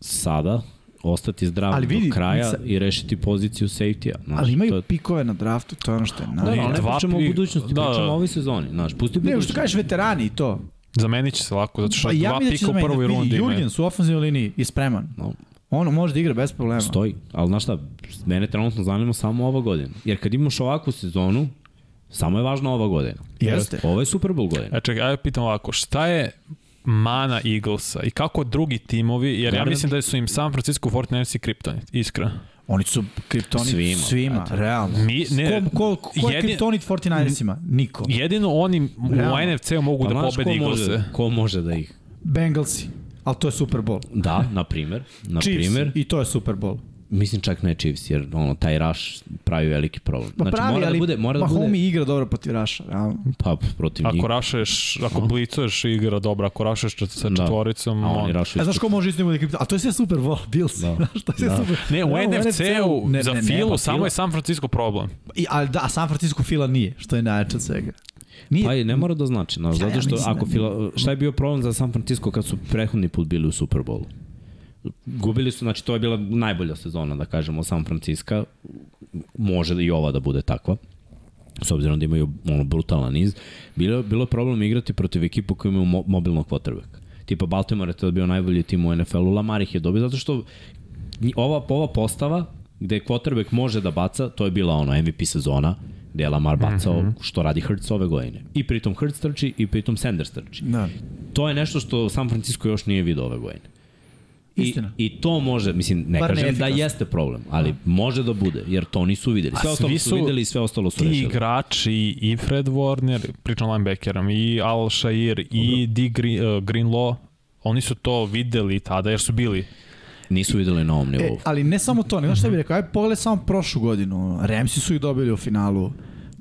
[SPEAKER 1] sada, ostati zdrav
[SPEAKER 2] Ali vidi,
[SPEAKER 1] do kraja
[SPEAKER 2] sa-
[SPEAKER 1] i rešiti poziciju safety-a. znaš,
[SPEAKER 2] ali imaju
[SPEAKER 1] to je-
[SPEAKER 2] pikove na draftu, to je ono što je
[SPEAKER 1] Da,
[SPEAKER 2] najbolje.
[SPEAKER 1] ali
[SPEAKER 3] Ne,
[SPEAKER 1] ne
[SPEAKER 3] dva,
[SPEAKER 1] pričamo o
[SPEAKER 3] tri-
[SPEAKER 1] budućnosti,
[SPEAKER 3] da, da.
[SPEAKER 1] pričamo o ovoj sezoni, znaš, pusti
[SPEAKER 2] Ne, što
[SPEAKER 1] budućnost.
[SPEAKER 2] kažeš veterani i to.
[SPEAKER 3] Zamenit će se lako, zato što
[SPEAKER 2] Pa ja
[SPEAKER 3] dva
[SPEAKER 2] mi da će
[SPEAKER 3] pika
[SPEAKER 2] za
[SPEAKER 3] u
[SPEAKER 2] meni
[SPEAKER 3] prvoj
[SPEAKER 2] vidi,
[SPEAKER 3] rundi imaju.
[SPEAKER 2] Jurgens u ofenzivnoj liniji je spreman.
[SPEAKER 1] No.
[SPEAKER 2] On može da igra bez problema.
[SPEAKER 1] Pa Stoji, ali znaš šta, mene trenutno zanima samo ova godina. Jer kad imaš ovakvu sezonu, samo je važna ova godina.
[SPEAKER 2] Jeste.
[SPEAKER 1] Ovo je Super Bowl godina.
[SPEAKER 3] E čekaj, ajde pitam ovako, šta je mana Eaglesa i kako drugi timovi, jer ja
[SPEAKER 1] Gardner.
[SPEAKER 3] mislim da su im San Francisco 49ers i Kryptonite, iskreno.
[SPEAKER 2] Oni su kriptonit svima,
[SPEAKER 1] Svima,
[SPEAKER 2] svima realno.
[SPEAKER 3] Mi, ne,
[SPEAKER 2] ko, ko, ko je
[SPEAKER 3] jedin-
[SPEAKER 2] kriptonit 49ersima? Niko.
[SPEAKER 3] jedino oni
[SPEAKER 2] Realno. Pa
[SPEAKER 3] u NFC-u mogu da
[SPEAKER 1] Pa znaš
[SPEAKER 3] pobede
[SPEAKER 1] ko
[SPEAKER 3] Eaglese.
[SPEAKER 1] može, ko može da ih...
[SPEAKER 2] Bengalsi. Ali to je Super Bowl.
[SPEAKER 1] Da, na primer. Na
[SPEAKER 2] Chiefs.
[SPEAKER 1] primer.
[SPEAKER 2] I to je Super Bowl.
[SPEAKER 1] Mislim čak ne Chiefs, jer ono, taj Rush pravi veliki problem.
[SPEAKER 2] Pa pravi,
[SPEAKER 1] mora da
[SPEAKER 2] ali
[SPEAKER 1] bude, mora da
[SPEAKER 2] Mahomes
[SPEAKER 1] bude...
[SPEAKER 2] igra dobro protiv Raša. Realno.
[SPEAKER 1] Pa, protiv njih.
[SPEAKER 3] Ako rašeš, ako blicuješ igra dobro, ako rašeš čet- sa
[SPEAKER 1] Da.
[SPEAKER 3] četvoricom,
[SPEAKER 1] A oni
[SPEAKER 3] on,
[SPEAKER 1] Rush...
[SPEAKER 2] E, znaš ko može isto da bude kriptonit? A to je sve Super Bowl. Bills. Da. to je sve Super Da,
[SPEAKER 3] Ne, u
[SPEAKER 2] Realno,
[SPEAKER 3] NFC-u
[SPEAKER 2] ne,
[SPEAKER 3] za
[SPEAKER 2] ne, ne,
[SPEAKER 3] Filu
[SPEAKER 2] pa
[SPEAKER 3] samo je San Francisco problem.
[SPEAKER 2] I, ali da, a San Francisco Fila nije, što je najjače od svega. Nije.
[SPEAKER 1] Pa i ne mora da znači, znaš,
[SPEAKER 2] Ja, ja
[SPEAKER 1] zato što
[SPEAKER 2] mislim
[SPEAKER 1] ako
[SPEAKER 2] da-
[SPEAKER 1] fila, šta je bio problem za San Francisco kad su prethodni put bili u Super Bowlu? Gubili su, znači to je bila najbolja sezona, da kažemo, San Francisco. Može da i ova da bude takva s obzirom da imaju ono brutalan niz, bilo, bilo je problem igrati protiv ekipu koja imaju mo, mobilnog quarterbacka. Tipa Baltimore je tada bio najbolji tim u NFL-u, Lamar ih je dobio, zato što nji- ova, ova postava gde quarterback može da baca, to je bila ono MVP sezona, gde je Lamar bacao mm -hmm. što radi Hurts ove godine. I pritom Hurts trči i pritom Sanders trči.
[SPEAKER 2] Da.
[SPEAKER 1] To je nešto što San Francisco još nije video ove godine. I,
[SPEAKER 2] Istina.
[SPEAKER 1] I to može, mislim, ne
[SPEAKER 2] Bar
[SPEAKER 1] kažem
[SPEAKER 2] neefikasno.
[SPEAKER 1] da jeste problem, ali može da bude, jer to nisu videli. Sve
[SPEAKER 3] A
[SPEAKER 1] ostalo
[SPEAKER 3] svi
[SPEAKER 1] su
[SPEAKER 3] su-
[SPEAKER 1] videli i sve ostalo su
[SPEAKER 3] Ti
[SPEAKER 1] rešili.
[SPEAKER 3] igrači i Fred Warner, pričam linebackerom, i Al Shair, i Di Green, uh, Greenlaw, oni su to videli tada jer su bili.
[SPEAKER 1] Nisu videli na ovom
[SPEAKER 2] E,
[SPEAKER 1] nivou.
[SPEAKER 2] ali ne samo to, ne znaš šta bih rekao, aj pogledaj samo prošlu godinu. Remsi su ih dobili u finalu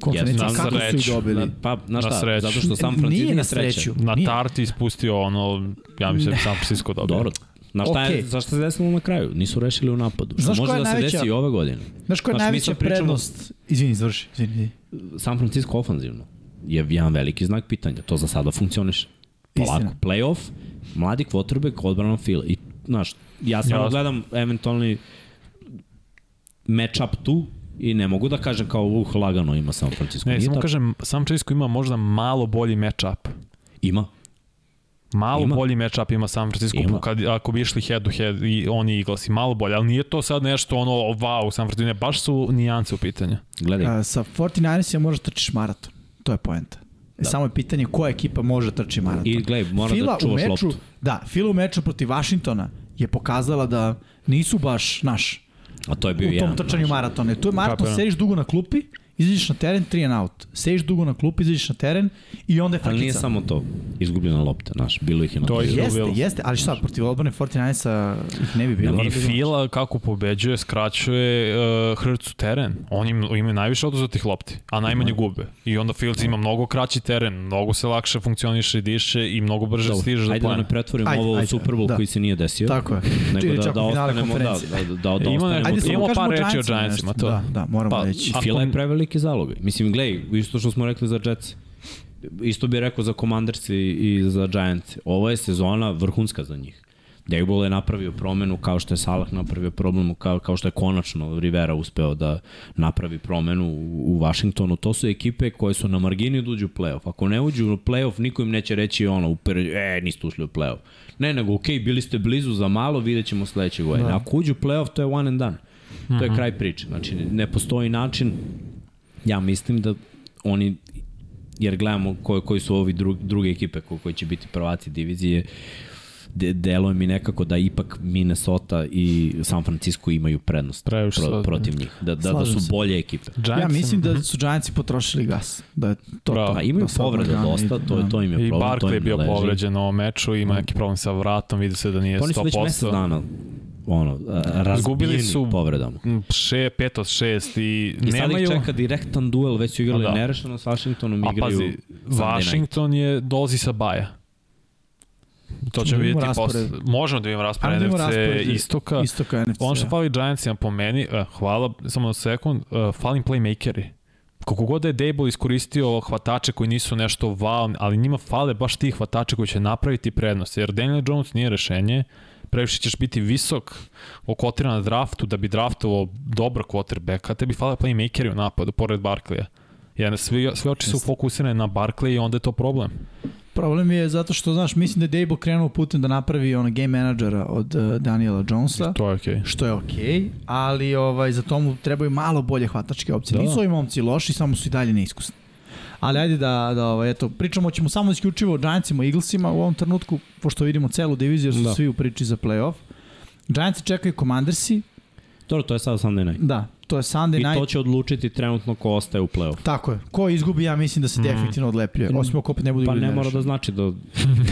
[SPEAKER 2] konferencije,
[SPEAKER 1] Jesmo, na
[SPEAKER 2] kako su ih
[SPEAKER 3] sreću.
[SPEAKER 2] dobili?
[SPEAKER 1] na, pa, znaš
[SPEAKER 3] na
[SPEAKER 1] šta,
[SPEAKER 3] sreću.
[SPEAKER 1] zato što San Francisco
[SPEAKER 2] E, Nije na
[SPEAKER 1] sreća.
[SPEAKER 2] sreću.
[SPEAKER 3] Na
[SPEAKER 2] Nije.
[SPEAKER 3] tarti ispustio ono, ja mislim da bi San Francisco dobio.
[SPEAKER 1] Dobro, Na šta je,
[SPEAKER 2] Okej.
[SPEAKER 1] zašto se desilo na kraju? Nisu rešili u napadu. Što
[SPEAKER 2] Znaš
[SPEAKER 1] može
[SPEAKER 2] koja je
[SPEAKER 1] da se
[SPEAKER 2] najveća-
[SPEAKER 1] desi i ove godine.
[SPEAKER 2] Znaš koja je
[SPEAKER 1] Znaš, mi
[SPEAKER 2] najveća
[SPEAKER 1] sad pričamo-
[SPEAKER 2] prednost? Izvini, završi. Izvini, izvini.
[SPEAKER 1] San Francisco ofanzivno je jedan veliki znak pitanja. To za sada funkcioniše. Polako,
[SPEAKER 2] Istina.
[SPEAKER 1] playoff, mladi quarterback, odbrana fila. I, znaš, ja samo
[SPEAKER 3] Jasno.
[SPEAKER 1] gledam eventualni matchup tu i ne mogu da kažem kao uh, lagano ima San Francisco.
[SPEAKER 3] Ne,
[SPEAKER 1] Nije
[SPEAKER 3] samo
[SPEAKER 1] tako.
[SPEAKER 3] kažem, San Francisco ima možda malo bolji matchup.
[SPEAKER 1] Ima.
[SPEAKER 3] Malo
[SPEAKER 1] Ima.
[SPEAKER 3] ima. bolji matchup ima San Francisco
[SPEAKER 1] Ima.
[SPEAKER 3] ima. kad, ako bi išli head to head i oni i Eaglesi, malo bolje, ali nije to sad nešto ono wow San Francisco, ne, baš su nijance u pitanju.
[SPEAKER 1] Gledaj,
[SPEAKER 2] A, sa 49ersima možeš da trčiš maraton. To je poenta. Da. Samo je pitanje koja ekipa može da trči maraton.
[SPEAKER 1] I gledaj, mora
[SPEAKER 2] Fila
[SPEAKER 1] da čuvaš
[SPEAKER 2] u meču,
[SPEAKER 1] loptu.
[SPEAKER 2] Da, Fila u meču protiv Vašingtona je pokazala da nisu baš naš
[SPEAKER 1] A to je bio
[SPEAKER 2] u
[SPEAKER 1] jedan.
[SPEAKER 2] tom trčanju maratone. Tu je maraton,
[SPEAKER 3] Kapiram.
[SPEAKER 2] sediš dugo na klupi, izađeš na teren, three and out. Sediš dugo na klupi, izađeš na teren i onda je
[SPEAKER 1] Ali nije
[SPEAKER 2] frakica.
[SPEAKER 1] samo to. Izgubljena lopta, znaš, bilo ih je na
[SPEAKER 3] To je-
[SPEAKER 1] kraju.
[SPEAKER 2] Jeste,
[SPEAKER 3] Bilo.
[SPEAKER 2] jeste, ali šta, protiv odbrane 49-a ih ne bi bilo.
[SPEAKER 3] I Fila kako pobeđuje, skraćuje uh, Hrcu teren. On im, ima najviše oduzetih lopti, a najmanje gube. I onda Fields ima mnogo kraći teren, mnogo se lakše funkcioniše i diše i mnogo brže
[SPEAKER 1] Dobro,
[SPEAKER 3] stiže do
[SPEAKER 1] Ajde da
[SPEAKER 3] plana.
[SPEAKER 1] ne pretvorimo
[SPEAKER 2] Ajde,
[SPEAKER 1] ajde, ovo
[SPEAKER 2] ajde,
[SPEAKER 1] u Super Bowl
[SPEAKER 2] da.
[SPEAKER 1] da. koji se nije desio.
[SPEAKER 2] Tako je.
[SPEAKER 1] Nego
[SPEAKER 2] Ili
[SPEAKER 1] da,
[SPEAKER 2] čak
[SPEAKER 1] da
[SPEAKER 2] u finale
[SPEAKER 1] ostanemo, da,
[SPEAKER 2] konferencije.
[SPEAKER 1] da, da, da, da
[SPEAKER 3] Ima
[SPEAKER 1] ostanemo.
[SPEAKER 3] neko-
[SPEAKER 2] Ajde,
[SPEAKER 1] tu.
[SPEAKER 2] samo
[SPEAKER 3] Imamo
[SPEAKER 2] kažemo
[SPEAKER 3] par reči o
[SPEAKER 2] Giantsima
[SPEAKER 3] Giantsima,
[SPEAKER 2] nešto.
[SPEAKER 3] to.
[SPEAKER 2] Da, da, moramo
[SPEAKER 3] Pa,
[SPEAKER 2] reći.
[SPEAKER 3] a-
[SPEAKER 1] I Fila je prevelike zaloge. Mislim, glej, isto što smo rekli za Jets, isto bih rekao za Commanders i, i za Giants. Ovo je sezona vrhunska za njih. Diego Bula je napravio promenu kao što je Salah napravio promenu, kao, kao što je konačno Rivera uspeo da napravi promenu u, u Washingtonu. To su ekipe koje su na margini da uđu u playoff. Ako ne uđu u playoff, niko im neće reći ono, uper, e, niste ušli u playoff. Ne, nego, okej, okay, bili ste blizu za malo, vidjet ćemo sledeće godine. Da. Ako uđu u playoff, to je one and done. To je
[SPEAKER 3] Mhm.
[SPEAKER 1] kraj priče. Znači, ne postoji način, ja mislim da oni jer gledamo koje, koji su ovi drug, druge ekipe ko, koji će biti prvaci divizije, de, deluje mi nekako da ipak Minnesota i San Francisco imaju prednost
[SPEAKER 3] Previše
[SPEAKER 1] pro,
[SPEAKER 3] slažem.
[SPEAKER 1] protiv njih. Da, da, da
[SPEAKER 2] Slažem
[SPEAKER 1] su
[SPEAKER 2] se.
[SPEAKER 1] bolje ekipe.
[SPEAKER 2] Ja mislim da su Giantsi potrošili gas. Da je to,
[SPEAKER 3] Bravo.
[SPEAKER 2] to.
[SPEAKER 1] Pa imaju
[SPEAKER 2] Da sad
[SPEAKER 1] povreda
[SPEAKER 2] Orlando
[SPEAKER 1] dosta,
[SPEAKER 2] ide,
[SPEAKER 1] to,
[SPEAKER 2] da.
[SPEAKER 1] to im je
[SPEAKER 3] I
[SPEAKER 1] problem. to im
[SPEAKER 3] Barkley je
[SPEAKER 1] ne
[SPEAKER 3] bio
[SPEAKER 1] leži.
[SPEAKER 3] povređen u ovom meču, ima neki problem sa vratom, vidi se da nije
[SPEAKER 1] Pa oni su već
[SPEAKER 3] 100%.
[SPEAKER 1] mesec dana ono, a, razbijeni su...
[SPEAKER 3] su-
[SPEAKER 1] povredama.
[SPEAKER 3] Mm, Še, 5 od 6 i,
[SPEAKER 1] I sad
[SPEAKER 3] nemaju...
[SPEAKER 1] ih čeka direktan duel, već su igrali
[SPEAKER 3] A
[SPEAKER 1] da.
[SPEAKER 3] da.
[SPEAKER 1] nerešeno s Washingtonom,
[SPEAKER 3] A
[SPEAKER 1] igraju...
[SPEAKER 3] pazi,
[SPEAKER 1] Sunday night.
[SPEAKER 3] Washington je dolazi sa baja. To ćemo
[SPEAKER 2] Da imamo
[SPEAKER 3] vidjeti posle.
[SPEAKER 2] raspored.
[SPEAKER 3] Možemo da imamo raspored
[SPEAKER 2] Ajmo
[SPEAKER 3] NFC
[SPEAKER 2] da imamo raspored.
[SPEAKER 3] istoka.
[SPEAKER 2] Istoka NFC.
[SPEAKER 3] Ono što fali Giantsima po meni, eh, hvala, samo na sekund, eh, falim playmakeri. Koliko god da je Dable iskoristio hvatače koji nisu nešto wow, ali njima fale baš ti hvatače koji će napraviti prednost, jer Daniel Jones nije rešenje, previše ćeš biti visok okotiran na draftu da bi draftovao dobar quarterbacka, tebi fale playmakeri u napadu, pored Barkleya. Jer svi, sve oči su fokusirane na Barkley i onda je to problem.
[SPEAKER 2] Problem je zato što, znaš, mislim da je Dable krenuo putem da napravi ono game menadžera od uh, Daniela Jonesa,
[SPEAKER 3] To je okej. Okay.
[SPEAKER 2] što je okej, okay, ali ovaj, za to mu trebaju malo bolje hvatačke opcije.
[SPEAKER 3] Da.
[SPEAKER 2] Nisu ovi momci loši, samo su i dalje neiskusni. Ali ajde da, da ovaj, eto, pričamo ćemo samo isključivo o Giantsima i Eaglesima u ovom trenutku, pošto vidimo celu diviziju, jer su
[SPEAKER 3] Da.
[SPEAKER 2] svi u priči za playoff. Giantsi čekaju Commandersi,
[SPEAKER 1] Dobro, to je sad Sunday night.
[SPEAKER 2] da, to je Sunday
[SPEAKER 1] I
[SPEAKER 2] night.
[SPEAKER 1] to će odlučiti trenutno ko ostaje u play-off.
[SPEAKER 2] Tako je. Ko izgubi, ja mislim da se definitivno odlepljuje. Osim ako opet ne budu
[SPEAKER 1] Pa
[SPEAKER 2] igrali
[SPEAKER 1] ne mora
[SPEAKER 2] nerešeno.
[SPEAKER 1] da znači da...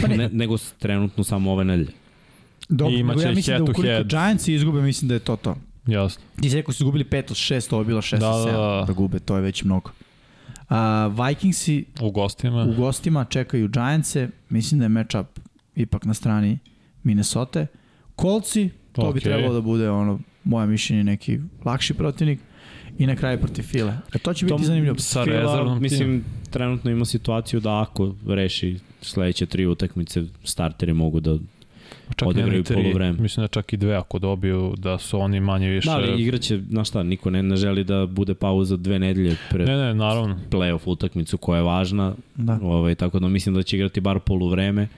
[SPEAKER 2] Pa ne.
[SPEAKER 1] ne, nego s- trenutno samo ove nedelje.
[SPEAKER 2] Dobro,
[SPEAKER 3] I imaće
[SPEAKER 2] nego ja mislim da
[SPEAKER 3] head to
[SPEAKER 2] ukoliko
[SPEAKER 3] head.
[SPEAKER 2] Giants izgube, mislim da je to to.
[SPEAKER 3] Jasno.
[SPEAKER 2] Ti si rekao da su izgubili 5 od 6, ovo je bilo 6
[SPEAKER 3] Da,
[SPEAKER 2] od 7
[SPEAKER 3] da,
[SPEAKER 2] da.
[SPEAKER 3] da.
[SPEAKER 2] da gube, to je već mnogo. A, Vikingsi
[SPEAKER 3] U gostima.
[SPEAKER 2] u gostima čekaju Giantse, mislim da je matchup ipak na strani Minnesota. Kolci, to bi
[SPEAKER 3] Okej.
[SPEAKER 2] trebalo da bude ono, moje mišljenje, neki lakši protivnik. I na kraju protiv File. E, to će biti
[SPEAKER 1] Tom-
[SPEAKER 2] zanimljivo.
[SPEAKER 3] Sa
[SPEAKER 1] Fila,
[SPEAKER 3] rezervnom timom.
[SPEAKER 1] Mislim, trenutno ima situaciju da ako reši sledeće tri utakmice, starteri mogu da...
[SPEAKER 3] Čak
[SPEAKER 1] odigraju
[SPEAKER 3] ne ni tri,
[SPEAKER 1] poluvreme.
[SPEAKER 3] Mislim da čak i dve ako dobiju, da su oni manje više...
[SPEAKER 1] Da, ali igraće, znaš šta, niko ne, ne želi da bude pauza dve nedelje pred
[SPEAKER 3] Ne, ne, naravno.
[SPEAKER 1] play-off utakmicu koja je važna,
[SPEAKER 2] Da.
[SPEAKER 1] ovaj, tako da mislim da će igrati bar poluvreme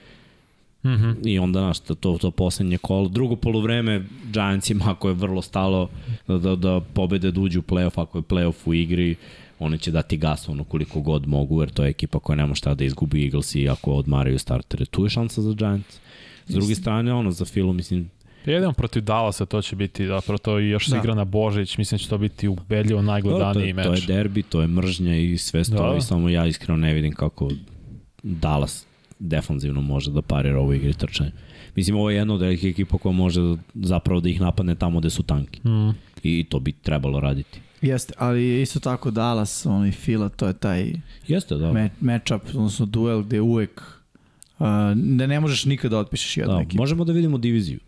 [SPEAKER 3] Mhm.
[SPEAKER 1] i onda znaš, to, to, to poslednje kolo. Drugo poluvreme Giantsima ako je vrlo stalo da, da, da pobede da uđu u play-off, ako je play-off u igri, oni će dati gas ono koliko god mogu, jer to je ekipa koja nema šta da izgubi Eagles i ako odmaraju startere. Tu je šansa za Giants. S druge strane, ono, za Filu, mislim,
[SPEAKER 3] Jedan protiv Dallasa to će biti, zapravo to i još se
[SPEAKER 2] Da.
[SPEAKER 3] igra na Božić, mislim da će to biti ubedljivo
[SPEAKER 1] Dobro, to,
[SPEAKER 3] najgledaniji
[SPEAKER 1] je,
[SPEAKER 3] meč.
[SPEAKER 1] to je derbi, to je mržnja i sve stoji,
[SPEAKER 3] Da.
[SPEAKER 1] samo ja iskreno ne vidim kako Dallas defanzivno može da parira ovo igri trčanje. Mislim, ovo je jedna od velikih ekipa koja može da- zapravo da ih napadne tamo gde su tanki.
[SPEAKER 3] Mm.
[SPEAKER 1] I to bi trebalo raditi.
[SPEAKER 2] Jeste, ali je isto tako Dallas, ono i Fila, to je taj
[SPEAKER 1] Jeste, da.
[SPEAKER 2] me, matchup, odnosno duel gde uvek uh, da ne možeš nikada da otpišeš jednu da,
[SPEAKER 1] da
[SPEAKER 2] ekipu.
[SPEAKER 1] možemo da vidimo diviziju.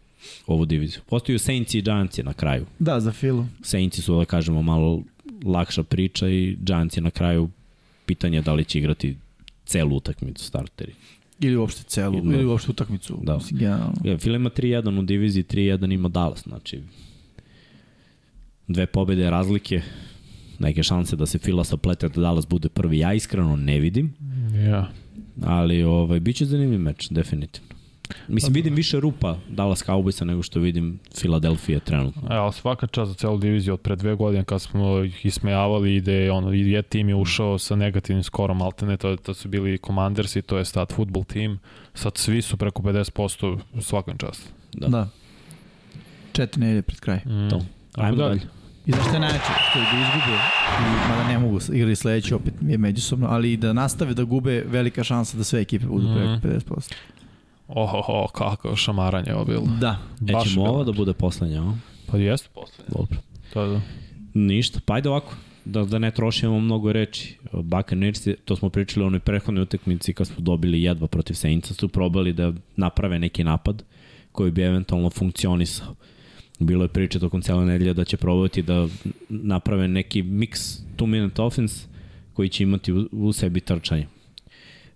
[SPEAKER 1] Ovu diviziju. Postaju Saints i Giants je na kraju.
[SPEAKER 2] Da, za Filu.
[SPEAKER 1] Saints su, da kažemo, malo lakša priča i Giants je na kraju pitanje da li će igrati celu utakmicu starteri.
[SPEAKER 2] Ili uopšte celu,
[SPEAKER 1] Ili-
[SPEAKER 2] ili, uopšte utakmicu.
[SPEAKER 1] Da.
[SPEAKER 2] Mislim, generalno.
[SPEAKER 1] Ja, Fila ima 3-1 u diviziji, 3-1 ima Dallas, znači dve pobede razlike, neke šanse da se Fila saplete da Dallas bude prvi. Ja iskreno ne vidim,
[SPEAKER 3] Ja.
[SPEAKER 1] ali ovaj, bit će zanimljiv meč, definitivno. Mislim, vidim više rupa Dallas Cowboysa nego što vidim Philadelphia trenutno.
[SPEAKER 3] Evo, E, svaka čast za celu diviziju od pre dve godine kad smo ih ismejavali i da je ono, i je tim je ušao sa negativnim skorom, ali ne, to, to su bili Commanders i to je stat futbol tim. Sad svi su preko 50% svakom čast.
[SPEAKER 1] Da.
[SPEAKER 2] Da. da. Četiri nedelje pred kraj.
[SPEAKER 3] Mm.
[SPEAKER 1] To. Ajmo dalje.
[SPEAKER 2] I znaš šta je najjače? Što je da izgube, i, mada ne mogu, igrali sledeći opet je međusobno, ali i da nastave da gube, velika šansa da sve ekipe budu
[SPEAKER 3] Mhm.
[SPEAKER 2] preko 50%.
[SPEAKER 3] Ohoho, kako šamaranje je ovo bilo.
[SPEAKER 2] Da.
[SPEAKER 1] E,
[SPEAKER 3] Baš
[SPEAKER 1] ćemo
[SPEAKER 3] je
[SPEAKER 1] ovo
[SPEAKER 3] bilo.
[SPEAKER 1] da bude poslednja, a?
[SPEAKER 3] Pa jeste poslednje.
[SPEAKER 1] Dobro.
[SPEAKER 3] To je da.
[SPEAKER 1] Ništa, pa ajde ovako, da, da ne trošimo mnogo reči. Buccaneers, to smo pričali u onoj prethodnoj utakmici kad smo dobili jedva protiv Saintsa, su probali da naprave neki napad koji bi eventualno funkcionisao. Bilo je priče tokom cele nedelje da će probati da naprave neki mix two-minute offense koji će imati u, u sebi trčanje.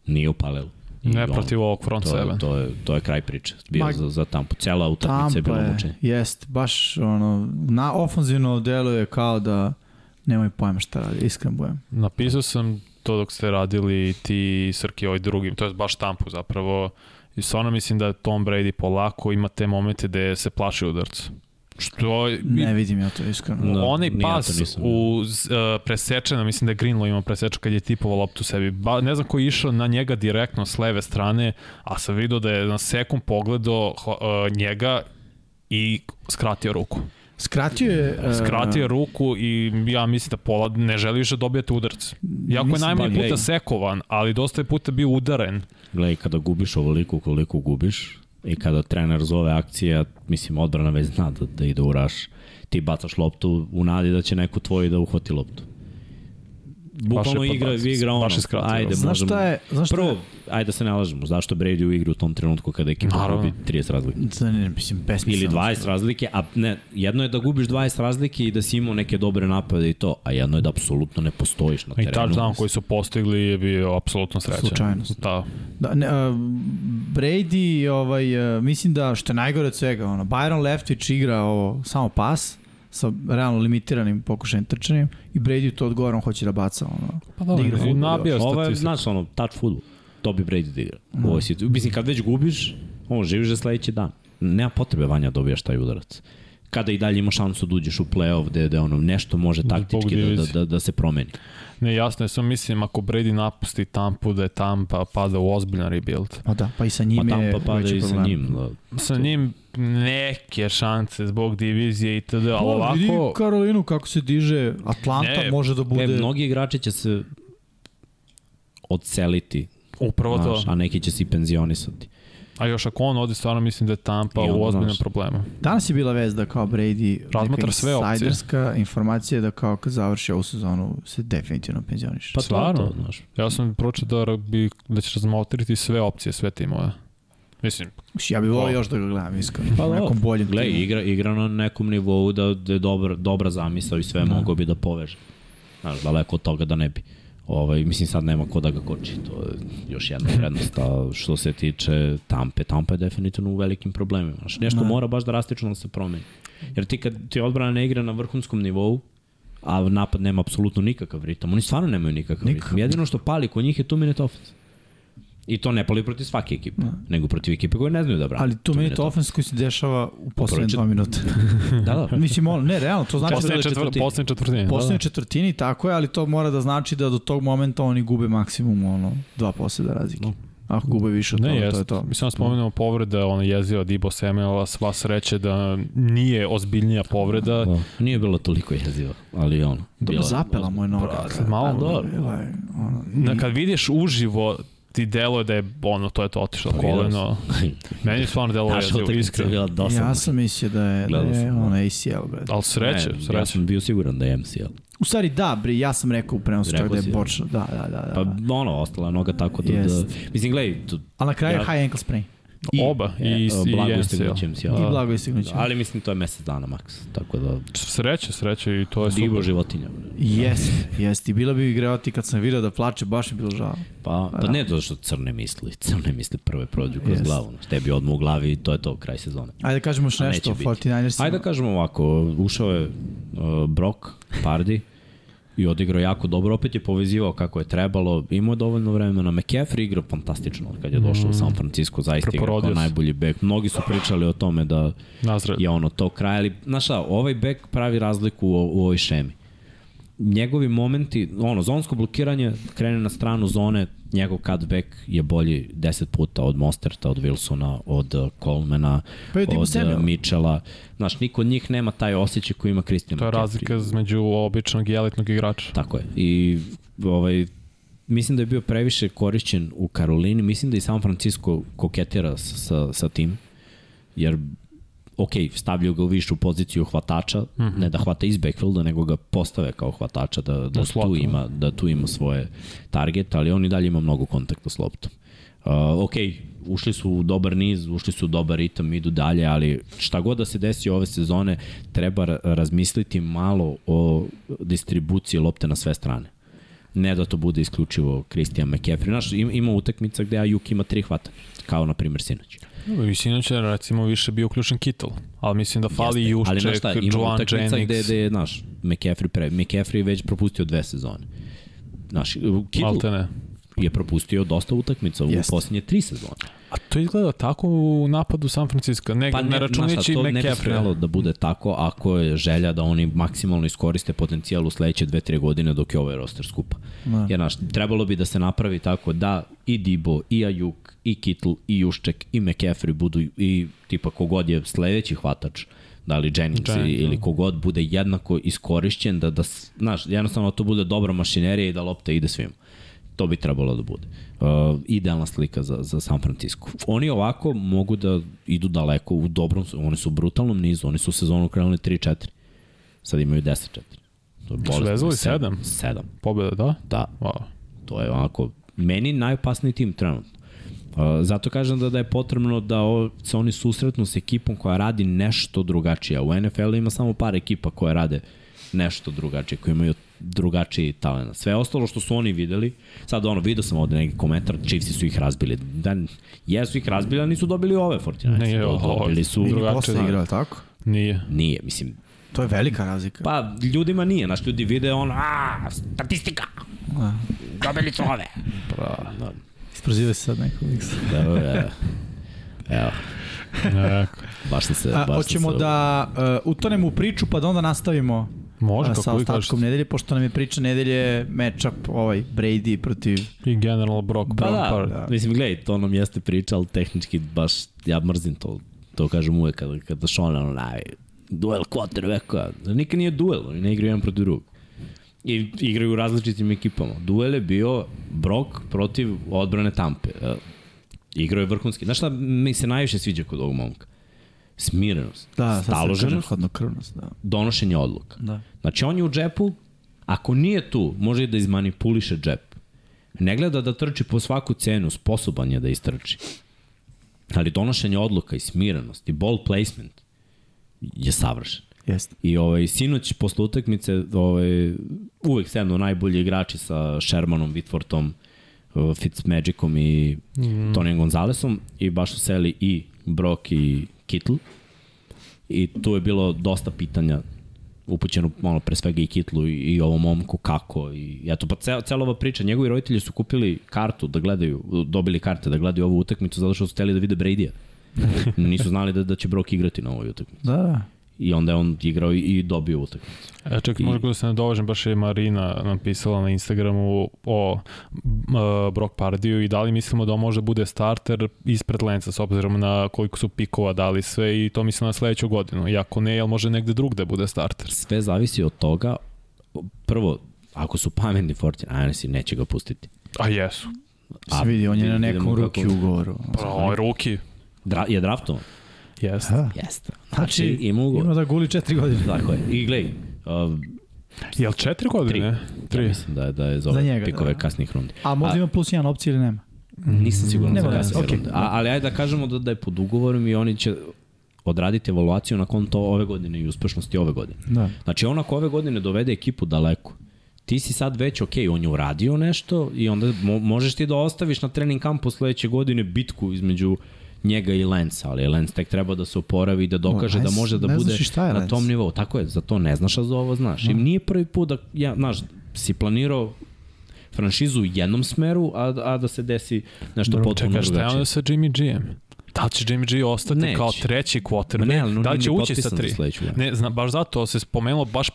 [SPEAKER 1] Nije upalilo. I
[SPEAKER 3] Ne
[SPEAKER 1] on-
[SPEAKER 3] protiv ovog front
[SPEAKER 1] to,
[SPEAKER 3] sebe.
[SPEAKER 1] je, to, je, to je kraj priče. Bio
[SPEAKER 2] Ma-
[SPEAKER 1] za, za Tampu. Cela utakmica je
[SPEAKER 2] Tampa
[SPEAKER 1] bila
[SPEAKER 2] je,
[SPEAKER 1] mučenje.
[SPEAKER 2] jest, baš ono, na ofenzivno deluje kao da nemoj pojma šta radi, iskren budem.
[SPEAKER 1] Da.
[SPEAKER 3] Napisao sam to dok ste radili ti i Srki ovaj drugim, to je baš štampu zapravo. I stvarno mislim da Tom Brady polako ima te momente gde se plaši udarca. Što je-
[SPEAKER 2] Ne vidim ja to iskreno.
[SPEAKER 1] Da,
[SPEAKER 3] onaj
[SPEAKER 1] ni ja to
[SPEAKER 3] pas
[SPEAKER 1] nisam vidio.
[SPEAKER 3] u z- e, presečena, mislim da je Greenlow imao preseču kad je tipovao loptu sebi. Ba, ne znam ko je išao na njega direktno s leve strane, a sam vidio da je na sekund pogledao ho- e, njega i skratio ruku.
[SPEAKER 2] Skratio
[SPEAKER 1] E,
[SPEAKER 2] je... e,
[SPEAKER 3] Skratio je ruku i ja mislim da Polad ne želi više da dobijete udarce. Jako je
[SPEAKER 2] Mislim,
[SPEAKER 3] najmanje
[SPEAKER 1] pa,
[SPEAKER 3] puta
[SPEAKER 1] gledaj.
[SPEAKER 3] sekovan, ali dosta je puta bio udaren.
[SPEAKER 1] Gledaj, kada gubiš ovoliko koliko gubiš i kada trener zove akcija, mislim, odbrana već zna da, da ide u raš. Ti bacaš loptu u nadi da će neko tvoj da uhvati loptu. Bukvalno
[SPEAKER 3] je
[SPEAKER 1] igra,
[SPEAKER 3] podbacio,
[SPEAKER 1] igra ono.
[SPEAKER 3] baš je skratio.
[SPEAKER 1] Ajde,
[SPEAKER 2] Znaš
[SPEAKER 1] možemo-
[SPEAKER 2] šta je- znaš šta je-
[SPEAKER 1] Prvo, ajde da se ne lažemo. Zašto Brady u igru u tom trenutku kada ekipa
[SPEAKER 3] Naravno.
[SPEAKER 1] gubi 30 razlike?
[SPEAKER 2] Ne, ne, mislim, besmisleno.
[SPEAKER 1] Ili 20 razlike, a ne, jedno je da gubiš 20 razlike i da si imao neke dobre napade i to, a jedno je da apsolutno ne postojiš na
[SPEAKER 3] I
[SPEAKER 1] terenu.
[SPEAKER 3] touchdown koji su postigli je bio apsolutno srećan.
[SPEAKER 2] Slučajnost.
[SPEAKER 3] Da.
[SPEAKER 2] Da, ne, a, Brady, ovaj, a, mislim da, što je najgore od svega, ono, Byron Leftwich igra ovo, samo pas, sa realno limitiranim pokušajem trčanjem i Brady to odgovara, on hoće da baca. Ono.
[SPEAKER 3] Pa
[SPEAKER 2] da igra fudbal.
[SPEAKER 3] nabija
[SPEAKER 1] Ovo je,
[SPEAKER 3] statistiku.
[SPEAKER 1] znaš, ono, touch football. To bi Brady da igra. U ovoj situaciji. Mislim, kad već gubiš, ono, živiš za sledeći dan. Nema potrebe, Vanja, dobijaš taj udarac. Kada i dalje imaš šansu da uđeš u play-off, gde, gde ono, nešto može taktički da, da,
[SPEAKER 3] divizije.
[SPEAKER 1] da, da se promeni.
[SPEAKER 3] Ne, jasno je, samo mislim ako Brady napusti Tampu da je Tampa pada u ozbiljan rebuild.
[SPEAKER 2] Pa da, pa i sa njime
[SPEAKER 1] Pa
[SPEAKER 2] je
[SPEAKER 1] Tampa pada
[SPEAKER 2] veći
[SPEAKER 1] i sa
[SPEAKER 2] problem.
[SPEAKER 1] njim. Da.
[SPEAKER 3] Sa njim neke šanse zbog divizije i td. Ali
[SPEAKER 2] Pa, vidi
[SPEAKER 3] ovako...
[SPEAKER 2] Karolinu kako se diže, Atlanta
[SPEAKER 3] Ne,
[SPEAKER 2] može da bude...
[SPEAKER 1] E, mnogi igrači će se odseliti,
[SPEAKER 3] Upravo to.
[SPEAKER 1] znaš, a neki će se i penzionisati. Pa
[SPEAKER 3] A još ako on ode, stvarno mislim da je Tampa
[SPEAKER 1] I onda,
[SPEAKER 3] u ozbiljnom
[SPEAKER 1] znaš.
[SPEAKER 3] problemu.
[SPEAKER 2] Danas je bila vez da kao Brady neka
[SPEAKER 3] Razmatra sve opcije.
[SPEAKER 2] insajderska informacija da kao kad završi ovu sezonu se definitivno penzioniše.
[SPEAKER 1] Pa to,
[SPEAKER 3] Stvarno?
[SPEAKER 1] je to, znaš.
[SPEAKER 3] Ja sam pročitao da, bi, da će razmotriti sve opcije, sve timove. Mislim,
[SPEAKER 2] ja bih volio
[SPEAKER 3] Pa.
[SPEAKER 2] još da ga gledam iskreno.
[SPEAKER 1] Pa
[SPEAKER 2] Pa,
[SPEAKER 1] da.
[SPEAKER 2] nekom boljem
[SPEAKER 1] Gle,
[SPEAKER 2] timu.
[SPEAKER 1] igra, igra na nekom nivou da, da je dobra, dobra zamisao i sve da. mogao bi da poveže. Znaš, daleko od toga da ne bi. Ovaj, mislim, sad nema ko da ga koči. To je još jedna prednost. A što se tiče Tampe, Tampa je definitivno u velikim problemima. Znaš, nešto
[SPEAKER 2] Da.
[SPEAKER 1] mora baš drastično da se promeni. Jer ti kad ti odbrana ne igra na vrhunskom nivou, a napad nema apsolutno nikakav ritam. Oni stvarno nemaju nikakav
[SPEAKER 2] Nikakav.
[SPEAKER 1] ritam. Jedino što pali kod njih je two minute offense. I to ne pali protiv svake ekipe, nego protiv ekipe koje ne znaju da brane.
[SPEAKER 2] Da. Ali tu
[SPEAKER 1] Two
[SPEAKER 2] meni
[SPEAKER 1] minute
[SPEAKER 2] to ofens koji se dešava u poslednje
[SPEAKER 1] Proleće-
[SPEAKER 2] dva minuta.
[SPEAKER 1] offense. Da, da.
[SPEAKER 2] Mislim, ono, ne, realno, to znači da
[SPEAKER 1] Poslednje
[SPEAKER 3] poslednje
[SPEAKER 1] četvr-
[SPEAKER 3] četvrtine.
[SPEAKER 1] četvrtine.
[SPEAKER 3] Poslednje da, četvrtine,
[SPEAKER 2] poslednje četvrtini, tako je, ali to mora da znači da do tog momenta oni gube maksimum, ono, dva poseda razlike.
[SPEAKER 1] No.
[SPEAKER 2] Ako gube više od
[SPEAKER 3] Ne,
[SPEAKER 2] toga,
[SPEAKER 3] jest.
[SPEAKER 2] to je to.
[SPEAKER 1] Mhm.
[SPEAKER 3] Mislim, spomenemo povreda, ona jezio Dibo Semela, sva sreće da nije ozbiljnija povreda.
[SPEAKER 1] Da. Nije bilo toliko jezivo, ali ono.
[SPEAKER 2] Dobro,
[SPEAKER 1] bilo je
[SPEAKER 2] zapela mu je noga.
[SPEAKER 3] Brate, malo,
[SPEAKER 2] dobro.
[SPEAKER 3] dobro. Na, kad vidiš uživo, ti deluje da je, ono, to je to otišlo
[SPEAKER 1] Pa, vidio
[SPEAKER 3] koleno. Meni je stvarno delo
[SPEAKER 1] Naša
[SPEAKER 3] jezivo,
[SPEAKER 1] utakmica je
[SPEAKER 3] iskreno.
[SPEAKER 1] bila dosadna.
[SPEAKER 2] Ja sam mislio da je, da
[SPEAKER 1] Gledao
[SPEAKER 2] je
[SPEAKER 1] sam, da.
[SPEAKER 2] ono ACL, bre.
[SPEAKER 3] Ali sreće,
[SPEAKER 1] Ne, Ja
[SPEAKER 3] sreće.
[SPEAKER 1] sam bio siguran da je MCL.
[SPEAKER 2] U stvari da, bre, ja sam rekao u prenosu čak
[SPEAKER 1] Rekao
[SPEAKER 2] da je
[SPEAKER 1] si, da.
[SPEAKER 2] bočno. Da, da, da. da.
[SPEAKER 1] Pa ono, ostala je noga tako da...
[SPEAKER 2] Jest.
[SPEAKER 1] da mislim, gledaj, tu,
[SPEAKER 2] Ali na kraju
[SPEAKER 1] Ja-
[SPEAKER 2] je high ankle sprain.
[SPEAKER 1] i-
[SPEAKER 3] Oba, i, i,
[SPEAKER 1] e, blago istegnuće
[SPEAKER 3] MCL.
[SPEAKER 1] MCL.
[SPEAKER 2] I
[SPEAKER 3] Da.
[SPEAKER 2] blago je signuće.
[SPEAKER 1] ali mislim to je mesec dana maks, tako da...
[SPEAKER 3] Sreće, sreće i to je
[SPEAKER 1] Divo
[SPEAKER 3] super.
[SPEAKER 1] životinja. bre.
[SPEAKER 2] Jest, jest. I bila bi igrevati kad sam vidio da plače, baš mi bilo žao.
[SPEAKER 1] Pa, pa
[SPEAKER 2] da.
[SPEAKER 1] ne to što crne misli, crne misli prve prođu kroz
[SPEAKER 2] Jest.
[SPEAKER 1] glavu. znaš, Tebi odmah u glavi i to je to, kraj sezone.
[SPEAKER 2] Ajde da kažemo još
[SPEAKER 1] A neće
[SPEAKER 2] nešto o
[SPEAKER 1] biti.
[SPEAKER 2] 49ersima.
[SPEAKER 1] Ajde da kažemo ovako, ušao je uh, Brock, Pardi, i odigrao jako dobro, opet je povezivao kako je trebalo, imao je dovoljno vremena, McCaffrey igrao fantastično od kad je došao u San Francisco, zaista igrao
[SPEAKER 3] Preporodio
[SPEAKER 1] kao
[SPEAKER 3] se.
[SPEAKER 1] najbolji bek. Mnogi su pričali o tome da
[SPEAKER 3] Nazred.
[SPEAKER 1] je ono to kraj, ali znaš šta, ovaj bek pravi razliku u, u ovoj šemi. Njegovi momenti, ono, zonsko blokiranje krene na stranu zone, njegov cutback je bolji 10 puta od Mosterta, od Wilsona, od uh, Colemana,
[SPEAKER 2] Pa je
[SPEAKER 1] od
[SPEAKER 2] Debo Samuel.
[SPEAKER 1] uh, Mitchella. Znaš, niko od njih nema taj osjećaj koji ima Christian
[SPEAKER 3] To je
[SPEAKER 1] McCaffrey.
[SPEAKER 3] razlika između običnog i elitnog igrača.
[SPEAKER 1] Tako je. I ovaj, mislim da je bio previše korišćen u Karolini. Mislim da i San Francisco koketira s- sa, sa tim. Jer ok, stavljaju ga u višu poziciju hvatača, mm -hmm. ne da hvata iz backfielda, nego ga postave kao hvatača da, da,
[SPEAKER 3] Mhm. U slotu.
[SPEAKER 1] tu, ima, da tu ima svoje target, ali on i dalje ima mnogo kontakta s loptom. Uh, ok, ušli su u dobar niz, ušli su u dobar ritam, idu dalje, ali šta god da se desi ove sezone, treba ra- razmisliti malo o distribuciji lopte na sve strane. ne da to bude isključivo Christian McCaffrey. Znaš, im- ima utakmica gde Ajuk ima tri hvata, kao na primjer sinoć.
[SPEAKER 3] Dobro, i sinoć je recimo više bio uključen Kittel, ali mislim da fali
[SPEAKER 1] Jeste, ali znaš
[SPEAKER 3] Jušček,
[SPEAKER 1] šta, ima
[SPEAKER 3] Joan
[SPEAKER 1] utakmica
[SPEAKER 3] Jennings.
[SPEAKER 1] gde, gde je, znaš, McCaffrey, pre, McCaffrey je već propustio dve sezone. Znaš, e, Kittle
[SPEAKER 3] Malte ne.
[SPEAKER 1] je propustio dosta utakmica u
[SPEAKER 2] Jeste.
[SPEAKER 1] posljednje tri sezone.
[SPEAKER 3] A to izgleda tako u napadu San Francisco, ne, E, ne,
[SPEAKER 1] znaš
[SPEAKER 3] računajući
[SPEAKER 1] šta, to Pa ne bi smelo
[SPEAKER 3] McCaffrey.
[SPEAKER 1] da bude tako ako je želja da oni maksimalno iskoriste potencijal u sledeće 2-3 godine dok je ovaj roster skupa.
[SPEAKER 2] Da.
[SPEAKER 1] Jer, znaš, trebalo bi da se napravi tako da i Dibo, i Ajuk, i Kitl, i Jušček, i McCaffrey budu i tipa kogod je sledeći hvatač, da li Jennings,
[SPEAKER 3] Jennings,
[SPEAKER 1] Jennings ili kogod bude jednako iskorišćen, da, da s- znaš, jednostavno to bude dobra mašinerija i da lopta ide svima. To bi trebalo da bude. Uh, idealna slika za, za San Francisco. Oni ovako mogu da idu daleko u dobrom, su- oni su u brutalnom nizu, oni su u sezonu krenuli 3-4, sad imaju 10-4. To je bolest.
[SPEAKER 3] vezali sedam?
[SPEAKER 1] 7,
[SPEAKER 3] Pobeda, da?
[SPEAKER 1] da.
[SPEAKER 3] Wow.
[SPEAKER 1] To je onako, meni najopasniji tim trenutno. Uh, zato kažem da, da je potrebno da o, se oni susretnu s ekipom koja radi nešto drugačije. A U NFL-u ima samo par ekipa koje rade nešto drugačije, koje imaju drugačiji talent. Sve ostalo što su oni videli, sad ono, vidio sam ovde neki komentar, Chiefs su ih razbili. Da, jesu ih razbili, a nisu dobili ove 49.
[SPEAKER 3] Nije, ovo-
[SPEAKER 1] dobili su...
[SPEAKER 3] Ili
[SPEAKER 2] Drugače,
[SPEAKER 3] drugačije,
[SPEAKER 2] posle
[SPEAKER 3] da.
[SPEAKER 2] igrao, tako?
[SPEAKER 3] Nije.
[SPEAKER 1] Nije, mislim,
[SPEAKER 2] To je velika razlika.
[SPEAKER 1] Pa, ljudima nije, znaš, ljudi vide ono, a, statistika, dobili su ove. Da,
[SPEAKER 2] Isprozive se sad neko.
[SPEAKER 1] da, da, da. Evo,
[SPEAKER 3] Ne,
[SPEAKER 1] baš sam se...
[SPEAKER 2] A,
[SPEAKER 1] baš sam
[SPEAKER 2] E, hoćemo
[SPEAKER 1] se,
[SPEAKER 2] da uh, utonemo u priču pa da onda nastavimo
[SPEAKER 3] može,
[SPEAKER 2] a, sa
[SPEAKER 3] kako vi
[SPEAKER 2] ostatkom
[SPEAKER 3] kažete.
[SPEAKER 2] nedelje, pošto nam je priča nedelje matchup ovaj Brady protiv...
[SPEAKER 3] I General Brock
[SPEAKER 1] Pa
[SPEAKER 3] Brown
[SPEAKER 1] da,
[SPEAKER 3] Park.
[SPEAKER 1] da, mislim, gledaj, to nam jeste priča, ali tehnički baš, ja mrzim to, to kažem uvek kada, kada Sean, ono, naj, duel quarterbacka, nikad nije duel, oni ne igraju jedan protiv drugog. I igraju u različitim ekipama. Duel je bio Brock protiv odbrane Tampe. E, Igrao je vrhunski. Znaš šta mi se najviše sviđa kod ovog momka? Smirenost,
[SPEAKER 2] Da, sad se kaže
[SPEAKER 1] staloženost,
[SPEAKER 2] hladnokrvnost, da.
[SPEAKER 1] donošenje odluka.
[SPEAKER 2] da.
[SPEAKER 1] Znači on je u džepu, ako nije tu, može i da izmanipuliše džep. Ne gleda da trči po svaku cenu, sposoban je da istrči. Ali donošenje odluka i smirenost i ball placement je savršen.
[SPEAKER 2] Jeste.
[SPEAKER 1] I ovaj, sinoć posle utakmice ovaj, uvek sednu najbolji igrači sa Shermanom, Whitfortom, eh, Fitzmagicom i mm. Tonijem Gonzalesom i baš su seli i Brock i Kittle i tu je bilo dosta pitanja upućeno ono, pre svega i Kitlu i, i ovom momku kako i eto pa cel, cela ova priča njegovi roditelji su kupili kartu da gledaju dobili karte da gledaju ovu utakmicu zato što su hteli da vide Bradya nisu znali da, da će Brock igrati na ovoj utakmici
[SPEAKER 2] Da, da.
[SPEAKER 1] i onda je on igrao i, i dobio utakmicu
[SPEAKER 3] E, čekaj, možda da se ne dovažem, baš je Marina nam pisala na Instagramu o m, e, Brock Pardiju i da li mislimo da on može da bude starter ispred Lenca s obzirom na koliko su pikova dali sve i to mislim na sledeću godinu. I ako ne, jel može negde drug da bude starter?
[SPEAKER 1] sve zavisi od toga prvo ako su pametni Fortin Ajnesi neće ga pustiti
[SPEAKER 3] A jesu.
[SPEAKER 1] A,
[SPEAKER 2] Se vidi, on je
[SPEAKER 1] vidimo
[SPEAKER 2] na nekom
[SPEAKER 1] kako-
[SPEAKER 2] ruki ugovoru.
[SPEAKER 3] Pa, ovo je ruki.
[SPEAKER 1] Dra, je draftovan
[SPEAKER 3] Jeste.
[SPEAKER 2] Da.
[SPEAKER 1] jeste znači
[SPEAKER 2] Znači,
[SPEAKER 1] ima ugovor
[SPEAKER 2] ima da guli četiri godine.
[SPEAKER 1] Tako je. I glej, uh,
[SPEAKER 3] Jel četiri godine?
[SPEAKER 1] ja mislim da, je- da je za,
[SPEAKER 2] Za
[SPEAKER 1] ove
[SPEAKER 2] njega,
[SPEAKER 1] pikove
[SPEAKER 2] da.
[SPEAKER 1] kasnih rundi.
[SPEAKER 2] A
[SPEAKER 1] A-
[SPEAKER 2] možda ima plus jedan opcija ili nema?
[SPEAKER 1] Nisam siguran
[SPEAKER 2] Nema
[SPEAKER 1] za
[SPEAKER 2] veze,
[SPEAKER 1] kasne
[SPEAKER 2] okej.
[SPEAKER 1] runde. A, ali ajde da kažemo da, da je pod ugovorom i oni će odraditi evaluaciju na konto ove godine i uspešnosti ove godine.
[SPEAKER 2] Da.
[SPEAKER 1] Znači on ako ove godine dovede ekipu daleko, ti si sad već, ok, on je uradio nešto i onda mo možeš ti da ostaviš na trening kampu sledeće godine bitku između njega i Lensa, ali Lens tek treba da se oporavi i da dokaže
[SPEAKER 2] Lens,
[SPEAKER 1] da može da
[SPEAKER 2] ne
[SPEAKER 1] bude
[SPEAKER 2] znaš i šta je
[SPEAKER 1] na
[SPEAKER 2] Lens.
[SPEAKER 1] tom nivou. Tako je, za to ne znaš, a za ovo znaš. I nije prvi put da, ja, znaš, si planirao franšizu u jednom smeru, a, a da se desi nešto Bro, potpuno
[SPEAKER 3] Čekaj, šta je
[SPEAKER 1] drugačije.
[SPEAKER 3] onda sa Jimmy G-em? Da li će Jimmy G ostati
[SPEAKER 1] Neće.
[SPEAKER 3] Neće. kao treći
[SPEAKER 1] Ma
[SPEAKER 3] quarterback?
[SPEAKER 1] ne, ali on
[SPEAKER 3] da li
[SPEAKER 1] nije
[SPEAKER 3] će
[SPEAKER 1] ni
[SPEAKER 3] ući sa
[SPEAKER 1] potpisan
[SPEAKER 3] tri?
[SPEAKER 1] za sledeću godinu.
[SPEAKER 3] Ne, zna, baš zato se spomenulo baš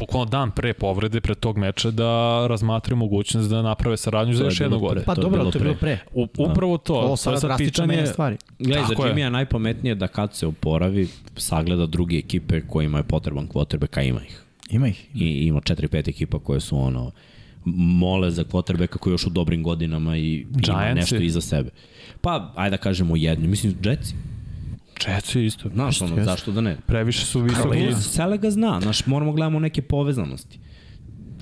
[SPEAKER 3] pokolno dan pre povrede, pre tog meča, da razmatraju mogućnost da naprave saradnju za
[SPEAKER 1] je
[SPEAKER 3] još
[SPEAKER 1] bilo
[SPEAKER 3] jednu
[SPEAKER 1] pre.
[SPEAKER 3] godinu.
[SPEAKER 2] Pa
[SPEAKER 1] E, To je
[SPEAKER 2] dobro,
[SPEAKER 1] bilo
[SPEAKER 2] to je bilo
[SPEAKER 1] pre.
[SPEAKER 2] pre.
[SPEAKER 3] U, upravo to.
[SPEAKER 2] Ovo
[SPEAKER 3] to je
[SPEAKER 2] sada drastično menja stvari.
[SPEAKER 1] Gledaj, za
[SPEAKER 3] Tako je.
[SPEAKER 1] Jimmy je najpametnije da kad se oporavi, sagleda druge ekipe kojima je potreban quarterback, a ima ih.
[SPEAKER 2] Ima ih.
[SPEAKER 1] i ima 4-5 ekipa koje su ono mole za quarterbacka koji je još u dobrim godinama i ima
[SPEAKER 3] Giantsi.
[SPEAKER 1] nešto iza sebe. Pa, ajde da kažemo jednu. Mislim, Jetsi.
[SPEAKER 3] Četci isto.
[SPEAKER 1] Znaš, ono, zašto da ne?
[SPEAKER 3] Previše su visoki.
[SPEAKER 1] Plus, Sele ga zna. Znaš, moramo da gledamo neke povezanosti.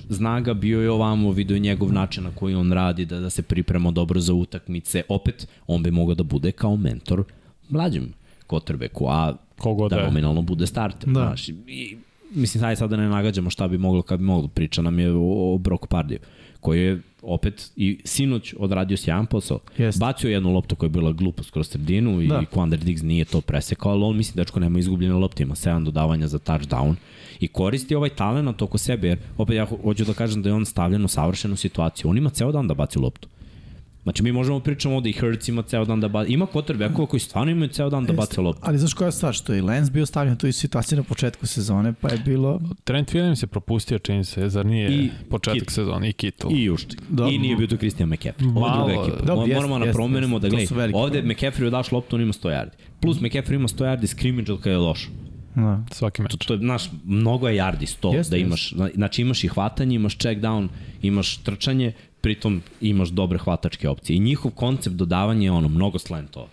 [SPEAKER 1] Zna ga, bio je ovamo, video je njegov način na koji on radi, da, da se priprema dobro za utakmice. Opet, on bi mogao da bude kao mentor mlađem quarterbacku, a
[SPEAKER 3] Ko god
[SPEAKER 1] da
[SPEAKER 3] da je.
[SPEAKER 1] nominalno bude starter.
[SPEAKER 2] Da.
[SPEAKER 1] Znaš, i mislim, hajde sad da ne nagađamo šta bi moglo kad bi moglo. Priča nam je o, o Brock Pardiju, koji je opet i sinoć odradio sjajan posao.
[SPEAKER 2] Jeste.
[SPEAKER 1] Bacio je jednu loptu koja je bila glupa skroz sredinu i
[SPEAKER 2] Da.
[SPEAKER 1] da. Quander Diggs nije to presekao, ali on mislim dečko nema izgubljene lopte, ima 7 dodavanja za touchdown i koristi ovaj talent oko sebe, jer opet ja ho- hoću da kažem da je on stavljen u savršenu situaciju. On ima ceo dan da baci loptu. Znači mi možemo pričamo ovde i Hurts ima ceo dan da baci, ima quarterbackova koji stvarno imaju ceo dan da bace loptu.
[SPEAKER 2] Ali znaš koja je stvar, što je i Lenz bio stavljen u tu situaciju na početku sezone, pa je bilo...
[SPEAKER 3] Trent Williams je propustio čini se, zar nije
[SPEAKER 1] I
[SPEAKER 3] I početak
[SPEAKER 1] Kittle.
[SPEAKER 3] sezone i Kittle.
[SPEAKER 1] I Juštik.
[SPEAKER 2] Da.
[SPEAKER 1] Da, I nije bio tu Christian McCaffrey. Ovo je
[SPEAKER 3] Malo,
[SPEAKER 1] druga ekipa.
[SPEAKER 2] da,
[SPEAKER 1] Da,
[SPEAKER 2] jeste,
[SPEAKER 1] Moramo
[SPEAKER 2] jeste,
[SPEAKER 1] da promenimo da
[SPEAKER 2] jeste. To
[SPEAKER 1] gledaj.
[SPEAKER 2] su velike
[SPEAKER 1] Ovde McCaffrey daš loptu, on ima 100 yardi. Plus McCaffrey ima 100 yardi scrimmage od kada je loš.
[SPEAKER 2] Da.
[SPEAKER 3] Svaki meč.
[SPEAKER 1] To je, znaš, mnogo je yardi 100
[SPEAKER 2] Jeste,
[SPEAKER 1] da imaš. Znači imaš i hvatanje, imaš check down, imaš trčanje, pritom imaš dobre hvatačke opcije. I njihov koncept dodavanja je ono, mnogo slantova.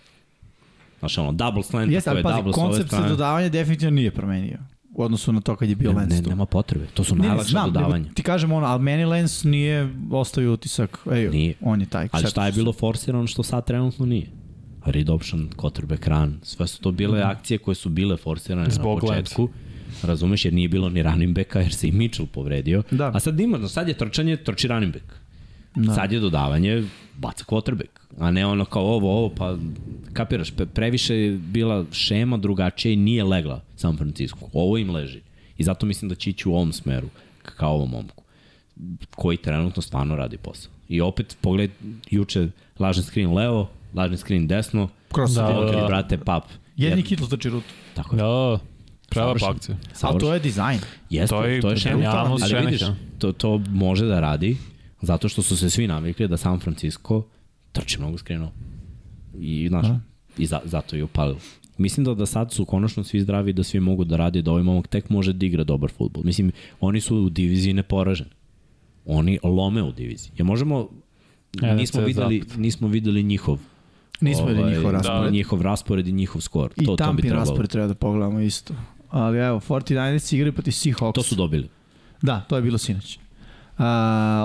[SPEAKER 1] Znaš, ono, double slant,
[SPEAKER 2] Jeste,
[SPEAKER 1] to je
[SPEAKER 2] ali pazi,
[SPEAKER 1] double s ove
[SPEAKER 2] koncept se
[SPEAKER 1] strane.
[SPEAKER 2] dodavanja definitivno nije promenio u odnosu na to kad je bio
[SPEAKER 1] Ne,
[SPEAKER 2] Lenz
[SPEAKER 1] ne,
[SPEAKER 2] tu.
[SPEAKER 1] nema potrebe. To su
[SPEAKER 2] Ne, ne,
[SPEAKER 1] najlakše
[SPEAKER 2] znam, nego
[SPEAKER 1] dodavanja.
[SPEAKER 2] Ti kažem ono, ali meni Lenz nije ostavio utisak, ej,
[SPEAKER 1] Nije.
[SPEAKER 2] on je taj.
[SPEAKER 1] Ali
[SPEAKER 2] sad-
[SPEAKER 1] šta je bilo forsirano što sad trenutno nije? Read option, quarterback run, sve su to bile akcije koje su bile forsirane
[SPEAKER 3] Zbog
[SPEAKER 1] na
[SPEAKER 3] Lenza.
[SPEAKER 1] početku. Razumeš, jer nije bilo ni running backa jer se i Mitchell povredio.
[SPEAKER 2] Da.
[SPEAKER 1] A sad imaš, no sad je trčanje, trči running back.
[SPEAKER 2] Da.
[SPEAKER 1] Da. Sad je dodavanje, baca quarterback. A ne ono kao ovo, ovo, pa kapiraš, pre- previše je bila šema drugačija i nije legla San Francisco. Ovo im leži. I zato mislim da će ići u ovom smeru, k- kao ovom momku koji trenutno stvarno radi posao. I opet, pogled, juče lažni screen levo, lažni screen desno,
[SPEAKER 2] Cross
[SPEAKER 1] da,
[SPEAKER 2] da,
[SPEAKER 1] okri,
[SPEAKER 3] da, da.
[SPEAKER 1] brate, pap.
[SPEAKER 2] Jedni
[SPEAKER 1] Jer-
[SPEAKER 2] kitl trči rutu.
[SPEAKER 1] Tako je. Da,
[SPEAKER 3] Da, prava
[SPEAKER 1] Savršeno.
[SPEAKER 3] akcija.
[SPEAKER 2] Ali to
[SPEAKER 1] to je,
[SPEAKER 2] je dizajn.
[SPEAKER 1] jeste,
[SPEAKER 3] to je
[SPEAKER 1] to je
[SPEAKER 3] genijalnost
[SPEAKER 1] šenekta. Ali vidiš,
[SPEAKER 2] da.
[SPEAKER 3] Shanahan.
[SPEAKER 1] to, to može da radi, zato što su se svi navikli da San Francisco trči mnogo screenova. I, znaš,
[SPEAKER 2] Da.
[SPEAKER 1] i za, zato je upalilo. Mislim da da sad su konačno svi zdravi, da svi mogu da rade, da ovaj momak tek može da igra dobar futbol. Mislim, oni su u diviziji neporaženi. Oni lome u diviziji. Ja možemo,
[SPEAKER 2] E, da,
[SPEAKER 3] NFC
[SPEAKER 1] nismo videli, nismo videli njihov
[SPEAKER 2] Nismo videli njihov
[SPEAKER 1] da,
[SPEAKER 2] raspored.
[SPEAKER 1] njihov raspored i njihov skor. to,
[SPEAKER 2] I
[SPEAKER 1] to bi
[SPEAKER 2] Tampin
[SPEAKER 1] trebalo.
[SPEAKER 2] raspored treba da pogledamo isto. Ali evo, 49ers igraju proti Seahawks.
[SPEAKER 1] To su dobili.
[SPEAKER 2] Da, to je bilo sinoć. Uh,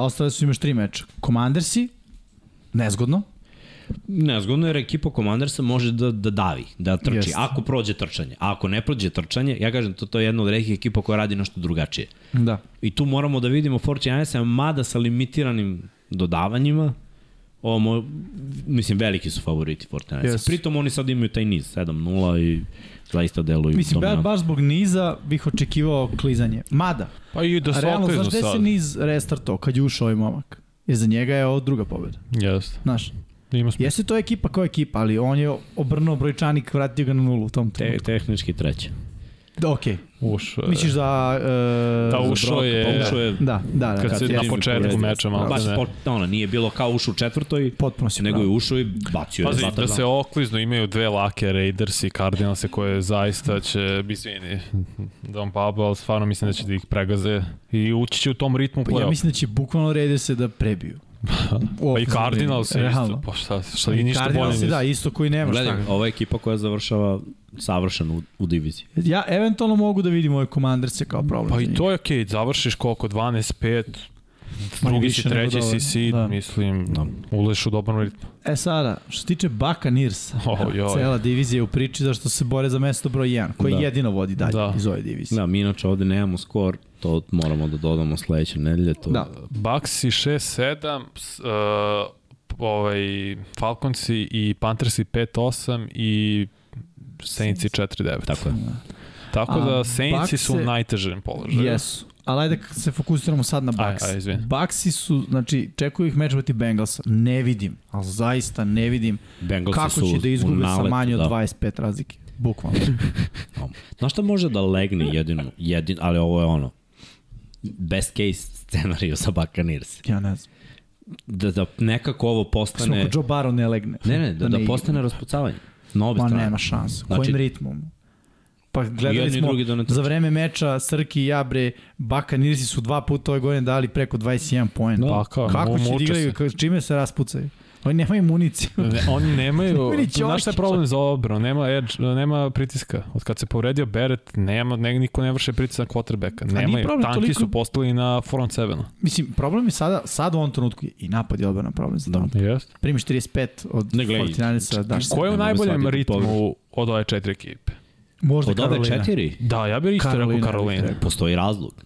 [SPEAKER 2] ostale su im još tri meča. Commandersi, nezgodno.
[SPEAKER 1] Nezgodno jer ekipa Commandersa može da, da davi, da trči,
[SPEAKER 2] Jeste.
[SPEAKER 1] Jest. ako prođe trčanje. A ako ne prođe trčanje, ja kažem, to, to je jedna od redkih ekipa koja radi nešto drugačije.
[SPEAKER 2] Da.
[SPEAKER 1] I tu moramo da vidimo 49-a, mada sa limitiranim dodavanjima, ovo, mo, mislim, veliki su favoriti 49-a.
[SPEAKER 2] Jesu.
[SPEAKER 1] Yes. Pritom oni sad imaju taj niz, 7-0 i zaista deluju
[SPEAKER 2] Mislim, ba,
[SPEAKER 1] dominantno.
[SPEAKER 2] baš zbog niza bih očekivao klizanje. Mada,
[SPEAKER 3] Pa i da
[SPEAKER 2] a
[SPEAKER 3] se
[SPEAKER 2] realno,
[SPEAKER 3] otezno
[SPEAKER 2] znaš gde se
[SPEAKER 3] sad.
[SPEAKER 2] niz restartao kad je ušao ovaj momak? Jer za njega je ovo druga pobjeda.
[SPEAKER 3] Jeste.
[SPEAKER 2] Znaš,
[SPEAKER 3] Ima smisla.
[SPEAKER 2] jeste to ekipa koja je ekipa, ali on je obrnuo brojčanik, vratio ga na nulu u tom
[SPEAKER 1] Te,
[SPEAKER 2] trenutku.
[SPEAKER 1] tehnički treće.
[SPEAKER 2] Da, okej.
[SPEAKER 3] Ušao je.
[SPEAKER 2] Misliš da... E,
[SPEAKER 3] Pa, Da,
[SPEAKER 1] Za
[SPEAKER 3] ušao
[SPEAKER 1] Broka,
[SPEAKER 3] je-
[SPEAKER 1] Pa ušao je
[SPEAKER 2] Da, da, da.
[SPEAKER 3] Kad se
[SPEAKER 1] je
[SPEAKER 3] na
[SPEAKER 1] Jimmy
[SPEAKER 3] početku
[SPEAKER 1] povredio.
[SPEAKER 3] meča malo
[SPEAKER 1] Baš,
[SPEAKER 3] ne.
[SPEAKER 1] pot, ono, nije bilo kao ušao u četvrtoj,
[SPEAKER 2] Potpuno si
[SPEAKER 1] nego je
[SPEAKER 2] pravo.
[SPEAKER 1] ušao i bacio je.
[SPEAKER 3] Pazi,
[SPEAKER 1] dva
[SPEAKER 3] da
[SPEAKER 1] touchdowna.
[SPEAKER 3] se oklizno imaju dve lake Raiders i Cardinals koje zaista će, izvini, Don Pablo, ali stvarno mislim da će da ih pregaze i ući će u tom ritmu
[SPEAKER 2] Pa
[SPEAKER 3] play-off.
[SPEAKER 2] ja mislim da će bukvalno rede se da prebiju. U
[SPEAKER 3] pa i
[SPEAKER 2] ofenzivnom
[SPEAKER 3] Cardinals je
[SPEAKER 2] redu,
[SPEAKER 3] isto,
[SPEAKER 2] realno.
[SPEAKER 3] pa šta, šta i ništa bolje
[SPEAKER 2] Cardinals je,
[SPEAKER 3] nisu.
[SPEAKER 2] da, isto koji nema šta.
[SPEAKER 1] Gledaj, ova ekipa koja završava savršeno u, u diviziji.
[SPEAKER 2] Ja eventualno mogu da vidim ove komandarce kao problem.
[SPEAKER 3] Pa
[SPEAKER 2] za
[SPEAKER 3] i
[SPEAKER 2] njih.
[SPEAKER 3] to je okej, završiš koliko, 12-5,
[SPEAKER 2] Manje
[SPEAKER 3] drugi
[SPEAKER 2] više
[SPEAKER 3] si,
[SPEAKER 2] nego
[SPEAKER 3] treći
[SPEAKER 2] dovoljno.
[SPEAKER 3] si seed,
[SPEAKER 2] Da.
[SPEAKER 3] mislim,
[SPEAKER 1] Da.
[SPEAKER 3] uleš u dobar ritmu.
[SPEAKER 2] E sada, što se tiče Buccaneersa,
[SPEAKER 3] O,
[SPEAKER 2] evo,
[SPEAKER 3] joj.
[SPEAKER 2] cela divizija je u priči zašto se bore za mesto broj 1, koji
[SPEAKER 1] Da.
[SPEAKER 2] jedino vodi dalje
[SPEAKER 3] Da.
[SPEAKER 2] iz ove divizije.
[SPEAKER 1] Da, mi inače ovde nemamo skor, to moramo da dodamo sledeće nedelje. To...
[SPEAKER 2] Da.
[SPEAKER 3] Baxi 6-7, s- uh, ovaj, Falconsi i Panthersi 5-8 i Saintsi 4-9.
[SPEAKER 1] Tako je.
[SPEAKER 3] Tako
[SPEAKER 2] A
[SPEAKER 3] da Saintsi su u
[SPEAKER 2] Bucks-e-
[SPEAKER 3] najtežem položaju.
[SPEAKER 2] Pa Jesu. Ali ajde k- se fokusiramo sad na
[SPEAKER 3] Aj,
[SPEAKER 2] Bucks.
[SPEAKER 3] aj, izvini.
[SPEAKER 2] Bucksi su, znači, čekuju ih meč proti Bengalsa. Ne vidim, ali zaista ne vidim
[SPEAKER 1] Bengalsi
[SPEAKER 2] kako
[SPEAKER 1] su
[SPEAKER 2] će da
[SPEAKER 1] u
[SPEAKER 2] izgube sa
[SPEAKER 1] naletu,
[SPEAKER 2] manje od
[SPEAKER 1] da.
[SPEAKER 2] 25 razlike. Bukvalno.
[SPEAKER 1] Znaš šta može da legne jedino, jedin, ali ovo je ono, best case scenariju za Buccaneers.
[SPEAKER 2] Ja ne znam.
[SPEAKER 1] Da, da nekako ovo
[SPEAKER 2] Samo
[SPEAKER 1] postane...
[SPEAKER 2] ako Joe Barrow ne legne.
[SPEAKER 1] Ne, ne, da,
[SPEAKER 2] ne
[SPEAKER 1] da
[SPEAKER 2] igra.
[SPEAKER 1] postane raspucavanje. Na obe
[SPEAKER 2] Ma
[SPEAKER 1] strane.
[SPEAKER 2] nema šanse. Znači,
[SPEAKER 1] Znači-
[SPEAKER 2] Kojim ritmom? Pa gledali
[SPEAKER 1] Jedni i
[SPEAKER 2] smo
[SPEAKER 1] drugi da ne trče.
[SPEAKER 2] za vreme meča Srki i Jabre, Baka Nirsi su dva puta ove godine dali preko 21 poena.
[SPEAKER 3] Pa kao,
[SPEAKER 2] Kako
[SPEAKER 3] mu-
[SPEAKER 2] će da
[SPEAKER 3] muče
[SPEAKER 2] igraju,
[SPEAKER 3] se.
[SPEAKER 2] ka- čime se raspucaju? Oni nemaju municiju.
[SPEAKER 3] Ne, oni nemaju,
[SPEAKER 2] Vidi
[SPEAKER 3] znaš šta je
[SPEAKER 2] Ćorkić.
[SPEAKER 3] problem za obranu, nema, edge, nema pritiska. Od kad se povredio Beret, nema, ne, niko ne vrše pritisak na quarterbacka.
[SPEAKER 2] Pa nije
[SPEAKER 3] Nemaju,
[SPEAKER 2] problem
[SPEAKER 3] tanki
[SPEAKER 2] toliko-
[SPEAKER 3] su postali na front sevenu.
[SPEAKER 2] Mislim, problem je sada, sad u ovom trenutku je i napad je odbrana problem za Tampa.
[SPEAKER 3] Jeste.
[SPEAKER 2] Primiš 35 od
[SPEAKER 1] Da. Ne gledaj. Znači,
[SPEAKER 2] 49-a, da.
[SPEAKER 3] Ko
[SPEAKER 1] Nemoj
[SPEAKER 3] je u
[SPEAKER 1] me
[SPEAKER 3] najboljem
[SPEAKER 1] shvatiti
[SPEAKER 3] ritmu
[SPEAKER 1] pogrešno.
[SPEAKER 3] od ove četiri ekipe?
[SPEAKER 2] Možda
[SPEAKER 1] Od ove
[SPEAKER 2] Karolina.
[SPEAKER 1] četiri
[SPEAKER 3] Da, ja bih isto
[SPEAKER 2] Karolina
[SPEAKER 3] rekao
[SPEAKER 2] bih
[SPEAKER 3] Karolina.
[SPEAKER 2] rekao.
[SPEAKER 1] postoji razlog.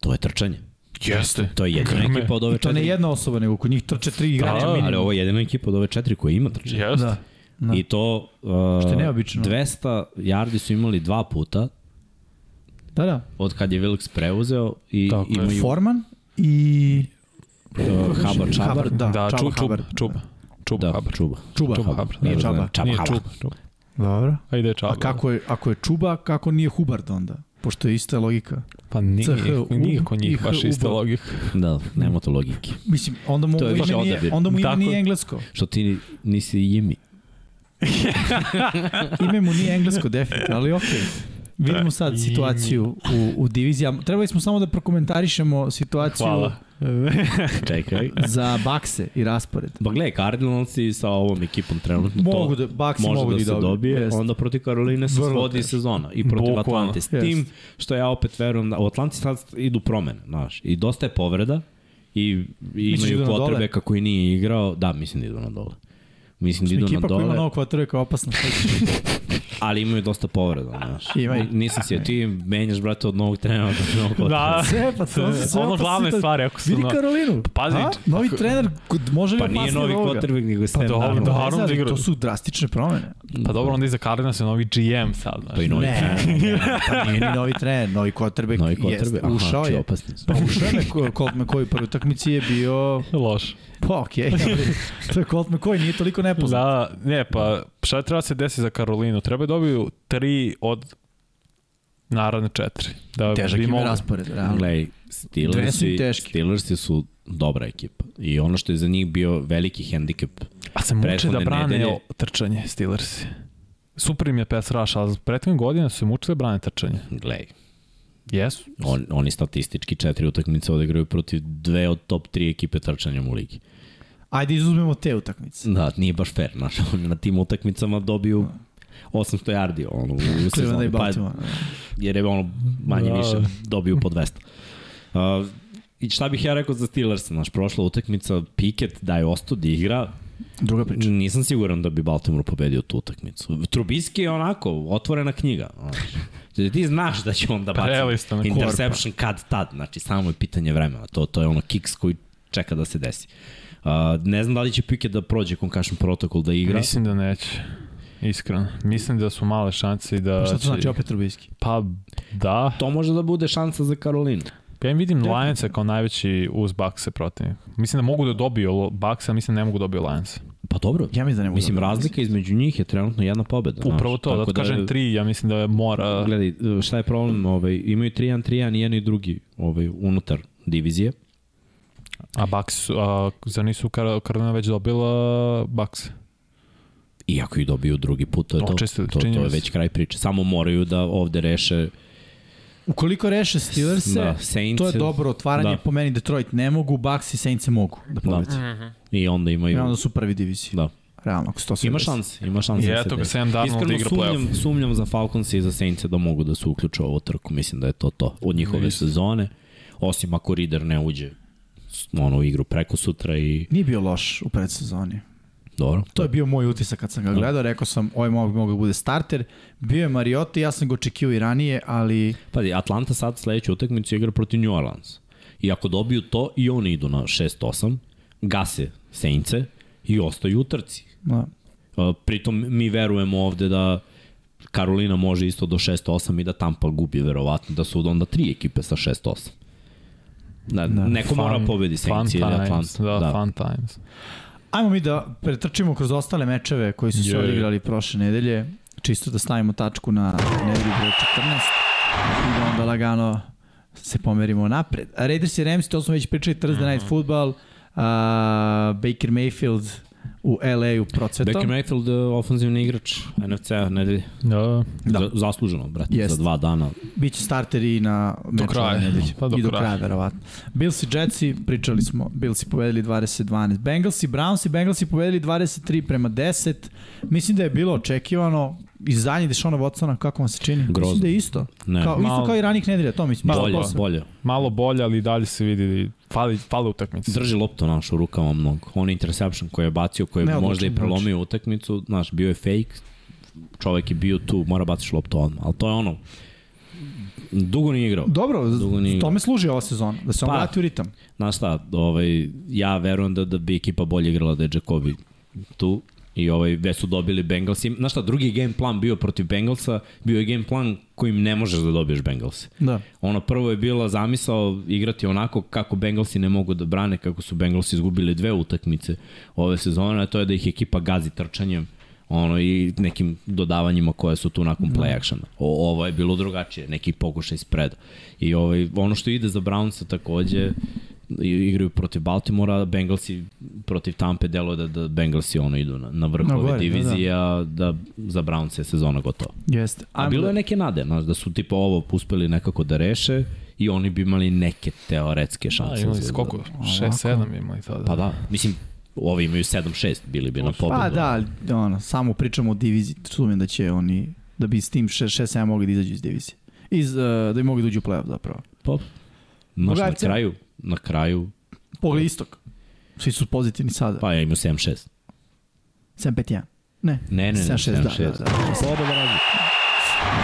[SPEAKER 1] To je trčanje.
[SPEAKER 3] Jeste.
[SPEAKER 1] To je jedina
[SPEAKER 3] Grme.
[SPEAKER 1] ekipa od ove
[SPEAKER 2] To ne
[SPEAKER 1] četiri.
[SPEAKER 2] jedna osoba, nego kod njih trče tri igrača
[SPEAKER 3] Da,
[SPEAKER 2] minimum.
[SPEAKER 1] ali ovo je jedina ekipa od ove četiri koja ima trčanje.
[SPEAKER 3] Jeste.
[SPEAKER 2] Da. Da.
[SPEAKER 1] I to... Uh,
[SPEAKER 2] je neobično.
[SPEAKER 1] 200 yardi su imali dva puta
[SPEAKER 2] Da, da.
[SPEAKER 1] od kad je Wilks preuzeo i
[SPEAKER 3] Tako je.
[SPEAKER 1] imaju uh,
[SPEAKER 2] Forman i
[SPEAKER 1] Habar Čabar.
[SPEAKER 2] da,
[SPEAKER 3] Da,
[SPEAKER 2] Čaba
[SPEAKER 3] čub, čub,
[SPEAKER 2] Habar.
[SPEAKER 3] čub. Čub,
[SPEAKER 1] Da,
[SPEAKER 3] Habar.
[SPEAKER 1] Čuba.
[SPEAKER 2] Čuba
[SPEAKER 3] Čuba
[SPEAKER 2] Habar,
[SPEAKER 3] Habar.
[SPEAKER 2] nije
[SPEAKER 1] Ne znam,
[SPEAKER 2] Čaba.
[SPEAKER 1] Čab
[SPEAKER 3] Nije
[SPEAKER 1] Habar.
[SPEAKER 3] čub, čub.
[SPEAKER 2] Dobro.
[SPEAKER 3] Ajde je čaba.
[SPEAKER 2] A kako
[SPEAKER 1] da.
[SPEAKER 2] je, ako je Čuba, kako nije Hubard onda? Pošto je ista logika.
[SPEAKER 3] Pa nije,
[SPEAKER 2] CH,
[SPEAKER 3] nije
[SPEAKER 2] ub
[SPEAKER 3] kod
[SPEAKER 2] i
[SPEAKER 3] njih
[SPEAKER 2] H,
[SPEAKER 3] baš ista
[SPEAKER 2] uba.
[SPEAKER 3] logika.
[SPEAKER 1] Da, nema to logike.
[SPEAKER 2] Mislim, onda mu
[SPEAKER 1] To je
[SPEAKER 2] ovo
[SPEAKER 1] više
[SPEAKER 2] ime nije,
[SPEAKER 1] odabir.
[SPEAKER 2] onda mu ime
[SPEAKER 3] Tako.
[SPEAKER 2] nije englesko.
[SPEAKER 1] Što ti ni- nisi jimi.
[SPEAKER 2] Ime mu nije englesko definitivno, ali okej. Vidimo
[SPEAKER 1] Da.
[SPEAKER 2] sad situaciju u, u divizijama. Trebali smo samo da prokomentarišemo situaciju
[SPEAKER 3] Hvala.
[SPEAKER 1] Čekaj.
[SPEAKER 2] za bakse i raspored.
[SPEAKER 1] Ba gledaj, Cardinalsi sa ovom ekipom trenutno
[SPEAKER 2] Mogu
[SPEAKER 1] to
[SPEAKER 2] da, baksi
[SPEAKER 1] može
[SPEAKER 2] mogu
[SPEAKER 1] da
[SPEAKER 2] i
[SPEAKER 1] se dobije,
[SPEAKER 2] Jeste.
[SPEAKER 1] onda protiv Karoline se
[SPEAKER 2] Vrlo
[SPEAKER 1] svodi
[SPEAKER 2] teško.
[SPEAKER 1] sezona i protiv
[SPEAKER 3] Bukvalno.
[SPEAKER 1] Atlante. S tim
[SPEAKER 2] Jeste.
[SPEAKER 1] što ja opet verujem, da, u Atlanti sad idu promene, znaš, i dosta je povreda i, i
[SPEAKER 2] Misliš
[SPEAKER 1] imaju
[SPEAKER 2] da idu na dole?
[SPEAKER 1] potrebe kako i nije igrao, da, mislim da idu na dole. Mislim da idu na
[SPEAKER 2] Ekipa koja ima
[SPEAKER 1] dole,
[SPEAKER 2] novog kvaterojka opasna.
[SPEAKER 1] ali imaju dosta povreda, znaš.
[SPEAKER 2] Ima i-
[SPEAKER 1] Nisam se, ti menjaš, brate, od novog trenera do novog da.
[SPEAKER 3] Da,
[SPEAKER 2] Sve, pa to su sve
[SPEAKER 3] ono
[SPEAKER 2] opasne
[SPEAKER 3] glavne
[SPEAKER 2] situacije.
[SPEAKER 3] stvari, ako su
[SPEAKER 2] Vidi
[SPEAKER 3] na-
[SPEAKER 2] Karolinu.
[SPEAKER 3] pazi,
[SPEAKER 2] A? Novi trener, kod- može li
[SPEAKER 1] Pa nije
[SPEAKER 2] opasnije
[SPEAKER 1] novi
[SPEAKER 2] od ovoga?
[SPEAKER 1] quarterback, nego Sam
[SPEAKER 3] dobro,
[SPEAKER 1] Darnold.
[SPEAKER 3] da.
[SPEAKER 2] Ne znam,
[SPEAKER 3] Darnold
[SPEAKER 2] ali
[SPEAKER 3] igra.
[SPEAKER 2] To su drastične promene.
[SPEAKER 3] pa dobro, onda iza Cardinals je novi GM sad, znaš.
[SPEAKER 1] Pa i novi
[SPEAKER 2] Ne,
[SPEAKER 1] trener.
[SPEAKER 2] ne, ne, pa nije ni novi trener, novi quarterback,
[SPEAKER 1] Novi
[SPEAKER 2] jest,
[SPEAKER 1] quarterback,
[SPEAKER 2] ušao
[SPEAKER 1] aha, či
[SPEAKER 2] je.
[SPEAKER 1] opasni su.
[SPEAKER 2] Pa ušao je ko- Colt McCoy u prvoj utakmici je bio...
[SPEAKER 3] Loš.
[SPEAKER 2] Pa okej, ali to je Colt McCoy, nije toliko nepoznat.
[SPEAKER 3] Da, ne, pa šta treba se desi za Karolinu? Treba da dobiju tri od naravne četiri. Da
[SPEAKER 2] Težak
[SPEAKER 3] bi
[SPEAKER 2] im je
[SPEAKER 3] mogli-
[SPEAKER 2] raspored, realno.
[SPEAKER 1] Glej,
[SPEAKER 2] Dakle, Dve su im
[SPEAKER 1] Dakle, Steelersi,
[SPEAKER 2] teške.
[SPEAKER 1] Steelersi su dobra ekipa. I ono što je za njih bio veliki hendikep
[SPEAKER 3] A se muče da
[SPEAKER 1] Prethodne
[SPEAKER 3] brane
[SPEAKER 1] nedelje-
[SPEAKER 3] o- trčanje Steelersi. Super im je pass rush, ali prethodnih godina su se mučili da brane trčanje.
[SPEAKER 1] Glej,
[SPEAKER 3] Jesu.
[SPEAKER 1] on, oni statistički četiri utakmice odigraju protiv dve od top tri ekipe trčanjem u ligi.
[SPEAKER 2] Ajde izuzmemo te utakmice.
[SPEAKER 1] Da, nije baš fair, znaš, oni na tim utakmicama dobiju 800 yardi ono, u
[SPEAKER 2] Cleveland i
[SPEAKER 1] sezoni, pa,
[SPEAKER 2] Baltimore.
[SPEAKER 1] jer je ono manje
[SPEAKER 3] Da.
[SPEAKER 1] više dobiju po 200. Uh, I šta bih ja rekao za Steelers, znaš, prošla utakmica, Piket da je ostao da igra,
[SPEAKER 2] Druga priča.
[SPEAKER 1] Nisam siguran da bi Baltimore pobedio tu utakmicu. Trubiski je onako, otvorena knjiga. Znači, ti znaš da će on da baci
[SPEAKER 3] Prelista na
[SPEAKER 1] interception kad tad. Znači, samo je pitanje vremena. To, to je ono kiks koji čeka da se desi. Uh, ne znam da li će Pickett da prođe concussion protokol da igra.
[SPEAKER 3] Mislim da neće. Iskreno. Mislim da su male šanse i da...
[SPEAKER 2] Pa šta to
[SPEAKER 3] će-
[SPEAKER 2] znači opet Trubisky?
[SPEAKER 3] Pa da.
[SPEAKER 1] To može da bude šansa za Karolinu.
[SPEAKER 3] Ja im vidim Lionsa kao najveći uz Bakse protivnik. Mislim da mogu da dobiju Baksa, mislim da ne mogu da dobiju Lionsa.
[SPEAKER 1] Pa dobro.
[SPEAKER 2] Ja mislim da ne mogu
[SPEAKER 1] Mislim,
[SPEAKER 2] da-
[SPEAKER 1] razlika između njih je trenutno jedna pobeda. znaš.
[SPEAKER 3] Upravo to,
[SPEAKER 1] Tako
[SPEAKER 3] da kažem tri, ja mislim da je mora...
[SPEAKER 1] Gledaj, šta je problem? Ovaj, imaju 3-1, 3-1 i jedan i drugi ovaj, unutar divizije.
[SPEAKER 3] A Bucks, su- a, zar nisu Kar Karolina već dobila Bucks?
[SPEAKER 1] I ako ih dobiju drugi put, to je to.
[SPEAKER 3] Očistili,
[SPEAKER 1] to, to
[SPEAKER 3] čini
[SPEAKER 1] je
[SPEAKER 3] mi se.
[SPEAKER 1] već kraj priče. Samo moraju da ovde reše
[SPEAKER 2] Ukoliko reše Steelers,
[SPEAKER 1] da,
[SPEAKER 2] da,
[SPEAKER 1] Saints
[SPEAKER 2] to je dobro otvaranje,
[SPEAKER 1] Da.
[SPEAKER 2] da. po meni Detroit ne mogu, Bucks i Saints mogu da pobedi. Da.
[SPEAKER 1] Mhm. i onda
[SPEAKER 2] I
[SPEAKER 1] imaju...
[SPEAKER 2] onda su prvi diviziji.
[SPEAKER 1] Da.
[SPEAKER 2] Realno, ako se to sve
[SPEAKER 1] Ima
[SPEAKER 2] desi.
[SPEAKER 1] šanse, ima šanse.
[SPEAKER 3] I
[SPEAKER 1] da se
[SPEAKER 3] eto ga,
[SPEAKER 1] desi.
[SPEAKER 3] Sam Darnold
[SPEAKER 1] Iskreno
[SPEAKER 3] igra
[SPEAKER 1] sumnjam, sumnjam za Falcons i za Saints da mogu da se uključe u ovu trku. Mislim da je to to od njihove sezone. Osim ako Reader ne uđe s- ono, u igru preko sutra i
[SPEAKER 2] Nije bio loš u predsezoni.
[SPEAKER 1] dobro.
[SPEAKER 2] To je bio moj utisak kad sam ga gledao, rekao sam ovaj mogu mogu da bude starter. Bio je Mariota, ja sam ga očekivao i ranije, ali
[SPEAKER 1] Pazi, Atlanta sad sledeću utakmicu igra protiv New Orleans. I ako dobiju to i oni idu na 6-8, gase Saintse i ostaju u trci.
[SPEAKER 2] da,
[SPEAKER 1] Uh, pritom mi verujemo ovde da Karolina može isto do 6-8 i da Tampa gubi verovatno, da su onda tri ekipe sa 6-8. Da, da, neko
[SPEAKER 3] Fun-
[SPEAKER 1] mora pobedi Saints ili
[SPEAKER 3] fun times,
[SPEAKER 1] Atlanta.
[SPEAKER 3] Da, da, fun times.
[SPEAKER 2] Ajmo mi da pretrčimo kroz ostale mečeve koji su se
[SPEAKER 3] Je.
[SPEAKER 2] odigrali prošle nedelje, čisto da stavimo tačku na nedelju broj 14 i da onda lagano se pomerimo napred. A Raiders i Rams, to smo već pričali, Thursday Night Football, a, Baker Mayfield u LA-u procvetom.
[SPEAKER 1] Baker Mayfield, eh, ofenzivni igrač NFC-a, nedelje.
[SPEAKER 3] Da,
[SPEAKER 2] Da.
[SPEAKER 1] Da. Zasluženo, brate,
[SPEAKER 2] Jest.
[SPEAKER 1] za dva dana.
[SPEAKER 2] Biće starter i na meču
[SPEAKER 3] kraja.
[SPEAKER 2] ove nedelje.
[SPEAKER 3] Pa do
[SPEAKER 2] I do kraja,
[SPEAKER 3] kraja.
[SPEAKER 2] verovatno. Bills i Jetsi, pričali smo, Bills i pobedili 20-12. Bengals i Browns i Bengals i pobedili 23 prema 10. Mislim da je bilo očekivano i zadnje Dešona Watsona, kako vam se čini?
[SPEAKER 1] Grozno.
[SPEAKER 2] Mislim da je isto.
[SPEAKER 1] Ne,
[SPEAKER 2] Kao, isto
[SPEAKER 3] Malo-
[SPEAKER 2] kao i ranih nedelja, to mislim.
[SPEAKER 1] bolje,
[SPEAKER 2] Isto posao.
[SPEAKER 1] bolje.
[SPEAKER 3] malo bolje, ali i dalje se vidi, fali, fali utakmice.
[SPEAKER 1] Drži loptu naš u rukama mnogo. On interception koji je bacio, koji je
[SPEAKER 2] Neodlučan
[SPEAKER 1] možda i
[SPEAKER 2] igrač.
[SPEAKER 1] prelomio utakmicu, znaš, bio je fake, čovek je bio tu, mora baciš loptu odmah, ali to je ono, dugo nije igrao.
[SPEAKER 2] Dobro,
[SPEAKER 1] Dugo nije
[SPEAKER 2] z- tome služi ova sezona, da se on
[SPEAKER 1] Pa.
[SPEAKER 2] vrati u ritam.
[SPEAKER 1] Znaš šta, ovaj, ja verujem da, da bi ekipa bolje igrala da je Jacobi tu i ovaj, već su dobili Bengalsi. Znaš šta, drugi game plan bio protiv Bengalsa, bio je game plan kojim ne možeš da dobiješ Bengalse.
[SPEAKER 2] Da.
[SPEAKER 1] Ono prvo je bila zamisao igrati onako kako Bengalsi ne mogu da brane, kako su Bengalsi izgubili dve utakmice ove sezone, a to je da ih ekipa gazi trčanjem ono i nekim dodavanjima koje su tu
[SPEAKER 2] Da.
[SPEAKER 1] nakon play actiona. O, ovo je bilo drugačije, neki pokušaj spreda. I ovaj, ono što ide za Brownsa takođe, i- igraju protiv Baltimora, Bengalsi protiv Tampe deluje da, da Bengalsi ono idu na, na vrh
[SPEAKER 2] Na
[SPEAKER 1] ove
[SPEAKER 2] gore, da,
[SPEAKER 1] divizije, da, da. da za Brownsa je sezona gotova.
[SPEAKER 2] Jeste.
[SPEAKER 1] A bilo je neke nade, znaš, da su tipa ovo uspeli nekako da reše i oni bi imali neke
[SPEAKER 2] Da,
[SPEAKER 1] teoretske
[SPEAKER 3] A,
[SPEAKER 1] šanse.
[SPEAKER 3] Da, imali
[SPEAKER 1] za-
[SPEAKER 3] su koliko? 6-7 imali tada.
[SPEAKER 1] Pa da, mislim, ovi imaju 7-6, bili bi na pobedu.
[SPEAKER 2] Pa da, ali, ono, samo pričamo o diviziji, sumim da će oni, da bi s tim 6-7 mogli da izađu iz divizije. Iz, uh, da bi mogli da uđu u play-off zapravo.
[SPEAKER 1] Pa, znaš, na
[SPEAKER 2] Drugarci-
[SPEAKER 1] kraju, na kraju,
[SPEAKER 2] Pogled istok. Svi su pozitivni sada. Pa.
[SPEAKER 1] pa ja imaju 7-6.
[SPEAKER 2] 7-5-1. Ne,
[SPEAKER 1] Ne, ne, ne,
[SPEAKER 2] 7-6, da,
[SPEAKER 1] 7-6.
[SPEAKER 2] da, da.
[SPEAKER 1] Slobodno razlika.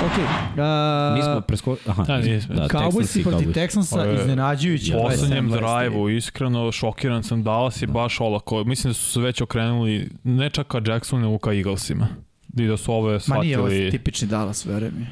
[SPEAKER 2] Ok. Uh,
[SPEAKER 1] Mi smo preskočili, aha,
[SPEAKER 3] Da, nismo.
[SPEAKER 1] da,
[SPEAKER 2] Cowboys
[SPEAKER 1] Texansi,
[SPEAKER 2] i protiv
[SPEAKER 1] Cowboys.
[SPEAKER 2] Texansa
[SPEAKER 3] Ovo je
[SPEAKER 2] iznenađujući.
[SPEAKER 3] U poslednjem
[SPEAKER 2] 27-23.
[SPEAKER 3] drive-u, iskreno, šokiran sam, Dallas je baš olako. Mislim da su se već okrenuli, ne čak ka Jacksonu, nego ka Eaglesima. I da su ove
[SPEAKER 2] Ma nije ovo
[SPEAKER 3] shvatili...
[SPEAKER 2] tipični Dallas, verujem mi.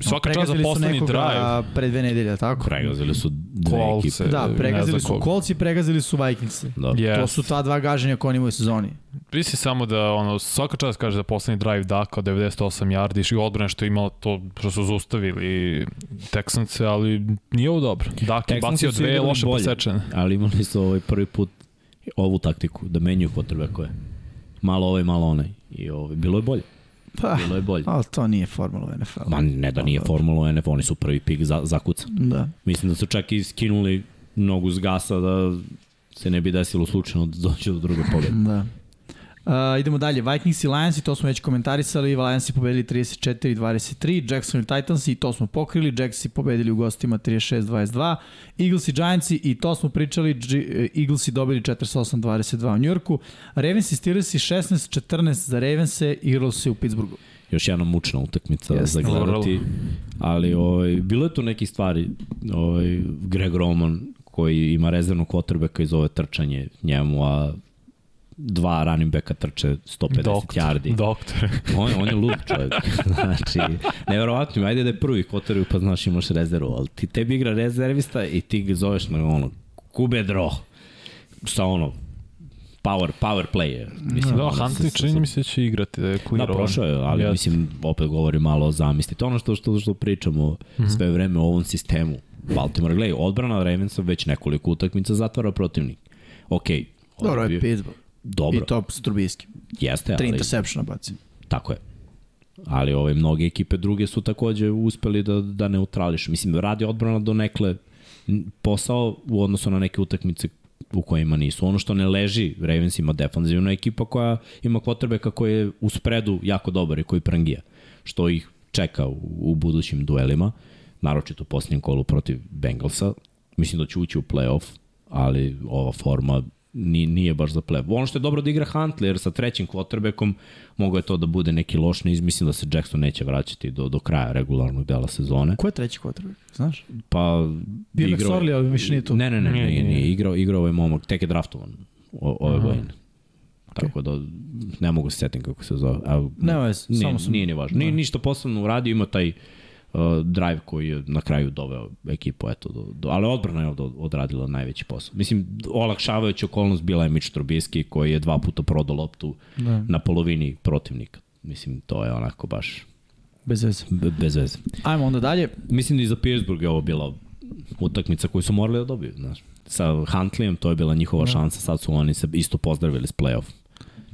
[SPEAKER 3] Svaka čast za poslednji drive.
[SPEAKER 2] pre dve nedelje, tako?
[SPEAKER 1] Pregazili su dve
[SPEAKER 3] Kolce.
[SPEAKER 1] ekipe.
[SPEAKER 2] Da,
[SPEAKER 3] ne
[SPEAKER 2] pregazili
[SPEAKER 3] znam
[SPEAKER 2] su
[SPEAKER 3] koga.
[SPEAKER 2] Colts i pregazili su Vikings.
[SPEAKER 1] Da.
[SPEAKER 3] Yes.
[SPEAKER 2] To su ta dva gaženja koje oni imaju u sezoni.
[SPEAKER 3] Misli samo da ono, svaka čast kaže da poslednji drive daka od 98 yardi i odbrana što je imala to što su zaustavili Texance, ali nije ovo dobro. Dak je
[SPEAKER 1] Texansi
[SPEAKER 3] bacio
[SPEAKER 1] su
[SPEAKER 3] dve
[SPEAKER 1] igrali
[SPEAKER 3] loše
[SPEAKER 1] bolje.
[SPEAKER 3] posečene.
[SPEAKER 1] ali imali su ovaj prvi put ovu taktiku, da menjuju potrebe koje. Malo ovaj, malo onaj. I ovaj, bilo je bolje,
[SPEAKER 2] Pa,
[SPEAKER 1] bilo je bolje.
[SPEAKER 2] ali to nije formula u NFL.
[SPEAKER 1] Ma ne da nije formula NF, oni su prvi pik za, zakucan.
[SPEAKER 2] Da.
[SPEAKER 1] Mislim da su čak i skinuli nogu s gasa da se ne bi desilo slučajno da dođe do druge pobjede.
[SPEAKER 2] Da. Uh, idemo dalje, Vikings i Lions i to smo već komentarisali, Lions i pobedili 34-23, Jacksonville Titans i to smo pokrili, Jacks i pobedili u gostima 36-22, Eagles i Giants i to smo pričali, G eh, Eagles i dobili 48-22 u Njorku, Ravens i Steelers i 16-14 za Ravense, Eagles i u Pittsburghu.
[SPEAKER 1] Još jedna mučna utakmica yes, za
[SPEAKER 2] Jeste.
[SPEAKER 1] gledati. Ali ovaj, bilo je tu neki stvari. Ovaj, Greg Roman koji ima rezervnu kotrbeka iz ove trčanje njemu, a dva running backa trče 150 yardi.
[SPEAKER 3] Doktor.
[SPEAKER 1] On, on je lud čovjek. znači, nevjerovatno, ajde da je prvi kotoriju, pa znaš imaš rezervu, ali ti tebi igra rezervista i ti ga zoveš na ono, kube dro. Sa ono, power, power play. je. Mislim,
[SPEAKER 3] Da,
[SPEAKER 1] ono,
[SPEAKER 3] Huntley
[SPEAKER 1] sa- sa-
[SPEAKER 3] čini mi se da će igrati, da je
[SPEAKER 1] Da,
[SPEAKER 3] klirovan.
[SPEAKER 1] prošao je, ali
[SPEAKER 3] Jeste.
[SPEAKER 1] mislim, opet govori malo o zamisli. To je ono što, što, što pričamo
[SPEAKER 2] Mhm.
[SPEAKER 1] sve vreme o ovom sistemu. Baltimore, gledaj, odbrana Ravensa već nekoliko utakmica zatvara protivnik. Okej. Okay,
[SPEAKER 2] Dobro je Pittsburgh.
[SPEAKER 1] Dobro,
[SPEAKER 2] I to s Trubiskim.
[SPEAKER 1] jeste,
[SPEAKER 2] Tri
[SPEAKER 1] ali
[SPEAKER 2] intersepšna baci.
[SPEAKER 1] Tako je. Ali ove mnoge ekipe druge su takođe uspeli da, da neutrališ. Mislim, radi odbrana do nekle posao u odnosu na neke utakmice u kojima nisu. Ono što ne leži, Ravens ima defanzivna ekipa koja ima kvotrbeka koji je u spredu jako dobar i koji prangija, što ih čeka u, u budućim duelima, naročito u posljednjem kolu protiv Bengalsa. Mislim da će ući u playoff, ali ova forma ni, nije baš za playoff. Ono što je dobro da igra Huntley, jer sa trećim quarterbackom mogo je to da bude neki loš niz. Mislim da se Jackson neće vraćati do, do kraja regularnog dela sezone.
[SPEAKER 2] Ko je treći quarterback, znaš?
[SPEAKER 1] Pa
[SPEAKER 2] Bio je McSorley, ali više nije tu.
[SPEAKER 1] Ne, ne, ne, nije, nije, nije. Igrao, igrao ovaj momak, tek je draftovan o, ove godine. Tako da ne mogu se setim kako se zove. A,
[SPEAKER 2] Nema veze,
[SPEAKER 1] nije,
[SPEAKER 2] samo sam- da.
[SPEAKER 1] Nije ni važno. Nije ništa posebno uradio, ima taj uh, drive koji je na kraju doveo ekipu, eto, do, do, ali odbrana je ovde odradila najveći posao. Mislim, olakšavajuća okolnost bila je Mitch Trubisky koji je dva puta prodao loptu
[SPEAKER 2] Da.
[SPEAKER 1] na polovini protivnika. Mislim, to je onako baš
[SPEAKER 2] Bez veze.
[SPEAKER 1] be- bez veze.
[SPEAKER 2] Ajmo onda dalje.
[SPEAKER 1] Mislim da i za Pittsburgh je ovo bila utakmica koju su morali da dobiju, znaš. Sa Huntleyem to je bila njihova
[SPEAKER 2] Da.
[SPEAKER 1] šansa, sad su oni se isto pozdravili s play-off.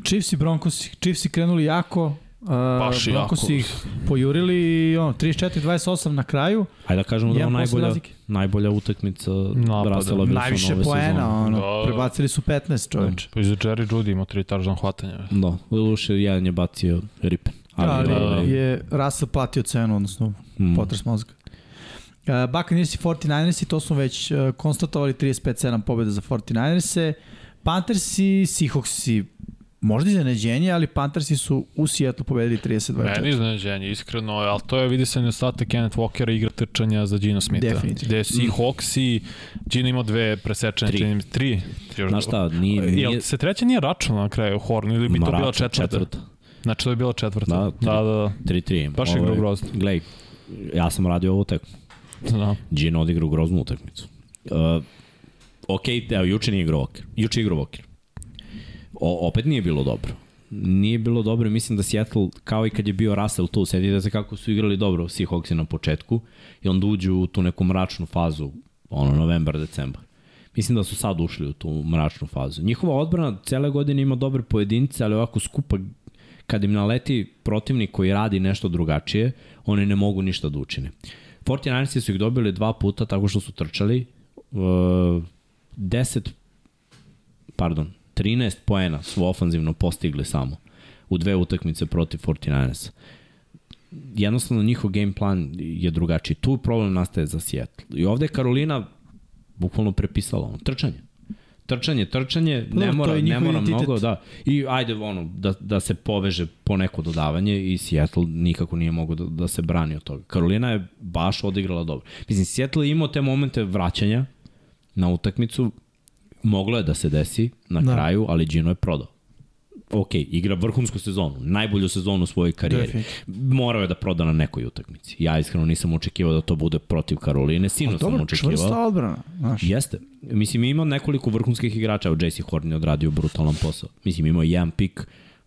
[SPEAKER 2] Chiefs i Broncos, Chiefs i krenuli jako, uh,
[SPEAKER 3] Baš
[SPEAKER 2] Broncos
[SPEAKER 3] jako.
[SPEAKER 2] ih pojurili i ono, 34-28 na kraju.
[SPEAKER 1] Ajde da kažemo da je
[SPEAKER 2] Jedan
[SPEAKER 1] ovo
[SPEAKER 2] posle
[SPEAKER 1] najbolja,
[SPEAKER 2] razlike.
[SPEAKER 1] najbolja utakmica
[SPEAKER 3] Napada.
[SPEAKER 1] Rasela Wilsona ove
[SPEAKER 2] Najviše
[SPEAKER 1] sezone.
[SPEAKER 2] poena, ono,
[SPEAKER 3] Da.
[SPEAKER 2] prebacili su 15 čoveče.
[SPEAKER 3] Pa i za Jerry Judy ima tri taržan hvatanja.
[SPEAKER 1] Da, Luše jedan je bacio Ripen. Ali,
[SPEAKER 2] Ali
[SPEAKER 1] ovaj,
[SPEAKER 2] je Russell platio cenu, odnosno
[SPEAKER 1] mm,
[SPEAKER 2] potres mozga. Uh, Buccaneers i 49ers i to smo već uh, konstatovali 35-7 pobjeda za 49ers-e. Panthers i Seahawks i možda iznenađenje, ali Panthersi su u Seattle pobedili 32
[SPEAKER 3] Meni iznenađenje, iskreno, ali to je, vidi se nedostatak Kenneth Walkera i igra trčanja za Gino Smitha.
[SPEAKER 2] Definitivno.
[SPEAKER 3] Gde si Hawks i Gino imao dve presečene,
[SPEAKER 1] Tri.
[SPEAKER 3] tri. tri. Još
[SPEAKER 1] Znaš šta, nije... nije...
[SPEAKER 3] Jel se treća nije računala na kraju Horn ili bi to bila četvrta? četvrta. Znači to je bila četvrta.
[SPEAKER 1] Da, tri.
[SPEAKER 3] da, da.
[SPEAKER 1] 3-3.
[SPEAKER 3] Baš je igrao grozno.
[SPEAKER 1] Glej, ja sam radio ovu utakmicu.
[SPEAKER 3] da.
[SPEAKER 1] Gino odigrao groznu utakmicu. Uh, ok, evo, juče nije igrao Walker. Juče je igrao Walker. O, opet nije bilo dobro. Nije bilo dobro, i mislim da Seattle, kao i kad je bio Russell tu, sedi se kako su igrali dobro Seahawksi na početku i onda uđu u tu neku mračnu fazu, ono, novembar, decembar. Mislim da su sad ušli u tu mračnu fazu. Njihova odbrana cele godine ima dobre pojedince, ali ovako skupa kad im naleti protivnik koji radi nešto drugačije, oni ne mogu ništa da učine. 49ersi su ih dobili dva puta tako što su trčali. Uh, 10 pardon, 13 poena su ofanzivno postigli samo u dve utakmice protiv 49ersa. Jednostavno njihov game plan je drugačiji. Tu problem nastaje za Seattle. I ovde je Karolina bukvalno prepisala ono, trčanje. Trčanje, trčanje,
[SPEAKER 2] dobro,
[SPEAKER 1] ne
[SPEAKER 2] Pa da, to
[SPEAKER 1] mora,
[SPEAKER 2] je
[SPEAKER 1] ne
[SPEAKER 2] njihov
[SPEAKER 1] mora
[SPEAKER 2] identitet.
[SPEAKER 1] mnogo, da. I ajde ono, da, da se poveže po neko dodavanje i Seattle nikako nije mogao da, da se brani od toga. Karolina je baš odigrala dobro. Mislim, Seattle je imao te momente vraćanja na utakmicu, moglo je da se desi na
[SPEAKER 2] Da.
[SPEAKER 1] da. kraju, ali Gino je prodao. Ok, igra vrhunsku sezonu, najbolju sezonu u svojoj karijeri. Morao je da proda na nekoj utakmici. Ja iskreno nisam očekivao da to bude protiv Karoline, sino sam
[SPEAKER 2] Dobro,
[SPEAKER 1] očekivao.
[SPEAKER 2] čvrsta odbrana. Znaš.
[SPEAKER 1] Jeste. Mislim, ima nekoliko vrhunskih igrača, evo JC Horn je odradio brutalan posao. Mislim, imao je jedan pik,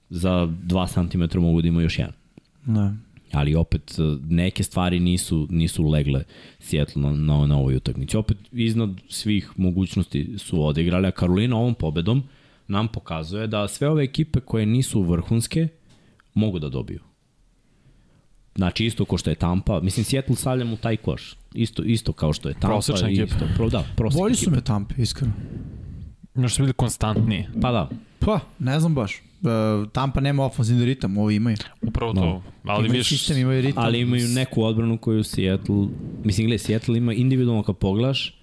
[SPEAKER 1] za 2 cm mogu da ima još jedan.
[SPEAKER 2] Da.
[SPEAKER 1] Ali opet, eh, neke stvari nisu, nisu legle Seattle na, na, na ovoj utakmici. Opet, iznad svih mogućnosti su odigrali, a Karolina ovom pobedom nam pokazuje da sve ove ekipe koje nisu vrhunske mogu da dobiju. Znači, isto ko što je Tampa, mislim, Seattle stavljam u taj koš. Isto, isto kao što je Tampa.
[SPEAKER 3] Prosečna ekipa.
[SPEAKER 1] Isto, pro, da, prosečna
[SPEAKER 2] Bolji
[SPEAKER 1] ekipa.
[SPEAKER 2] su me tampe, iskreno.
[SPEAKER 3] Još su bili konstantniji.
[SPEAKER 1] Pa da,
[SPEAKER 2] Pa, ne znam baš. E, Tampa nema ofenzivni ritam, ovi imaju.
[SPEAKER 3] Upravo
[SPEAKER 1] No.
[SPEAKER 3] to. Ali
[SPEAKER 2] imaju
[SPEAKER 3] viš,
[SPEAKER 2] sistem, imaju ritam.
[SPEAKER 1] ali imaju neku odbranu koju Seattle, mislim gledaj, Seattle ima individualno kad pogledaš,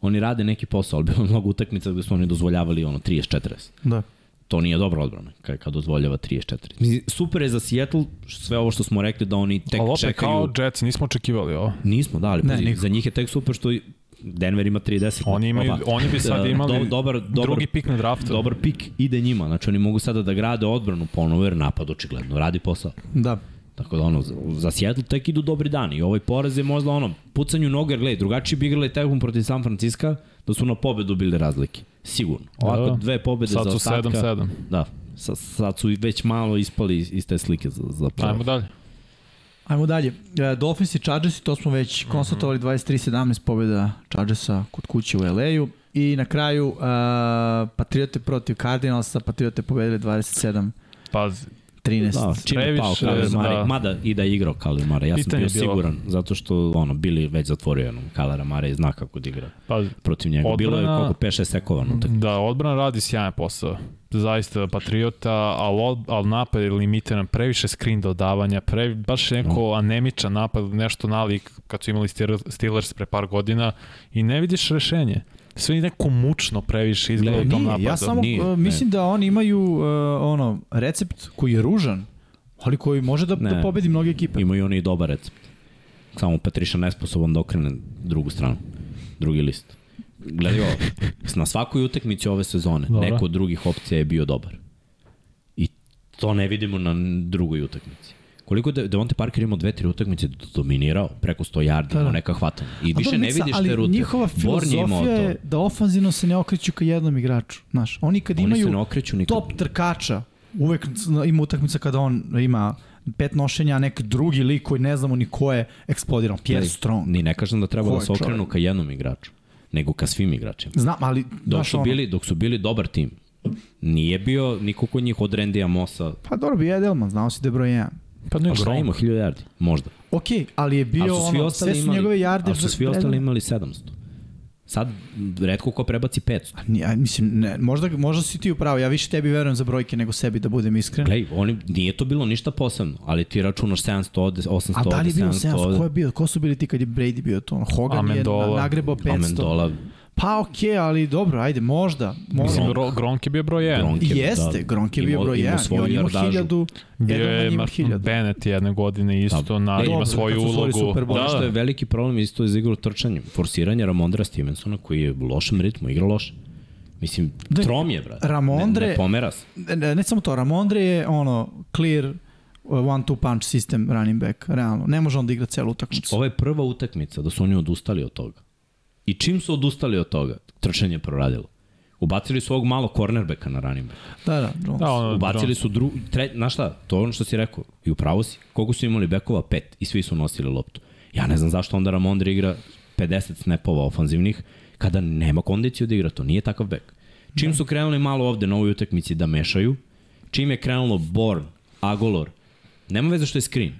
[SPEAKER 1] oni rade neki posao, ali bilo je mnogo utakmica gde su oni dozvoljavali ono 30-40.
[SPEAKER 2] Da.
[SPEAKER 1] To nije dobra odbrana kad, kad dozvoljava 30-40. Mislim, super je za Seattle sve ovo što smo rekli da oni tek
[SPEAKER 3] ali opet
[SPEAKER 1] čekaju.
[SPEAKER 3] kao Jets, nismo očekivali ovo.
[SPEAKER 1] Nismo, da, ali
[SPEAKER 2] Ne,
[SPEAKER 1] pazi,
[SPEAKER 2] nikako.
[SPEAKER 1] za njih je tek super što i Denver ima 3-10.
[SPEAKER 3] Oni, imaju,
[SPEAKER 1] Oba.
[SPEAKER 3] oni bi sad
[SPEAKER 1] E,
[SPEAKER 3] imali
[SPEAKER 1] do, dobar, dobar,
[SPEAKER 3] drugi pik na draftu.
[SPEAKER 1] dobar pik ide njima. Znači oni mogu sada da grade odbranu ponovo jer napad očigledno radi posao.
[SPEAKER 2] Da.
[SPEAKER 1] Tako da ono, za- za Seattle tek idu dobri dani i ovaj poraz je možda ono, pucanju noga, jer gledaj, drugačije bi igrali taj tekmu protiv San Francisca da su na pobedu bili razlike, sigurno. Ovako
[SPEAKER 3] Da.
[SPEAKER 1] dve pobede
[SPEAKER 3] Sad
[SPEAKER 1] za
[SPEAKER 3] su
[SPEAKER 1] ostatka.
[SPEAKER 3] 7-7.
[SPEAKER 1] Da, sa, sad su i već malo ispali iz, iz te slike za, za
[SPEAKER 3] Ajmo da-
[SPEAKER 1] poraz.
[SPEAKER 3] dalje.
[SPEAKER 2] Ajmo dalje. E, Dolphins i Chargers, to smo već
[SPEAKER 1] Mhm.
[SPEAKER 2] konstatovali, 23-17 pobjeda Chargersa kod kuće u LA-u. I na kraju e, Patriote protiv Cardinalsa, Patriote pobedili 27-13.
[SPEAKER 3] Pazi,
[SPEAKER 1] Da, čim je pao
[SPEAKER 3] Previše,
[SPEAKER 1] Kalil Mare,
[SPEAKER 3] da.
[SPEAKER 1] mada i da je igrao Kalil Mare, ja
[SPEAKER 3] Pitanje
[SPEAKER 1] sam
[SPEAKER 3] je
[SPEAKER 1] bio
[SPEAKER 3] bilo.
[SPEAKER 1] siguran, zato što ono, bili već zatvorio jednom Kalera Mare i zna kako da igra
[SPEAKER 3] pazi.
[SPEAKER 1] protiv njega. Bilo je
[SPEAKER 3] Odbrana-
[SPEAKER 1] koliko 5-6 sekovano, tako
[SPEAKER 3] Da, odbrana radi sjajan posao. Zaista Patriota, ali, od, ali napad je limitiran, previše screen dodavanja, pre, baš je neko anemičan napad, nešto nalik kad su imali Steelers- Steelers pre par godina i ne vidiš rešenje. Sve je neko mučno previše izgleda u tom
[SPEAKER 2] Nije,
[SPEAKER 3] napadu.
[SPEAKER 2] ja samo
[SPEAKER 1] Nije,
[SPEAKER 2] e,
[SPEAKER 1] ne.
[SPEAKER 2] mislim da oni imaju e, ono, recept koji je ružan, ali koji može da, da
[SPEAKER 1] Ne.
[SPEAKER 2] pobedi mnoge ekipe.
[SPEAKER 1] Imaju oni i dobar recept. Samo Petriša nesposoban da okrene drugu stranu, drugi list. Gledaj ovo, na svakoj utakmici ove sezone
[SPEAKER 3] Dobro.
[SPEAKER 1] neko od drugih opcija je bio dobar. I to ne vidimo na drugoj utakmici. Koliko da Devonte Parker imao dve, tri utakmice da je dominirao, preko 100 yardi, da, neka hvatanja. I
[SPEAKER 2] A
[SPEAKER 1] više
[SPEAKER 2] dobro,
[SPEAKER 1] ne
[SPEAKER 2] Mica,
[SPEAKER 1] vidiš
[SPEAKER 2] ali
[SPEAKER 1] te rute.
[SPEAKER 2] njihova
[SPEAKER 1] Born je imao
[SPEAKER 2] filozofija je
[SPEAKER 1] to.
[SPEAKER 2] da ofanzivno se ne okreću ka jednom igraču. Znaš, oni kad
[SPEAKER 1] Oni se ne
[SPEAKER 2] da imaju
[SPEAKER 1] okreću nikad.
[SPEAKER 2] top trkača, uvek ima utakmica kada on ima pet nošenja, a neki drugi lik koji ne znamo ni ko je eksplodirao. Pierre
[SPEAKER 1] Gledaj,
[SPEAKER 2] Strong.
[SPEAKER 1] Ni ne kažem da treba
[SPEAKER 2] Ko
[SPEAKER 1] da
[SPEAKER 2] je
[SPEAKER 1] se okrenu
[SPEAKER 2] čovek?
[SPEAKER 1] ka jednom igraču, nego ka svim igračima.
[SPEAKER 2] Znam, ali...
[SPEAKER 1] Dok
[SPEAKER 2] znaš,
[SPEAKER 1] su
[SPEAKER 2] ono,
[SPEAKER 1] bili, dok su bili dobar tim, nije bio niko kod njih od Rendija Mosa,
[SPEAKER 2] Pa dobro, bio je Edelman, znao si da je broj 1.
[SPEAKER 3] Pa ne,
[SPEAKER 1] Pa šta
[SPEAKER 3] grom.
[SPEAKER 1] ima, 1000 yardi, možda.
[SPEAKER 2] Ok, ali je bio
[SPEAKER 1] ali su svi
[SPEAKER 2] ono,
[SPEAKER 1] ostali
[SPEAKER 2] sve su
[SPEAKER 1] imali,
[SPEAKER 2] njegove jarde...
[SPEAKER 1] ali su svi
[SPEAKER 2] vredne.
[SPEAKER 1] ostali imali 700. Sad, redko ko prebaci 500.
[SPEAKER 2] A ni- a, mislim, ne, možda, možda si ti upravo, ja više tebi verujem za brojke nego sebi, da budem iskren.
[SPEAKER 1] Glej, oni, nije to bilo ništa posebno, ali ti računaš 700 ovde, 800
[SPEAKER 2] A da li je
[SPEAKER 1] ovde,
[SPEAKER 2] bilo
[SPEAKER 1] 700
[SPEAKER 2] 700? Ko
[SPEAKER 1] ovde.
[SPEAKER 2] je bio? Ko su bili ti kad je Brady bio to? Ono, Hogan je
[SPEAKER 3] Amendola.
[SPEAKER 2] na- nagrebao 500.
[SPEAKER 1] Amendola,
[SPEAKER 2] Pa okej, okay, ali dobro, ajde, možda. možda.
[SPEAKER 3] Mislim,
[SPEAKER 1] Gronk.
[SPEAKER 3] Gro- Gronk je bio broj 1.
[SPEAKER 1] Gronk. Gronk je,
[SPEAKER 2] Jeste,
[SPEAKER 1] da,
[SPEAKER 2] Gronk je bio
[SPEAKER 1] imao-
[SPEAKER 2] broj
[SPEAKER 1] imao
[SPEAKER 2] 1 i
[SPEAKER 1] svoju
[SPEAKER 2] on je imao
[SPEAKER 1] jardažu.
[SPEAKER 2] hiljadu,
[SPEAKER 3] Bio
[SPEAKER 2] Edelman
[SPEAKER 3] je
[SPEAKER 2] ima
[SPEAKER 3] Mark
[SPEAKER 2] hiljadu.
[SPEAKER 3] Bennett jedne godine isto,
[SPEAKER 1] Da.
[SPEAKER 3] na,
[SPEAKER 1] E,
[SPEAKER 3] ima
[SPEAKER 2] dobro,
[SPEAKER 3] svoju
[SPEAKER 2] kad su osvojili
[SPEAKER 3] ulogu.
[SPEAKER 2] Super Bowl.
[SPEAKER 1] Ono
[SPEAKER 3] Da,
[SPEAKER 1] što je
[SPEAKER 3] da.
[SPEAKER 1] veliki problem isto je igrao trčanjem, forsiranje Ramondra Stevensona koji je u lošem ritmu, igra loše. Mislim,
[SPEAKER 2] Da,
[SPEAKER 1] trom je, brate.
[SPEAKER 2] Ramondre-
[SPEAKER 1] Ne, ne pomera se.
[SPEAKER 2] ne, ne samo to, Ramondre je ono, clear, one two punch sistem running back, realno. Ne može on da igra celu utakmicu.
[SPEAKER 1] Ovo je prva utakmica da su oni odustali od toga. I čim su odustali od toga, trčanje je proradilo. Ubacili su ovog malo cornerbacka na running back.
[SPEAKER 2] Da, da, Jones.
[SPEAKER 3] Da, ono,
[SPEAKER 1] Ubacili
[SPEAKER 3] Gronk.
[SPEAKER 1] su dru... Tre... Znaš šta, to je ono što si rekao. I upravo si. Koliko su imali bekova? Pet. I svi su nosili loptu. Ja ne znam zašto onda Ramondre igra 50 snapova ofanzivnih kada nema kondiciju da igra to. Nije takav bek. Čim su krenuli malo ovde na ovoj utakmici da mešaju, čim je krenulo Born, Agolor, nema veze što je screen.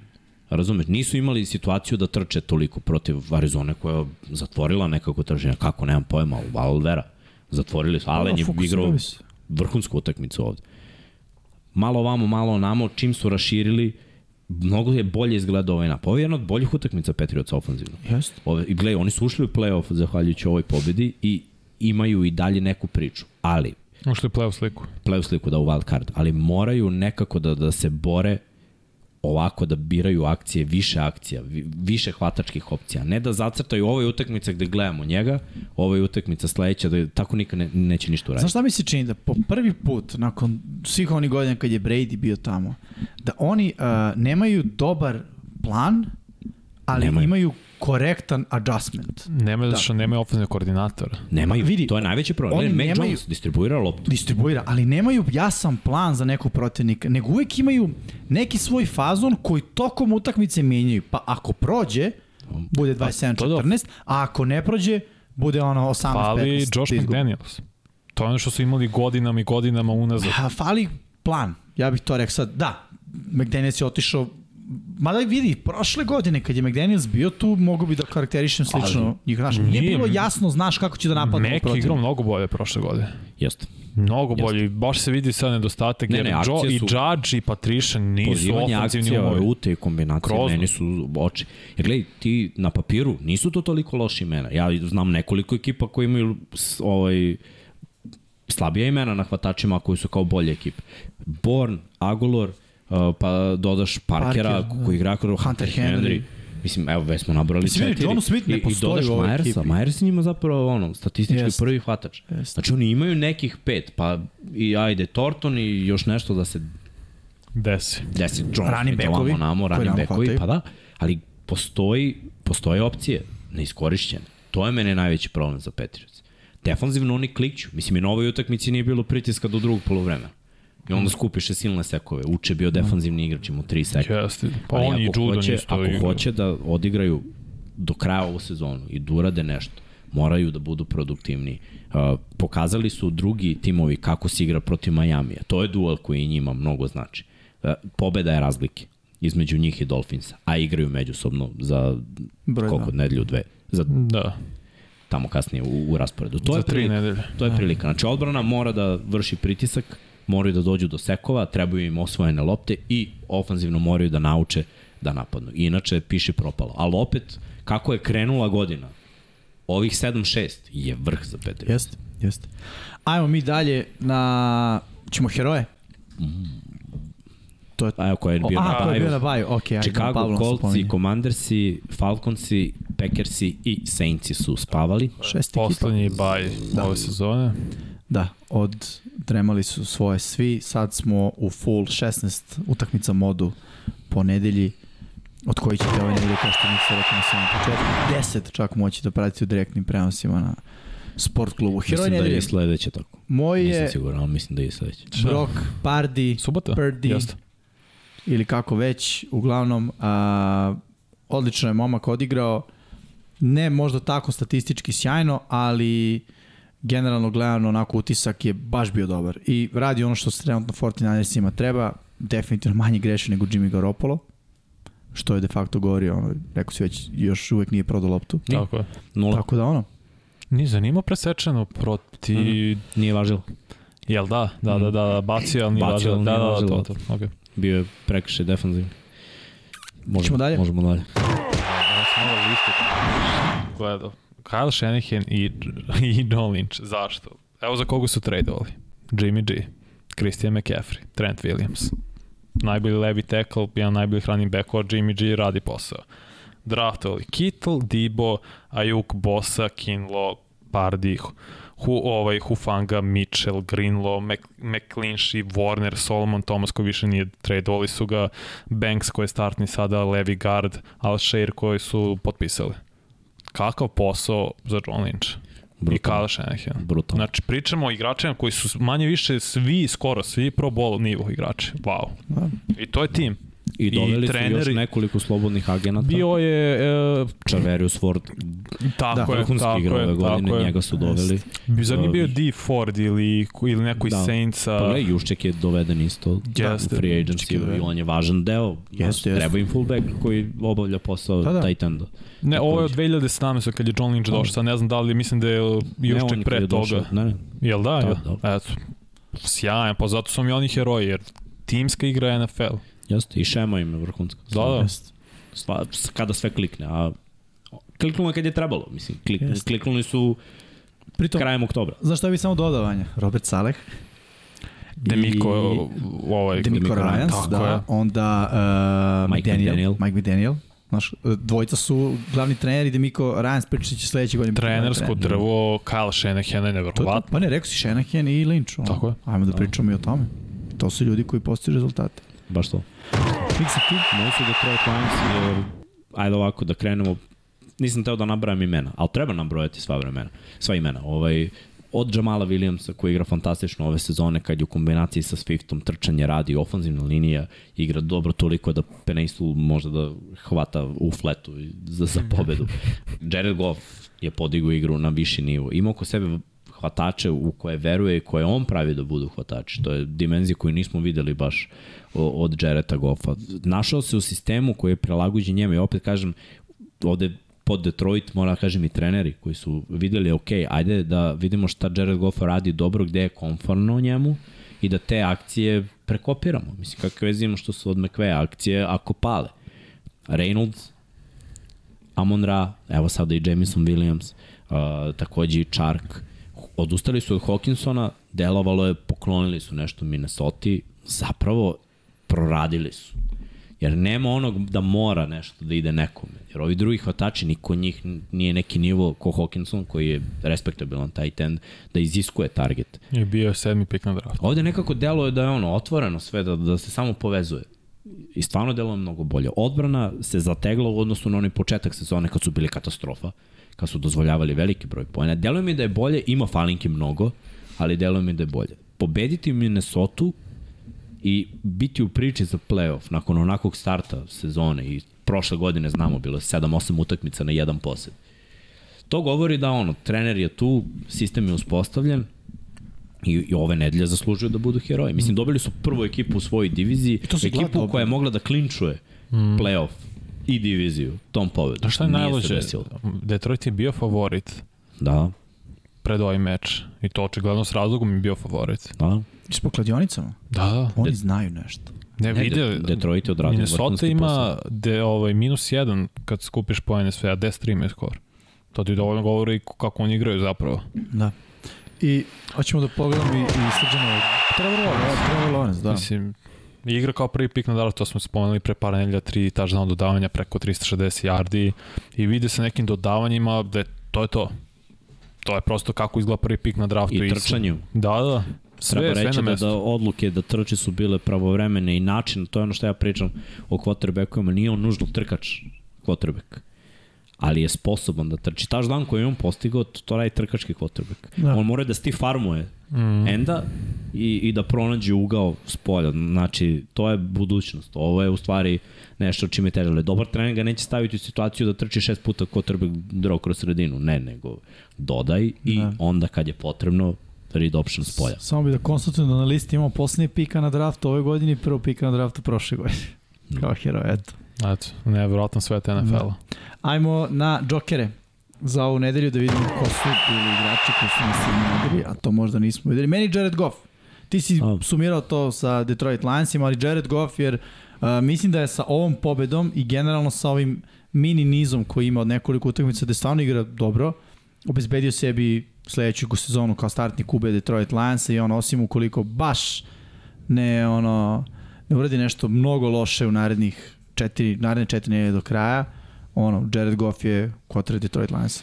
[SPEAKER 1] Razumeš, nisu imali situaciju da trče toliko protiv Arizone koja je zatvorila nekako trženje. Kako, nemam pojma, ali Valvera. Zatvorili su. Allen je igrao
[SPEAKER 2] fokusirali su.
[SPEAKER 1] vrhunsku utakmicu ovde malo ovamo, malo onamo, čim su raširili, mnogo je bolje izgledao ovaj napad. Ovo je jedna od boljih utakmica Patriots ofenzivno.
[SPEAKER 2] Jeste.
[SPEAKER 1] Ove, i gle, oni su ušli u play-off zahvaljujući ovoj pobedi i imaju i dalje neku priču. Ali,
[SPEAKER 3] Ušli u playoff sliku.
[SPEAKER 1] play-off sliku da u wild card, ali moraju nekako da, da se bore ovako da biraju akcije, više akcija, vi- više hvatačkih opcija. Ne da zacrtaju ovo je utakmica gde gledamo njega, ovo je utakmica sledeća, da tako nikad ne, neće ništa uraditi.
[SPEAKER 2] Znaš šta mi se čini? Da po prvi put, nakon svih onih godina kad je Brady bio tamo, da oni uh, nemaju dobar plan, ali
[SPEAKER 1] Nemaju.
[SPEAKER 2] nemaju. imaju korektan adjustment.
[SPEAKER 3] Nema da. što nema ofenzivnog koordinatora.
[SPEAKER 1] Nemaju,
[SPEAKER 2] Vidi,
[SPEAKER 1] to je najveći problem.
[SPEAKER 2] oni
[SPEAKER 1] Oni Mac
[SPEAKER 2] nemaju-
[SPEAKER 1] Jones distribuira loptu.
[SPEAKER 2] distribuira, ali nemaju jasan plan za nekog protivnika, nego uvek imaju neki svoj fazon koji tokom utakmice menjaju. Pa ako prođe, bude 27-14, a ako ne prođe, bude ono da 18-15.
[SPEAKER 3] Fali Josh
[SPEAKER 2] izgubi.
[SPEAKER 3] McDaniels. To je ono što su imali godinama i godinama unazad.
[SPEAKER 2] Ha, fali plan, ja bih to rekao sad. Da, McDaniels je otišao Mada vidi, prošle godine kad je McDaniels bio tu, mogu bi da karakterišem slično ali, njih. Znaš, nije
[SPEAKER 3] nije-
[SPEAKER 2] bilo jasno, znaš kako će da
[SPEAKER 1] Pa
[SPEAKER 2] napadne
[SPEAKER 3] Mek je igrao
[SPEAKER 2] protiv.
[SPEAKER 3] mnogo bolje prošle godine.
[SPEAKER 1] Jeste.
[SPEAKER 3] Mnogo bolji, baš se vidi sad nedostatak,
[SPEAKER 1] Ne,
[SPEAKER 3] ne, jer
[SPEAKER 1] ne,
[SPEAKER 3] ne, jo,
[SPEAKER 1] akcije
[SPEAKER 3] i
[SPEAKER 1] su-
[SPEAKER 3] Judge i Patricia nisu
[SPEAKER 1] pozivanje
[SPEAKER 3] ofenzivni
[SPEAKER 1] akcija,
[SPEAKER 3] umovi.
[SPEAKER 1] rute i kombinacije,
[SPEAKER 3] Grozno.
[SPEAKER 1] meni su oči. Jer gledaj, ti na papiru nisu to toliko loši imena. Ja znam nekoliko ekipa koji imaju s- ovaj, slabija imena na hvatačima koji su kao bolje ekipe. Born, Agolor, uh, pa dodaš Parkera
[SPEAKER 2] Parker, da.
[SPEAKER 1] Parker, koji igra kao
[SPEAKER 2] Hunter Henry.
[SPEAKER 1] Mislim, evo, već smo nabrali
[SPEAKER 2] Mislim, vidi,
[SPEAKER 1] četiri.
[SPEAKER 2] John Smith ne
[SPEAKER 1] I, i
[SPEAKER 2] postoji
[SPEAKER 1] dodaš
[SPEAKER 2] u ovoj
[SPEAKER 1] Myersa.
[SPEAKER 2] ekipi.
[SPEAKER 1] Myers je njima zapravo ono, statistički
[SPEAKER 2] Jest.
[SPEAKER 1] prvi hvatač.
[SPEAKER 2] Jest.
[SPEAKER 1] Znači, oni imaju nekih pet, pa i ajde Torton i još nešto da se
[SPEAKER 3] Desi.
[SPEAKER 1] desi Jones,
[SPEAKER 2] Running
[SPEAKER 1] mi to
[SPEAKER 2] backovi,
[SPEAKER 1] vamo namo,
[SPEAKER 2] koji
[SPEAKER 1] running
[SPEAKER 2] nam
[SPEAKER 1] backovi,
[SPEAKER 2] hvataju.
[SPEAKER 1] pa da, ali postoji, postoje opcije neiskorišćene. To je mene najveći problem za Patriots. Defanzivno oni klikću. Mislim, i na ovoj utakmici nije bilo pritiska do drugog polovremena. I onda skupiše silne sekove. Uče je bio defanzivni igrač, imao tri seka.
[SPEAKER 3] Jeste. Pa
[SPEAKER 1] Ali
[SPEAKER 3] on i
[SPEAKER 1] ako
[SPEAKER 3] Judon
[SPEAKER 1] hoće,
[SPEAKER 3] isto
[SPEAKER 1] Ako
[SPEAKER 3] igraju.
[SPEAKER 1] hoće da odigraju do kraja ovu sezonu i da urade nešto, moraju da budu produktivni. Uh, pokazali su drugi timovi kako se igra protiv Majamija. To je duel koji njima mnogo znači. Uh, pobeda je razlike između njih i Dolfinsa, a igraju međusobno za
[SPEAKER 2] Broj
[SPEAKER 1] koliko,
[SPEAKER 2] dva.
[SPEAKER 1] nedelju, dve, za
[SPEAKER 3] Da,
[SPEAKER 1] tamo kasnije u, u rasporedu. To
[SPEAKER 3] za
[SPEAKER 1] je
[SPEAKER 3] tri
[SPEAKER 1] prilika.
[SPEAKER 3] nedelje. Da.
[SPEAKER 1] To je prilika. Znači, odbrana mora da vrši pritisak, moraju da dođu do sekova, trebaju im osvojene lopte i ofanzivno moraju da nauče da napadnu. Inače, piše propalo. Ali opet, kako je krenula godina, ovih 7-6 je vrh za Petrija.
[SPEAKER 2] Jeste, jeste. Ajmo mi dalje na... Ćemo heroje? To je...
[SPEAKER 1] Mm. Evo koja je bio
[SPEAKER 2] A, to je bio
[SPEAKER 1] baju.
[SPEAKER 2] na baju, okej. ajde,
[SPEAKER 1] Chicago,
[SPEAKER 2] Pavlo nas
[SPEAKER 1] Coltsi,
[SPEAKER 2] opominje.
[SPEAKER 1] Commandersi, Falconsi, Packersi i Saintsi su spavali.
[SPEAKER 2] Šest ekipa.
[SPEAKER 3] Poslednji baj da. ove sezone.
[SPEAKER 2] Da, od dremali su svoje svi, sad smo u full 16 utakmica modu po nedelji, od koji ćete ove nedelje, ovaj kao što mi se rekao na samom početku, 10 čak moći da pratite u direktnim prenosima na sport klubu. Heroj
[SPEAKER 1] Mislim da
[SPEAKER 2] nedelje,
[SPEAKER 1] je sledeće tako.
[SPEAKER 2] moj
[SPEAKER 1] Nisam
[SPEAKER 2] je
[SPEAKER 1] siguran, ali mislim da je sledeće.
[SPEAKER 2] Brock Pardy,
[SPEAKER 3] Subota?
[SPEAKER 2] Purdy.
[SPEAKER 3] Jeste.
[SPEAKER 2] ili kako već, uglavnom a, odlično je momak odigrao ne možda tako statistički sjajno, ali generalno gledano onako utisak je baš bio dobar i radi ono što se trenutno 49ersima treba, definitivno manje greši nego Jimmy Garoppolo što je de facto govorio, ono, rekao si već, još uvek nije prodao loptu.
[SPEAKER 1] Ni-
[SPEAKER 3] Tako je.
[SPEAKER 1] Nula.
[SPEAKER 2] Tako da ono,
[SPEAKER 3] Ni zanima presečeno proti...
[SPEAKER 1] Mhm. Nije važilo.
[SPEAKER 3] Jel da? Da, da, da, da, bacio, ali nije
[SPEAKER 1] Bacio,
[SPEAKER 3] važilo.
[SPEAKER 1] ali
[SPEAKER 3] Da,
[SPEAKER 1] nije
[SPEAKER 3] da, da,
[SPEAKER 1] važilo.
[SPEAKER 3] to, to. Okay.
[SPEAKER 1] Bio je prekršaj defanzivni. Možemo
[SPEAKER 2] Ćemo dalje?
[SPEAKER 1] Možemo dalje.
[SPEAKER 3] Ja sam ovo listu gledao Kyle Shanahan i, i John Lynch. Zašto? Evo za koga su tradeovali. Jimmy G, Christian McCaffrey, Trent Williams. Najbolji levi tackle, jedan najbolji running backova, Jimmy G radi posao. Draftovali Kittle, Debo, Ayuk, Bosa, Kinlo, Pardi, Hu, ovaj, Hufanga, Mitchell, Greenlaw, Mc, McClinchy, Warner, Solomon, Thomas koji više nije tradeovali su ga, Banks koji je startni sada, Levi Guard, Alshire koji su potpisali. Kakav posao za John Lynch? i
[SPEAKER 1] Brutalno.
[SPEAKER 3] Kyle Shanahan.
[SPEAKER 1] Brutalno.
[SPEAKER 3] Znači, pričamo o igračima koji su manje više svi, skoro svi pro bowl nivo igrači. Wow.
[SPEAKER 2] da,
[SPEAKER 3] I to je tim.
[SPEAKER 1] I doveli
[SPEAKER 3] i
[SPEAKER 1] su još
[SPEAKER 3] treneri-
[SPEAKER 1] nekoliko slobodnih agenata.
[SPEAKER 3] Bio je, e,
[SPEAKER 1] Čaverius Ford,
[SPEAKER 3] tako da, je,
[SPEAKER 1] vrhunski
[SPEAKER 3] tako
[SPEAKER 1] igrao ove
[SPEAKER 3] je,
[SPEAKER 1] godine,
[SPEAKER 3] tako je.
[SPEAKER 1] njega su doveli.
[SPEAKER 3] Bi za njih bio D. Ford ili, ili neko iz
[SPEAKER 1] Da.
[SPEAKER 3] Saintsa.
[SPEAKER 1] Pa ne, Jušček je doveden isto
[SPEAKER 3] Jeste.
[SPEAKER 1] u free agency i on je važan deo. Znaš,
[SPEAKER 2] jeste.
[SPEAKER 1] Treba im fullback koji obavlja posao
[SPEAKER 2] Pa
[SPEAKER 1] da,
[SPEAKER 2] da.
[SPEAKER 1] da. tight enda.
[SPEAKER 3] Ne, ovo je od 2017. kad je John Lynch došao, sad ne znam da li, mislim da je
[SPEAKER 1] Ne, on
[SPEAKER 3] Jušček
[SPEAKER 1] je kad
[SPEAKER 3] pre
[SPEAKER 1] je
[SPEAKER 3] toga.
[SPEAKER 1] došao- Ne, ne,
[SPEAKER 3] Jel da?
[SPEAKER 1] Da,
[SPEAKER 3] Jel? Eto, sjajan, pa zato su mi oni heroji, jer timska igra je NFL.
[SPEAKER 1] jeste. I šema im je vrhunska.
[SPEAKER 3] Da, da.
[SPEAKER 1] Sva, s- kada sve klikne, a kliknulo je kad je trebalo, mislim. Klik, kliknuli su
[SPEAKER 2] Pritom,
[SPEAKER 1] krajem oktobra.
[SPEAKER 2] Znaš šta bi samo dodao, Vanja? Robert Saleh,
[SPEAKER 3] Demiko, ovaj,
[SPEAKER 2] Demico Ryans,
[SPEAKER 3] tako
[SPEAKER 2] da,
[SPEAKER 3] je.
[SPEAKER 2] onda uh,
[SPEAKER 1] Mike
[SPEAKER 2] Mike McDaniel,
[SPEAKER 1] McDaniel.
[SPEAKER 2] Mike McDaniel. Znaš, uh, dvojica su glavni treneri, Demico Ryans pričat će sledeće godine. biti glavni
[SPEAKER 3] trenersko
[SPEAKER 2] trener.
[SPEAKER 3] drvo, Kyle Shanahan je
[SPEAKER 2] To je to.
[SPEAKER 3] nevjerovatno.
[SPEAKER 2] Pa ne, rekao si Shanahan i Lynch. Ono.
[SPEAKER 3] Tako je.
[SPEAKER 2] Ajmo da pričamo i o tome. To su ljudi koji postižu rezultate.
[SPEAKER 1] Baš to.
[SPEAKER 2] Fiksa tu.
[SPEAKER 1] Moji su Detroit Lions, da jer, ajde ovako, da krenemo, nisam teo da nabrajam imena, ali treba nabrojati sva vremena, sva imena. Ovaj, od Jamala Williamsa koji igra fantastično ove sezone kad je u kombinaciji sa Swiftom trčanje radi, ofanzivna linija igra dobro toliko da Peneisu možda da hvata u fletu za, za pobedu. Jared Goff je podigao igru na viši nivo. Ima oko sebe hvatače u koje veruje i koje on pravi da budu hvatači. To je dimenzija koju nismo videli baš o- od Jareta Goffa. Našao se u sistemu koji je prilagođen njemu i opet kažem, ovde pod Detroit, moram da kažem i treneri koji su videli, ok, ajde da vidimo šta Jared Goff radi dobro, gde je konforno njemu i da te akcije prekopiramo. Mislim, kakve veze imamo što su od McVeja akcije ako pale. Reynolds, Amon Ra, evo sada i Jamison Williams, uh, takođe i Chark. Odustali su od Hawkinsona, delovalo je, poklonili su nešto Minnesota, zapravo proradili su. Jer nema onog da mora nešto da ide nekome. Jer ovi drugi hvatači, niko od njih nije neki nivo ko Hawkinson, koji je respektabilan tight end, da iziskuje target.
[SPEAKER 3] Je bio sedmi pik na draftu.
[SPEAKER 1] Ovde nekako deluje da je ono otvoreno sve, da, da se samo povezuje. I stvarno deluje mnogo bolje. Odbrana se zategla u odnosu na onaj početak sezone kad su bili katastrofa, kad su dozvoljavali veliki broj pojena. Deluje mi da je bolje, ima falinki mnogo, ali deluje mi da je bolje. Pobediti Minnesota i biti u priči za playoff nakon onakvog starta sezone i prošle godine znamo bilo je 7-8 utakmica na jedan posed. To govori da ono, trener je tu, sistem je uspostavljen, i, i ove nedelje zaslužuju da budu heroji. Mislim, dobili su prvu ekipu u svojoj diviziji,
[SPEAKER 2] to su
[SPEAKER 1] ekipu
[SPEAKER 2] gledali.
[SPEAKER 1] koja je mogla da klinčuje mm. playoff i diviziju tom povedu.
[SPEAKER 3] Da šta je
[SPEAKER 1] Nije se
[SPEAKER 3] najlođe?
[SPEAKER 1] desilo.
[SPEAKER 3] Detroit je bio favorit
[SPEAKER 1] Da,
[SPEAKER 3] pred ovaj meč. I to očigledno s razlogom je bio favorit.
[SPEAKER 1] da.
[SPEAKER 2] Čiš po kladionicama?
[SPEAKER 3] Da, da.
[SPEAKER 2] Oni znaju nešto.
[SPEAKER 3] Ne,
[SPEAKER 1] Ne,
[SPEAKER 3] vidio,
[SPEAKER 1] De- Detroit je odradio
[SPEAKER 3] E, Minnesota
[SPEAKER 1] vrhunski posao.
[SPEAKER 3] ima de, ovaj, minus jedan kad skupiš pojene sve, a 10-3 je skor. To ti dovoljno govori kako oni igraju zapravo.
[SPEAKER 2] Da. I hoćemo da pogledamo i, i srđano... Trevor Lawrence. Trevor Lawrence, da.
[SPEAKER 3] Mislim, igra kao prvi pik na draft, to smo spomenuli pre par nedelja, tri touchdown dodavanja preko 360 yardi i vide se nekim dodavanjima da je, to je to. To je prosto kako izgleda prvi pik na draftu.
[SPEAKER 1] I trčanju.
[SPEAKER 3] Da, da.
[SPEAKER 1] Treba
[SPEAKER 3] Sve, sve
[SPEAKER 1] reći
[SPEAKER 3] na
[SPEAKER 1] da,
[SPEAKER 3] mesto.
[SPEAKER 1] da odluke da trče su bile pravovremene i način, to je ono što ja pričam o quarterbackovima, nije on nužno trkač quarterback ali je sposoban da trči. Taš dan koji je on postigao, to, to radi trkački quarterback.
[SPEAKER 2] Da.
[SPEAKER 1] Da. On mora da sti farmuje mm.
[SPEAKER 3] Mhm.
[SPEAKER 1] enda i, i da pronađe ugao s polja. Znači, to je budućnost. Ovo je u stvari nešto čime težale. Dobar trener ga neće staviti u situaciju da trči šest puta quarterback drog kroz sredinu. Ne, nego dodaj i
[SPEAKER 2] Da.
[SPEAKER 1] da. onda kad je potrebno read option s polja.
[SPEAKER 2] Samo bi da konstatujem da na listi imamo poslednji pika na draftu ove godine i prvo pika na draftu prošle godine. Kao hero, eto.
[SPEAKER 3] Eto, nevjerojatno sve
[SPEAKER 1] Da.
[SPEAKER 3] te NFL-a.
[SPEAKER 2] Ajmo na džokere za ovu nedelju da vidimo ko su bili igrači koji su nas iznenadili, a to možda nismo videli. Meni Jared Goff. Ti si
[SPEAKER 1] A.
[SPEAKER 2] sumirao to sa Detroit Lionsima, ali Jared Goff jer a, mislim da je sa ovom pobedom i generalno sa ovim mini nizom koji ima od nekoliko utakmica da stvarno igra dobro, obezbedio sebi sledeću sezonu kao startni kube Detroit Lionsa i on osim ukoliko baš ne ono ne uradi nešto mnogo loše u narednih četiri, naredne četiri nedelje do kraja, ono, Jared Goff je kotre Detroit Lions.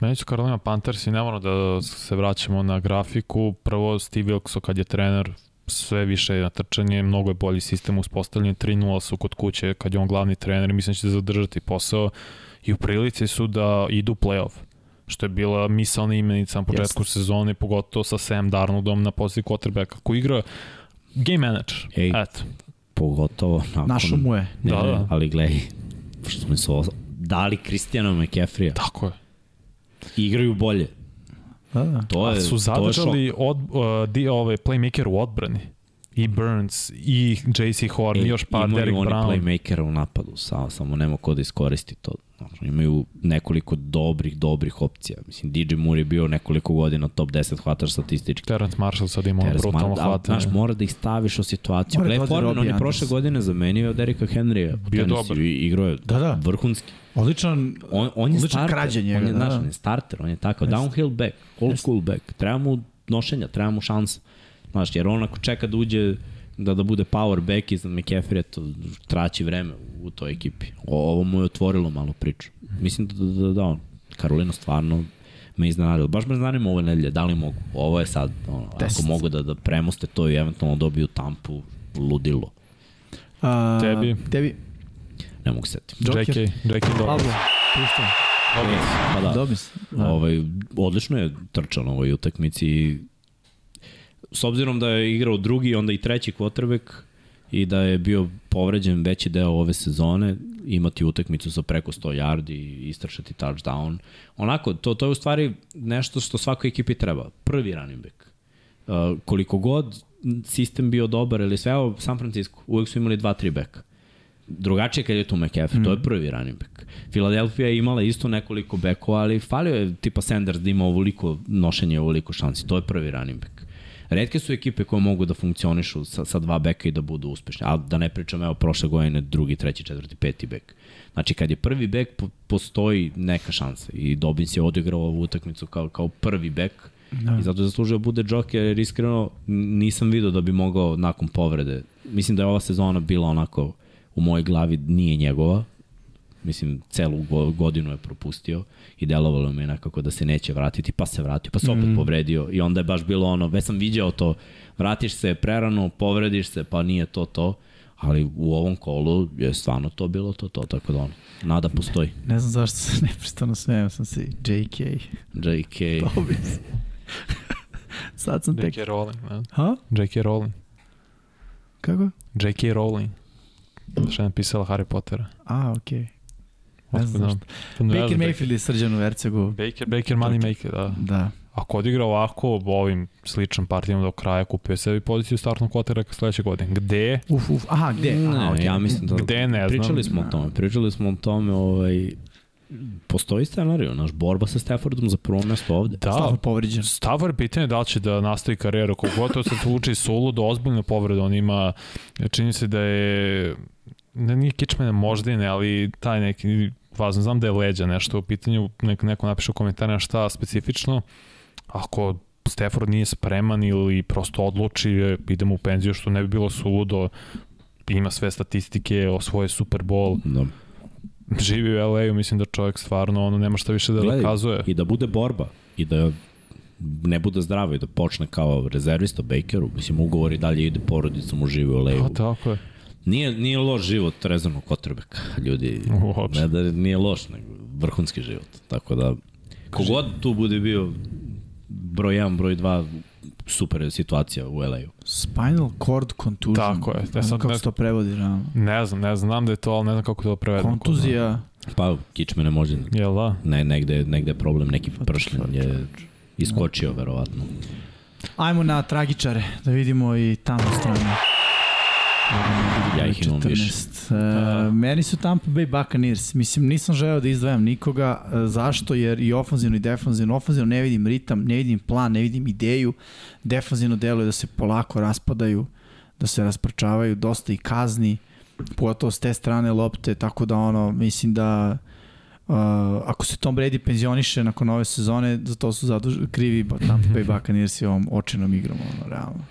[SPEAKER 3] Meni su Carolina Panthers i ne moramo da se vraćamo na grafiku. Prvo, Steve Wilkso kad je trener, sve više je na trčanje, mnogo je bolji sistem uspostavljen, 3-0 su kod kuće kad je on glavni trener i mislim da će zadržati posao i u prilici su da idu u playoff što je bila misalna imenica na početku yes. sezone, pogotovo sa Sam Darnoldom na poziciji quarterbacka koji igra game manager.
[SPEAKER 1] Ej.
[SPEAKER 3] Eto.
[SPEAKER 1] Pogotovo nakon...
[SPEAKER 2] Našo mu je.
[SPEAKER 1] Ne,
[SPEAKER 3] Da,
[SPEAKER 1] da,
[SPEAKER 3] da.
[SPEAKER 1] da. ali gledaj, što mi su os- dali Kristijana McCaffrey-a.
[SPEAKER 3] Tako je.
[SPEAKER 1] Igraju bolje.
[SPEAKER 2] Da, da.
[SPEAKER 1] To je,
[SPEAKER 3] su
[SPEAKER 1] to je šok. E,
[SPEAKER 3] zadržali od, uh, di, ovaj, playmaker u odbrani. I Burns, i J.C. Horn, i još par
[SPEAKER 1] imaju
[SPEAKER 3] Derek
[SPEAKER 1] E, oni
[SPEAKER 3] Brown.
[SPEAKER 1] playmakera u napadu, samo, samo nema ko da iskoristi to. Znači, imaju nekoliko dobrih, dobrih opcija. Mislim, DJ Moore je bio nekoliko godina top 10 hvataš statistički.
[SPEAKER 3] Terence Marshall sad ima ono
[SPEAKER 1] Terrence
[SPEAKER 3] Da, brutalno
[SPEAKER 1] Mann, ali,
[SPEAKER 3] hvatanje.
[SPEAKER 1] Znaš, mora da ih staviš u situaciju.
[SPEAKER 2] Mora
[SPEAKER 1] Gle,
[SPEAKER 2] da ode
[SPEAKER 1] Foreman,
[SPEAKER 2] Robbie
[SPEAKER 1] on je
[SPEAKER 2] Anderson.
[SPEAKER 1] prošle godine zamenio Derika Henrya. u
[SPEAKER 3] Bio
[SPEAKER 1] tenisu
[SPEAKER 3] dobar.
[SPEAKER 1] i Igrao je
[SPEAKER 2] Da, da.
[SPEAKER 1] vrhunski.
[SPEAKER 2] Odličan,
[SPEAKER 1] On, on je
[SPEAKER 2] Odličan
[SPEAKER 1] starter.
[SPEAKER 2] krađa
[SPEAKER 1] on
[SPEAKER 2] njega,
[SPEAKER 1] je,
[SPEAKER 2] da,
[SPEAKER 1] znaš,
[SPEAKER 2] da.
[SPEAKER 1] on je starter, on je takav. Downhill back, old school back. Treba mu nošenja, treba mu šansa. Znaš, jer on ako čeka da uđe da da bude power back iznad McCaffrey, to traći vreme u toj ekipi. O, ovo mu je otvorilo malo priču. Mislim da, da, da, da on, Karolina stvarno me iznenadila. Baš me zanima ove nedelje, da li mogu. Ovo je sad, ono,
[SPEAKER 2] Test.
[SPEAKER 1] ako mogu da, da premoste to i eventualno dobiju tampu, ludilo.
[SPEAKER 2] a,
[SPEAKER 3] Tebi.
[SPEAKER 2] Tebi.
[SPEAKER 1] Ne mogu setiti.
[SPEAKER 2] Joker.
[SPEAKER 3] J.K. J.K. Dobbins.
[SPEAKER 2] Pablo, pušta.
[SPEAKER 1] Pa da.
[SPEAKER 2] Dobis. Da.
[SPEAKER 1] Ovaj, odlično je trčan ovoj utakmici. i S obzirom da je igrao drugi, onda i treći quarterback i da je bio povređen veći deo ove sezone, imati utakmicu sa preko 100 yardi i istrašati touchdown. Onako, to, to je u stvari nešto što svakoj ekipi treba. Prvi running back. Uh, koliko god sistem bio dobar ili sve, evo San Francisco, uvek su imali 2-3 beka drugačije kad je tu McAfee, mm. to je prvi running back. Filadelfija je imala isto nekoliko bekova, ali falio je tipa Sanders da ima ovoliko nošenje, ovoliko šansi. To je prvi running back. Redke su ekipe koje mogu da funkcionišu sa, sa dva beka i da budu uspešne. A da ne pričam, evo, prošle godine drugi, treći, četvrti, peti bek. Znači, kad je prvi bek, po, postoji neka šansa. I Dobbins je odigrao ovu utakmicu kao, kao prvi bek. Da. I zato je zaslužio da bude Joker, jer iskreno n- nisam video da bi mogao nakon povrede. Mislim da je ova sezona bila onako u mojoj glavi nije njegova. Mislim, celu go- godinu je propustio i delovalo mi je nekako da se neće vratiti, pa se vratio, pa se opet mm. povredio i onda je baš bilo ono, već sam viđao to, vratiš se prerano, povrediš se, pa nije to to, ali u ovom kolu je stvarno to bilo to to, tako da ono, nada postoji.
[SPEAKER 2] Ne znam zašto se neprestano smijem, sam si JK.
[SPEAKER 1] JK,
[SPEAKER 2] Dobis. Sad sam tek...
[SPEAKER 3] J.K. Rowling, ne?
[SPEAKER 2] Ha?
[SPEAKER 3] J.K. Rowling.
[SPEAKER 2] Kako?
[SPEAKER 3] J.K. Rowling. Što je napisala Harry Pottera.
[SPEAKER 2] A, okej. Ne
[SPEAKER 3] Otkud
[SPEAKER 2] znam
[SPEAKER 3] znam.
[SPEAKER 2] zašto.
[SPEAKER 3] To ne
[SPEAKER 2] Baker
[SPEAKER 3] znam,
[SPEAKER 2] Mayfield je srđan u Ercegu.
[SPEAKER 3] Baker, Baker Moneymaker, da.
[SPEAKER 2] Da.
[SPEAKER 3] Ako odigra ovako, ovim sličnim partijama do kraja, kupio je sebi poziciju startnog quarterbacka sledeće godine. Gde?
[SPEAKER 2] Uf, uf, aha, gde?
[SPEAKER 1] Ne,
[SPEAKER 2] aha, okej.
[SPEAKER 1] ja mislim da...
[SPEAKER 3] Gde ne znam.
[SPEAKER 1] Pričali smo o tome, pričali smo o tome, ovaj, postoji scenariju, naš borba sa Staffordom za prvo mesto ovde.
[SPEAKER 3] Da,
[SPEAKER 2] Stalno povređen.
[SPEAKER 3] Stavar pitanje je da li će da nastavi karijeru, kogotovo se sluči solo do ozbiljne povrede, on ima, čini se da je, ne, nije kičmene možda i ne, ali taj neki, važno, znam da je leđa nešto u pitanju, nek, neko napiše u komentarima šta specifično, ako Stafford nije spreman ili prosto odluči e, idemo u penziju što ne bi bilo suludo ima sve statistike osvoje Super Bowl
[SPEAKER 1] Da.
[SPEAKER 3] živi u LA-u mislim da čovjek stvarno ono nema šta više da
[SPEAKER 1] Gledaj,
[SPEAKER 3] dokazuje
[SPEAKER 1] I da bude borba. I da ne bude zdravo i da počne kao rezervista Bakeru. Mislim, ugovor i dalje ide porodicom u žive u
[SPEAKER 3] pa
[SPEAKER 1] Leju.
[SPEAKER 3] tako je
[SPEAKER 1] Nije, nije loš život rezervnog kotrbeka, ljudi.
[SPEAKER 3] Uopšte.
[SPEAKER 1] Ne da nije loš, nego vrhunski život. Tako da, kogod tu bude bio broj 1, broj 2, super je situacija u LA-u.
[SPEAKER 2] Spinal cord contusion.
[SPEAKER 3] Tako je, e
[SPEAKER 2] Ne znam
[SPEAKER 3] sad
[SPEAKER 2] kako
[SPEAKER 3] ne-
[SPEAKER 2] se to prevodi, da.
[SPEAKER 3] Ne znam, ne znam, znam da je to, ali ne znam kako to prevedemo.
[SPEAKER 2] Kontuzija.
[SPEAKER 1] Pa, kičme ne može.
[SPEAKER 3] Jel da?
[SPEAKER 1] Ne, negde, negde je problem, neki pršljen je iskočio, verovatno.
[SPEAKER 2] Ajmo na tragičare, da vidimo i tamo stranu.
[SPEAKER 1] Ja ih imam više. Da.
[SPEAKER 2] 14. E, meni su Tampa Bay Buccaneers. Mislim, nisam želeo da izdvajam nikoga. E, zašto? Jer i ofanzivno i defanzivno. Ofanzivno ne vidim ritam, ne vidim plan, ne vidim ideju. Defanzivno deluje da se polako raspadaju, da se rasprčavaju, dosta i kazni, pogotovo s te strane lopte, tako da ono, mislim da Uh, ako se Tom Brady penzioniše nakon ove sezone, za to su zaduž... krivi ba- Tampa Bay Buccaneers i ovom očenom igrom, ono, realno.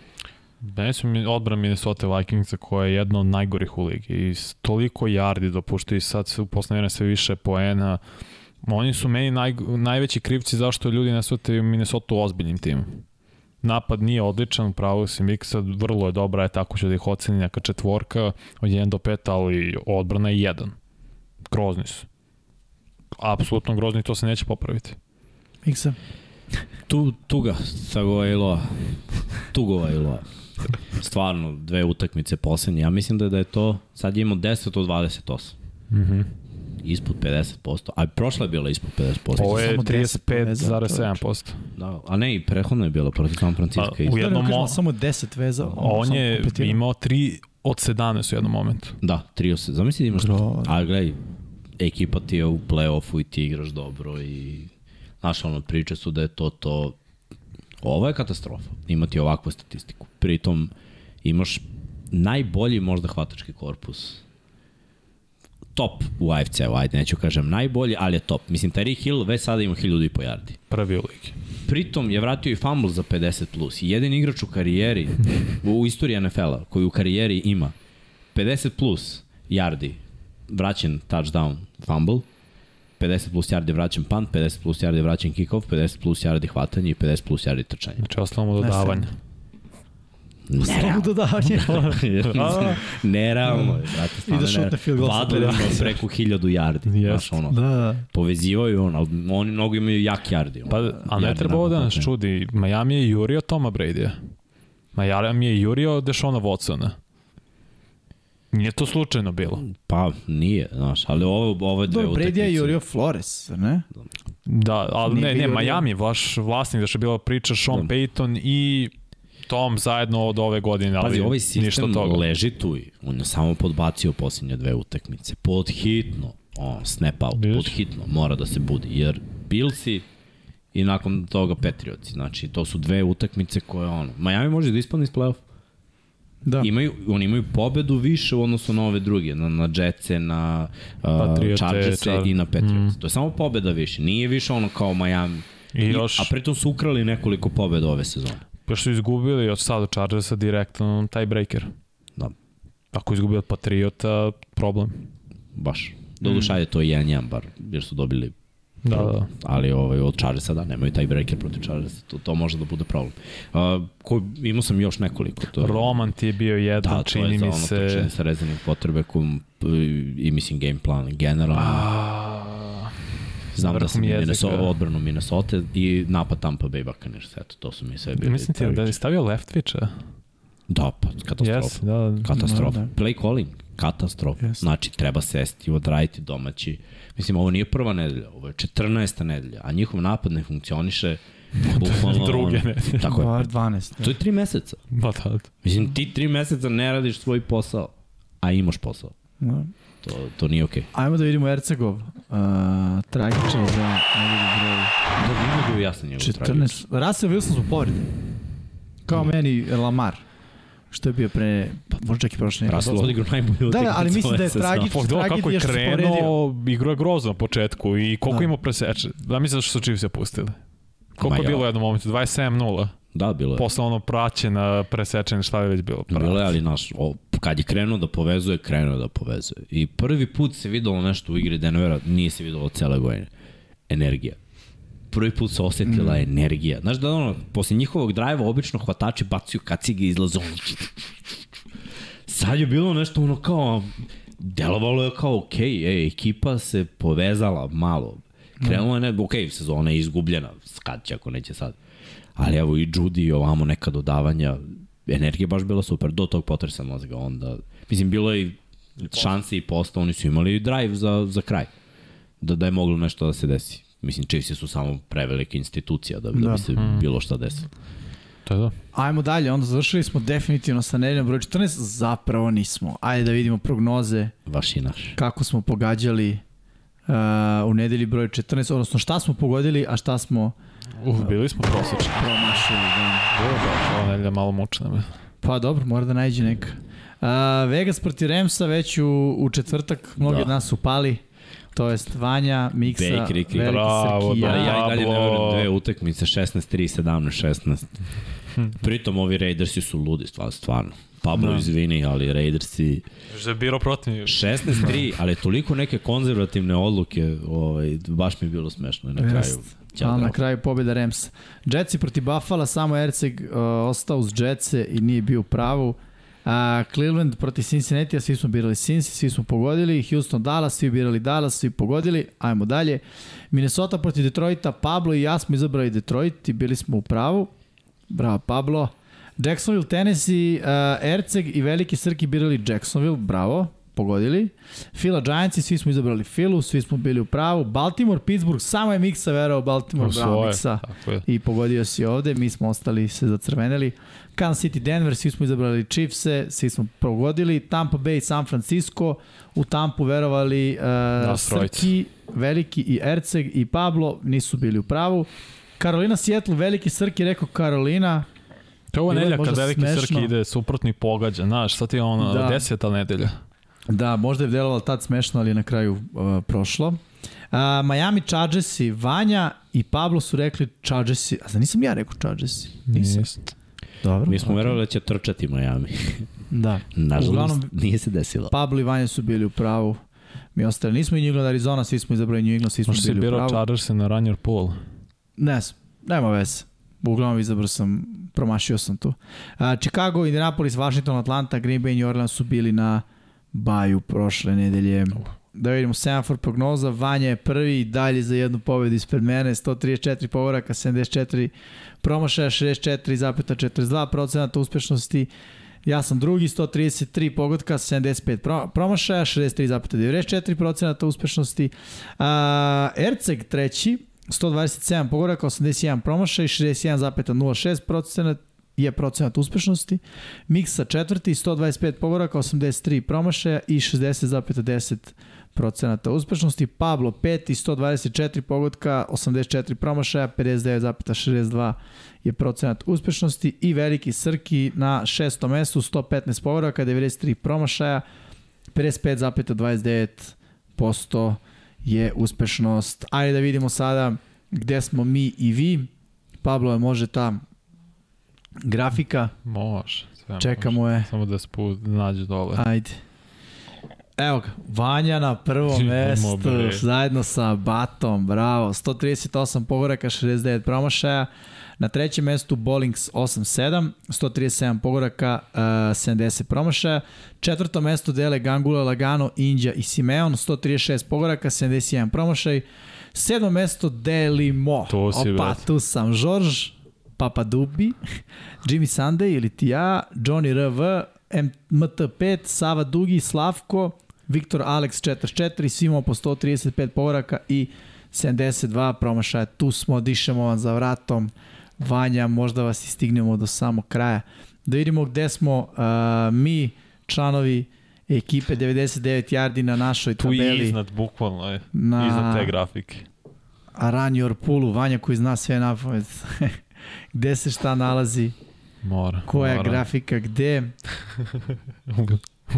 [SPEAKER 3] Benes mi odbran Minnesota Vikingsa koja je jedna od najgorih u ligi i s- toliko yardi dopušta i sad se u poslednje vreme sve više poena. Oni su meni naj, najveći krivci zašto ljudi ne shvataju Minnesota ozbiljnim timom. Napad nije odličan, pravo si miksa, vrlo je dobra, je tako ću da ih oceni neka četvorka od 1 do 5, ali odbrana je 1. Grozni su. Apsolutno grozni, to se neće popraviti.
[SPEAKER 2] Miksa.
[SPEAKER 1] Tu, ovaj tuga Sagova Iloa. Tugova Iloa. ovaj Stvarno, dve utakmice poslednje. Ja mislim da, da je to, sad imamo 10 od 28.
[SPEAKER 3] Mhm.
[SPEAKER 1] Ispod 50%. A prošla je bila ispod 50%.
[SPEAKER 3] Ovo je
[SPEAKER 2] Samo
[SPEAKER 3] 35,7%.
[SPEAKER 1] Da, a ne, i prethodno je bila protiv San Francisco.
[SPEAKER 3] A, u
[SPEAKER 1] isto.
[SPEAKER 2] Da,
[SPEAKER 3] jednom
[SPEAKER 2] ne, kažemo,
[SPEAKER 3] mo-
[SPEAKER 2] samo 10 veza. ono,
[SPEAKER 3] A on
[SPEAKER 2] samo
[SPEAKER 3] je
[SPEAKER 2] kompletirano.
[SPEAKER 3] imao 3 od 17 u jednom momentu.
[SPEAKER 1] Da, 30. Zamisli da imaš...
[SPEAKER 2] Grozno.
[SPEAKER 1] A gledaj, ekipa ti je u play-offu i ti igraš dobro i znaš ono, priče su da je to to... Ovo je katastrofa, imati ovakvu statistiku. Pritom imaš najbolji možda hvatački korpus top u AFC-u, ajde, neću kažem najbolji, ali je top. Mislim, Tariq Hill već sada ima 1000 i po yardi.
[SPEAKER 3] Prvi u ligi.
[SPEAKER 1] Pritom je vratio i fumble za 50 plus. Jedini igrač u karijeri, u istoriji NFL-a, koji u karijeri ima 50 plus yardi vraćen touchdown fumble, 50 plus yardi vraćen punt, 50 plus yardi vraćen kickoff, 50 plus yardi hvatanje i 50 plus yardi trčanje.
[SPEAKER 3] Znači, ostalo mu dodavanje.
[SPEAKER 2] Samo dodavanje.
[SPEAKER 1] Nerealno. Nerealno je, brate, stvarno
[SPEAKER 2] I da šutne
[SPEAKER 1] nerealno.
[SPEAKER 2] field goal sa
[SPEAKER 1] Vadili smo preko 1000 yardi, znaš ono.
[SPEAKER 2] da, da.
[SPEAKER 1] Povezivaju ono, ali oni mnogo imaju jak yardi. Ono.
[SPEAKER 3] Pa, a ne
[SPEAKER 1] Yardi
[SPEAKER 3] treba ovo da nas
[SPEAKER 1] napadne.
[SPEAKER 3] čudi. Miami je jurio Toma Brady-a. Miami je jurio Dešona Watsona. Nije to slučajno bilo.
[SPEAKER 1] Pa, nije, znaš, ali ovo, ovo je dve
[SPEAKER 2] Dobro,
[SPEAKER 1] utakmice.
[SPEAKER 2] Brady je jurio Flores, zar ne?
[SPEAKER 3] Da, ali
[SPEAKER 2] Nije
[SPEAKER 3] ne, ne,
[SPEAKER 2] bio
[SPEAKER 3] Miami, vaš vlasnik, zašto je bila priča Sean
[SPEAKER 1] Da.
[SPEAKER 3] Payton i Tom zajedno od ove godine, ali
[SPEAKER 1] Pazi, ovaj
[SPEAKER 3] ništa
[SPEAKER 1] sistem
[SPEAKER 3] toga.
[SPEAKER 1] leži tu i on je samo podbacio posljednje dve utakmice. Podhitno, on, snap out,
[SPEAKER 3] Vidiš?
[SPEAKER 1] podhitno mora da se budi, jer Bilsi i nakon toga Patriotsi. Znači, to su dve utakmice koje, ono, Miami može da ispadne iz play-off.
[SPEAKER 2] Da.
[SPEAKER 1] Imaju, oni imaju pobedu više u odnosu na ove druge, na, na Jetсе, na uh,
[SPEAKER 3] Patriote,
[SPEAKER 1] Chargerse
[SPEAKER 3] Char-
[SPEAKER 1] i na Patriots. Mm. To je samo pobeda više, nije više ono kao Miami.
[SPEAKER 3] I još-
[SPEAKER 1] a pritom su ukrali nekoliko pobeda ove sezone.
[SPEAKER 3] Još su izgubili od sada Chargersa direktno tiebreaker.
[SPEAKER 1] Da,
[SPEAKER 3] Ako izgubi od Patriota, problem.
[SPEAKER 1] baš.
[SPEAKER 3] Mm.
[SPEAKER 1] Doduša je to 1-1 bar, jer su dobili
[SPEAKER 3] Da, da, da.
[SPEAKER 1] ali ovaj, od Chargersa da, nemaju taj breaker protiv Chargersa, to, to može da bude problem. Uh, ko, imao sam još nekoliko. To,
[SPEAKER 3] Roman ti je bio
[SPEAKER 1] da,
[SPEAKER 3] jedan,
[SPEAKER 1] to
[SPEAKER 3] čini
[SPEAKER 1] je za
[SPEAKER 3] mi
[SPEAKER 1] ono
[SPEAKER 3] se...
[SPEAKER 1] trčanje sa rezervnim potrebe kom, i mislim game plan generalno.
[SPEAKER 3] A,
[SPEAKER 1] Znam da
[SPEAKER 3] vrhom
[SPEAKER 1] sam i
[SPEAKER 3] jezika.
[SPEAKER 1] Minnesota, odbranu Minnesota i napad Tampa Bay Buccaneers, eto, to su mi sve bili.
[SPEAKER 3] Mislim ti da je stavio Leftwich-a?
[SPEAKER 1] Da, pa, katastrofa.
[SPEAKER 3] Jes, da, da.
[SPEAKER 1] Katastrofa.
[SPEAKER 2] Da, da.
[SPEAKER 1] Play calling, katastrofa.
[SPEAKER 2] Jeste.
[SPEAKER 1] Znači, treba sesti, odraditi domaći. Mislim, ovo nije prva nedelja, ovo je 14. nedelja, a njihov napad ne funkcioniše.
[SPEAKER 2] Da,
[SPEAKER 1] Bukvalno,
[SPEAKER 3] druge
[SPEAKER 1] ono,
[SPEAKER 3] nedelje.
[SPEAKER 1] Tako je.
[SPEAKER 2] Dva- 12.
[SPEAKER 1] To je tri meseca.
[SPEAKER 3] Ba, da, da.
[SPEAKER 1] Mislim, ti tri meseca ne radiš svoj posao, a imaš posao.
[SPEAKER 2] Da.
[SPEAKER 1] To, to nije okej.
[SPEAKER 2] Ajmo da vidimo Ercegov. Uh, tragičan za njegovu broju.
[SPEAKER 1] Okay. Da, ne mogu jasno njegov
[SPEAKER 2] 14. Russell Wilson su povrede. Kao
[SPEAKER 1] Da.
[SPEAKER 2] meni Lamar. Što je bio pre, pa možda čak i prošle nedelje.
[SPEAKER 1] Raslo odigrao najbolju
[SPEAKER 2] Da, da, ali
[SPEAKER 1] utakmicu
[SPEAKER 2] mislim
[SPEAKER 1] ove
[SPEAKER 2] da je
[SPEAKER 1] sezone.
[SPEAKER 2] tragično.
[SPEAKER 3] Pogledao Pa, kako
[SPEAKER 2] Tragedija
[SPEAKER 3] je
[SPEAKER 2] što se
[SPEAKER 3] krenuo, igro je grozno na početku i koliko
[SPEAKER 2] Da.
[SPEAKER 3] ima preseče. Da mi se što su Chiefs je pustili.
[SPEAKER 1] Ma
[SPEAKER 3] Koliko je
[SPEAKER 1] ja.
[SPEAKER 3] bilo u jednom momentu? 27-0.
[SPEAKER 1] Da, bilo je.
[SPEAKER 3] Posle ono praćena, presečena, šta je već bilo.
[SPEAKER 1] Bilo je, ali naš, o, kad je krenuo da povezuje, krenuo je da povezuje. I prvi put se videlo nešto u igri Denvera, nije se videlo cele godine. Energija. Prvi put se osetila mm. energija. Znaš da ono, posle njihovog drajva obično hvatači bacuju kacige i izlaze ono... Sad je bilo nešto ono kao... Delovalo je kao, okej, ej, ekipa se povezala malo. Krenulo je nego, okej, sezona je izgubljena, kad će ako neće sad. Ali evo i Judy i ovamo neka dodavanja, energija je baš bila super, do tog potresa mozga onda. Mislim, bilo je i šanse i posta, oni su imali i drive za, za kraj. Da, da je moglo nešto da se desi. Mislim, Chiefs su samo prevelika institucija da, da,
[SPEAKER 2] Da.
[SPEAKER 1] bi se bilo šta desilo.
[SPEAKER 3] To je da.
[SPEAKER 2] Ajmo dalje, onda završili smo definitivno sa nedeljom broj 14, zapravo nismo. Ajde da vidimo prognoze
[SPEAKER 1] Vaš i naš.
[SPEAKER 2] kako smo pogađali uh, u nedelji broj 14, odnosno šta smo pogodili, a šta smo Da.
[SPEAKER 3] Uf, bili smo prosječni.
[SPEAKER 2] promašili. Da.
[SPEAKER 3] Ova nedelja malo mučna me.
[SPEAKER 2] Pa dobro, mora da najde neka. Uh, Vegas proti Remsa već u, u četvrtak, mnogi
[SPEAKER 1] Da.
[SPEAKER 2] od nas su pali. to jest Vanja, Miksa,
[SPEAKER 1] Dejk, Riki.
[SPEAKER 2] Veliki
[SPEAKER 3] Bravo,
[SPEAKER 1] da, Ja,
[SPEAKER 2] Srkija.
[SPEAKER 3] bravo.
[SPEAKER 1] ja i dalje ne
[SPEAKER 3] Pablo.
[SPEAKER 1] verujem dve utakmice, 16-3, 17-16.
[SPEAKER 2] Hm.
[SPEAKER 1] Pritom ovi Raidersi su ludi, stvarno. stvarno. Pablo,
[SPEAKER 2] Da.
[SPEAKER 1] izvini, ali Raidersi
[SPEAKER 4] Još da je biro protiv.
[SPEAKER 1] 16-3, ali toliko neke konzervativne odluke, ovaj, baš mi je bilo smešno i na kraju.
[SPEAKER 2] Jest.
[SPEAKER 1] Ćao,
[SPEAKER 2] Ali na
[SPEAKER 1] drago.
[SPEAKER 2] kraju pobjeda Remsa. Jetsi proti Buffalo, samo Erceg uh, ostao uz Jetse i nije bio u pravu. A, Cleveland proti Cincinnati, a svi smo birali Cincy, svi smo pogodili. Houston Dallas, svi birali Dallas, svi pogodili. Ajmo dalje. Minnesota proti Detroita, Pablo i ja smo izabrali Detroit i bili smo u pravu. Bravo Pablo. Jacksonville, Tennessee, uh, Erceg i Veliki Srki birali Jacksonville, bravo, pogodili. Fila Giants i svi smo izabrali Filu, svi smo bili u pravu. Baltimore, Pittsburgh, samo je Miksa verao u Baltimore, bravo
[SPEAKER 3] Osvoje.
[SPEAKER 2] Miksa.
[SPEAKER 3] Tako je.
[SPEAKER 2] I pogodio si ovde, mi smo ostali se zacrveneli. Kansas City, Denver, svi smo izabrali Chiefse, svi smo pogodili. Tampa Bay, San Francisco, u Tampu verovali uh,
[SPEAKER 3] Nas trojica.
[SPEAKER 2] Srki, Veliki i Erceg i Pablo, nisu bili u pravu. Karolina Seattle, Veliki Srki rekao Karolina,
[SPEAKER 4] To je ova
[SPEAKER 2] Bilo je
[SPEAKER 4] nedelja kad
[SPEAKER 2] možda
[SPEAKER 4] veliki
[SPEAKER 2] smešno.
[SPEAKER 4] Srki ide suprotni pogađa, znaš, sad je ona
[SPEAKER 2] Da.
[SPEAKER 4] da. deseta nedelja.
[SPEAKER 2] Da, možda je delovalo tad smešno, ali je na kraju uh, prošlo. Uh, Miami Chargersi, Vanja i Pablo su rekli Chargersi. A zar nisam ja rekao Chargersi? Nisam. Dobro.
[SPEAKER 1] Mi smo verovali da će trčati Miami.
[SPEAKER 2] Da.
[SPEAKER 1] Nažalost,
[SPEAKER 2] Uglavnom- Pa,
[SPEAKER 1] nije se desilo.
[SPEAKER 2] Pablo i Vanja su bili u pravu. Mi ostali nismo i New England, Arizona, svi smo izabrali New England, svi smo
[SPEAKER 4] Možda si
[SPEAKER 2] bili u
[SPEAKER 4] birao
[SPEAKER 2] pravu.
[SPEAKER 4] Chargersa na Runner Pool.
[SPEAKER 2] Ne znam, nema veze. Uglavnom izabrao sam, promašio sam tu. Uh, Chicago, Indianapolis, Washington, Atlanta, Green Bay i New Orleans su bili na baju prošle nedelje. Da vidimo Sanford prognoza, Vanja je prvi i dalje za jednu pobedu ispred mene, 134 povoraka, 74 promašaja, 64,42 procenata uspešnosti. Ja sam drugi, 133 pogotka, 75 pro, promašaja, 63,94 procenata uspešnosti. A, Erceg treći, 127 pogoraka, 81 promašaj, 61,06 procenat je procenat uspešnosti. Miksa četvrti, 125 pogoraka, 83 promašaja i 60,10 procenata uspešnosti. Pablo peti, 124 pogotka, 84 promašaja, 59,62 je procenat uspešnosti i veliki Srki na šestom mestu, 115 pogoraka, 93 promašaja, 55,29% je uspešnost. Ajde da vidimo sada gde smo mi i vi. Pablo je može ta grafika.
[SPEAKER 3] Može. Sve može.
[SPEAKER 2] Čekamo je.
[SPEAKER 3] Samo da spu nađe dole.
[SPEAKER 2] Ajde. Evo ga, Vanja na prvom
[SPEAKER 3] Idemo,
[SPEAKER 2] mestu,
[SPEAKER 3] bre.
[SPEAKER 2] zajedno sa Batom, bravo. 138 pogoraka, 69 promašaja. Na trećem mestu Bolings 8-7, 137 pogoraka, uh, 70 promašaja. Četvrto mesto dele Gangula, Lagano, Indija i Simeon, 136 pogoraka, 71 promašaj. Sedmo mesto delimo.
[SPEAKER 3] Tu si,
[SPEAKER 2] Opa,
[SPEAKER 3] brate.
[SPEAKER 2] tu sam, Žorž, Papa Dubi, Jimmy Sunday ili ti ja, Johnny RV, M- MT5, Sava Dugi, Slavko, Viktor Alex 44, svi imamo po 135 povoraka i 72 promašaja. Tu smo, dišemo vam za vratom. Vanja, možda vas i stignemo do samog kraja. Da vidimo gde smo uh, mi, članovi ekipe 99 yardi na našoj
[SPEAKER 4] Tu je
[SPEAKER 2] tabeli.
[SPEAKER 4] iznad, bukvalno je.
[SPEAKER 2] na
[SPEAKER 4] Iznad te grafike.
[SPEAKER 2] Aranju Orpulu, Vanja koji zna sve na pamet. gde se šta nalazi,
[SPEAKER 3] Mora.
[SPEAKER 2] koja
[SPEAKER 3] mora.
[SPEAKER 2] grafika, gde.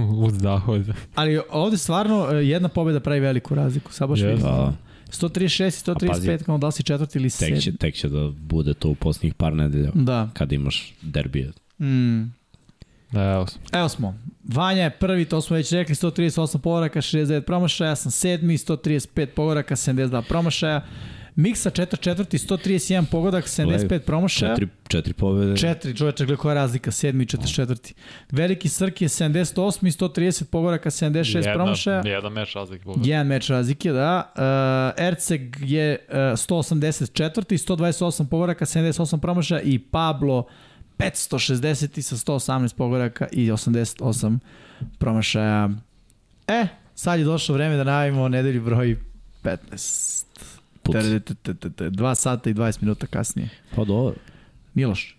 [SPEAKER 3] Uz dahod.
[SPEAKER 2] Ali ovde stvarno e, jedna pobjeda pravi veliku razliku. Sad baš
[SPEAKER 3] Jeste.
[SPEAKER 2] vidim.
[SPEAKER 1] Da,
[SPEAKER 2] 136 i
[SPEAKER 1] A pazi.
[SPEAKER 2] 135, kao da li si četvrti ili sedmi.
[SPEAKER 1] tek, će, pa. tek će da bude to u posljednjih par nedelja
[SPEAKER 2] Da.
[SPEAKER 1] kada imaš derbije.
[SPEAKER 2] Mm.
[SPEAKER 3] Da, evo sam.
[SPEAKER 2] Evo smo. Vanja je prvi, to smo već rekli, 138 povoraka, 69 promašaja, ja sam sedmi, 135 povoraka, 72 promašaja. Miksa četvr, četvrti, 131 pogodak, 75 promašaja.
[SPEAKER 1] Četiri, četiri pobjede.
[SPEAKER 2] Četiri, čoveče, gledaj koja je razlika, sedmi i 44. Veliki Srki je 78 i 130 pogoraka, 76
[SPEAKER 3] Jedna-
[SPEAKER 2] promašaja.
[SPEAKER 3] Jedan meč razlike. Boga.
[SPEAKER 2] Jedan meč razlike, da. Uh, Erceg je uh, 184. 128 pogoraka, 78 promašaja i Pablo 560. sa 118 pogoraka i 88 promašaja. E, sad je došlo vreme da najavimo nedelju broj 15.
[SPEAKER 1] Put.
[SPEAKER 2] 2 sata i 20 minuta kasnije.
[SPEAKER 1] Pa dobro.
[SPEAKER 2] Nije loš.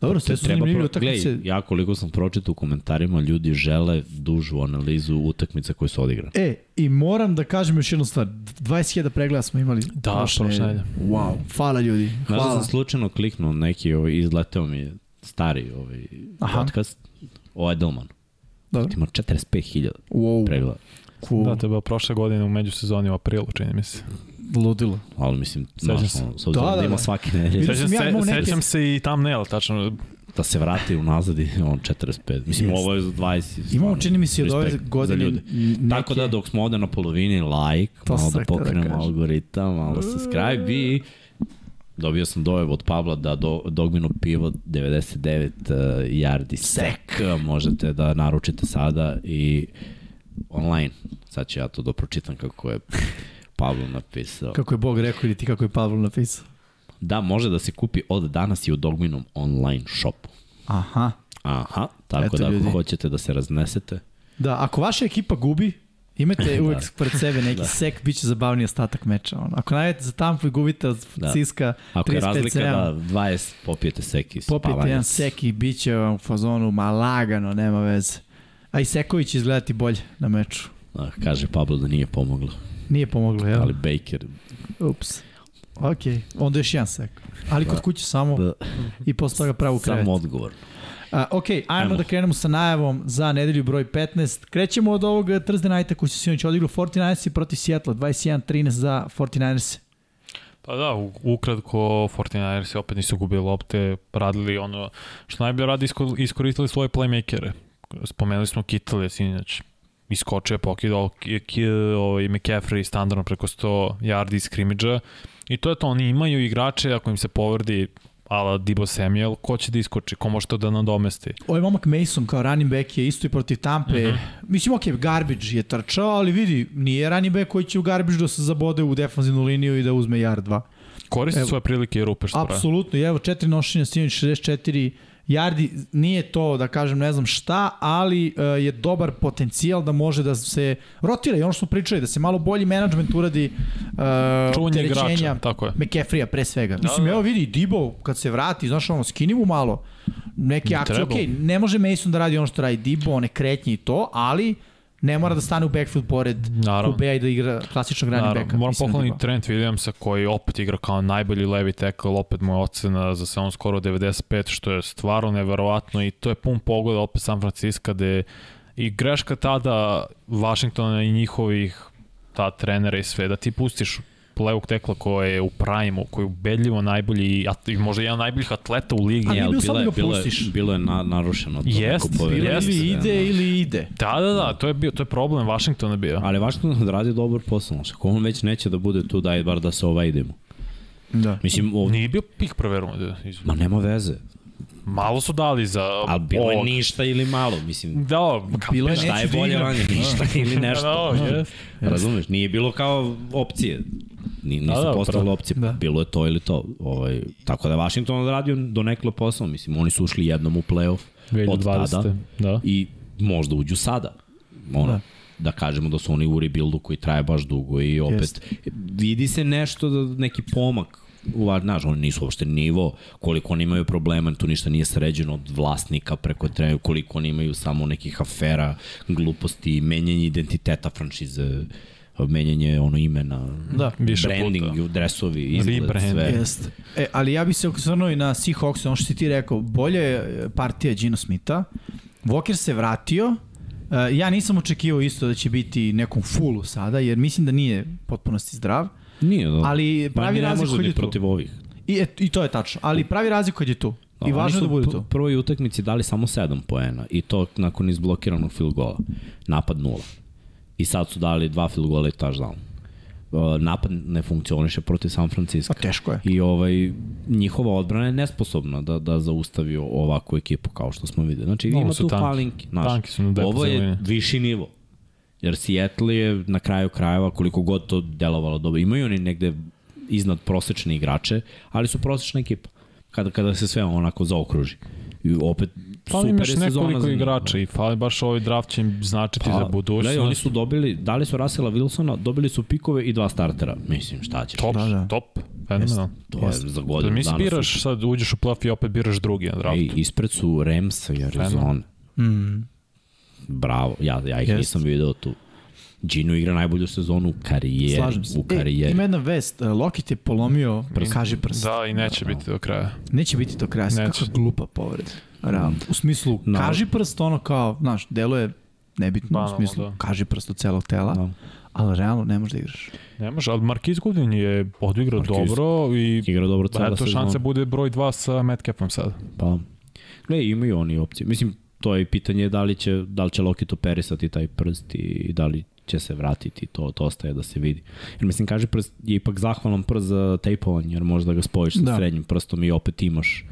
[SPEAKER 2] Dobro, sve su
[SPEAKER 1] Treba
[SPEAKER 2] zanimljive
[SPEAKER 1] pro-
[SPEAKER 2] utakmice.
[SPEAKER 1] Glej, ja koliko sam pročitao u komentarima, ljudi žele dužu analizu utakmica koje su odigrane.
[SPEAKER 2] E, i moram da kažem još jednu stvar. 20.000 pregleda smo imali.
[SPEAKER 4] Da,
[SPEAKER 2] prošle
[SPEAKER 4] prošle
[SPEAKER 2] nedelje. Wow, hvala ljudi.
[SPEAKER 1] pa, Znaš da
[SPEAKER 2] Hvala.
[SPEAKER 1] sam slučajno kliknuo neki, ovaj, izleteo mi je stari ovaj,
[SPEAKER 2] Aha.
[SPEAKER 1] podcast o Edelmanu.
[SPEAKER 2] Dobro.
[SPEAKER 1] Ima 45.000
[SPEAKER 2] Wow.
[SPEAKER 1] pregleda.
[SPEAKER 2] neku
[SPEAKER 3] Da, to je bilo prošle godine u međusezoni u aprilu, čini mi se.
[SPEAKER 2] ludilo.
[SPEAKER 1] Ali mislim,
[SPEAKER 3] Sećam
[SPEAKER 1] znaš,
[SPEAKER 3] se.
[SPEAKER 1] ono, s obzirom
[SPEAKER 2] Da,
[SPEAKER 1] da,
[SPEAKER 2] da,
[SPEAKER 1] ima
[SPEAKER 2] da.
[SPEAKER 1] svake nedelje,
[SPEAKER 2] Vidim.
[SPEAKER 3] Sećam
[SPEAKER 2] sam ja
[SPEAKER 3] se,
[SPEAKER 2] imao neke-
[SPEAKER 3] sećam se i
[SPEAKER 4] thumbnail, tačno.
[SPEAKER 1] da se vrati unazad i on 45. Mislim,
[SPEAKER 2] Jeste.
[SPEAKER 1] ovo je za 20.
[SPEAKER 2] Imamo, čini mi se, od ove
[SPEAKER 1] respekt za
[SPEAKER 2] godine
[SPEAKER 1] ljude.
[SPEAKER 2] neke...
[SPEAKER 1] Tako da dok smo ovde na polovini, like,
[SPEAKER 2] To
[SPEAKER 1] malo
[SPEAKER 2] sam
[SPEAKER 1] da
[SPEAKER 2] htio da
[SPEAKER 1] pokrenemo
[SPEAKER 2] kažem.
[SPEAKER 1] algoritam, malo subscribe i dobio sam dojev od Pavla da do, Dogmino pivo 99 uh, yardi sek možete da naručite sada i online. Sad ću ja to da pročitam kako je Pavlo napisao.
[SPEAKER 2] Kako je Bog rekao ili ti kako je Pavlo napisao.
[SPEAKER 1] Da, može da se kupi od danas i u Dogminom online shopu.
[SPEAKER 2] Aha.
[SPEAKER 1] Aha, tako
[SPEAKER 2] Eto,
[SPEAKER 1] da ako
[SPEAKER 2] ljudi.
[SPEAKER 1] hoćete da se raznesete,
[SPEAKER 2] Da, ako vaša ekipa gubi, imate uvek
[SPEAKER 1] Da.
[SPEAKER 2] pred sebe neki
[SPEAKER 1] Da.
[SPEAKER 2] sek, bit će zabavniji ostatak meča. Ono. Ako najete za tampu i gubite od
[SPEAKER 1] Da.
[SPEAKER 2] Ciska
[SPEAKER 1] ako je
[SPEAKER 2] 35
[SPEAKER 1] razlika
[SPEAKER 2] cm,
[SPEAKER 1] da 20 popijete seki iz
[SPEAKER 2] popijete
[SPEAKER 1] spavanja.
[SPEAKER 2] jedan sek i bit će vam u fazonu ma lagano, nema veze. A i Seković će izgledati bolje na meču.
[SPEAKER 1] Da, kaže Pablo da nije pomoglo,
[SPEAKER 2] Nije pomoglo, jel?
[SPEAKER 1] ali Baker...
[SPEAKER 2] Ups. Ok, onda još jedan sek. Ali kod kuće samo
[SPEAKER 1] Da,
[SPEAKER 2] i posle toga pravo u krevet.
[SPEAKER 1] samo odgovor.
[SPEAKER 2] A, ok, ajmo,
[SPEAKER 1] Ajmo.
[SPEAKER 2] da krenemo sa najavom za nedelju broj 15. Krećemo od ovog Thursday nighta koji se sinoć odigrao 49ersi protiv Seattle, 21-13 za 49ersi.
[SPEAKER 3] Pa da, u- ukratko 49ersi opet nisu gubili lopte, radili ono što najbolje radi, isko- iskoristili svoje playmakere. Spomenuli smo Kittle, sinoć iskočio je pokidao ovaj, McCaffrey standardno preko 100 yardi iz skrimidža i to je to, oni imaju igrače ako im se povrdi ala Dibo Samuel, ko će da iskoči, ko može to da nadomesti.
[SPEAKER 2] Ovaj momak Mason kao running back je isto i protiv Tampe. Mislim, ok, Garbage je trčao, ali vidi, nije running back koji će u Garbage da se zabode u defanzivnu liniju i da uzme yard 2.
[SPEAKER 3] Koriste
[SPEAKER 2] Evo.
[SPEAKER 3] svoje prilike i rupe što pravi.
[SPEAKER 2] Apsolutno, i evo četiri nošenja, sinoć 64 yardi, nije to da kažem ne znam šta, ali e, je dobar potencijal da može da se rotira i ono što smo pričali, da se malo bolji menadžment uradi e,
[SPEAKER 3] Čuvanje
[SPEAKER 2] opterećenja
[SPEAKER 3] igrača, tako je.
[SPEAKER 2] McCaffrey-a pre svega. Da, Mislim,
[SPEAKER 3] da.
[SPEAKER 2] evo vidi, Dibo kad se vrati, znaš ono, skini mu malo neke akcije,
[SPEAKER 3] Treba.
[SPEAKER 2] okej, ne može Mason da radi ono što radi Dibo, one kretnje i to, ali ne mora da stane u backfield pored
[SPEAKER 3] Naravno.
[SPEAKER 2] Kubeja i da igra klasičnog running
[SPEAKER 3] Naravno,
[SPEAKER 2] backa.
[SPEAKER 3] moram
[SPEAKER 2] mislim da na Deeboa.
[SPEAKER 3] pohvaliti Trent Williamsa koji opet igra kao najbolji levi tackle, opet mu je ocena za sezon skoro 95, što je stvarno neverovatno i to je pun pogoda opet San Francisco gde i greška tada Washingtona i njihovih ta trenera i sve, da ti pustiš levog tekla koji je u prajmu, koji je ubedljivo najbolji i at- i možda jedan od najboljih atleta u ligi.
[SPEAKER 2] Ali
[SPEAKER 1] Ne,
[SPEAKER 2] bio sam da ga
[SPEAKER 1] bilo je,
[SPEAKER 2] pustiš.
[SPEAKER 1] bilo je na, narušeno. to
[SPEAKER 3] Jest,
[SPEAKER 1] neko poverenje.
[SPEAKER 3] bilo je
[SPEAKER 2] Ili
[SPEAKER 1] Da, da.
[SPEAKER 2] ide ili ide.
[SPEAKER 3] Da, da, da, to je, bio, to je problem Washingtona bio.
[SPEAKER 1] Ali Washington je odradio dobar posao, znaš, ako on već neće da bude tu, daj bar da se ovaj idemo.
[SPEAKER 2] Da.
[SPEAKER 1] Mislim, ovdje,
[SPEAKER 3] Nije bio pik prve runde, izvini.
[SPEAKER 1] ma nema veze,
[SPEAKER 3] malo su dali za
[SPEAKER 1] ali bilo je
[SPEAKER 3] ovog.
[SPEAKER 1] ništa ili malo, mislim,
[SPEAKER 3] Da,
[SPEAKER 2] Bilo je
[SPEAKER 1] šta je
[SPEAKER 2] neću da
[SPEAKER 1] bolje
[SPEAKER 2] igram.
[SPEAKER 1] manje, ništa ili nešto.
[SPEAKER 3] Da, da, jes.
[SPEAKER 1] Razumeš, nije bilo kao opcije. Ni, nisu
[SPEAKER 3] Da,
[SPEAKER 1] da,
[SPEAKER 3] da,
[SPEAKER 1] postale
[SPEAKER 3] pravo.
[SPEAKER 1] opcije,
[SPEAKER 2] Da.
[SPEAKER 1] da. bilo je to ili to. Ovaj, tako da je Washington odradio donekle posao, mislim, oni su ušli jednom u play-off od tada
[SPEAKER 3] 2020., da.
[SPEAKER 1] i možda uđu sada. Ono,
[SPEAKER 2] Da.
[SPEAKER 1] da. da kažemo da su oni u rebuildu koji traje baš dugo i opet
[SPEAKER 2] Jeste.
[SPEAKER 1] vidi se nešto, da, neki pomak u var- znaš, oni nisu uopšte nivo, koliko oni imaju problema, tu ništa nije sređeno od vlasnika preko trenera, koliko oni imaju samo nekih afera, gluposti, menjanje identiteta franšize, menjanje ono imena,
[SPEAKER 2] Da.
[SPEAKER 3] Više
[SPEAKER 1] branding, dresovi, izgled,
[SPEAKER 3] Rebrand.
[SPEAKER 1] sve.
[SPEAKER 2] Jeste. E, ali ja bih se osvrnuo i na Seahawks, ono što si ti rekao, bolje je partija Gino Smitha. Walker se vratio, E, ja nisam očekivao isto da će biti nekom fulu sada, jer mislim da nije potpunosti zdrav,
[SPEAKER 1] Nije, da.
[SPEAKER 2] ali
[SPEAKER 1] Pa
[SPEAKER 2] pravi
[SPEAKER 1] ne
[SPEAKER 2] razliku
[SPEAKER 1] može
[SPEAKER 2] kad
[SPEAKER 1] ni
[SPEAKER 2] je tu.
[SPEAKER 1] protiv ovih.
[SPEAKER 2] I, et, I to je tačno, ali pravi razliku kad je tu. I
[SPEAKER 1] Oni
[SPEAKER 2] važno je
[SPEAKER 1] su
[SPEAKER 2] da bude
[SPEAKER 1] u
[SPEAKER 2] tu.
[SPEAKER 1] prvoj utakmici dali samo 7 poena i to nakon izblokiranog field gola. Napad nula. I sad su dali dva field gola i touchdown. Uh, Napad ne funkcioniše protiv San Francisco.
[SPEAKER 2] Pa teško je.
[SPEAKER 1] I ovaj, njihova odbrana je nesposobna da, da zaustavi ovakvu ekipu kao što smo videli. Znači
[SPEAKER 3] Ovo
[SPEAKER 1] ima
[SPEAKER 3] su
[SPEAKER 1] tu
[SPEAKER 3] tanki.
[SPEAKER 1] palinki.
[SPEAKER 3] Tanki su na defanzivnoj
[SPEAKER 1] Ovo je
[SPEAKER 3] liniji.
[SPEAKER 1] viši nivo. Jer Seattle je na kraju krajeva koliko god to delovalo dobro. Imaju oni negde iznad prosečne igrače, ali su prosečna ekipa. Kada, kada se sve onako zaokruži. I opet
[SPEAKER 3] Fali im
[SPEAKER 1] super
[SPEAKER 3] još
[SPEAKER 1] je sezona
[SPEAKER 3] Pa nekoliko
[SPEAKER 1] za njih. Pa,
[SPEAKER 3] igrača i fali baš ovaj draft će im značiti za budućnost.
[SPEAKER 1] Gledaj, oni su dobili, dali su Rasela Wilsona, dobili su pikove i dva startera. Mislim, šta ćeš?
[SPEAKER 3] top,
[SPEAKER 2] Da, da.
[SPEAKER 3] top, fenomenal.
[SPEAKER 1] To je za
[SPEAKER 3] Da
[SPEAKER 1] godinu
[SPEAKER 3] mi
[SPEAKER 1] dana. su-
[SPEAKER 3] biraš, sad uđeš u playoff i opet biraš drugi na draftu.
[SPEAKER 1] Ej, ispred su Remsa i Arizona.
[SPEAKER 2] Mm.
[SPEAKER 1] Bravo, ja, ja ih
[SPEAKER 2] Jest.
[SPEAKER 1] nisam video tu. Gino igra najbolju sezonu u karijeri.
[SPEAKER 2] Slažem se.
[SPEAKER 1] U karijeri.
[SPEAKER 2] E, ima jedna vest, e, Lokit je polomio, kaže prst.
[SPEAKER 3] Da, i neće biti do kraja.
[SPEAKER 2] Neće biti do kraja,
[SPEAKER 3] Neće.
[SPEAKER 2] kako je glupa povreda. Realno. U smislu,
[SPEAKER 1] Naravno.
[SPEAKER 2] kaži prst, ono kao, znaš, deluje nebitno,
[SPEAKER 3] Banalno,
[SPEAKER 2] u smislu,
[SPEAKER 3] da.
[SPEAKER 2] kaži prst od celog tela,
[SPEAKER 1] Da.
[SPEAKER 2] ali realno ne možeš da igraš.
[SPEAKER 3] Ne može, ali Markiz Goodwin je odigrao
[SPEAKER 1] Marquise.
[SPEAKER 3] dobro i
[SPEAKER 1] Igra dobro
[SPEAKER 3] Pa
[SPEAKER 1] cela
[SPEAKER 3] eto,
[SPEAKER 1] sezona.
[SPEAKER 3] šanse bude broj 2 sa Metcalfom sad.
[SPEAKER 1] Pa, gle, imaju oni opcije. Mislim, to je pitanje da li će, da li će Lokit operisati taj prst i da li će se vratiti, to, to ostaje da se vidi. Jer mislim, kaže prst je ipak zahvalan prst za tejpovanje, jer možda ga spojiš sa
[SPEAKER 2] Da.
[SPEAKER 1] srednjim prstom i opet imaš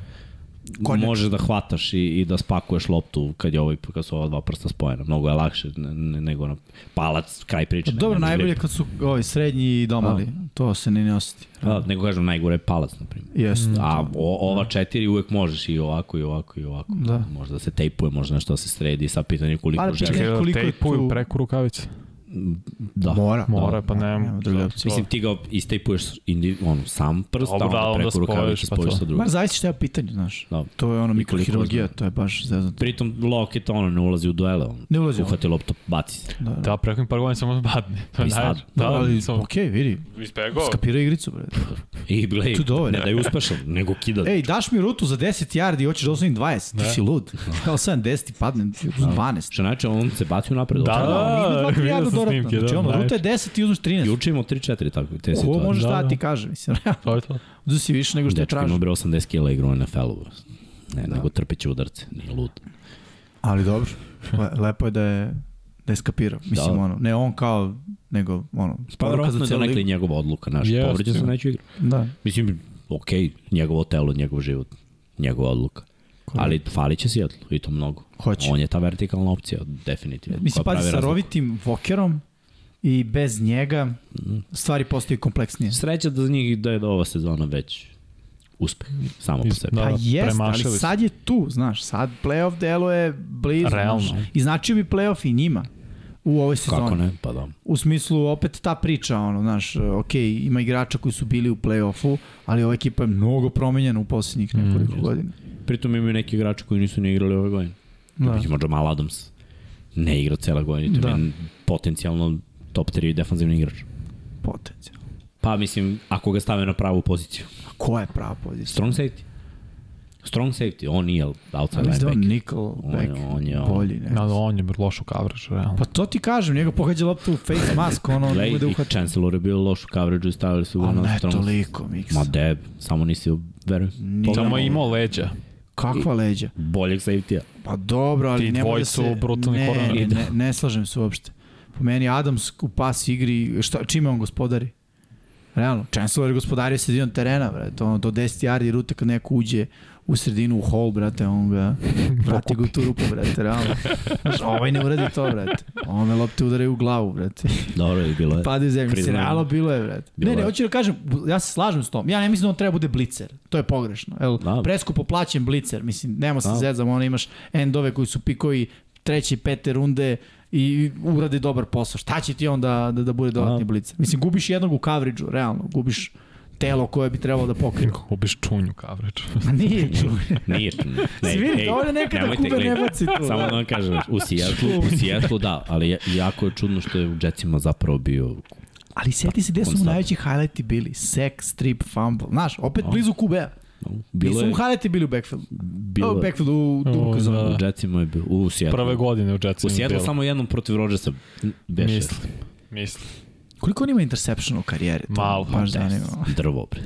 [SPEAKER 2] Konjač.
[SPEAKER 1] možeš da hvataš i, i da spakuješ loptu kad, je ovaj, kad su ova dva prsta spojena. Mnogo je lakše ne, ne, nego na palac, kraj priče.
[SPEAKER 2] Pa Dobro,
[SPEAKER 1] Znači, ne, da ne,
[SPEAKER 2] najbolje kad su ovi srednji i domali. To se ni ne osjeti.
[SPEAKER 1] A, Da, nego kažem, najgore je palac, na primjer.
[SPEAKER 2] Jeste.
[SPEAKER 1] A o, ova četiri uvek možeš i ovako i ovako i ovako.
[SPEAKER 2] Da.
[SPEAKER 1] Možda da se tejpuje, možda nešto da se sredi, sad pitanje koliko
[SPEAKER 2] Ali
[SPEAKER 1] želi.
[SPEAKER 2] čekaj,
[SPEAKER 3] Jel
[SPEAKER 2] Koliko je
[SPEAKER 3] Tejpuju
[SPEAKER 2] tu-
[SPEAKER 3] preko rukavice.
[SPEAKER 1] Da.
[SPEAKER 2] Mora.
[SPEAKER 3] Mora, pa nema.
[SPEAKER 2] Nema druge opcije.
[SPEAKER 1] Mislim, ti ga istejpuješ indi, ono, sam prst,
[SPEAKER 3] Dobro,
[SPEAKER 1] a onda
[SPEAKER 3] da, onda
[SPEAKER 1] preko rukavice
[SPEAKER 3] spojiš, pa
[SPEAKER 1] spojiš
[SPEAKER 3] to.
[SPEAKER 1] sa drugim.
[SPEAKER 2] Bar zavisi šta je pitanje, znaš.
[SPEAKER 1] Da.
[SPEAKER 2] To je ono
[SPEAKER 1] I koliko
[SPEAKER 2] mikrohirurgija,
[SPEAKER 1] zna.
[SPEAKER 2] to je baš zeznuto.
[SPEAKER 1] Pritom Lockett ono ne ulazi u duele, on
[SPEAKER 2] Ne ulazi.
[SPEAKER 1] uhvati loptu, baci se.
[SPEAKER 2] Da, da.
[SPEAKER 3] Da, preko im par godina samo badne. To je
[SPEAKER 1] I sad.
[SPEAKER 3] najveće.
[SPEAKER 2] Da, ali,
[SPEAKER 3] samo
[SPEAKER 2] okej, vidi,
[SPEAKER 3] ispegao.
[SPEAKER 2] skapira igricu, bre.
[SPEAKER 1] I gle,
[SPEAKER 2] Tu dovoljno.
[SPEAKER 1] ne da je uspešan, nego kida.
[SPEAKER 2] Ej, daš mi rutu za 10 yardi i hoćeš da osnovim 20, ti si lud. Kao 7, 10 ti padnem, ti uzmem 12.
[SPEAKER 1] Što znači, on se baci u napred.
[SPEAKER 3] Da,
[SPEAKER 1] Da.
[SPEAKER 2] Da, on ima 2
[SPEAKER 3] vidio
[SPEAKER 2] yarda
[SPEAKER 3] sam
[SPEAKER 2] dodatno.
[SPEAKER 3] snimke, da,
[SPEAKER 2] Znači, ono,
[SPEAKER 3] najveće.
[SPEAKER 2] ruta je 10, ti uzmeš 13.
[SPEAKER 1] Juče imamo 3-4 tako, te
[SPEAKER 2] Ko
[SPEAKER 1] situacije.
[SPEAKER 2] možeš
[SPEAKER 3] Da,
[SPEAKER 2] da
[SPEAKER 3] da.
[SPEAKER 2] ti kaže, mislim,
[SPEAKER 3] To je to.
[SPEAKER 2] da si više nego što je
[SPEAKER 1] Dečko ima
[SPEAKER 2] traži. Da.
[SPEAKER 1] bre 80 kila igra u NFL-u. Ne, nego trpeće udarce, nije lud.
[SPEAKER 2] Pa Ali dobro, le, lepo je da je da je skapirao. Mislim,
[SPEAKER 1] Da.
[SPEAKER 2] ono, ne on kao, nego, ono,
[SPEAKER 1] Pa
[SPEAKER 2] poruka
[SPEAKER 1] verovatno
[SPEAKER 2] za
[SPEAKER 1] je
[SPEAKER 2] celu
[SPEAKER 1] donekle
[SPEAKER 2] ligu.
[SPEAKER 1] njegova odluka, naš yes,
[SPEAKER 3] Jeste.
[SPEAKER 1] povređen sam neću igrati.
[SPEAKER 2] Da.
[SPEAKER 1] Mislim, okej, njegovo telo, njegov život, njegova odluka.
[SPEAKER 2] Korrekt.
[SPEAKER 1] Ali falit će Seattle i to mnogo.
[SPEAKER 2] Hoće.
[SPEAKER 1] On je ta vertikalna opcija, definitivno.
[SPEAKER 2] Znači- Mislim,
[SPEAKER 1] koja
[SPEAKER 2] pazi,
[SPEAKER 1] pravi
[SPEAKER 2] sa
[SPEAKER 1] razliku.
[SPEAKER 2] rovitim vokerom i bez njega stvari postaju kompleksnije.
[SPEAKER 1] Sreća da za njih da je ova sezona već uspeh, samo po
[SPEAKER 3] Is-
[SPEAKER 1] sebi.
[SPEAKER 3] da.
[SPEAKER 2] Pa jest, ali
[SPEAKER 3] premašili su.
[SPEAKER 2] sad je tu, znaš, sad playoff delo je blizu.
[SPEAKER 3] Realno.
[SPEAKER 2] Znaš, I značio bi playoff i njima u ovoj sezoni.
[SPEAKER 1] Kako ne, pa da.
[SPEAKER 2] U smislu, opet ta priča, ono, znaš, ok, ima igrača koji su bili u play-offu, ali ova ekipa je mnogo promenjena u
[SPEAKER 1] Mm,
[SPEAKER 2] posljednjih nekoliko godina.
[SPEAKER 1] Pritom imaju neki igrači koji nisu ni igrali ove godine. Da. Recimo Jamal Adams ne igra cela godina, to
[SPEAKER 2] Da.
[SPEAKER 1] da. je potencijalno top 3 defanzivni igrač.
[SPEAKER 2] Potencijal.
[SPEAKER 1] Pa mislim, ako ga stave na pravu poziciju.
[SPEAKER 2] A ko je prava pozicija?
[SPEAKER 1] Strong safety. Strong safety, on nije outside
[SPEAKER 2] Ali da
[SPEAKER 1] linebacker.
[SPEAKER 2] on Nikol
[SPEAKER 1] On je-
[SPEAKER 2] Beck,
[SPEAKER 1] on je-
[SPEAKER 2] bolji ne.
[SPEAKER 3] Da, da, on je loš u coverage, realno.
[SPEAKER 2] Pa to ti kažem, njega pogađa loptu u face mask, ono, on
[SPEAKER 1] Lej
[SPEAKER 2] bude
[SPEAKER 1] i
[SPEAKER 2] uhvaća.
[SPEAKER 1] Chancellor je bio loš u coverage i stavili su ga
[SPEAKER 2] Ali
[SPEAKER 1] na
[SPEAKER 2] da ne
[SPEAKER 1] strong.
[SPEAKER 2] toliko, Miks.
[SPEAKER 1] Ma deb, samo nisi verujem.
[SPEAKER 2] Nije
[SPEAKER 3] Pa Samo je
[SPEAKER 2] ono-
[SPEAKER 3] imao leđa.
[SPEAKER 2] Kakva leđa?
[SPEAKER 1] Boljeg safety-a.
[SPEAKER 2] Pa dobro, ali
[SPEAKER 3] Ti
[SPEAKER 2] ne može
[SPEAKER 3] dvojica
[SPEAKER 2] se...
[SPEAKER 3] u brutalni
[SPEAKER 2] ne,
[SPEAKER 3] korner.
[SPEAKER 2] ne, ne, ne slažem se uopšte. Po meni Adams u pas igri, šta, čime on gospodari? Realno, Chancellor je gospodario sredinom terena, brate, ono, do 10 yardi rute kad neko uđe u sredinu u hol, brate, on ga vrati ga u tu rupu, brate, realno. Znaš, ovaj ne uradi to, brate. Ome lopte udaraju u glavu, brate.
[SPEAKER 1] Dobro je bilo. je.
[SPEAKER 2] Padaju u zemlju. Mislim,
[SPEAKER 1] Priznajem.
[SPEAKER 2] realno bilo je, brate.
[SPEAKER 1] Da. Bilo
[SPEAKER 2] ne, ne,
[SPEAKER 1] je.
[SPEAKER 2] hoću da kažem, ja se slažem s tom. Ja ne mislim da on treba bude blicer. To je pogrešno. El,
[SPEAKER 1] Da.
[SPEAKER 2] preskupo plaćen blicer. Mislim, nema se
[SPEAKER 1] Da.
[SPEAKER 2] zezam, ono imaš endove koji su pikovi treće, pete runde i urade dobar posao. Šta će ti onda da, da bude dodatni
[SPEAKER 1] Da.
[SPEAKER 2] blicer? Mislim, gubiš jednog u coverage realno. Gubiš telo koje bi trebalo da pokrije.
[SPEAKER 3] Kako biš čunju coverage.
[SPEAKER 2] A nije čuo.
[SPEAKER 1] Nije. Ne,
[SPEAKER 2] Svi vidi,
[SPEAKER 1] ej,
[SPEAKER 2] ovo je nekada
[SPEAKER 1] nemojte
[SPEAKER 2] kube ne
[SPEAKER 1] gledati.
[SPEAKER 2] baci tu.
[SPEAKER 1] Samo da vam kažem, u Seattleu, u Seattleu da, ali je- jako je čudno što je u Jetsima zapravo bio
[SPEAKER 2] Ali seti se gde su mu
[SPEAKER 1] Konstantno. Da.
[SPEAKER 2] najveći highlighti bili. Sek, strip, fumble. Znaš, opet blizu QB-a.
[SPEAKER 1] bilo
[SPEAKER 2] Nisu
[SPEAKER 1] je
[SPEAKER 2] mu highlighti bili u backfieldu.
[SPEAKER 1] bilo
[SPEAKER 2] u
[SPEAKER 1] je
[SPEAKER 2] backfieldu u
[SPEAKER 3] O,
[SPEAKER 2] Dunku zonu.
[SPEAKER 3] da.
[SPEAKER 1] u Jetsima je bio u Seattlu.
[SPEAKER 3] Prve godine u Jetsu.
[SPEAKER 1] U Seattlu samo jednom protiv Rodgersa beše
[SPEAKER 3] Mislim. Mislim.
[SPEAKER 2] Koliko on ima interception u karijeri? To
[SPEAKER 3] Malo. da.
[SPEAKER 2] me Baš zanima.
[SPEAKER 1] drvo bre.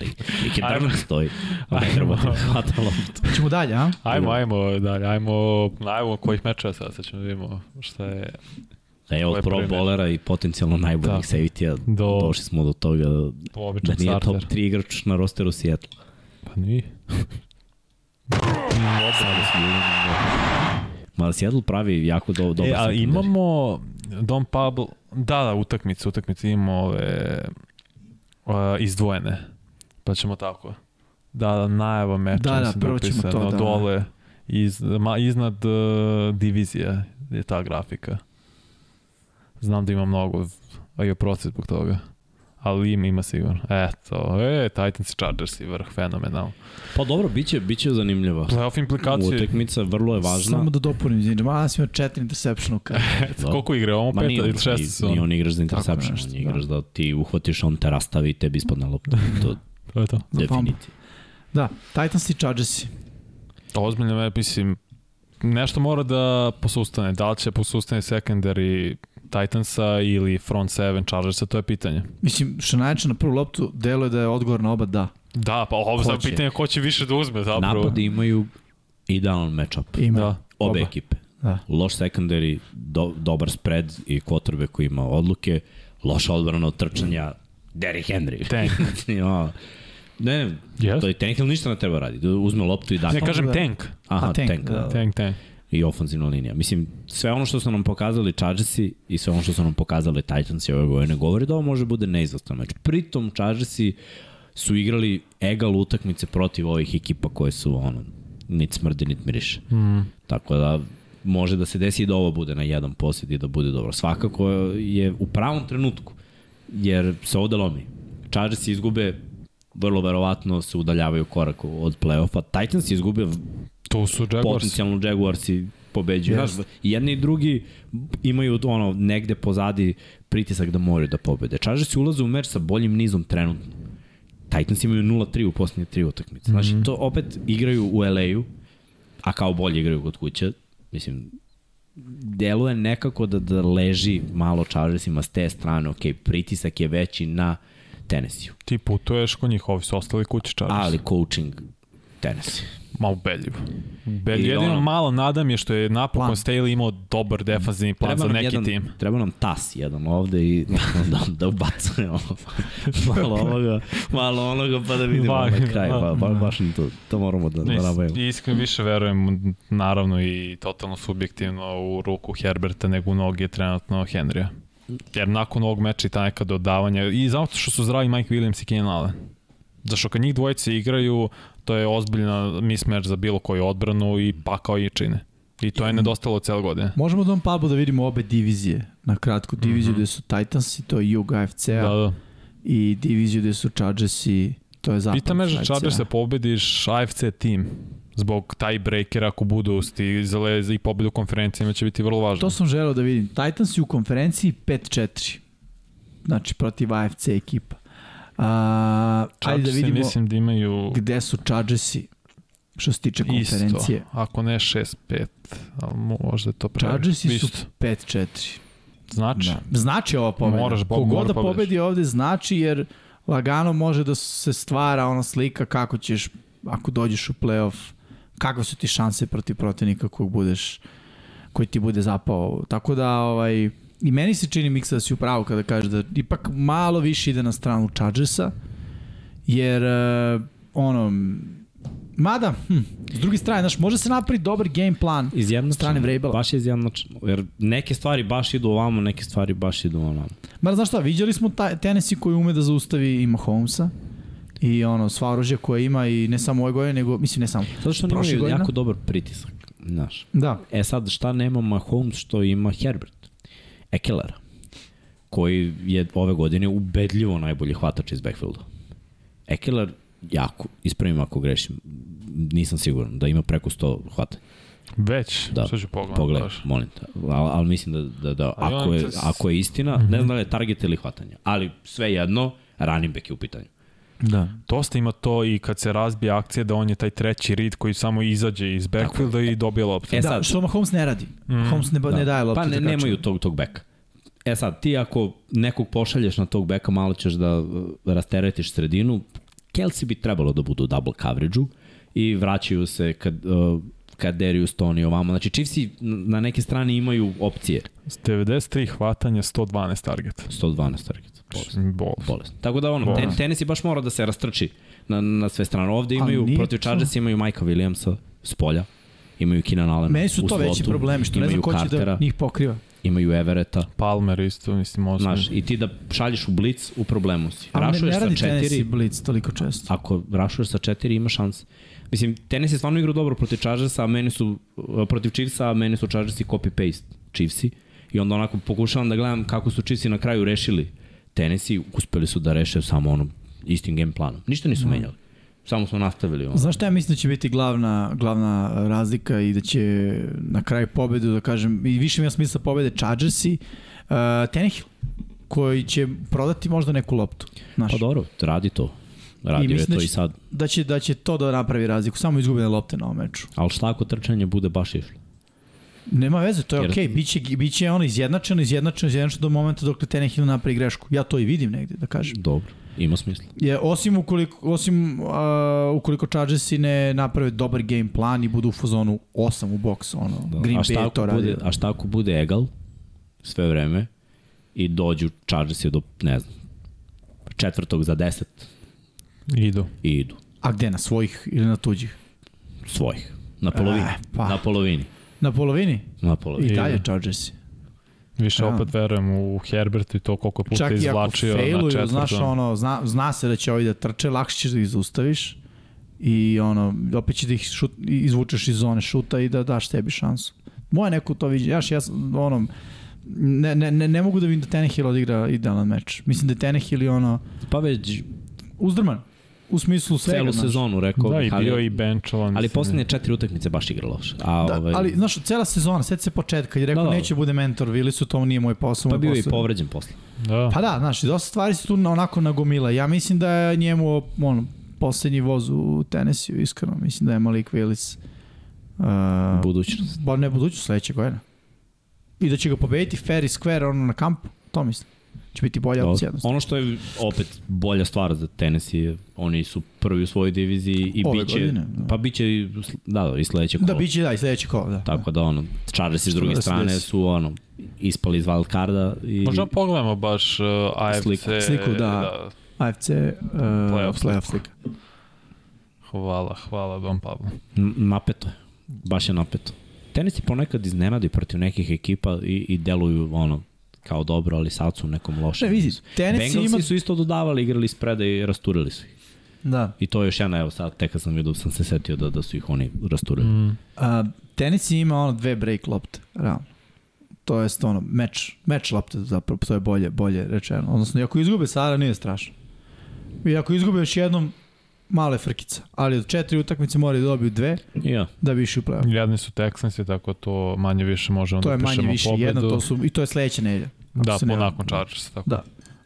[SPEAKER 1] Lik, lik je drvo stoji. A ne drvo ti hvata loptu.
[SPEAKER 2] Ćemo dalje, a?
[SPEAKER 3] Ajmo, ajmo, dalje, ajmo, ajmo kojih mečeva sad, sad ćemo da vidimo šta je
[SPEAKER 1] E,
[SPEAKER 3] To je
[SPEAKER 1] od pro
[SPEAKER 3] prvi meč.
[SPEAKER 1] bolera i potencijalno najboljih
[SPEAKER 3] Da.
[SPEAKER 1] safety-a
[SPEAKER 3] Do-
[SPEAKER 1] došli smo do toga da
[SPEAKER 3] običan
[SPEAKER 1] nije top
[SPEAKER 3] starter.
[SPEAKER 1] 3 igrač na rosteru Seattle.
[SPEAKER 3] Pa nije.
[SPEAKER 1] Ma Seattle pravi jako do, dobro.
[SPEAKER 3] e, a imamo Don Pablo, da, da, utakmice, utakmice imamo ove uh, izdvojene. Pa ćemo tako. Da, da, najava meča,
[SPEAKER 2] Da, da,
[SPEAKER 3] mislim
[SPEAKER 2] prvo ćemo
[SPEAKER 3] upisano,
[SPEAKER 2] to, da, da.
[SPEAKER 3] dole, iz, ma, iznad uh, divizija je ta grafika. Znam da ima mnogo, a i oprosti zbog toga. Ali ima, ima sigurno. Eto, e, Titans i Chargers i vrh, fenomenalno.
[SPEAKER 1] Pa dobro, biće, biće zanimljiva.
[SPEAKER 3] Playoff implikacije,
[SPEAKER 1] Utekmica vrlo je važna.
[SPEAKER 2] Samo da dopunim, izvinite. Ma, ja sam imao četiri interception u karijeri.
[SPEAKER 1] da.
[SPEAKER 3] koliko igre, ovo
[SPEAKER 1] Ma
[SPEAKER 3] pet
[SPEAKER 1] nije,
[SPEAKER 3] ili šest
[SPEAKER 1] on,
[SPEAKER 3] sezona?
[SPEAKER 1] nije on igraš za interception,
[SPEAKER 2] nešto,
[SPEAKER 1] on igraš da. ti uhvatiš, on te rastavi i tebi ispadne lopta. To
[SPEAKER 3] To je to.
[SPEAKER 2] Za
[SPEAKER 1] definitivno.
[SPEAKER 2] Da, Titans i Chargersi.
[SPEAKER 3] Ozbiljno, ja mislim, nešto mora da posustane. Da li će posustane secondary Titansa ili front seven Chargersa, to je pitanje.
[SPEAKER 2] Mislim, što najče na prvu loptu, delo je da je odgovor na oba da.
[SPEAKER 3] Da, pa ovo
[SPEAKER 1] Ko
[SPEAKER 3] je
[SPEAKER 1] će?
[SPEAKER 3] pitanje ko će više da uzme zapravo.
[SPEAKER 1] Napadi imaju idealan matchup.
[SPEAKER 2] Ima.
[SPEAKER 3] Da.
[SPEAKER 1] Obe
[SPEAKER 2] Oba.
[SPEAKER 1] ekipe.
[SPEAKER 2] Da.
[SPEAKER 1] Loš secondary, do, dobar spread i kotrbe koji ima odluke, loša odbrana od trčanja, Derrick Henry.
[SPEAKER 3] Tank.
[SPEAKER 1] ja. Ne, ne,
[SPEAKER 3] Yes.
[SPEAKER 1] to je Tank ili ništa ne treba raditi. Uzme loptu i da.
[SPEAKER 3] Ne, kažem
[SPEAKER 2] da.
[SPEAKER 3] tank.
[SPEAKER 1] Aha,
[SPEAKER 2] A,
[SPEAKER 1] tank,
[SPEAKER 2] tank,
[SPEAKER 1] tank, da.
[SPEAKER 2] da.
[SPEAKER 1] da.
[SPEAKER 3] Tank, tank.
[SPEAKER 1] I ofenzivna linija. Mislim, sve ono što su nam pokazali Chargersi i sve ono što su nam pokazali Titansi ove godine govori da ovo može bude neizvestan meč. Pritom Chargersi su igrali egal utakmice protiv ovih ekipa koje su ono, nit smrde, nit miriše. Mm. Tako da može da se desi i da ovo bude na jedan posjed i da bude dobro. Svakako je u pravom trenutku, jer se ovde lomi. Chargersi izgube vrlo verovatno se udaljavaju korak od play-offa. Titans izgube
[SPEAKER 3] Tu su Jaguars.
[SPEAKER 1] potencijalno Jaguarsi pobeđuju. Yes.
[SPEAKER 2] Jeste.
[SPEAKER 1] Znaš, i jedni i drugi imaju ono negde pozadi pritisak da moraju da pobede. Chargersi ulaze u meč sa boljim nizom trenutno. Titans imaju 0-3 u posljednje tri utakmice. Znači,
[SPEAKER 3] Mhm.
[SPEAKER 1] to opet igraju u LA-u, a kao bolje igraju kod kuće. Mislim, deluje nekako da, da leži malo Chargersima s te strane. Ok, pritisak je veći na Tennessee.
[SPEAKER 3] Ti putuješ kod njih, ovi su ostali kući Chargers.
[SPEAKER 1] Ali coaching Tennessee.
[SPEAKER 3] Ma ubedljivo. Ubedljivo.
[SPEAKER 1] I
[SPEAKER 3] Jedino
[SPEAKER 1] ono-
[SPEAKER 3] malo nadam je što je napokon
[SPEAKER 2] Plan.
[SPEAKER 3] Staley imao dobar defanzivni plan
[SPEAKER 1] Treba
[SPEAKER 3] Pa, za
[SPEAKER 1] nam
[SPEAKER 3] neki
[SPEAKER 1] jedan,
[SPEAKER 3] tim.
[SPEAKER 1] Treba nam tas jedan ovde i da, da ubacuje ovo. malo ovoga, malo onoga pa da vidimo
[SPEAKER 3] Ba-
[SPEAKER 1] na kraj. Ba, ba, baš nam to, to moramo da, da nabavimo.
[SPEAKER 3] I iskreno više verujem, naravno i totalno subjektivno u ruku Herberta nego u noge trenutno Henrya. Jer nakon ovog meča i ta neka dodavanja, i zato što su zdravi Mike Williams i Keenan Allen. Zašto kad njih dvojice igraju, to je ozbiljna mismatch za bilo koju odbranu i pakao i čine. I to je nedostalo celo godine.
[SPEAKER 2] Možemo da vam Pablo da vidimo obe divizije. Na kratko, diviziju mm -hmm. gde su Titans i to je Jug AFC-a
[SPEAKER 3] Mhm. Da, da.
[SPEAKER 2] i diviziju gde su Chargers i to je zapad.
[SPEAKER 3] Pita me
[SPEAKER 2] AFC-a.
[SPEAKER 3] že Chargers da pobediš AFC tim zbog tiebreakera ako budu stizale i pobedu u konferencijama će biti vrlo važno.
[SPEAKER 2] To sam želeo da vidim. Titans i u konferenciji 5-4. Znači, protiv AFC ekipa. A, ajde da
[SPEAKER 3] Chargersi
[SPEAKER 2] vidimo
[SPEAKER 3] mislim da imaju
[SPEAKER 2] gde su Chargersi što se tiče
[SPEAKER 3] isto,
[SPEAKER 2] konferencije.
[SPEAKER 3] ako ne 6-5, ali možda je to previše.
[SPEAKER 2] Chargersi su
[SPEAKER 3] Isto.
[SPEAKER 2] 5-4.
[SPEAKER 3] Znači, da.
[SPEAKER 2] Da. Znači ova pobeda.
[SPEAKER 3] Moraš, Bob,
[SPEAKER 2] Kogod
[SPEAKER 3] mora
[SPEAKER 2] da
[SPEAKER 3] pobediš.
[SPEAKER 2] pobedi ovde znači jer lagano može da se stvara ona slika kako ćeš ako dođeš u playoff kakve su ti šanse protiv protivnika kog budeš koji ti bude zapao. Tako da ovaj i meni se čini miksa da si u pravu kada kažeš da ipak malo više ide na stranu Chargersa jer eh, ono mada hm, s druge strane znaš može se napravi dobar game plan
[SPEAKER 1] Izjednačeno.
[SPEAKER 2] Strane Vrabela.
[SPEAKER 1] Znači, Baš je izjednačeno. Jer neke stvari baš idu ovamo, neke stvari baš idu onamo.
[SPEAKER 2] Mada znaš šta, viđali smo taj Tennessee koji ume da zaustavi i Mahomesa i ono, sva oružja koje ima i ne samo ove godine, nego, mislim ne samo.
[SPEAKER 1] Zato što oni
[SPEAKER 2] Prošle
[SPEAKER 1] imaju
[SPEAKER 2] godine?
[SPEAKER 1] jako dobar pritisak. Znaš.
[SPEAKER 2] Da,
[SPEAKER 1] E sad, šta nema Mahomes što ima Herbert? Ekelera. Koji je ove godine ubedljivo najbolji hvatač iz backfielda. Ekeler, jako, ispravim ako grešim, nisam siguran da ima preko 100 hvata.
[SPEAKER 3] već,
[SPEAKER 1] Da.
[SPEAKER 3] da. sad ću pogledati.
[SPEAKER 1] Pogledaj,
[SPEAKER 3] Pogledaj.
[SPEAKER 1] molim te. Ali al mislim da, da, da
[SPEAKER 3] Ali
[SPEAKER 1] ako,
[SPEAKER 3] on
[SPEAKER 1] je,
[SPEAKER 3] to s-
[SPEAKER 1] ako je istina, ne znam da li je target ili hvatanje. Ali svejedno, running back je u pitanju.
[SPEAKER 2] da.
[SPEAKER 3] Dosta ima to i kad se razbije akcija da on je taj treći rid koji samo izađe iz backfielda i dobije loptu.
[SPEAKER 1] E
[SPEAKER 2] E
[SPEAKER 1] sad- Mhm.
[SPEAKER 2] sad, da, što Mahomes ne radi. Mm, Mahomes ne, da. ne daje loptu.
[SPEAKER 1] Pa ne,
[SPEAKER 2] trkaču.
[SPEAKER 1] nemaju tog, tog beka. E sad, ti ako nekog pošalješ na tog beka, malo ćeš da uh, rasteretiš sredinu. Kelsey bi trebalo da budu u double coverage-u i vraćaju se kad, uh, kad Darius Tony ovamo. Znači, Chiefsi n- na neke strane imaju opcije.
[SPEAKER 3] S 93 hvatanja, 112 targeta.
[SPEAKER 1] 112 target. Bolest.
[SPEAKER 3] Bol.
[SPEAKER 1] bolest. Tako da ono, ten, tenis je baš mora da se rastrči na, na sve strane. Ovde
[SPEAKER 2] Ali
[SPEAKER 1] imaju,
[SPEAKER 2] nije
[SPEAKER 1] protiv
[SPEAKER 2] to-
[SPEAKER 1] Chargers imaju Majka Williamsa s polja, imaju Keenan Allen
[SPEAKER 2] Meni su
[SPEAKER 1] u
[SPEAKER 2] to veći
[SPEAKER 1] slotu,
[SPEAKER 2] problemi, što ne
[SPEAKER 1] imaju
[SPEAKER 2] znam ko će
[SPEAKER 1] Cartera,
[SPEAKER 2] da njih pokriva.
[SPEAKER 1] Imaju Evereta,
[SPEAKER 3] Palmer isto, mislim, ozbiljno.
[SPEAKER 1] Znaš, i ti da šalješ u blic, u problemu si.
[SPEAKER 2] Ali ne,
[SPEAKER 1] Rašuješ
[SPEAKER 2] ne
[SPEAKER 1] sa
[SPEAKER 2] radi Tennessee
[SPEAKER 1] četiri,
[SPEAKER 2] Blitz toliko često.
[SPEAKER 1] ako rašuješ sa četiri, ima šans. Mislim, tenis je stvarno igrao dobro protiv Chargersa, a meni su, protiv Chiefsa, a meni su Chargersi copy-paste Chiefsi. I onda onako pokušavam da gledam kako su Chiefsi na kraju rešili tenisi, uspeli su da reše samo onom istim game planom. Ništa nisu menjali. Samo smo nastavili ono.
[SPEAKER 2] Znaš šta ja mislim da će biti glavna, glavna razlika i da će na kraju pobedu, da kažem, i više ima smisla pobede Chargersi, uh, Tannehill, koji će prodati možda neku loptu. Znaš,
[SPEAKER 1] Pa dobro, radi to. Radio je
[SPEAKER 2] mislim da
[SPEAKER 1] to
[SPEAKER 2] će-
[SPEAKER 1] i sad.
[SPEAKER 2] da će, da će to da napravi razliku, samo izgubljene lopte na ovom meču.
[SPEAKER 1] Ali šta ako trčanje bude baš išlo?
[SPEAKER 2] Nema veze, to je
[SPEAKER 1] Jer-
[SPEAKER 2] okej, okay. biće, biće ono izjednačeno, izjednačeno, izjednačeno do momenta dok Tenehill napravi grešku. Ja to i vidim negde, da kažem.
[SPEAKER 1] Dobro, ima smisla.
[SPEAKER 2] Je, osim ukoliko, osim, uh, ukoliko Chargersi ne naprave dobar game plan i budu u fazonu 8 u boks, ono, da. Green
[SPEAKER 1] a šta
[SPEAKER 2] Bay je
[SPEAKER 1] ako
[SPEAKER 2] to radi.
[SPEAKER 1] bude, A šta ako bude egal sve vreme i dođu Chargersi do, ne znam, četvrtog za deset
[SPEAKER 3] Idu.
[SPEAKER 1] i idu
[SPEAKER 2] A gde, na svojih ili na tuđih?
[SPEAKER 1] svojih. Na polovini.
[SPEAKER 2] E,
[SPEAKER 1] pa.
[SPEAKER 2] pa.
[SPEAKER 1] Na polovini.
[SPEAKER 2] Na polovini?
[SPEAKER 1] Na
[SPEAKER 2] I
[SPEAKER 1] polovini.
[SPEAKER 2] dalje Chargersi.
[SPEAKER 3] Više
[SPEAKER 2] Ja.
[SPEAKER 3] opet verujem u Herbert i to koliko puta
[SPEAKER 2] Da. Čak i ako
[SPEAKER 3] izvlačio na
[SPEAKER 2] failuju,
[SPEAKER 3] četvrtom.
[SPEAKER 2] znaš, ono, zna, zna se da će ovi da trče, lakše ćeš da ih zaustaviš i ono, opet će da ih šut, izvučeš iz zone šuta i da daš sebi šansu. Moje neko to viđe, jaš, ja sam, ono, ne, ne, ne, ne mogu da vidim da Tenehill odigra idealan meč. Mislim da je Tenehill i ono,
[SPEAKER 1] Pa već
[SPEAKER 2] uzdrman, u smislu svega.
[SPEAKER 1] celu
[SPEAKER 2] znaš.
[SPEAKER 1] sezonu rekao
[SPEAKER 3] Da, i
[SPEAKER 1] bih,
[SPEAKER 3] bio
[SPEAKER 1] ali,
[SPEAKER 3] i benchovan.
[SPEAKER 1] ali
[SPEAKER 3] mislim,
[SPEAKER 1] poslednje četiri utakmice baš igra loše. A,
[SPEAKER 2] Da,
[SPEAKER 1] ovaj,
[SPEAKER 2] ali, znaš, cela sezona, sve se početka, je rekao,
[SPEAKER 1] Da, da.
[SPEAKER 2] neće bude mentor, Willisu, to nije moj posao.
[SPEAKER 1] pa
[SPEAKER 2] moj
[SPEAKER 1] bio je i
[SPEAKER 2] posao.
[SPEAKER 1] povređen posle.
[SPEAKER 3] Da.
[SPEAKER 2] Pa da, znaš, dosta stvari se tu na- onako nagomila. Ja mislim da je njemu ono, poslednji voz u Tenesiju, iskreno. Mislim da je Malik Willis uh,
[SPEAKER 1] Budućnost.
[SPEAKER 2] ba ne buduću sledeće godine. I da će ga pobediti fair i square ono na kampu, to mislim. Će biti bolja
[SPEAKER 1] Dobro.
[SPEAKER 2] opcija Pa, jednostavno.
[SPEAKER 1] Ono što je opet bolja stvar za Tennessee, oni su prvi u svojoj diviziji i
[SPEAKER 2] Ove
[SPEAKER 1] biće,
[SPEAKER 2] godine, da.
[SPEAKER 1] pa biće i sl- da, da, i sledeće kolo.
[SPEAKER 2] Da, bit će da, i sledeće kolo, da.
[SPEAKER 1] Tako da ono, Chargers s druge
[SPEAKER 2] da se
[SPEAKER 1] strane
[SPEAKER 2] desi?
[SPEAKER 1] su ono, ispali iz wild carda i
[SPEAKER 2] Pa
[SPEAKER 4] Možda pogledamo baš uh, AFC.
[SPEAKER 1] Sliku.
[SPEAKER 2] Sliku, da. AFC, uh,
[SPEAKER 4] Playoff
[SPEAKER 2] playoff,
[SPEAKER 4] slika.
[SPEAKER 2] playoff slika.
[SPEAKER 4] Hvala, hvala Don Pablo.
[SPEAKER 1] n- napeto je. Baš je napeto. Tenis je ponekad iznenadi protiv nekih ekipa i, i deluju ono, kao dobro, ali sad su u nekom lošem.
[SPEAKER 2] Ne, Pa vidi,
[SPEAKER 1] nizu.
[SPEAKER 2] Tennessee
[SPEAKER 1] Bengalsi
[SPEAKER 2] ima...
[SPEAKER 1] su isto dodavali, igrali spreda i rasturili su ih.
[SPEAKER 2] Da.
[SPEAKER 1] I to je još jedna, evo sad, tek kad sam vidio, sam se setio da, da su ih oni rasturili. Mm.
[SPEAKER 2] A, Tennessee ima ono dve break lopte, realno. To je ono, meč, meč lopte zapravo, to je bolje, bolje rečeno. Odnosno, i ako izgube sada, nije strašno. I ako izgube još jednom, male frkica. Ali od četiri utakmice moraju da dobiju dve
[SPEAKER 1] Ja.
[SPEAKER 2] da bi išli u playoff.
[SPEAKER 3] Jadni su Texansi, tako to manje više možemo
[SPEAKER 2] To
[SPEAKER 3] da
[SPEAKER 2] je manje
[SPEAKER 3] pišemo
[SPEAKER 2] više
[SPEAKER 3] pobedu.
[SPEAKER 2] jedno, to su, i to je sledeća nedelja. ako
[SPEAKER 3] Da,
[SPEAKER 2] se ne
[SPEAKER 3] po
[SPEAKER 2] varam.
[SPEAKER 3] nakon Chargers, tako.
[SPEAKER 2] Da.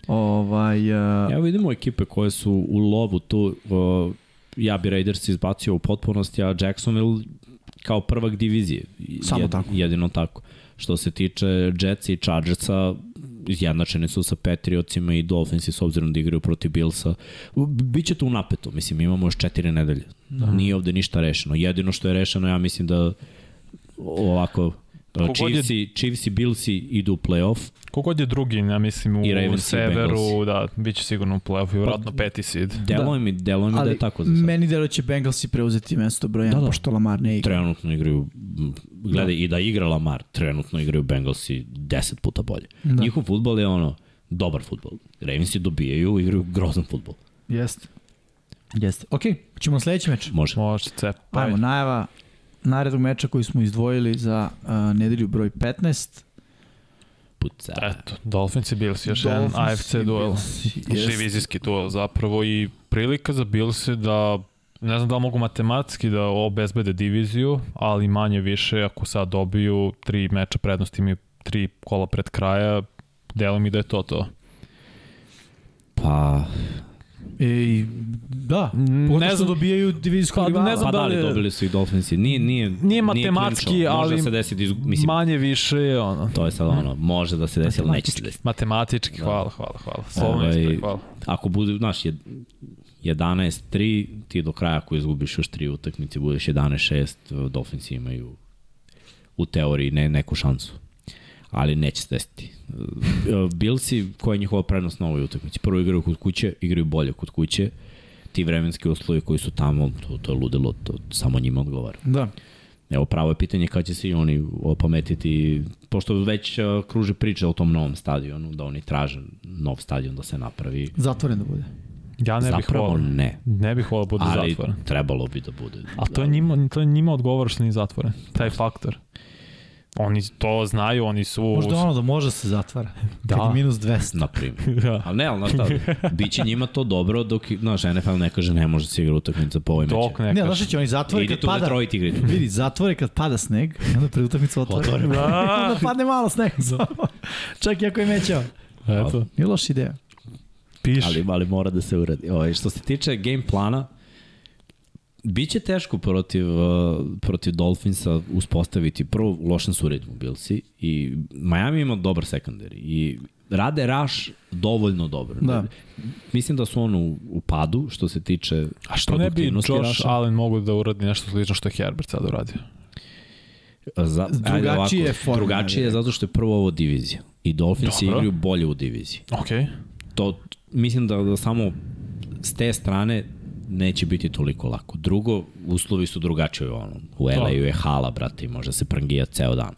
[SPEAKER 2] Ovaj, a,
[SPEAKER 1] Evo vidimo ekipe koje su u lovu tu. o, ja bi Raiders izbacio u potpunosti, a Jacksonville kao prvak divizije. I-
[SPEAKER 2] Samo tako.
[SPEAKER 1] Jedino tako. Što se tiče Jets i Chargersa, izjednačeni su sa Patriotsima i Dolphinsi s obzirom da igraju protiv Billsa. U- Biće tu napeto, mislim, imamo još četiri nedelje. Da. Nije ovde ništa rešeno. Jedino što je rešeno, ja mislim da ovako,
[SPEAKER 3] Kogod je-
[SPEAKER 1] Chiefsi, Chiefsi, Billsi idu u play-off,
[SPEAKER 3] Kogod je drugi, ja mislim, u
[SPEAKER 1] I Ravens i
[SPEAKER 3] severu, da, bit će sigurno u play-offu,
[SPEAKER 2] Pa-
[SPEAKER 3] vjerojatno peti seed.
[SPEAKER 1] Deluje mi, deluje mi da je tako za sad.
[SPEAKER 2] meni delo će Bengalsi preuzeti mesto broj 1,
[SPEAKER 1] Da, da.
[SPEAKER 2] da, da. pošto Lamar ne igra.
[SPEAKER 1] trenutno igraju, m, gledaj, da. i da igra Lamar, trenutno igraju Bengalsi 10 puta bolje. Da.
[SPEAKER 2] Da.
[SPEAKER 1] Njihov futbol je ono, dobar futbol. Ravensi dobijaju, igraju grozan futbol.
[SPEAKER 2] Jeste. Jeste. Ok, ćemo na sledeći meč.
[SPEAKER 1] Može.
[SPEAKER 3] Može cep.
[SPEAKER 2] Pa Ajmo, najava narednog meča koji smo izdvojili za uh, nedelju broj 15.
[SPEAKER 1] Puca.
[SPEAKER 3] Eto, Dolphins i Bills, još jedan
[SPEAKER 2] Dolphins
[SPEAKER 3] AFC
[SPEAKER 2] i
[SPEAKER 3] duel.
[SPEAKER 2] Bills. Jest.
[SPEAKER 3] Divizijski duel zapravo i prilika za Bills je da ne znam da li mogu matematski da obezbede diviziju, ali manje više ako sad dobiju tri meča prednosti imaju tri kola pred kraja, delo mi da je to to.
[SPEAKER 1] Pa,
[SPEAKER 2] I, da,
[SPEAKER 3] ne
[SPEAKER 2] pogotovo što
[SPEAKER 3] znam-
[SPEAKER 2] dobijaju divizijskog
[SPEAKER 3] Pa,
[SPEAKER 2] pa, rivala.
[SPEAKER 3] ne znam
[SPEAKER 1] pa da
[SPEAKER 3] da
[SPEAKER 1] li
[SPEAKER 3] li je-
[SPEAKER 1] dobili su i Dolphinsi? Nije, nije,
[SPEAKER 3] matematski,
[SPEAKER 1] klinčalo. Može
[SPEAKER 3] ali-
[SPEAKER 1] da se desi, da izgu- mislim,
[SPEAKER 3] manje više je ono.
[SPEAKER 1] to je sad ono, može da se desi, ali neće se desiti.
[SPEAKER 3] Matematički, hvala, hvala, hvala. Slovno
[SPEAKER 1] Da. Ovaj,
[SPEAKER 3] ispred, hvala.
[SPEAKER 1] Ako bude, znaš, jed- 11-3, ti do kraja ako izgubiš još tri utakmice, budeš 11-6, Dolphinsi imaju u teoriji ne, neku šansu. Ali neće se desiti. E, Billsi, koja je njihova prednost na ovoj utakmici? Prvo igraju kod kuće, igraju bolje kod kuće, ti vremenski uslovi koji su tamo, to, to je ludilo, to samo njima odgovara.
[SPEAKER 2] Da.
[SPEAKER 1] Evo pravo je pitanje kada će se i oni opametiti, pošto već e, kruže priče o tom novom stadionu, da oni traže nov stadion da se napravi.
[SPEAKER 2] Zatvoren da bude.
[SPEAKER 3] Ja ne bih
[SPEAKER 1] Zapravo
[SPEAKER 3] volao.
[SPEAKER 1] ne,
[SPEAKER 3] Ne bih volao da bude
[SPEAKER 1] ali
[SPEAKER 3] zatvoren.
[SPEAKER 1] trebalo bi da bude.
[SPEAKER 3] A to je njima, to je njima odgovor što nije zatvoren. Taj faktor. Oni to znaju, oni su...
[SPEAKER 2] Možda ono da može se zatvara. Da. Kad
[SPEAKER 3] Da.
[SPEAKER 2] je minus 200.
[SPEAKER 1] Na primjer. da. Ali ne, ali znaš šta, biće njima to dobro dok, znaš, NFL ne kaže ne može se igra utakmica po ovoj
[SPEAKER 3] Dok
[SPEAKER 1] meće.
[SPEAKER 3] ne,
[SPEAKER 2] Ne,
[SPEAKER 3] ne
[SPEAKER 2] znaš šta će oni zatvore
[SPEAKER 1] Idite
[SPEAKER 2] kad
[SPEAKER 1] u
[SPEAKER 3] da
[SPEAKER 2] pada.
[SPEAKER 1] Detroit igrati.
[SPEAKER 2] Vidi, zatvore kad pada sneg, i onda pre utakmice otvore.
[SPEAKER 1] Otvore.
[SPEAKER 3] Da.
[SPEAKER 2] onda padne malo snega samo. Čak i ako je mećao.
[SPEAKER 3] Eto,
[SPEAKER 2] Nije loša ideja.
[SPEAKER 3] piši.
[SPEAKER 1] Ovaj, Ali, ali mora da se uradi. Ovo, što se tiče game plana, Biće teško protiv, uh, protiv Dolphinsa uspostaviti. Prvo, u lošem su ritmu Bilsi i Miami ima dobar sekundar i rade raš dovoljno dobro.
[SPEAKER 2] Da.
[SPEAKER 1] Mislim da su ono u, u padu što se tiče
[SPEAKER 4] A što ne bi
[SPEAKER 1] produktivnosti
[SPEAKER 4] Josh
[SPEAKER 1] rusha.
[SPEAKER 4] Allen mogu da uradi nešto slično što je Herbert sad uradio?
[SPEAKER 1] Za, ajde
[SPEAKER 2] Drugačije
[SPEAKER 1] ovako,
[SPEAKER 2] forme,
[SPEAKER 1] Drugačije
[SPEAKER 2] ja
[SPEAKER 1] je
[SPEAKER 2] bih
[SPEAKER 1] zato što je prvo ovo divizija. I Dolphins
[SPEAKER 4] Dobro.
[SPEAKER 1] igraju bolje u diviziji.
[SPEAKER 4] Ok.
[SPEAKER 1] To, mislim da, da samo s te strane neće biti toliko lako. Drugo, uslovi su drugačiji u onom. U LA -u je hala, brate, i može se prangija ceo dan.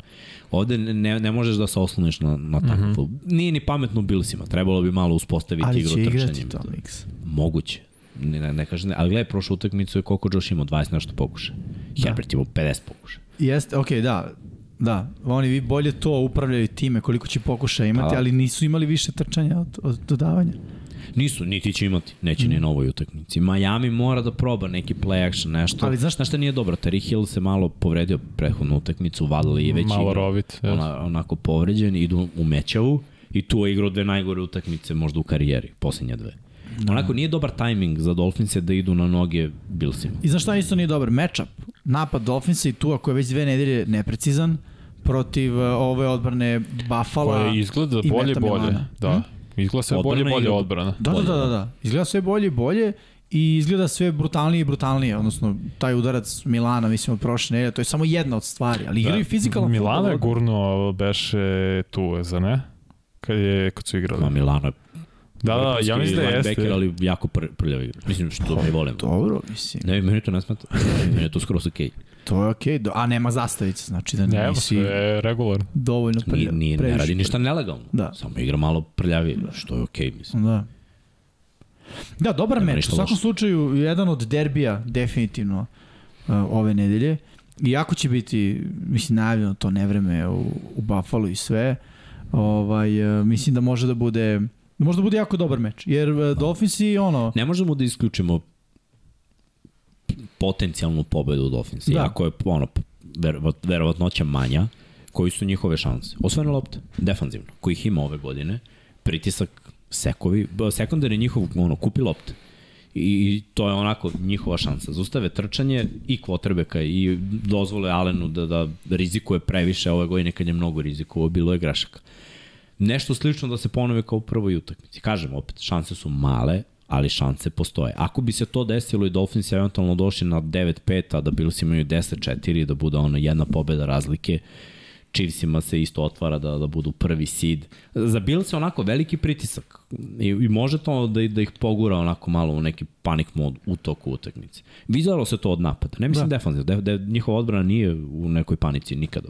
[SPEAKER 1] Ovde ne, ne možeš da se osloniš na, na takav mm -hmm. Nije ni pametno u Bilsima, trebalo bi malo uspostaviti
[SPEAKER 2] Mhm. Ali će
[SPEAKER 1] igru
[SPEAKER 2] igrati
[SPEAKER 1] trčanjem.
[SPEAKER 2] to, Miks.
[SPEAKER 1] Moguće. Ne, ne, ne kažem, ne. ali gledaj, prošlu utakmicu je koliko Josh imao 20 nešto pokušaja.
[SPEAKER 2] Da.
[SPEAKER 1] Herbert imao 50 pokušaja.
[SPEAKER 2] Jeste, okej, da. Da, oni vi bolje to upravljaju time koliko će pokušaja imati,
[SPEAKER 1] Da.
[SPEAKER 2] ali nisu imali više trčanja od, od dodavanja.
[SPEAKER 1] Nisu, niti će imati, neće
[SPEAKER 4] Mm.
[SPEAKER 1] ni na ovoj utakmici. Miami mora da proba neki play action, nešto.
[SPEAKER 2] Ali
[SPEAKER 1] Ali
[SPEAKER 2] znaš-
[SPEAKER 1] znaš, znaš šta nije dobro? Terry Hill se malo povredio prethodnu utakmicu, vadali je već
[SPEAKER 4] Malo
[SPEAKER 1] igrao.
[SPEAKER 4] rovit, jes.
[SPEAKER 1] Ona, onako povređen, idu u mečavu i tu je igrao dve najgore utakmice možda u karijeri, posljednje dve.
[SPEAKER 4] Da.
[SPEAKER 1] Onako nije dobar tajming za Dolphinse da idu na noge Billsima.
[SPEAKER 2] I znaš šta isto nije dobar? Matchup. Napad Dolphinsa i tu, ako je već dve nedelje neprecizan, protiv e, ove odbrane Buffalo.
[SPEAKER 4] Koja izgleda
[SPEAKER 2] Pa, i
[SPEAKER 4] bolje
[SPEAKER 2] Meta
[SPEAKER 4] bolje.
[SPEAKER 2] Milana. Hm?
[SPEAKER 4] Da. Izgleda sve
[SPEAKER 1] Odbrana
[SPEAKER 4] bolje bolje
[SPEAKER 1] igra-
[SPEAKER 4] odbrana.
[SPEAKER 2] Da, da, da, da, da. Izgleda sve bolje i bolje i izgleda sve brutalnije i brutalnije. Odnosno, taj udarac Milana, mislim, od prošle nedelje, to je samo jedna od stvari, ali igraju da. fizikalan
[SPEAKER 4] Milana je
[SPEAKER 2] fudbal.
[SPEAKER 4] gurno beše tu, za ne? Kad, je, kad su igrali.
[SPEAKER 1] Ma Milano je
[SPEAKER 4] Da, da, ja
[SPEAKER 1] vrhunski
[SPEAKER 4] mislim da
[SPEAKER 1] linebacker,
[SPEAKER 4] jeste.
[SPEAKER 1] ali jako pr prljav igra. Mislim što ne volim.
[SPEAKER 2] Dobro, mislim.
[SPEAKER 1] Ne, meni to ne smeta. meni je to skroz okej.
[SPEAKER 2] To je okej, do, a nema zastavice, znači da
[SPEAKER 4] Ne,
[SPEAKER 2] nisi
[SPEAKER 4] sve regularno.
[SPEAKER 2] dovoljno pre,
[SPEAKER 1] Nije, nije, ne
[SPEAKER 2] previše
[SPEAKER 1] radi
[SPEAKER 2] pre-
[SPEAKER 1] ništa nelegalno.
[SPEAKER 2] Da.
[SPEAKER 1] Samo igra malo prljavije, što je okej, okay, mislim.
[SPEAKER 2] Da. Da, dobar
[SPEAKER 1] Nema
[SPEAKER 2] meč.
[SPEAKER 1] ništa
[SPEAKER 2] U svakom
[SPEAKER 1] loše.
[SPEAKER 2] slučaju, jedan od derbija definitivno uh, ove nedelje. Iako će biti, mislim, najavljeno to nevreme u, u Buffalo i sve, ovaj, uh, mislim da može da bude da može da bude jako dobar meč. Jer
[SPEAKER 1] Da.
[SPEAKER 2] uh, Dolphins i ono...
[SPEAKER 1] Ne možemo da isključimo potencijalnu pobedu Dolphinsa.
[SPEAKER 2] Da.
[SPEAKER 1] Da. Iako je ono, verovat, verovatnoća manja, koji su njihove šanse. Osvojena lopta, defanzivno, kojih ima ove godine, pritisak, sekovi, b- sekundar je njihov, ono, kupi lopte. I to je onako njihova šansa. Zaustave trčanje i kvotrbeka i dozvole Alenu da, da rizikuje previše ove godine kad je mnogo rizikovao, bilo je grašaka. nešto slično da se ponove kao u prvoj utakmici. Kažem opet, šanse su male, ali šanse postoje. Ako bi se to desilo i Dolphins je eventualno došli na 9-5, a da Bills imaju 10-4, da bude ono jedna pobeda razlike, Chiefsima se isto otvara da, da budu prvi seed. Za Bills je onako veliki pritisak i, i može to da, da ih pogura onako malo u neki panik mod u toku utakmice. Vidjelo se to od napada. Ne mislim da. defanzivno, da, da njihova odbrana nije u nekoj panici nikada.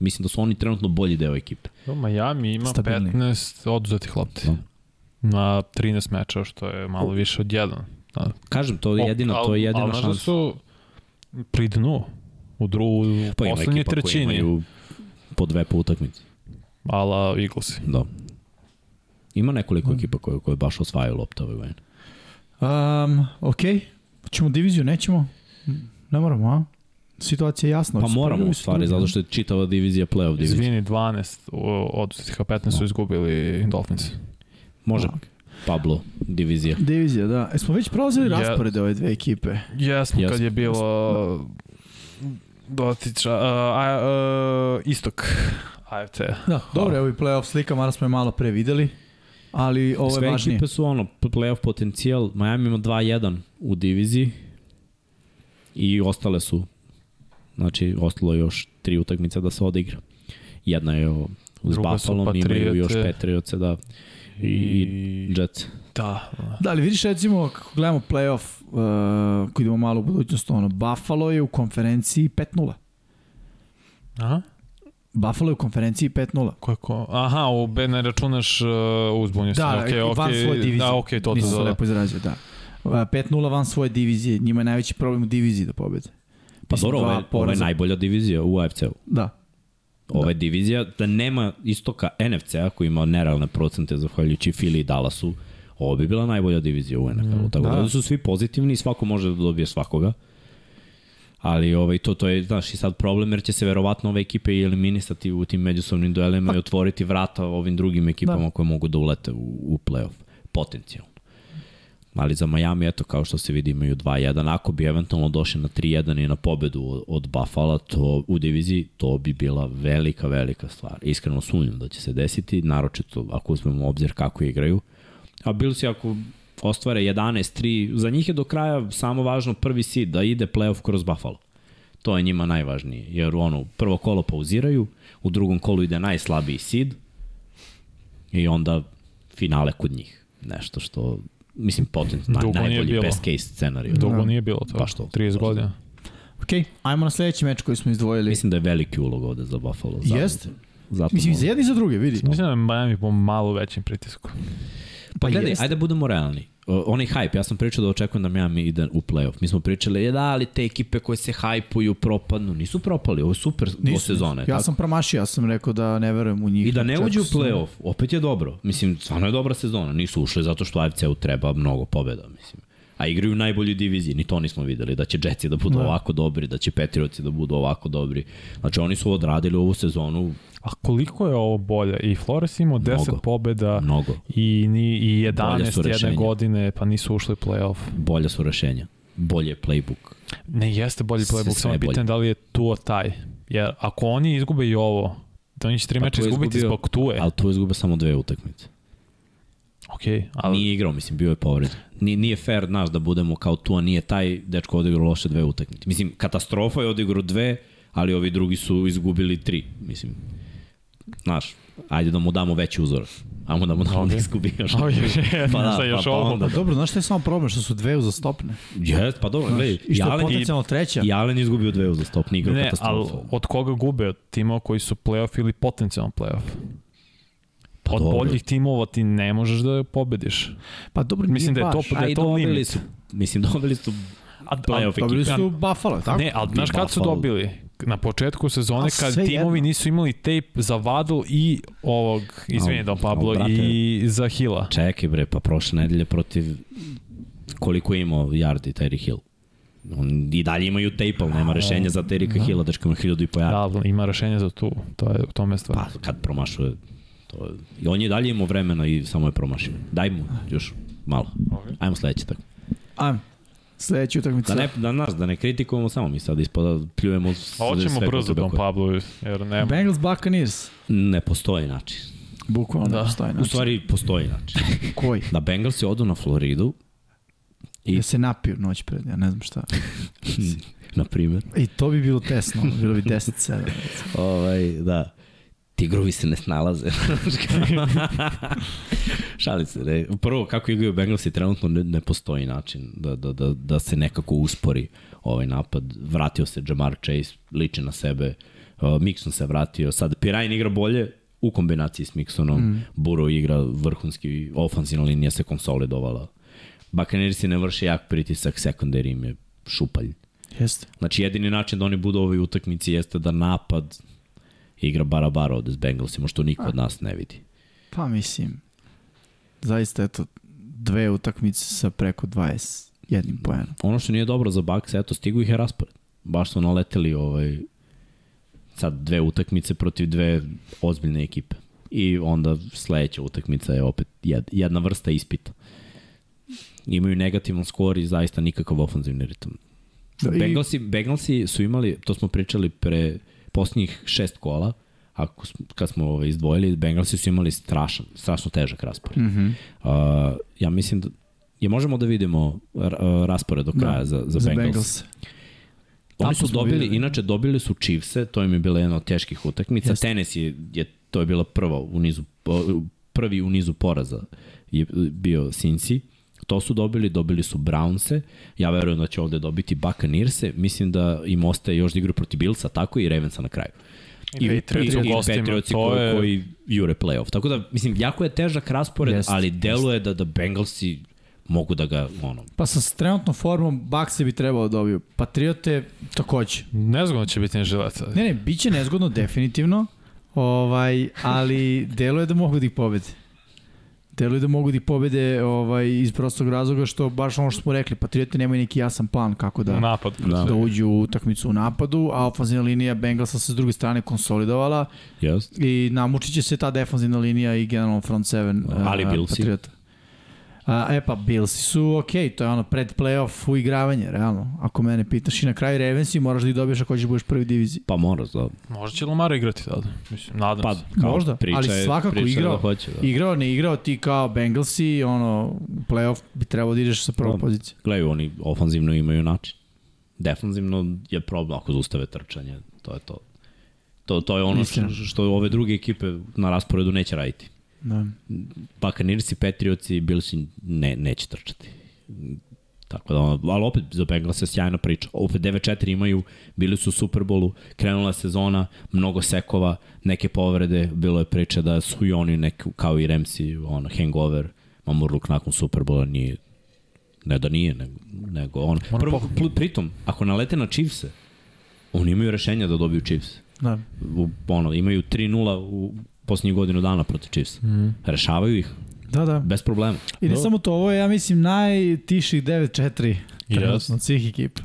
[SPEAKER 1] Mislim da su oni trenutno bolji deo ekipe.
[SPEAKER 4] Miami ima
[SPEAKER 2] Stabilni.
[SPEAKER 4] 15 oduzetih
[SPEAKER 1] Da.
[SPEAKER 3] Da.
[SPEAKER 4] lopti. Na 13 meča, što je malo više od jedan. Da.
[SPEAKER 1] Kažem, to je jedina, to je jedina
[SPEAKER 4] ali,
[SPEAKER 1] šansa.
[SPEAKER 4] Ali možda su pri dnu, u, dru, u
[SPEAKER 1] Pa ima
[SPEAKER 4] poslednjoj
[SPEAKER 1] ekipa koja
[SPEAKER 4] trećini,
[SPEAKER 1] imaju po dve po utakmici.
[SPEAKER 4] ala Eaglesi.
[SPEAKER 1] Da. Ima
[SPEAKER 2] Mm.
[SPEAKER 1] nekoliko ekipa koje, koje baš osvajaju loptove u N.
[SPEAKER 2] Um, ok, ćemo diviziju, nećemo? Ne moramo, a? Situacija je jasna.
[SPEAKER 1] Pa
[SPEAKER 2] Odspravili
[SPEAKER 1] moramo u
[SPEAKER 2] su
[SPEAKER 1] stvari,
[SPEAKER 2] drugi.
[SPEAKER 1] zato što je čitava divizija playoff
[SPEAKER 3] da
[SPEAKER 1] divizija.
[SPEAKER 4] Izvini, 12 o- oduzetih, a 15 su izgubili Dolphins.
[SPEAKER 2] Da.
[SPEAKER 1] Može. Pablo, divizija.
[SPEAKER 2] Divizija, da. Jesmo već prolazili
[SPEAKER 4] Ja-
[SPEAKER 2] rasporede ove dve ekipe?
[SPEAKER 4] Jesmo,
[SPEAKER 1] Jesmo.
[SPEAKER 4] kad je bilo dotiča, uh, a, uh, istok AFC.
[SPEAKER 2] Da, dobro je ovi playoff slika, mada smo je malo pre videli, ali ovo je
[SPEAKER 1] Sve
[SPEAKER 2] važnije.
[SPEAKER 1] ekipe su ono, playoff potencijal, Miami ima 2-1 u diviziji i ostale su, znači ostalo je još tri utakmice da se odigra. Jedna je o- uz
[SPEAKER 4] Druga su
[SPEAKER 1] Buffalo, imaju još
[SPEAKER 4] Patriote.
[SPEAKER 1] Patriotse, da, i, i Jets.
[SPEAKER 4] Da.
[SPEAKER 2] Da, ali vidiš recimo kako gledamo playoff, uh, ako idemo malo u budućnost, ono, Buffalo je u konferenciji 5-0.
[SPEAKER 4] Aha.
[SPEAKER 2] Buffalo je u konferenciji 5-0.
[SPEAKER 4] Ko je ko? Aha, u B ne računaš uh, uzbunio sam.
[SPEAKER 2] Da,
[SPEAKER 4] okay,
[SPEAKER 2] da, van
[SPEAKER 4] okay,
[SPEAKER 2] svoje divizije.
[SPEAKER 4] Da, okej, to,
[SPEAKER 2] Nisam
[SPEAKER 4] to,
[SPEAKER 2] se
[SPEAKER 4] to, da.
[SPEAKER 2] lepo izrazio, da. Uh, 5-0 van svoje divizije, njima je najveći problem u diviziji da pobede.
[SPEAKER 1] Pa
[SPEAKER 2] Mislim,
[SPEAKER 1] dobro,
[SPEAKER 2] dva
[SPEAKER 1] ovo je, ovo je
[SPEAKER 2] poraza.
[SPEAKER 1] najbolja divizija u AFC-u.
[SPEAKER 2] Da,
[SPEAKER 1] Ova je divizija da nema istoka NFC-a koji ima nerealne procente zahvaljujući Fili i Dallasu. Ovo bi bila najbolja divizija u NFL-u. Tako da.
[SPEAKER 2] da.
[SPEAKER 1] da su svi pozitivni i svako može da dobije svakoga. Ali ovaj, to, to je, znaš, i sad problem jer će se verovatno ove ekipe i eliminisati u tim međusobnim duelima i otvoriti vrata ovim drugim ekipama koje mogu da ulete u, u playoff. Potencijalno. ali za Miami, eto, kao što se vidi, imaju 2-1. Ako bi eventualno došli na 3-1 i na pobedu od Buffalo to, u diviziji, to bi bila velika, velika stvar. Iskreno sumnjam da će se desiti, naročito ako uzmemo u obzir kako igraju. A Bills je ako ostvare 11-3, za njih je do kraja samo važno prvi seed, da ide playoff kroz Buffalo. To je njima najvažnije, jer ono, prvo kolo pauziraju, u drugom kolu ide najslabiji seed i onda finale kod njih. Nešto što, mislim, potent naj,
[SPEAKER 3] Dugo nije
[SPEAKER 1] najbolji
[SPEAKER 3] bilo.
[SPEAKER 1] best case Da. scenariju.
[SPEAKER 4] Da,
[SPEAKER 3] Dugo nije bilo to.
[SPEAKER 1] Baš to.
[SPEAKER 3] 30 godina.
[SPEAKER 2] Ok, ajmo na sledeći meč koji smo izdvojili. Mislim,
[SPEAKER 1] Mislim da je veliki ulog ovde za Buffalo. Zato,
[SPEAKER 2] Jeste.
[SPEAKER 1] Zato
[SPEAKER 2] Mislim i
[SPEAKER 1] mogu-
[SPEAKER 2] za jedni i za druge, vidi.
[SPEAKER 3] Mislim da je Miami po malo većim pritisku.
[SPEAKER 1] Pa gledaj,
[SPEAKER 2] jeste.
[SPEAKER 1] ajde da budemo realni. O, onaj hype, ja sam pričao da očekujem da Miami ide u playoff. Mi smo pričali, je da, ali te ekipe koje se hajpuju, propadnu, nisu propali, ovo da je super do sezone.
[SPEAKER 2] Ja
[SPEAKER 1] tako?
[SPEAKER 2] sam promašio, ja sam rekao da ne verujem u njih.
[SPEAKER 1] I da ne
[SPEAKER 2] Čak
[SPEAKER 1] uđe u
[SPEAKER 2] sam-
[SPEAKER 1] playoff, opet je dobro. Mislim, stvarno je dobra sezona. Nisu ušli zato što AFC-u treba mnogo pobjeda, mislim. A igraju u najboljoj diviziji, ni to nismo videli, da će Jetsi da budu ovako dobri, da će Petrioci da budu ovako dobri. Znači, oni su odradili ovu sezonu
[SPEAKER 3] A koliko je ovo bolje? I Flores imao 10
[SPEAKER 1] Mnogo.
[SPEAKER 3] pobjeda
[SPEAKER 1] mnogo.
[SPEAKER 3] i, ni, i
[SPEAKER 1] Bolja su
[SPEAKER 3] 11 jedne
[SPEAKER 1] rešenja.
[SPEAKER 3] godine, pa nisu ušli u play-off.
[SPEAKER 1] Bolja su rešenja, bolje je playbook.
[SPEAKER 3] Ne, jeste bolji
[SPEAKER 1] Sve-
[SPEAKER 3] playbook,
[SPEAKER 1] sve
[SPEAKER 3] samo
[SPEAKER 1] je
[SPEAKER 3] je
[SPEAKER 1] bolje.
[SPEAKER 3] pitan da li je Tua taj. Jer ako oni izgube i ovo, da oni će tri
[SPEAKER 1] Pa
[SPEAKER 3] meča
[SPEAKER 1] Tua je
[SPEAKER 3] izgubiti
[SPEAKER 1] izgubio-
[SPEAKER 3] zbog Tue.
[SPEAKER 1] Ali tu izgube samo dve utakmice.
[SPEAKER 3] Okej,
[SPEAKER 1] Ali...
[SPEAKER 3] ali
[SPEAKER 1] Nije igrao, mislim, bio je povred. Nije, nije fair, naš, da budemo kao tu, a nije taj dečko odigrao loše dve utakmice. Mislim, katastrofa je odigrao dve, ali ovi drugi su izgubili tri, mislim. Znaš, ajde da mu damo veći uzor. Ajmo da mu damo okay. da izgubi još.
[SPEAKER 3] Okej,
[SPEAKER 1] Pa da,
[SPEAKER 3] sad još
[SPEAKER 1] pa- pa
[SPEAKER 3] ovo.
[SPEAKER 1] onda-
[SPEAKER 2] Pa dobro, znaš šta je samo problem, što su dve uzastopne.
[SPEAKER 1] Jes, pa dobro, gledaj,
[SPEAKER 2] I što je
[SPEAKER 1] Jalen-
[SPEAKER 2] potencijalno treća.
[SPEAKER 1] i Jalen je izgubio dve uzastopne igra
[SPEAKER 3] ne, ali
[SPEAKER 1] katastrofa.
[SPEAKER 3] od koga gube? Od timova koji su play-off ili potencijalno play-off?
[SPEAKER 1] Pa
[SPEAKER 3] Od
[SPEAKER 1] dobro.
[SPEAKER 3] boljih timova ti ne možeš da pobediš.
[SPEAKER 2] Pa dobro,
[SPEAKER 3] Mislim da
[SPEAKER 2] nije
[SPEAKER 3] je to,
[SPEAKER 2] baš.
[SPEAKER 3] da
[SPEAKER 1] A
[SPEAKER 3] je
[SPEAKER 1] i
[SPEAKER 3] to
[SPEAKER 1] dobili
[SPEAKER 3] limit.
[SPEAKER 1] su, mislim, dobili su
[SPEAKER 3] A,
[SPEAKER 1] playoff ekipu.
[SPEAKER 2] Dobili Pa su Buffalo, tako?
[SPEAKER 3] Ne, ali znaš kad su
[SPEAKER 1] Buffalo.
[SPEAKER 3] dobili? Na početku sezone
[SPEAKER 2] A,
[SPEAKER 3] kad
[SPEAKER 2] sve
[SPEAKER 3] timovi nisu imali tape za Vadl i ovog, izvini
[SPEAKER 1] Al-
[SPEAKER 3] Don Pablo,
[SPEAKER 1] al, brate-
[SPEAKER 3] i za Hila.
[SPEAKER 1] Čekaj bre, pa prošle nedelje protiv koliko je imao yardi Terry Hill? On i dalje imaju tape, ali nema rešenja za Terika Hilla, dečko ima hiljadu i po yardi.
[SPEAKER 3] Da, ima rešenje za tu, to je u tome je stvar.
[SPEAKER 1] Pa kad promašuje, to je... I on je dalje imao vremena i samo je promašio. Daj mu još malo.
[SPEAKER 2] Pa,
[SPEAKER 1] Ajmo sledeće tako.
[SPEAKER 2] Ajmo. Sledeća utakmica.
[SPEAKER 1] Da ne, da nas, da ne kritikujemo samo mi sad ispada da pljujemo s-
[SPEAKER 3] A Pa hoćemo
[SPEAKER 1] sve
[SPEAKER 3] brzo
[SPEAKER 1] potrebe
[SPEAKER 3] da Don
[SPEAKER 1] koje-
[SPEAKER 3] Pablo, jer nema.
[SPEAKER 2] Bengals Buccaneers.
[SPEAKER 1] Ne postoji način.
[SPEAKER 2] Bukvalno da.
[SPEAKER 3] Da.
[SPEAKER 2] postoje
[SPEAKER 1] U
[SPEAKER 2] način.
[SPEAKER 1] stvari postoji način.
[SPEAKER 2] Koji?
[SPEAKER 1] Da Bengalsi odu na Floridu, I-
[SPEAKER 2] I... Da se napiju noć pred, ja ne znam šta.
[SPEAKER 1] na primjer,
[SPEAKER 2] I to bi bilo tesno, ono, bilo bi 10-7.
[SPEAKER 1] Ovaj, da. Tigrovi se ne snalaze. Šalim se. Ne. Prvo, kako igraju Bengalsi, trenutno ne, ne postoji način da, da, da, da se nekako uspori ovaj napad. Vratio se Jamar Chase, liči na sebe. Uh, Mixon se vratio. Sad, Pirajn igra bolje u kombinaciji s Mixonom. Mm. Buro igra vrhunski, ofanzivna linija se konsolidovala. Bakanirisi ne vrše jak pritisak, sekundar im je šupalj.
[SPEAKER 2] Jeste.
[SPEAKER 1] Znači jedini način da oni budu u ovoj utakmici jeste da napad igra bara bara od Bengalsima, što niko od nas ne vidi.
[SPEAKER 2] Pa mislim, zaista eto, dve utakmice sa preko 20 jednim pojenom.
[SPEAKER 1] Ono što nije dobro za Bucks, eto, stigu ih je raspored. Baš su naleteli ovaj, sad dve utakmice protiv dve ozbiljne ekipe. I onda sledeća utakmica je opet jed, jedna vrsta ispita. Imaju negativan skor i zaista nikakav ofanzivni ritam.
[SPEAKER 2] Da, i-
[SPEAKER 1] Bengalsi, Bengalsi su imali, to smo pričali pre posljednjih šest kola, ako, smo- kad smo ovaj, izdvojili, Bengalsi su imali strašan, strašno težak raspored. Mm
[SPEAKER 2] Mhm.
[SPEAKER 1] -hmm. uh, ja mislim da je možemo da vidimo ra- raspored do kraja da, za, za, za Bengals. Oni
[SPEAKER 2] Tako
[SPEAKER 1] su
[SPEAKER 2] smo
[SPEAKER 1] dobili,
[SPEAKER 2] videli.
[SPEAKER 1] inače dobili su Chiefse, to im je bila jedna od teških utakmica. Yes. Tenis je, je, to je bila prva u nizu, po- prvi u nizu poraza je bio Cincy. To su dobili, dobili su Brownse. Ja verujem da će ovde dobiti Buccaneerse. Mislim da im ostaje još da igraju protiv Billsa, tako i Ravensa na kraju.
[SPEAKER 3] I Patriots u
[SPEAKER 1] i
[SPEAKER 3] gostima,
[SPEAKER 1] Patriotsi
[SPEAKER 3] to
[SPEAKER 1] koji,
[SPEAKER 3] je-
[SPEAKER 1] koji jure playoff. Tako da, mislim, jako je težak raspored,
[SPEAKER 2] Jest,
[SPEAKER 1] ali deluje da, da Bengalsi mogu da ga, ono,
[SPEAKER 2] Pa sa s trenutnom formom Bakse bi trebao dobiju. Patriote takođe.
[SPEAKER 3] Nezgodno da će biti neželeta.
[SPEAKER 2] Ne, ne, bit će nezgodno definitivno, ovaj, ali deluje da mogu da ih pobede. Deluje da mogu da ih pobede ovaj, iz prostog razloga što baš ono što smo rekli, Patriote nemaju neki jasan plan kako da,
[SPEAKER 3] Napad.
[SPEAKER 1] Da.
[SPEAKER 2] da uđu u utakmicu u napadu, a ofanzivna linija Bengalsa se s druge strane konsolidovala
[SPEAKER 1] yes.
[SPEAKER 2] i namučit će se ta defanzivna linija i generalno front seven
[SPEAKER 1] Ali
[SPEAKER 2] eh,
[SPEAKER 1] Billsi?
[SPEAKER 2] Patriota.
[SPEAKER 5] A, e pa, Billsi su okej, okay, to je ono pred playoff uigravanje, realno. Ako mene pitaš i na kraju Ravensi moraš da ih dobiješ ako hoćeš da budeš prvi diviziji.
[SPEAKER 1] Pa mora, da.
[SPEAKER 3] Možda će Lamar igrati tada, mislim, nadam
[SPEAKER 1] Pa,
[SPEAKER 3] se.
[SPEAKER 1] kao,
[SPEAKER 5] Možda,
[SPEAKER 1] priča
[SPEAKER 5] ali
[SPEAKER 1] je-
[SPEAKER 5] svakako
[SPEAKER 1] priča je
[SPEAKER 5] igrao.
[SPEAKER 1] Da hoće, da.
[SPEAKER 5] Igrao, ne igrao, ti kao Bengalsi, ono, u playoff bi trebao da ideš sa prvom
[SPEAKER 1] Da.
[SPEAKER 5] pozicije.
[SPEAKER 1] Gledaj, oni ofanzivno imaju način. Defanzivno je problem ako zaustave trčanje, to je to. To, to je ono što,
[SPEAKER 5] Istina.
[SPEAKER 1] što ove druge ekipe na rasporedu neće raditi.
[SPEAKER 5] Da.
[SPEAKER 1] Bakanirsi, Patriotsi, Billsi ne, neće trčati. Tako da, ono, ali opet za Bengals je sjajna priča. Opet 9-4 imaju, bili su u Superbolu, krenula je sezona, mnogo sekova, neke povrede, bilo je priče da su i oni neki, kao i Remsi, ono, hangover, Mamurluk nakon Superbola nije Ne da nije, nego, nego on. Prvo, pl- pritom, ako nalete na Chiefse, oni imaju rešenja da dobiju Chiefs.
[SPEAKER 5] Da.
[SPEAKER 1] U, ono, imaju 3-0 u posljednjih godinu dana protiv Chiefs. Mm. Rešavaju ih
[SPEAKER 5] Da, da.
[SPEAKER 1] bez problema.
[SPEAKER 5] I ne samo to, ovo je, ja mislim, najtiših 9-4 trenutno od svih ekipa.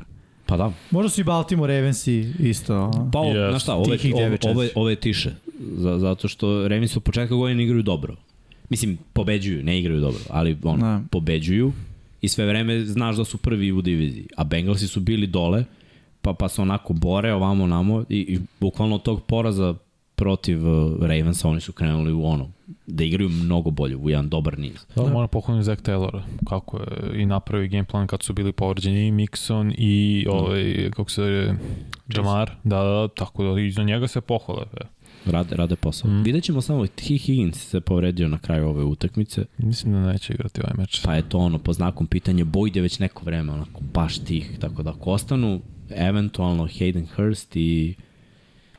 [SPEAKER 1] Pa da.
[SPEAKER 5] Možda su i Baltimore Ravensi isto.
[SPEAKER 1] Pa ovo,
[SPEAKER 3] Yes.
[SPEAKER 1] yes. znaš šta, ove,
[SPEAKER 5] Tihih
[SPEAKER 1] ove,
[SPEAKER 5] 9-4.
[SPEAKER 1] ove, ove je tiše. Za, zato što Ravens u početka godine igraju dobro. Mislim, pobeđuju, ne igraju dobro, ali ono,
[SPEAKER 5] Da.
[SPEAKER 1] pobeđuju i sve vreme znaš da su prvi u diviziji. A Bengalsi su bili dole, pa, pa se onako bore ovamo namo i, i bukvalno od tog poraza protiv uh, Ravensa oni su krenuli u ono, da igraju mnogo bolje, u jedan dobar niz.
[SPEAKER 3] Da, da. moram pohvaliti Zach Taylora, kako je i napravio game plan kad su bili povređeni i Mixon
[SPEAKER 1] Da.
[SPEAKER 3] i ovaj, kako se zove, Jamar, da, da, tako da i za njega se pohvale. e.
[SPEAKER 1] Rade, rade posao.
[SPEAKER 5] Mhm.
[SPEAKER 1] Mm. Vidjet ćemo samo, T. Higgins se povredio na kraju ove utakmice,
[SPEAKER 3] Mislim da neće igrati ovaj meč.
[SPEAKER 1] pa je to ono po znakom pitanja Boyd je već neko vreme onako baš tih, tako da ako ostanu eventualno Hayden Hurst i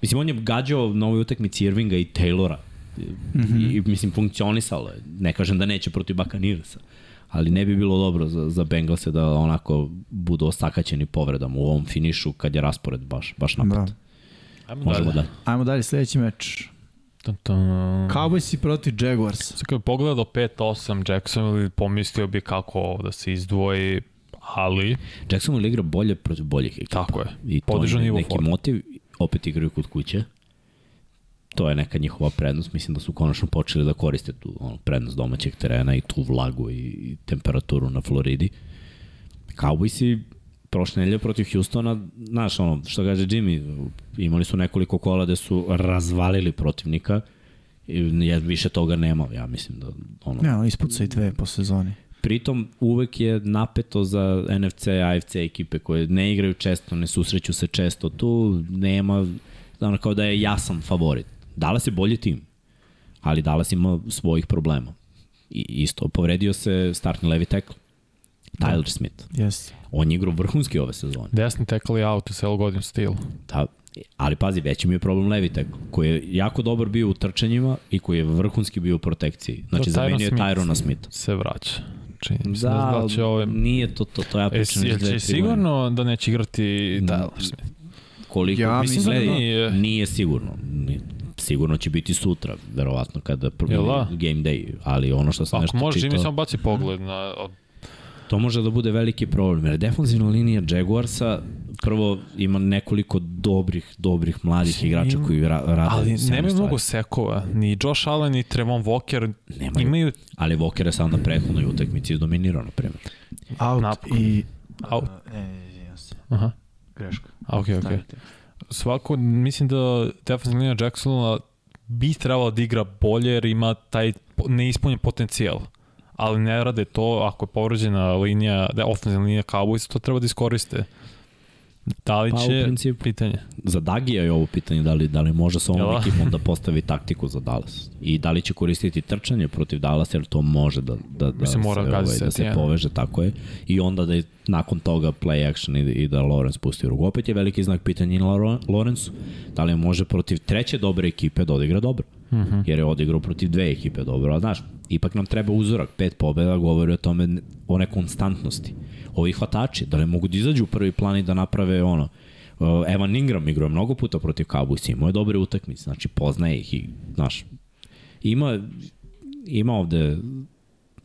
[SPEAKER 1] mislim on je gađao na ovoj utakmici Irvinga i Taylora mm -hmm. i mislim funkcionisalo je, ne kažem da neće protiv Bakanirsa ali ne bi bilo dobro za, za Bengalse da onako budu ostakaćeni povredama u ovom finišu kad je raspored baš, baš napad.
[SPEAKER 5] Da.
[SPEAKER 1] Da.
[SPEAKER 3] Ajmo
[SPEAKER 1] Možemo da.
[SPEAKER 5] Ajmo dalje, sledeći meč.
[SPEAKER 1] Mm.
[SPEAKER 3] Tan, tan.
[SPEAKER 5] Cowboys protiv Jaguars.
[SPEAKER 3] Sad kad bi pogledao 5-8 Jacksonville, pomislio bi kako ovo da se izdvoji, ali
[SPEAKER 1] Jacksonville igra bolje protiv boljih ekipa.
[SPEAKER 3] tako je.
[SPEAKER 1] I to
[SPEAKER 3] Podižu
[SPEAKER 1] je
[SPEAKER 3] nivo
[SPEAKER 1] neki
[SPEAKER 3] forme.
[SPEAKER 1] motiv, opet igraju kod kuće. To je neka njihova prednost, mislim da su konačno počeli da koriste tu ono, prednost domaćeg terena i tu vlagu i, i temperaturu na Floridi. Cowboysi prošle nedelje protiv Houstona, znaš ono, što kaže Jimmy, imali su nekoliko kola gde su razvalili protivnika, I, ja više toga nema, ja mislim da ono,
[SPEAKER 5] Ne, ono, ispuca i dve po sezoni.
[SPEAKER 1] Pritom uvek je napeto za NFC, AFC ekipe koje ne igraju često, ne susreću se često tu, nema, ono kao da je jasan favorit. Dallas je bolji tim, ali Dallas ima svojih problema. I isto, povredio se startni levi tackle, Tyler Smith.
[SPEAKER 5] Jeste.
[SPEAKER 1] On je igrao vrhunski ove sezone.
[SPEAKER 3] Desni tackle je out u celo godinu stil.
[SPEAKER 1] Da, ali pazi, veći mi je problem Levitek, koji je jako dobar bio u trčanjima i koji je vrhunski bio u protekciji. Znači,
[SPEAKER 3] Da, Tyron
[SPEAKER 1] zamenio je
[SPEAKER 3] Smith.
[SPEAKER 1] Tyrona Smitha.
[SPEAKER 3] Se vraća. Čini mi se da,
[SPEAKER 1] Da,
[SPEAKER 3] da će ovaj...
[SPEAKER 1] nije to to, to ja
[SPEAKER 3] E,
[SPEAKER 1] pričam. već
[SPEAKER 3] jel
[SPEAKER 1] dve,
[SPEAKER 3] će
[SPEAKER 1] tri godine.
[SPEAKER 3] sigurno da neće igrati da, Tyler Smith?
[SPEAKER 1] koliko
[SPEAKER 5] Ja mislim da
[SPEAKER 1] gledaj,
[SPEAKER 3] nije.
[SPEAKER 1] nije sigurno Ni- sigurno će biti sutra verovatno kada prvi
[SPEAKER 3] Jel da?
[SPEAKER 1] game day ali ono što sam
[SPEAKER 3] Ako
[SPEAKER 1] nešto
[SPEAKER 3] može, Jimmy
[SPEAKER 1] čitao
[SPEAKER 3] samo baci pogled na... od-
[SPEAKER 1] to može da bude veliki problem jer defanzivna linija Jaguarsa prvo ima nekoliko dobrih dobrih mladih igrača koji ra, rade
[SPEAKER 3] Ali
[SPEAKER 1] sjajne
[SPEAKER 3] nemaju
[SPEAKER 1] stvari.
[SPEAKER 3] mnogo sekova. Ni Josh Allen, ni Trevon Walker
[SPEAKER 1] Nemaju.
[SPEAKER 3] imaju
[SPEAKER 1] ali Walker je sad na prethodnoj utakmici izdominirao na primjer
[SPEAKER 5] Out
[SPEAKER 3] Napokon.
[SPEAKER 5] i...
[SPEAKER 3] out.
[SPEAKER 5] Ne, ne, izvinjam se.
[SPEAKER 3] Aha.
[SPEAKER 5] e, Greška.
[SPEAKER 3] A, okej,
[SPEAKER 2] Da.
[SPEAKER 3] okej. Svako, mislim da defensivna linija Jacksona bi trebala da igra bolje jer ima taj po- neispunjen potencijal. Ali ne rade to ako je povređena linija, da, ofenzivna linija Cowboys, to treba da iskoriste. Da li
[SPEAKER 1] Pa, u
[SPEAKER 3] će,
[SPEAKER 1] principu.
[SPEAKER 3] pitanje.
[SPEAKER 1] za Dagija je ovo pitanje da li, da li može sa ovom
[SPEAKER 3] Jel da?
[SPEAKER 1] ekipom da postavi taktiku za Dallas i da li će koristiti trčanje protiv Dallas jer to može da, da, da,
[SPEAKER 3] Mislim, mora gazi
[SPEAKER 1] da
[SPEAKER 3] set
[SPEAKER 1] se
[SPEAKER 3] jedan.
[SPEAKER 1] poveže tako je i onda da je nakon toga play action i, i da Lawrence pusti ruku. Opet je veliki znak pitanja i na Lawren- Lawrenceu da li može protiv treće dobre ekipe da odigra dobro mm -hmm. jer je odigrao protiv dve ekipe dobro, a znaš ipak nam treba uzorak, pet pobjeda govori o tome o nekonstantnosti ovi hvatači, da li mogu da izađu u prvi plan i da naprave ono Uh, Evan Ingram igrao je mnogo puta protiv Cowboys, imao je dobre utakmice, znači poznaje ih i, znaš, ima, ima ovde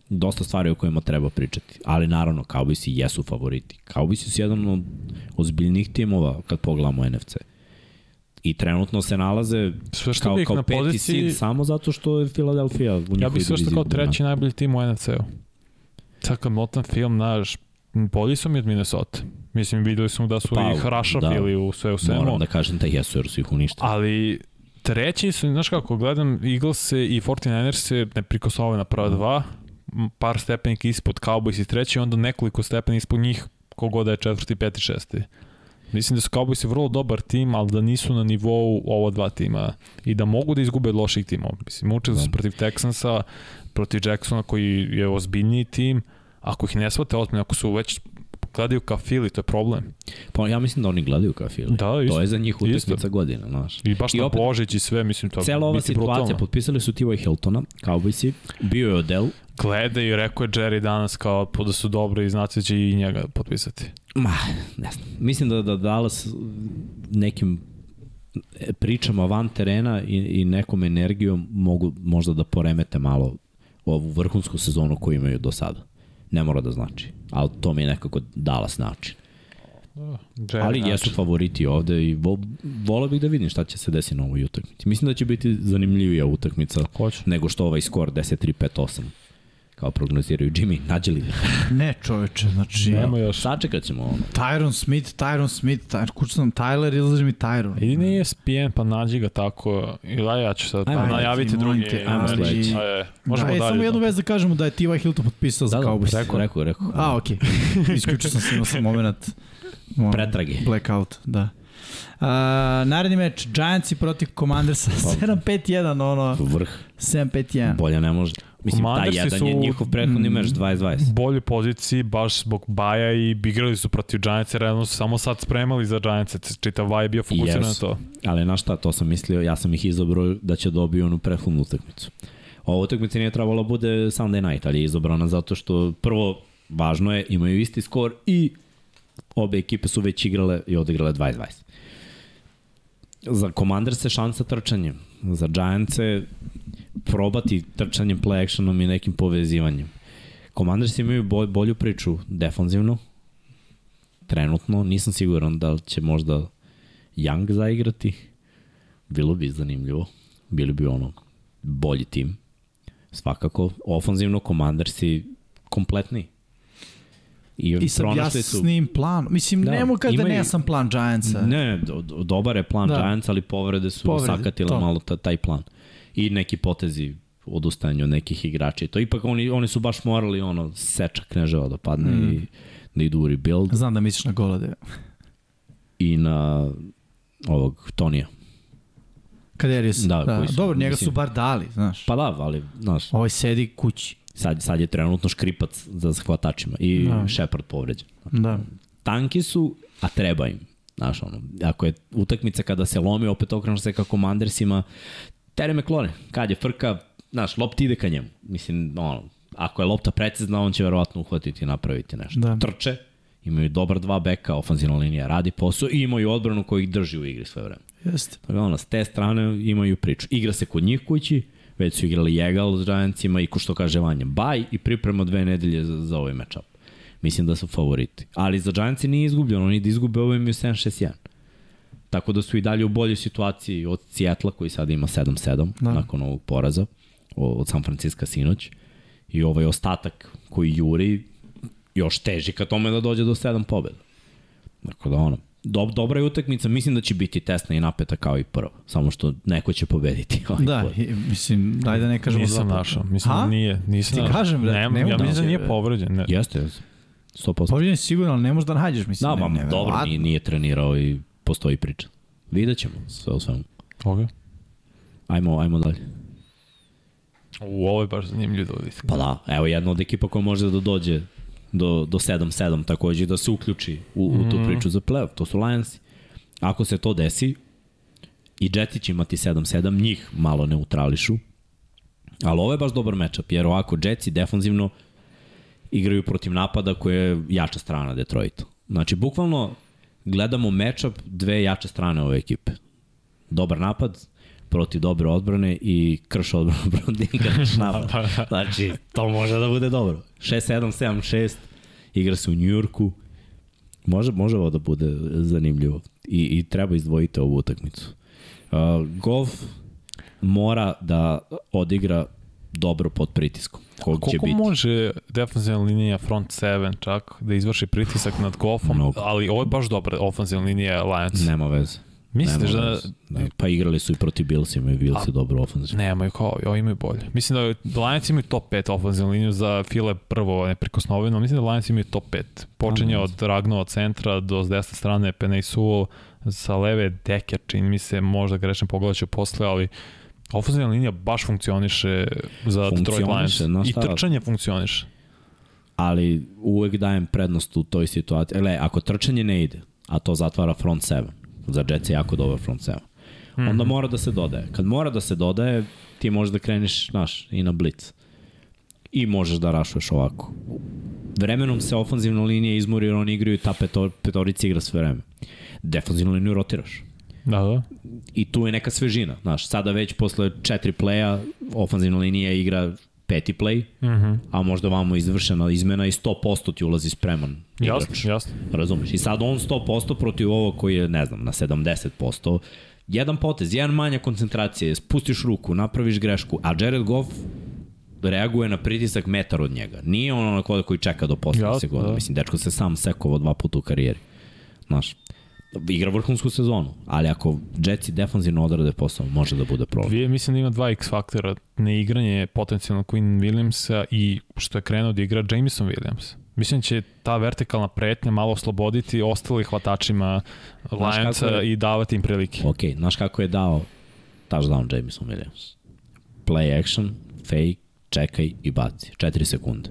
[SPEAKER 1] dosta stvari o kojima treba pričati, ali naravno Cowboys jesu favoriti. Cowboys su jedan od ozbiljnih timova kad pogledamo NFC. I trenutno se nalaze
[SPEAKER 3] Sve što
[SPEAKER 1] kao,
[SPEAKER 3] bi ih na
[SPEAKER 1] kao peti
[SPEAKER 3] poziciji-
[SPEAKER 1] seed samo zato što je Philadelphia u njihovoj
[SPEAKER 3] Ja bih sve što kao
[SPEAKER 1] diviziji. da.
[SPEAKER 3] treći najbolji tim u NFC-u. Sad kad motam film, znaš, bolji su mi od Minnesota. Mislim, videli smo da su
[SPEAKER 1] Pa,
[SPEAKER 3] pa, ih rašafili da, u sve u svemu.
[SPEAKER 1] Moram da kažem da jesu jer su ih uništili.
[SPEAKER 3] Ali treći su, znaš kako, gledam Eaglese i 49ers se neprikosnovena prva dva, m, par stepenika ispod Cowboys i treći, onda nekoliko stepenika ispod njih, kogoda je četvrti, peti, šesti. Mislim da su Cowboysi vrlo dobar tim, ali da nisu na nivou ova dva tima i da mogu da izgube od loših timova. Mislim, učili su
[SPEAKER 1] Da.
[SPEAKER 3] protiv Texansa, protiv Jacksona koji je ozbiljniji tim, ako ih ne shvate ozbiljno, ako su već gledaju ka Philly, to je problem.
[SPEAKER 1] Pa ja mislim da oni gledaju kafilu.
[SPEAKER 3] Da,
[SPEAKER 1] To
[SPEAKER 3] isto.
[SPEAKER 1] je za njih
[SPEAKER 3] isto.
[SPEAKER 1] utakmica godine, znaš.
[SPEAKER 3] I baš
[SPEAKER 1] I
[SPEAKER 3] na
[SPEAKER 1] opet-
[SPEAKER 3] Božić i sve, mislim, to
[SPEAKER 1] Cela ova
[SPEAKER 3] biti
[SPEAKER 1] situacija,
[SPEAKER 3] brutalno.
[SPEAKER 1] potpisali su T.Y. Hiltona, Cowboysi, bio je Odell,
[SPEAKER 3] gleda i rekao je Jerry danas kao po da su dobri i znate da će i njega potpisati.
[SPEAKER 1] Ma, ne znam. Mislim da, da Dallas nekim pričama van terena i, i nekom energijom mogu možda da poremete malo ovu vrhunsku sezonu koju imaju do sada. Ne mora da znači, ali to mi je nekako Dallas način.
[SPEAKER 5] Da,
[SPEAKER 3] Jerry
[SPEAKER 1] Ali jesu favoriti ovde i vo, volao bih da vidim šta će se desiti na ovoj utakmici. Mislim da će biti zanimljivija utakmica
[SPEAKER 3] Hoće.
[SPEAKER 1] nego što ovaj skor 10-3-5-8 kao prognoziraju Jimmy, nađe li ga?
[SPEAKER 5] Ne, čoveče, znači...
[SPEAKER 3] Nema još.
[SPEAKER 1] Sačekat ćemo ono.
[SPEAKER 5] Tyron Smith, Tyron Smith, Tyron, kuću sam Tyler, izlaže mi Tyron.
[SPEAKER 3] Idi na ESPN pa nađi ga tako. Ili aj, ja ću sad
[SPEAKER 1] Ajmo,
[SPEAKER 3] ajmo, najaviti
[SPEAKER 5] ajmo,
[SPEAKER 3] drugi.
[SPEAKER 5] molim te,
[SPEAKER 1] ajmo
[SPEAKER 3] Ajmo
[SPEAKER 1] sledeći.
[SPEAKER 3] sledeći. Ajde, možemo
[SPEAKER 5] da,
[SPEAKER 3] da,
[SPEAKER 5] e,
[SPEAKER 3] dalje.
[SPEAKER 5] samo jednu
[SPEAKER 3] da.
[SPEAKER 5] vez da kažemo da je T.Y. Hilton potpisao za
[SPEAKER 1] Da, da,
[SPEAKER 5] Cowboys.
[SPEAKER 1] rekao, rekao, rekao.
[SPEAKER 5] A, okej. Okay. Isključio sam se, imao sam moment. Ono,
[SPEAKER 1] Pretrage.
[SPEAKER 5] Blackout, da. Uh, naredni meč, Giantsi protiv
[SPEAKER 1] Pa,
[SPEAKER 5] Commandersa, 7-5-1, ono,
[SPEAKER 1] Vrh
[SPEAKER 5] 7-5-1.
[SPEAKER 1] Bolje ne može. Mislim, taj
[SPEAKER 3] Commandersi
[SPEAKER 1] jedan
[SPEAKER 3] su-
[SPEAKER 1] je njihov prethodni meč 20-20.
[SPEAKER 3] boljoj poziciji baš zbog baja i igrali su protiv Giantsa, realno su samo sad spremali za Giantsa, čitav vaj je bio fokusiran
[SPEAKER 1] Jesu.
[SPEAKER 3] na to.
[SPEAKER 1] Ali na šta, to sam mislio, ja sam ih izabrao da će dobiju onu prethodnu utakmicu. Ova utakmica nije trebala bude Sunday night, ali je izabrana zato što prvo, važno je, imaju isti skor i obe ekipe su već igrale i odigrale 20-20. Za Commanders je šansa trčanjem, za Giants je probati trčanjem, play actionom i nekim povezivanjem. Commanders imaju bolj, bolju priču defanzivno, trenutno, nisam siguran da li će možda Young zaigrati, bilo bi zanimljivo. Bili bi ono bolji tim. Svakako, ofanzivno komandarsi kompletni. I,
[SPEAKER 5] I sad
[SPEAKER 1] pronašli su-
[SPEAKER 5] jasnim planom. Mislim,
[SPEAKER 1] Da,
[SPEAKER 5] da, nemo kada
[SPEAKER 1] imaju-
[SPEAKER 5] imaju... ne sam plan Giantsa. Ne.
[SPEAKER 1] Ne, do, do- dobar je plan da.
[SPEAKER 5] Da.
[SPEAKER 1] Giants, ali povrede su povrede,
[SPEAKER 5] Povrede,
[SPEAKER 1] sakatile
[SPEAKER 5] to.
[SPEAKER 1] malo ta, taj plan. I neki potezi odustajanje od nekih igrača. I to ipak oni, oni su baš morali ono seča kneževa da padne mm. i da idu u rebuild
[SPEAKER 5] Znam da misliš na golade.
[SPEAKER 1] i na ovog Tonija.
[SPEAKER 5] Kaderius.
[SPEAKER 1] Da, koji su,
[SPEAKER 5] Dobro, njega
[SPEAKER 1] mislim-
[SPEAKER 5] su bar dali, znaš.
[SPEAKER 1] Pa da, ali znaš,
[SPEAKER 5] Ovaj sedi kući.
[SPEAKER 1] sad, sad je trenutno škripac za shvatačima i da. Shepard povređen.
[SPEAKER 5] Da.
[SPEAKER 1] Tanki su, a treba im. Znaš, ono, ako je utakmica kada se lomi, opet okrenuš se ka komandersima, Terry McLaurin, kad je frka, znaš, lopta ide ka njemu. Mislim, ono, ako je lopta precizna, on će verovatno uhvatiti i napraviti nešto.
[SPEAKER 5] Da.
[SPEAKER 1] Trče, imaju dobar dva beka, ofanzivna linija radi posao i imaju odbranu koja ih drži u igri sve vreme.
[SPEAKER 5] Jeste.
[SPEAKER 1] Tako da ono, s te strane imaju priču. Igra se kod njih kući, već su igrali Jegal s Giantsima i ko što kaže Vanja, baj i priprema dve nedelje za, za ovaj matchup. Mislim da su favoriti. Ali za Giantsi nije izgubljeno, oni da izgube ovo imaju 7-6-1. Tako da su i dalje u boljoj situaciji od Sjetla koji sada ima 7-7 da.
[SPEAKER 5] Da.
[SPEAKER 1] nakon ovog poraza o- od San Francisco sinoć. I ovaj ostatak koji juri još teži ka tome da dođe do 7 pobjeda. Tako da ono, do, dobra je utakmica, mislim da će biti tesna i napeta kao i prva, samo što neko će pobediti. ovaj
[SPEAKER 5] Da,
[SPEAKER 1] put.
[SPEAKER 5] i, mislim, daj da ne kažemo
[SPEAKER 3] Pa Nisam
[SPEAKER 5] dva puta.
[SPEAKER 3] našao, mislim
[SPEAKER 5] Ha?
[SPEAKER 3] da nije. Nisam
[SPEAKER 5] Ti
[SPEAKER 3] našao.
[SPEAKER 5] kažem, brate,
[SPEAKER 3] Nema,
[SPEAKER 5] nema
[SPEAKER 3] ja mislim da
[SPEAKER 5] da.
[SPEAKER 3] nije povređen. Ne.
[SPEAKER 1] Jeste, jeste. 100%.
[SPEAKER 5] Povrijeđen si sigurno, ali ne možeš da nađeš, mislim.
[SPEAKER 1] Da,
[SPEAKER 5] ne,
[SPEAKER 1] mam,
[SPEAKER 5] ne,
[SPEAKER 1] dobro,
[SPEAKER 5] verovatno.
[SPEAKER 1] nije, nije trenirao i postoji priča. Vidjet ćemo sve u svemu.
[SPEAKER 3] Okay.
[SPEAKER 1] Ajmo, ajmo dalje.
[SPEAKER 3] U, ovo je baš zanimljivo da vidim.
[SPEAKER 1] Pa da, evo jedna od ekipa koja može da dođe do, do 7-7 takođe i da se uključi u, u tu priču za playoff, to su Lionsi. Ako se to desi, i Jetsi će imati 7-7, njih malo neutrališu, ali ovo je baš dobar matchup, jer ovako Jetsi defanzivno igraju protiv napada koja je jača strana Detroitu. Znači, bukvalno gledamo matchup dve jače strane ove ekipe. Dobar napad protiv dobre odbrane i krš odbranu protiv krš napad. Znači, to može da bude dobro. 6-7, 7-6, igra se u Njujorku. Može, može ovo da bude zanimljivo. I, i treba izdvojiti ovu utakmicu. Uh, golf mora da odigra dobro pod pritiskom. Kog će
[SPEAKER 3] Koliko
[SPEAKER 1] biti?
[SPEAKER 3] može defensivna linija front 7 čak da izvrši pritisak nad golfom,
[SPEAKER 1] Mnogo.
[SPEAKER 3] ali ovo je baš dobra ofenzivna linija Lions.
[SPEAKER 1] Nema veze.
[SPEAKER 3] Misliš
[SPEAKER 1] nema
[SPEAKER 3] da
[SPEAKER 1] veze. Ne, pa igrali su i protiv Billsima i Bills je dobro ofenzivno.
[SPEAKER 3] nemaju kao ovi, ovi imaju bolje. Mislim da Lions imaju top 5 ofenzivnu liniju za File prvo neprikosnoveno, mislim da Lions imaju top 5. Počinje
[SPEAKER 1] Tamo.
[SPEAKER 3] od Ragnova centra do s desne strane Penei Sewell, sa leve Deker, čini mi se, možda grešim pogledat ću posle, ali ofenzivna linija baš funkcioniše za Detroit Lions.
[SPEAKER 1] Funkcioniše, no
[SPEAKER 3] I
[SPEAKER 1] šta?
[SPEAKER 3] trčanje funkcioniše.
[SPEAKER 1] Ali uvek dajem prednost u toj situaciji. Ele, ako trčanje ne ide, a to zatvara front 7, za Jets je jako dobar front 7,
[SPEAKER 3] Mhm.
[SPEAKER 1] onda mora da se dodaje. Kad mora da se dodaje, ti možeš da kreneš, znaš, i na blitz. I možeš da rašuješ ovako. Vremenom se ofanzivna linija izmori jer oni igraju ta petor, petorica igra sve vreme. Defanzivnu liniju rotiraš.
[SPEAKER 3] Da, da.
[SPEAKER 1] i tu je neka svežina, znaš, sada već posle četiri playa, ofanzivna linija igra peti play, mm -hmm. a možda vamo je izvršena izmena i 100% ti ulazi spreman. igrač.
[SPEAKER 3] Jasno, jasno.
[SPEAKER 1] Razumeš? I sad on 100% protiv ovo koji je, ne znam, na 70%, jedan potez, jedan manja koncentracije, spustiš ruku, napraviš grešku, a Jared Goff reaguje na pritisak metar od njega. Nije on onako da koji čeka do poslednje
[SPEAKER 3] Jasno,
[SPEAKER 1] sekunde.
[SPEAKER 3] da.
[SPEAKER 1] Mislim, dečko se sam sekovao dva puta u karijeri. Znaš, igra vrhunsku sezonu, ali ako Jetsi defanzivno odrade posao, može da bude problem.
[SPEAKER 3] Dvije, mislim da ima dva X faktora. Neigranje potencijalno Queen Williamsa i što je krenuo da igra Jameson Williams. Mislim da će ta vertikalna pretnja malo osloboditi ostali hvatačima
[SPEAKER 1] Znaš
[SPEAKER 3] Lionsa
[SPEAKER 1] kako je-
[SPEAKER 3] i davati im prilike.
[SPEAKER 1] Ok, znaš kako je dao touchdown Jameson Williams? Play action, fake, čekaj i baci. 4 sekunde.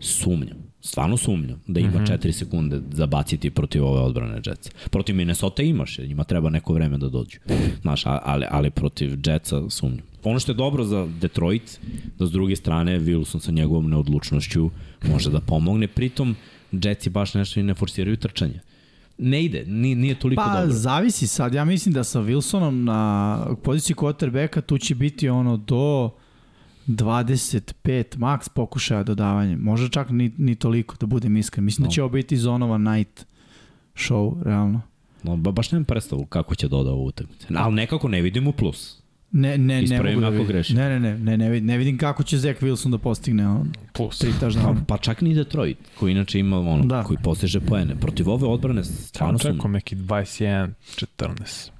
[SPEAKER 1] Sumnjam, stvarno sumnjam da ima 4 mm -hmm. sekunde za baciti protiv ove odbrane Jetsa. Protiv Minnesota imaš, jer njima treba neko vreme da dođu. Znaš, a- ali, ali protiv Jetsa sumnjam. Ono što je dobro za Detroit, da s druge strane Wilson sa njegovom neodlučnošću može da pomogne, pritom Jetsi baš nešto i ne forsiraju trčanje. Ne ide, nije, nije toliko
[SPEAKER 2] Pa,
[SPEAKER 1] dobro.
[SPEAKER 2] zavisi sad. Ja mislim da sa Wilsonom na poziciji quarterbacka tu će biti ono do 25 maks pokušaja dodavanja. Može čak ni, ni toliko, da budem iskren. Mislim no. da će ovo biti zonova night show, realno.
[SPEAKER 1] No, ba, baš nemam predstavu kako će doda ovu utakmicu. Ali nekako ne vidim u plus.
[SPEAKER 2] Ne, ne, ne
[SPEAKER 1] Ispravi
[SPEAKER 2] mogu da
[SPEAKER 1] me ako
[SPEAKER 2] vidim.
[SPEAKER 1] grešim.
[SPEAKER 2] Ne, ne, ne, ne, ne, vidim, ne vidim kako će Zach Wilson da postigne ono,
[SPEAKER 3] Plus.
[SPEAKER 2] tri
[SPEAKER 1] Pa,
[SPEAKER 2] taždana.
[SPEAKER 1] pa čak ni Detroit, koji inače ima ono, da.
[SPEAKER 2] Da.
[SPEAKER 1] koji postiže poene. Protiv ove odbrane stvarno su...
[SPEAKER 3] Čekam neki 21, 14,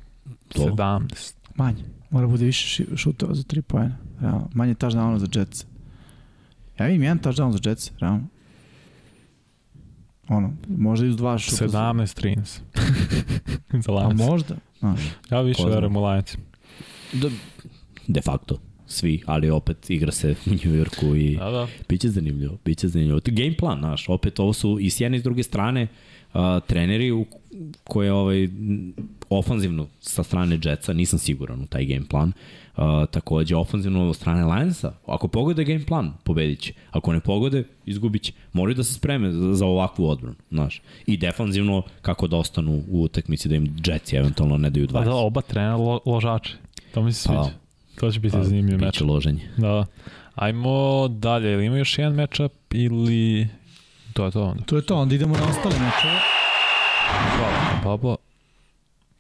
[SPEAKER 1] To.
[SPEAKER 3] 17.
[SPEAKER 2] Manje. Mora bude više ši- šutova za tri pojena. Realno. Manje touchdown za Jets. Ja vidim jedan touchdown za Jets, realno. Ono, možda i uz dva šuta.
[SPEAKER 3] 17, 13. Za
[SPEAKER 2] Pa
[SPEAKER 3] Lions.
[SPEAKER 2] možda. Znaš.
[SPEAKER 3] Ja više
[SPEAKER 1] Ko zna.
[SPEAKER 3] verujem u Lions.
[SPEAKER 1] Da, de facto, svi, ali opet igra se u New Yorku i...
[SPEAKER 3] Da, da.
[SPEAKER 1] Biće zanimljivo, biće zanimljivo. To je Game plan, znaš, opet ovo su i s jedne i s druge strane a, treneri u, koje ovaj, m, ofanzivno sa strane Jetsa, nisam siguran u taj game plan, a, takođe ofanzivno od strane Lionsa, ako pogode game plan, pobedit će. Ako ne pogode, izgubit će. Moraju da se spreme za, za ovakvu odbranu, znaš. I defanzivno, kako da ostanu u utakmici, da im Jetsi eventualno ne daju 20.
[SPEAKER 3] Pa da, oba trenera lo, ložače. To mi se
[SPEAKER 1] Pa.
[SPEAKER 3] sviđa. To će biti zanimljiv meč.
[SPEAKER 1] Biće loženje.
[SPEAKER 3] Da. Ajmo dalje, ili ima još jedan matchup ili... To je to onda.
[SPEAKER 2] To je to, onda idemo na ostale mečeve.
[SPEAKER 3] Hvala. Pablo.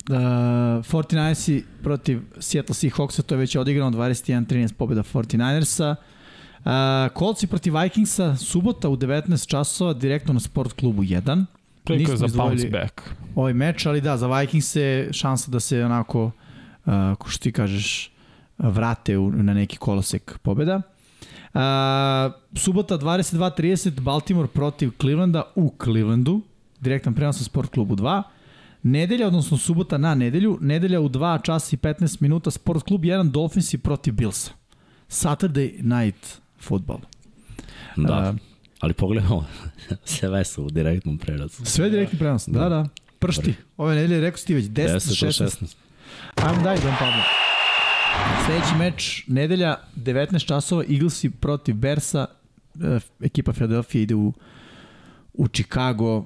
[SPEAKER 2] Uh, 49ersi protiv Seattle Seahawksa, to je već odigrano 21-13 pobjeda 49ersa. Uh, Coltsi protiv Vikingsa, subota u 19 časova, direktno na Sport klubu 1.
[SPEAKER 3] Preko je
[SPEAKER 2] Nismo
[SPEAKER 3] za bounce
[SPEAKER 2] izdvojili-
[SPEAKER 3] back.
[SPEAKER 2] ovaj meč, ali da, za Vikings je šansa da se onako, uh, ko što ti kažeš, vrate u, na neki kolosek pobjeda. Uh, subota 22.30 Baltimore protiv Clevelanda u Clevelandu, direktan prenos na Sport klubu 2. Nedelja, odnosno subota na nedelju, nedelja u 2 časa i 15 minuta Sport klub 1 Dolphinsi protiv Billsa. Saturday night football.
[SPEAKER 1] Da.
[SPEAKER 2] A-
[SPEAKER 1] Ali pogledaj ovo, sve su u direktnom prelazu.
[SPEAKER 2] Sve direktni prenos, da, da. da. Pršti. Ove nedelje rekao si ti već 10, 10 16,
[SPEAKER 1] 16.
[SPEAKER 2] Ajmo daj, Don Pablo. Sljedeći meč, nedelja, 19 časova, Eaglesi protiv Bersa. E, Ekipa Philadelphia ide u, u Chicago.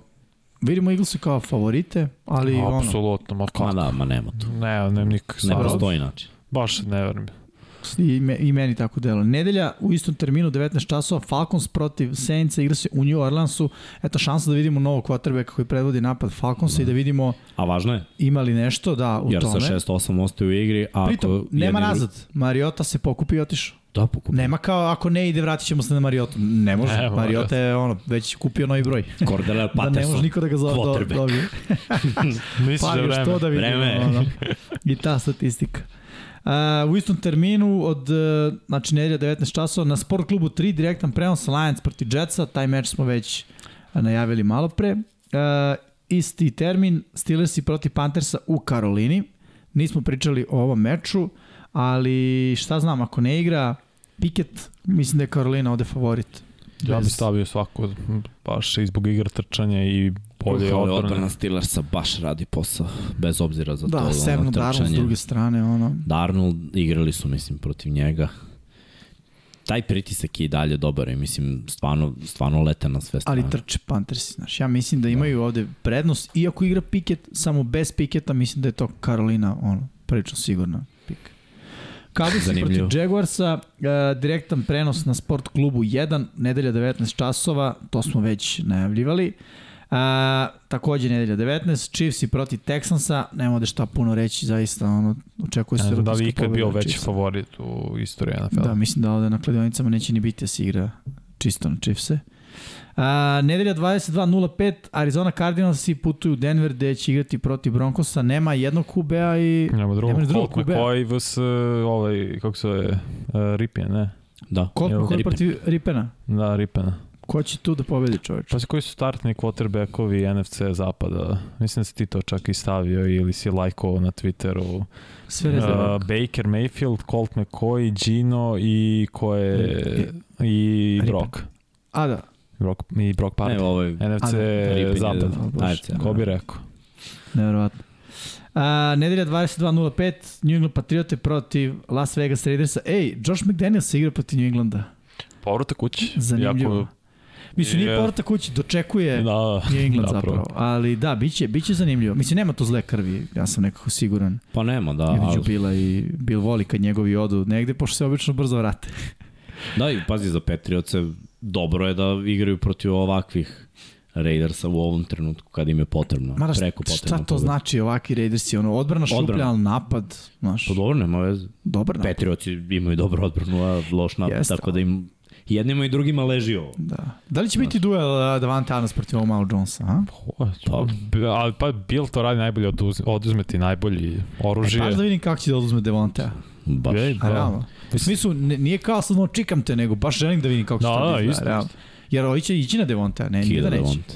[SPEAKER 2] Vidimo Eaglesi kao favorite, ali ono,
[SPEAKER 3] Apsolutno, ma
[SPEAKER 1] Ma
[SPEAKER 3] kako.
[SPEAKER 1] da, ma nema tu.
[SPEAKER 3] Ne, ne, nikak.
[SPEAKER 1] Ne
[SPEAKER 3] Ne,
[SPEAKER 1] postoji znači. način.
[SPEAKER 3] baš ne verujem.
[SPEAKER 2] i, me, i meni tako delo. Nedelja u istom terminu, 19 časova, Falcons protiv Saints, igra se u New Orleansu. Eto šansa da vidimo novog quarterbacka koji predvodi napad Falconsa i da vidimo
[SPEAKER 1] A važno je,
[SPEAKER 2] ima li nešto da u
[SPEAKER 1] jer
[SPEAKER 2] tome.
[SPEAKER 1] sa 6-8 ostaje u igri, a ako...
[SPEAKER 2] Pritom,
[SPEAKER 1] jedni
[SPEAKER 2] nema
[SPEAKER 1] dru-
[SPEAKER 2] nazad. Mariota se pokupi i otišao.
[SPEAKER 1] Da, pokupio.
[SPEAKER 2] Nema kao, ako ne ide, vratit ćemo se na Mariotu. Ne može.
[SPEAKER 3] Ne,
[SPEAKER 2] Ne,
[SPEAKER 3] može. Pa
[SPEAKER 2] Mariota je ono, već kupio novi broj.
[SPEAKER 1] Cordell
[SPEAKER 2] Da ne može
[SPEAKER 1] Patterson.
[SPEAKER 2] niko da ga zove do,
[SPEAKER 1] Quarterback.
[SPEAKER 2] dobije.
[SPEAKER 3] Misliš
[SPEAKER 2] Pa
[SPEAKER 3] da je
[SPEAKER 2] još to
[SPEAKER 3] vreme?
[SPEAKER 2] da vidimo.
[SPEAKER 1] Vreme.
[SPEAKER 2] Ono. I ta statistika. A, u istom terminu od e, znači nedelja 19 časova na Sport klubu 3 direktan prenos Lions proti Jetsa, taj meč smo već najavili malo pre. A, isti termin Steelersi proti Panthersa u Karolini. Nismo pričali o ovom meču, ali šta znam ako ne igra Piket, mislim da je Karolina ovde favorit.
[SPEAKER 3] Ja bi
[SPEAKER 2] Bez-
[SPEAKER 3] stavio svako, baš i zbog igra trčanja i bolje
[SPEAKER 1] Bolje
[SPEAKER 3] odbrane.
[SPEAKER 1] odbrana Steelersa baš radi posao, bez obzira za to.
[SPEAKER 2] Da,
[SPEAKER 1] ono,
[SPEAKER 2] Sevno Darno s
[SPEAKER 1] trčanje.
[SPEAKER 2] druge strane, ono,
[SPEAKER 1] Darnold igrali su, mislim, protiv njega. Taj pritisak je i dalje dobar i mislim, stvarno, stvarno lete na sve
[SPEAKER 3] da
[SPEAKER 1] strane.
[SPEAKER 2] ali trče Panthers, znaš, ja mislim da imaju ovde prednost, iako igra Piket, samo bez Piketa, mislim da je to Karolina, ono, prilično sigurna pik. Cowboys
[SPEAKER 1] Zanimljivo.
[SPEAKER 2] protiv Jaguarsa, e, direktan prenos na sport klubu 1, nedelja 19 časova, to smo već najavljivali. A, takođe nedelja 19, Chiefs i protiv Texansa, nema ovde šta puno reći, zaista ono, očekuje
[SPEAKER 3] Ne
[SPEAKER 2] se
[SPEAKER 3] znam da li
[SPEAKER 2] rutinska
[SPEAKER 3] je ikad
[SPEAKER 2] pobeda
[SPEAKER 3] bio veći
[SPEAKER 2] Chiefsa.
[SPEAKER 3] favorit u istoriji NFL.
[SPEAKER 2] Da, mislim da ovde na kladionicama neće ni biti da se igra čisto na Chiefse. A, nedelja 22.05, Arizona Cardinals i putuju u Denver gde će igrati protiv Broncosa. Nema jednog QB-a i
[SPEAKER 3] Nema drugog,
[SPEAKER 2] Nema ni drugog
[SPEAKER 3] Colt
[SPEAKER 2] kubea.
[SPEAKER 3] McCoy vs. ovaj, kako se zove, uh, Ripien, ne?
[SPEAKER 1] Da.
[SPEAKER 2] Colt
[SPEAKER 3] Evo,
[SPEAKER 2] McCoy
[SPEAKER 1] Ripena.
[SPEAKER 2] protiv Ripena.
[SPEAKER 3] Da, Ripien.
[SPEAKER 2] Ko će tu da pobedi čoveč?
[SPEAKER 3] Pa si koji su startni quarterbackovi NFC zapada? Mislim da si ti to čak i stavio ili si lajkovao na Twitteru.
[SPEAKER 2] Sve
[SPEAKER 3] Uh,
[SPEAKER 2] rezerva.
[SPEAKER 3] Baker Mayfield, Colt McCoy, Gino i ko je... I
[SPEAKER 2] Ripien.
[SPEAKER 3] Brock.
[SPEAKER 2] A da,
[SPEAKER 3] Brock i Brock Party.
[SPEAKER 1] Evo ovaj
[SPEAKER 3] NFC
[SPEAKER 1] Ripien je
[SPEAKER 3] zapad.
[SPEAKER 1] Ajde,
[SPEAKER 3] Ko bi rekao?
[SPEAKER 2] nevjerovatno. da. A, nedelja 22.05, New England Patriote protiv Las Vegas Raidersa. Ej, Josh McDaniels se igra protiv New Englanda.
[SPEAKER 3] Povrata kući.
[SPEAKER 2] Zanimljivo.
[SPEAKER 3] Jako,
[SPEAKER 2] Mislim, nije
[SPEAKER 3] Je.
[SPEAKER 2] porta kući, dočekuje.
[SPEAKER 3] da, da.
[SPEAKER 2] New England
[SPEAKER 3] Da,
[SPEAKER 2] zapravo. Ali da, bit će, bit će zanimljivo. Mislim, nema tu zle krvi, ja sam nekako siguran.
[SPEAKER 1] Pa nema, da.
[SPEAKER 2] Da, Između
[SPEAKER 1] Ali,
[SPEAKER 2] Bila i Bill voli kad njegovi odu negde, pošto se obično brzo vrate.
[SPEAKER 1] da, i pazi, za Patriotse dobro je da igraju protiv ovakvih Raidersa u ovom trenutku kad im je potrebno.
[SPEAKER 2] Mada šta,
[SPEAKER 1] preko potrebno.
[SPEAKER 2] šta to
[SPEAKER 1] pobeda.
[SPEAKER 2] znači ovaki Raidersi? Ono, odbrana šuplja,
[SPEAKER 1] Odbrana.
[SPEAKER 2] ali napad, znaš,
[SPEAKER 1] Pa dobro, nema veze.
[SPEAKER 2] dobar napad.
[SPEAKER 1] Patriotsi imaju dobro odbranu, a loš napad,
[SPEAKER 2] Jeste,
[SPEAKER 1] tako da im i jednima i drugima leži ovo.
[SPEAKER 2] Da. da li će biti duel uh, Davante Adams protiv Omar Jonesa? A?
[SPEAKER 1] Pa-
[SPEAKER 3] Pa, ali pa Bill to radi najbolje, oduz, oduzme ti najbolji
[SPEAKER 2] E,
[SPEAKER 3] oružje.
[SPEAKER 2] baš
[SPEAKER 1] pa,
[SPEAKER 2] da vidim kako će da oduzme Devante.
[SPEAKER 1] Baš.
[SPEAKER 3] Ej,
[SPEAKER 2] Da. Realno. U smislu, ne- nije kao sad, no, čikam te, nego baš želim da vidim kako će
[SPEAKER 3] Da,
[SPEAKER 2] to
[SPEAKER 3] da,
[SPEAKER 2] da
[SPEAKER 3] isto,
[SPEAKER 2] izgleda. realno. Jer ovi će ići na Devante, ne, nije da
[SPEAKER 1] Kida
[SPEAKER 2] neće.
[SPEAKER 1] Devont.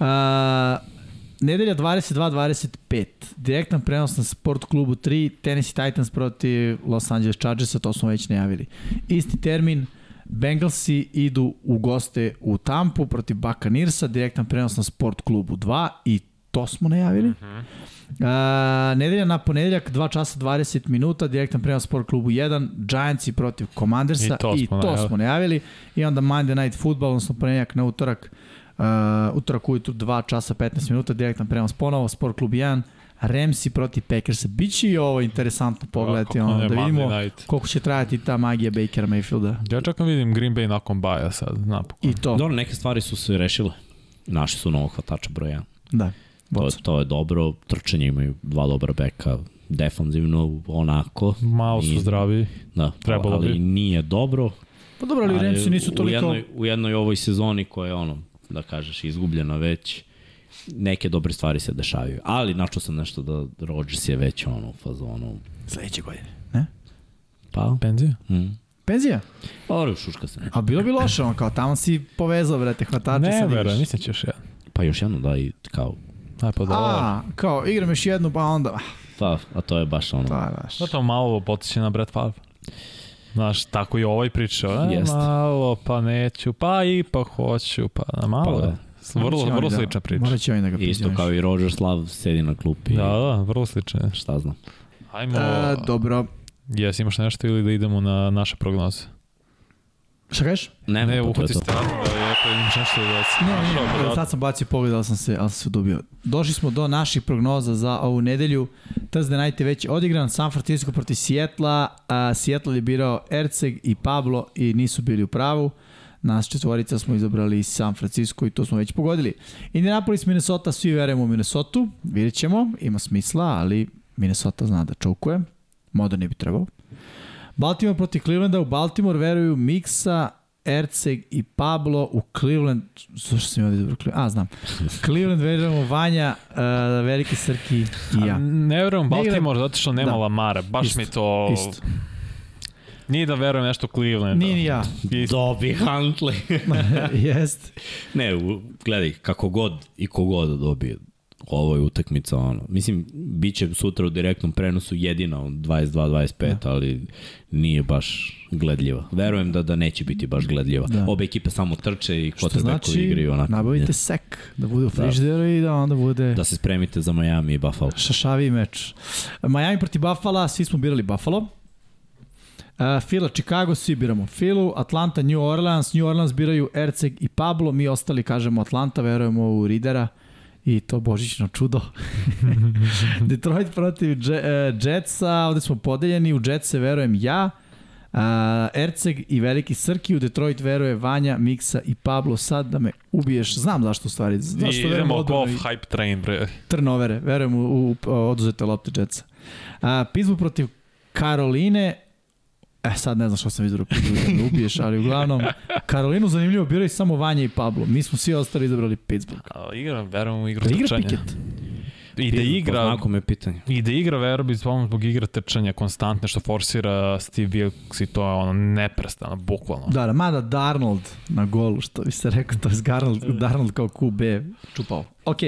[SPEAKER 2] A, nedelja 22-25. Direktan prenos na Sport klubu 3, Tennessee Titans protiv Los Angeles Chargersa, to smo već najavili. Isti termin, Bengalsi idu u goste u Tampu protiv Buccaneersa, direktan prenos na Sport klubu 2 i to smo najavili.
[SPEAKER 3] Mhm.
[SPEAKER 2] A, nedelja na ponedeljak, 2 časa 20 minuta, direktan prenos Sport klubu 1, Giantsi protiv Commandersa
[SPEAKER 3] I to
[SPEAKER 2] i
[SPEAKER 3] smo
[SPEAKER 2] to
[SPEAKER 3] najavili.
[SPEAKER 2] smo najavili. I onda Monday Night Football, odnosno ponedeljak na utorak, uh, utorak ujutru 2 časa 15 minuta, direktan prenos ponovo, Sport klub 1, Remsi protiv Packersa. Biće i ovo interesantno pogledati,
[SPEAKER 3] Kako
[SPEAKER 2] ono,
[SPEAKER 3] ne,
[SPEAKER 2] da
[SPEAKER 3] Monday
[SPEAKER 2] vidimo
[SPEAKER 3] night.
[SPEAKER 2] koliko će trajati ta magija Bakera Mayfielda.
[SPEAKER 3] Ja čekam vidim Green Bay nakon baja sad, napokon.
[SPEAKER 2] I to,
[SPEAKER 1] Dobro, neke stvari su se rešile. Našli su novog hvatača broja.
[SPEAKER 2] da.
[SPEAKER 1] To,
[SPEAKER 2] Watson.
[SPEAKER 1] to je dobro. Trčanje imaju dva dobra beka. Defanzivno, onako.
[SPEAKER 2] Mm.
[SPEAKER 3] Malo
[SPEAKER 1] Nije-
[SPEAKER 3] su zdravi.
[SPEAKER 1] Da,
[SPEAKER 3] Trebalo
[SPEAKER 1] ali
[SPEAKER 3] bi.
[SPEAKER 1] nije dobro.
[SPEAKER 2] Pa dobro, ali Remsi nisu
[SPEAKER 1] U
[SPEAKER 2] toliko...
[SPEAKER 1] jednoj, u jednoj ovoj sezoni koja je ono, da kažeš, izgubljena već, neke dobre stvari se dešavaju. Ali našao sam nešto da Rodgers je već ono u fazonu.
[SPEAKER 2] Sledeće godine. Ne?
[SPEAKER 1] Pa?
[SPEAKER 3] Penzija?
[SPEAKER 1] Mm.
[SPEAKER 2] Penzija?
[SPEAKER 1] Dobro, šuška se.
[SPEAKER 2] A bilo bi loše, ono, kao tamo si povezao, brate, hvatače.
[SPEAKER 3] Ne,
[SPEAKER 2] sad igraš.
[SPEAKER 3] vera, nisam ćeš jedan.
[SPEAKER 1] Pa još jedno da i kao,
[SPEAKER 3] Aj, pa dobro.
[SPEAKER 2] A, kao, igram još jednu, pa onda... ah,
[SPEAKER 1] pa, a to je baš ono.
[SPEAKER 2] To je baš.
[SPEAKER 3] Zato malo potiče na Brett Favre. Znaš, tako i ovaj pričao. E,
[SPEAKER 1] Jeste.
[SPEAKER 3] malo, pa neću, pa ipak hoću, pa na malo.
[SPEAKER 1] Pa da.
[SPEAKER 3] je. Vrlo,
[SPEAKER 2] Morat će
[SPEAKER 3] vrlo
[SPEAKER 2] oni da-
[SPEAKER 3] slična priča.
[SPEAKER 2] Morat će oni da ga
[SPEAKER 1] Isto
[SPEAKER 2] pizdioniš.
[SPEAKER 1] kao i Roger Slav sedi na klupi.
[SPEAKER 3] Da, da, vrlo slična je.
[SPEAKER 1] Šta znam.
[SPEAKER 3] Ajmo,
[SPEAKER 2] A, E, dobro.
[SPEAKER 3] jes, imaš nešto ili da idemo na naše prognoze?
[SPEAKER 2] Šta kažeš?
[SPEAKER 1] Nema,
[SPEAKER 3] Ne,
[SPEAKER 1] pa to je
[SPEAKER 3] uhvati
[SPEAKER 1] to.
[SPEAKER 3] ste da je, pa imaš nešto da se...
[SPEAKER 2] Ne, ne, ne, sad sam bacio pogled, ali sam se, ali sam se udubio. Došli smo do naših prognoza za ovu nedelju. Trzde najte već je odigran, San Francisco proti Sijetla. A, Seattle je birao Erceg i Pablo i nisu bili u pravu. Nas četvorica smo izabrali iz San Francisco i to smo već pogodili. Indianapolis, Minnesota, svi verujemo u Minnesota. Vidjet ćemo, ima smisla, ali Minnesota zna da čaukuje. Modern ne bi trebao. Baltimore protiv Clevelanda, u Baltimore veruju Miksa, Erceg i Pablo u Cleveland, zašto sam ja ovdje dobro Cleveland, a znam, Cleveland verujemo Vanja, uh, Veliki Srki i ja.
[SPEAKER 3] Ne verujem
[SPEAKER 2] Ne igra-
[SPEAKER 3] Baltimore zato što nema
[SPEAKER 2] Da.
[SPEAKER 3] Lamara, baš
[SPEAKER 2] Isto,
[SPEAKER 3] mi to...
[SPEAKER 2] isto.
[SPEAKER 3] Nije da verujem nešto Clevelanda.
[SPEAKER 2] Nije ni ja.
[SPEAKER 3] Isto.
[SPEAKER 1] Dobby Huntley.
[SPEAKER 2] Jest.
[SPEAKER 1] ne, u- gledaj, kako god i kogod dobije, ovo je utakmica, ono. Mislim, bit će sutra u direktnom prenosu jedina 22-25,
[SPEAKER 2] Da.
[SPEAKER 1] ali nije baš gledljiva. Verujem da da neće biti baš gledljiva.
[SPEAKER 2] Da.
[SPEAKER 1] Obe ekipe samo trče i
[SPEAKER 2] Što
[SPEAKER 1] kotrbekovi znači,
[SPEAKER 2] znači,
[SPEAKER 1] igraju onako.
[SPEAKER 2] nabavite
[SPEAKER 1] ne.
[SPEAKER 2] sek, da bude u frižderu i da onda bude...
[SPEAKER 1] Da se spremite za Miami i Buffalo.
[SPEAKER 2] Šašavi meč. Miami protiv Buffalo, svi smo birali Buffalo. Uh, Fila, Chicago, svi biramo Filu, Atlanta, New Orleans, New Orleans biraju Erceg i Pablo, mi ostali kažemo Atlanta, verujemo u Ridera i to božićno čudo. Detroit protiv Dže- eh, Jetsa, ovde smo podeljeni, u Jetse verujem ja, uh, Erceg i Veliki Srki, u Detroit veruje Vanja, Miksa i Pablo, sad da me ubiješ, znam zašto u stvari,
[SPEAKER 3] I
[SPEAKER 2] zašto verujem
[SPEAKER 3] idemo
[SPEAKER 2] odbranu
[SPEAKER 3] off
[SPEAKER 2] i-
[SPEAKER 3] hype train, bre.
[SPEAKER 2] turnovere, verujem u, u, u oduzete lopte Jetsa. A, Pittsburgh protiv Karoline, e sad ne znam što sam izbrao, Pittsburgh da me ubiješ, ali uglavnom, Karolinu zanimljivo biraju samo Vanja i Pablo. Mi smo svi ostali izabrali Pittsburgh.
[SPEAKER 3] A, igram, verujem u igru
[SPEAKER 2] Da igra
[SPEAKER 3] trčanja.
[SPEAKER 2] Piket.
[SPEAKER 3] I da igra,
[SPEAKER 1] Ako me pitanje.
[SPEAKER 3] I da igra Verbi zbog, zbog igra trčanja konstantne što forsira Steve Wilkes i to je ono neprestano, bukvalno.
[SPEAKER 2] Da, da, mada Darnold na golu, što bi se rekao, to je Darnold, Darnold kao QB čupao. Ok,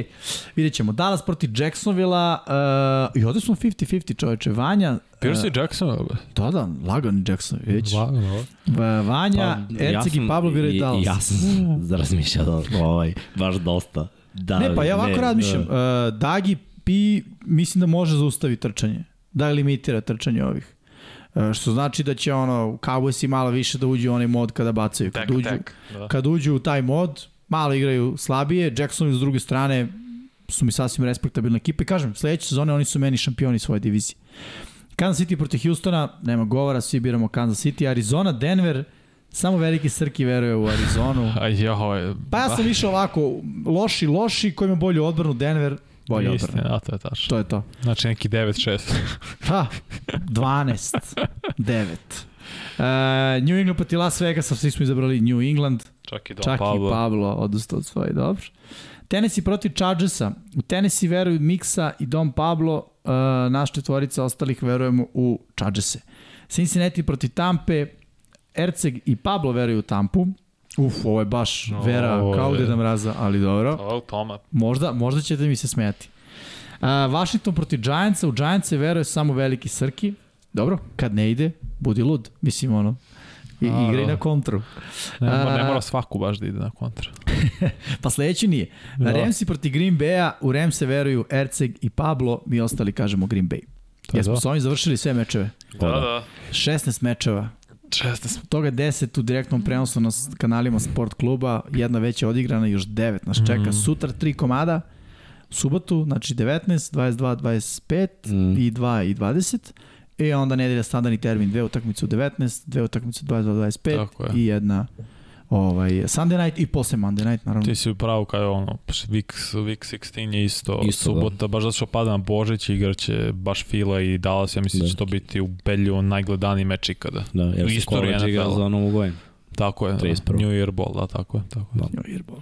[SPEAKER 2] vidjet ćemo. Dallas protiv Jacksonville-a, uh, i ovde smo 50-50 čoveče. Vanja, e,
[SPEAKER 3] Pierce i Jackson,
[SPEAKER 2] da, da, lagani Jackson, vidjet ćeš.
[SPEAKER 3] lagano.
[SPEAKER 2] Va- Vanja, Pa, Erceg i Pablo biraju Dallas. Mm.
[SPEAKER 1] Ja sam razmišljao da, ovaj, baš dosta. Da,
[SPEAKER 2] Ne, pa ja ovako razmišljam.
[SPEAKER 1] da.
[SPEAKER 2] Da. Dagi Pi mislim da može zaustavi trčanje. Da limitira trčanje ovih. E, što znači da će ono, Cowboysi malo više da uđu u onaj mod kada bacaju. Kad,
[SPEAKER 3] Tek,
[SPEAKER 2] uđu,
[SPEAKER 3] tek. Da.
[SPEAKER 2] kad uđu u taj mod, malo igraju slabije. Jackson s druge strane su mi sasvim respektabilne ekipe. Kažem, sledeće sezone oni su meni šampioni svoje divizije. Kansas City protiv Houstona, nema govora, svi biramo Kansas City. Arizona, Denver, samo veliki srki veruje u Arizonu.
[SPEAKER 3] A joj,
[SPEAKER 2] Pa ja sam išao ovako, loši, loši, koji ima bolju odbranu, Denver, bolje
[SPEAKER 3] Istina,
[SPEAKER 2] odbranu.
[SPEAKER 3] da, to je tačno.
[SPEAKER 2] To je to.
[SPEAKER 3] Znači neki 9-6.
[SPEAKER 2] Ha, 12, 9. Uh, New England protiv Las Vegasa, svi smo izabrali New England,
[SPEAKER 3] Čak i Don
[SPEAKER 2] čak
[SPEAKER 3] Pablo.
[SPEAKER 2] i Pablo odustao od svoje, dobro. Tennessee protiv Chargersa, u Tennessee veruju Miksa i Don Pablo, uh, naš četvorica ostalih verujemo u Chargerse. Cincinnati protiv Tampe, Erceg i Pablo veruju u Tampu, Uf, ovo je baš vera
[SPEAKER 3] Ovo
[SPEAKER 2] kao
[SPEAKER 3] je-
[SPEAKER 2] Deda Mraza, ali dobro.
[SPEAKER 3] O, Toma.
[SPEAKER 2] Možda, možda ćete mi se smijati. A, Washington protiv Giantsa, u Giantsa je veruje samo veliki Srki. Dobro, kad ne ide, budi lud. Mislim, ono, i,
[SPEAKER 3] A,
[SPEAKER 2] igra i
[SPEAKER 3] da.
[SPEAKER 2] na kontru.
[SPEAKER 3] Ne,
[SPEAKER 2] A-
[SPEAKER 3] mora- ne mora svaku baš da ide na kontra.
[SPEAKER 2] Pa sledeći nije. Da.
[SPEAKER 3] Da.
[SPEAKER 2] Ramsi protiv Green Bay-a, u Ramse veruju Erceg i Pablo, mi ostali kažemo Green Bay.
[SPEAKER 3] je
[SPEAKER 2] Jesmo
[SPEAKER 3] to.
[SPEAKER 2] s ovim završili sve mečeve.
[SPEAKER 1] Da, da.
[SPEAKER 2] 16 mečeva,
[SPEAKER 3] 16.
[SPEAKER 2] od toga 10 u direktnom prenosu na s- kanalima Sport kluba, jedna već je odigrana, još 9 nas čeka. Mm. Sutra 3 komada, u subotu, znači 19, 22, 25
[SPEAKER 1] Mm.
[SPEAKER 2] i 2 i 20. I onda nedelja standardni termin, dve utakmice u 19, dve utakmice u 22, 25
[SPEAKER 3] Tako je.
[SPEAKER 2] i jedna ovaj, Sunday night i posle Monday night, naravno.
[SPEAKER 3] Ti si upravo kao je ono, week, week 16 je isto,
[SPEAKER 1] Isto,
[SPEAKER 3] isto subota, baš zato što pada na Božić, igraće baš Fila i Dallas, ja mislim da će to biti ubedljivo najgledaniji meč ikada.
[SPEAKER 1] Da,
[SPEAKER 3] U
[SPEAKER 1] jer se
[SPEAKER 3] istoriji
[SPEAKER 1] koleđ igra
[SPEAKER 3] NFL-a.
[SPEAKER 1] za Novu Gojenu.
[SPEAKER 3] Tako je, da.
[SPEAKER 1] 31..
[SPEAKER 3] New Year Ball, da, tako je. Tako je.
[SPEAKER 1] Da.
[SPEAKER 2] Njoj, Irbol.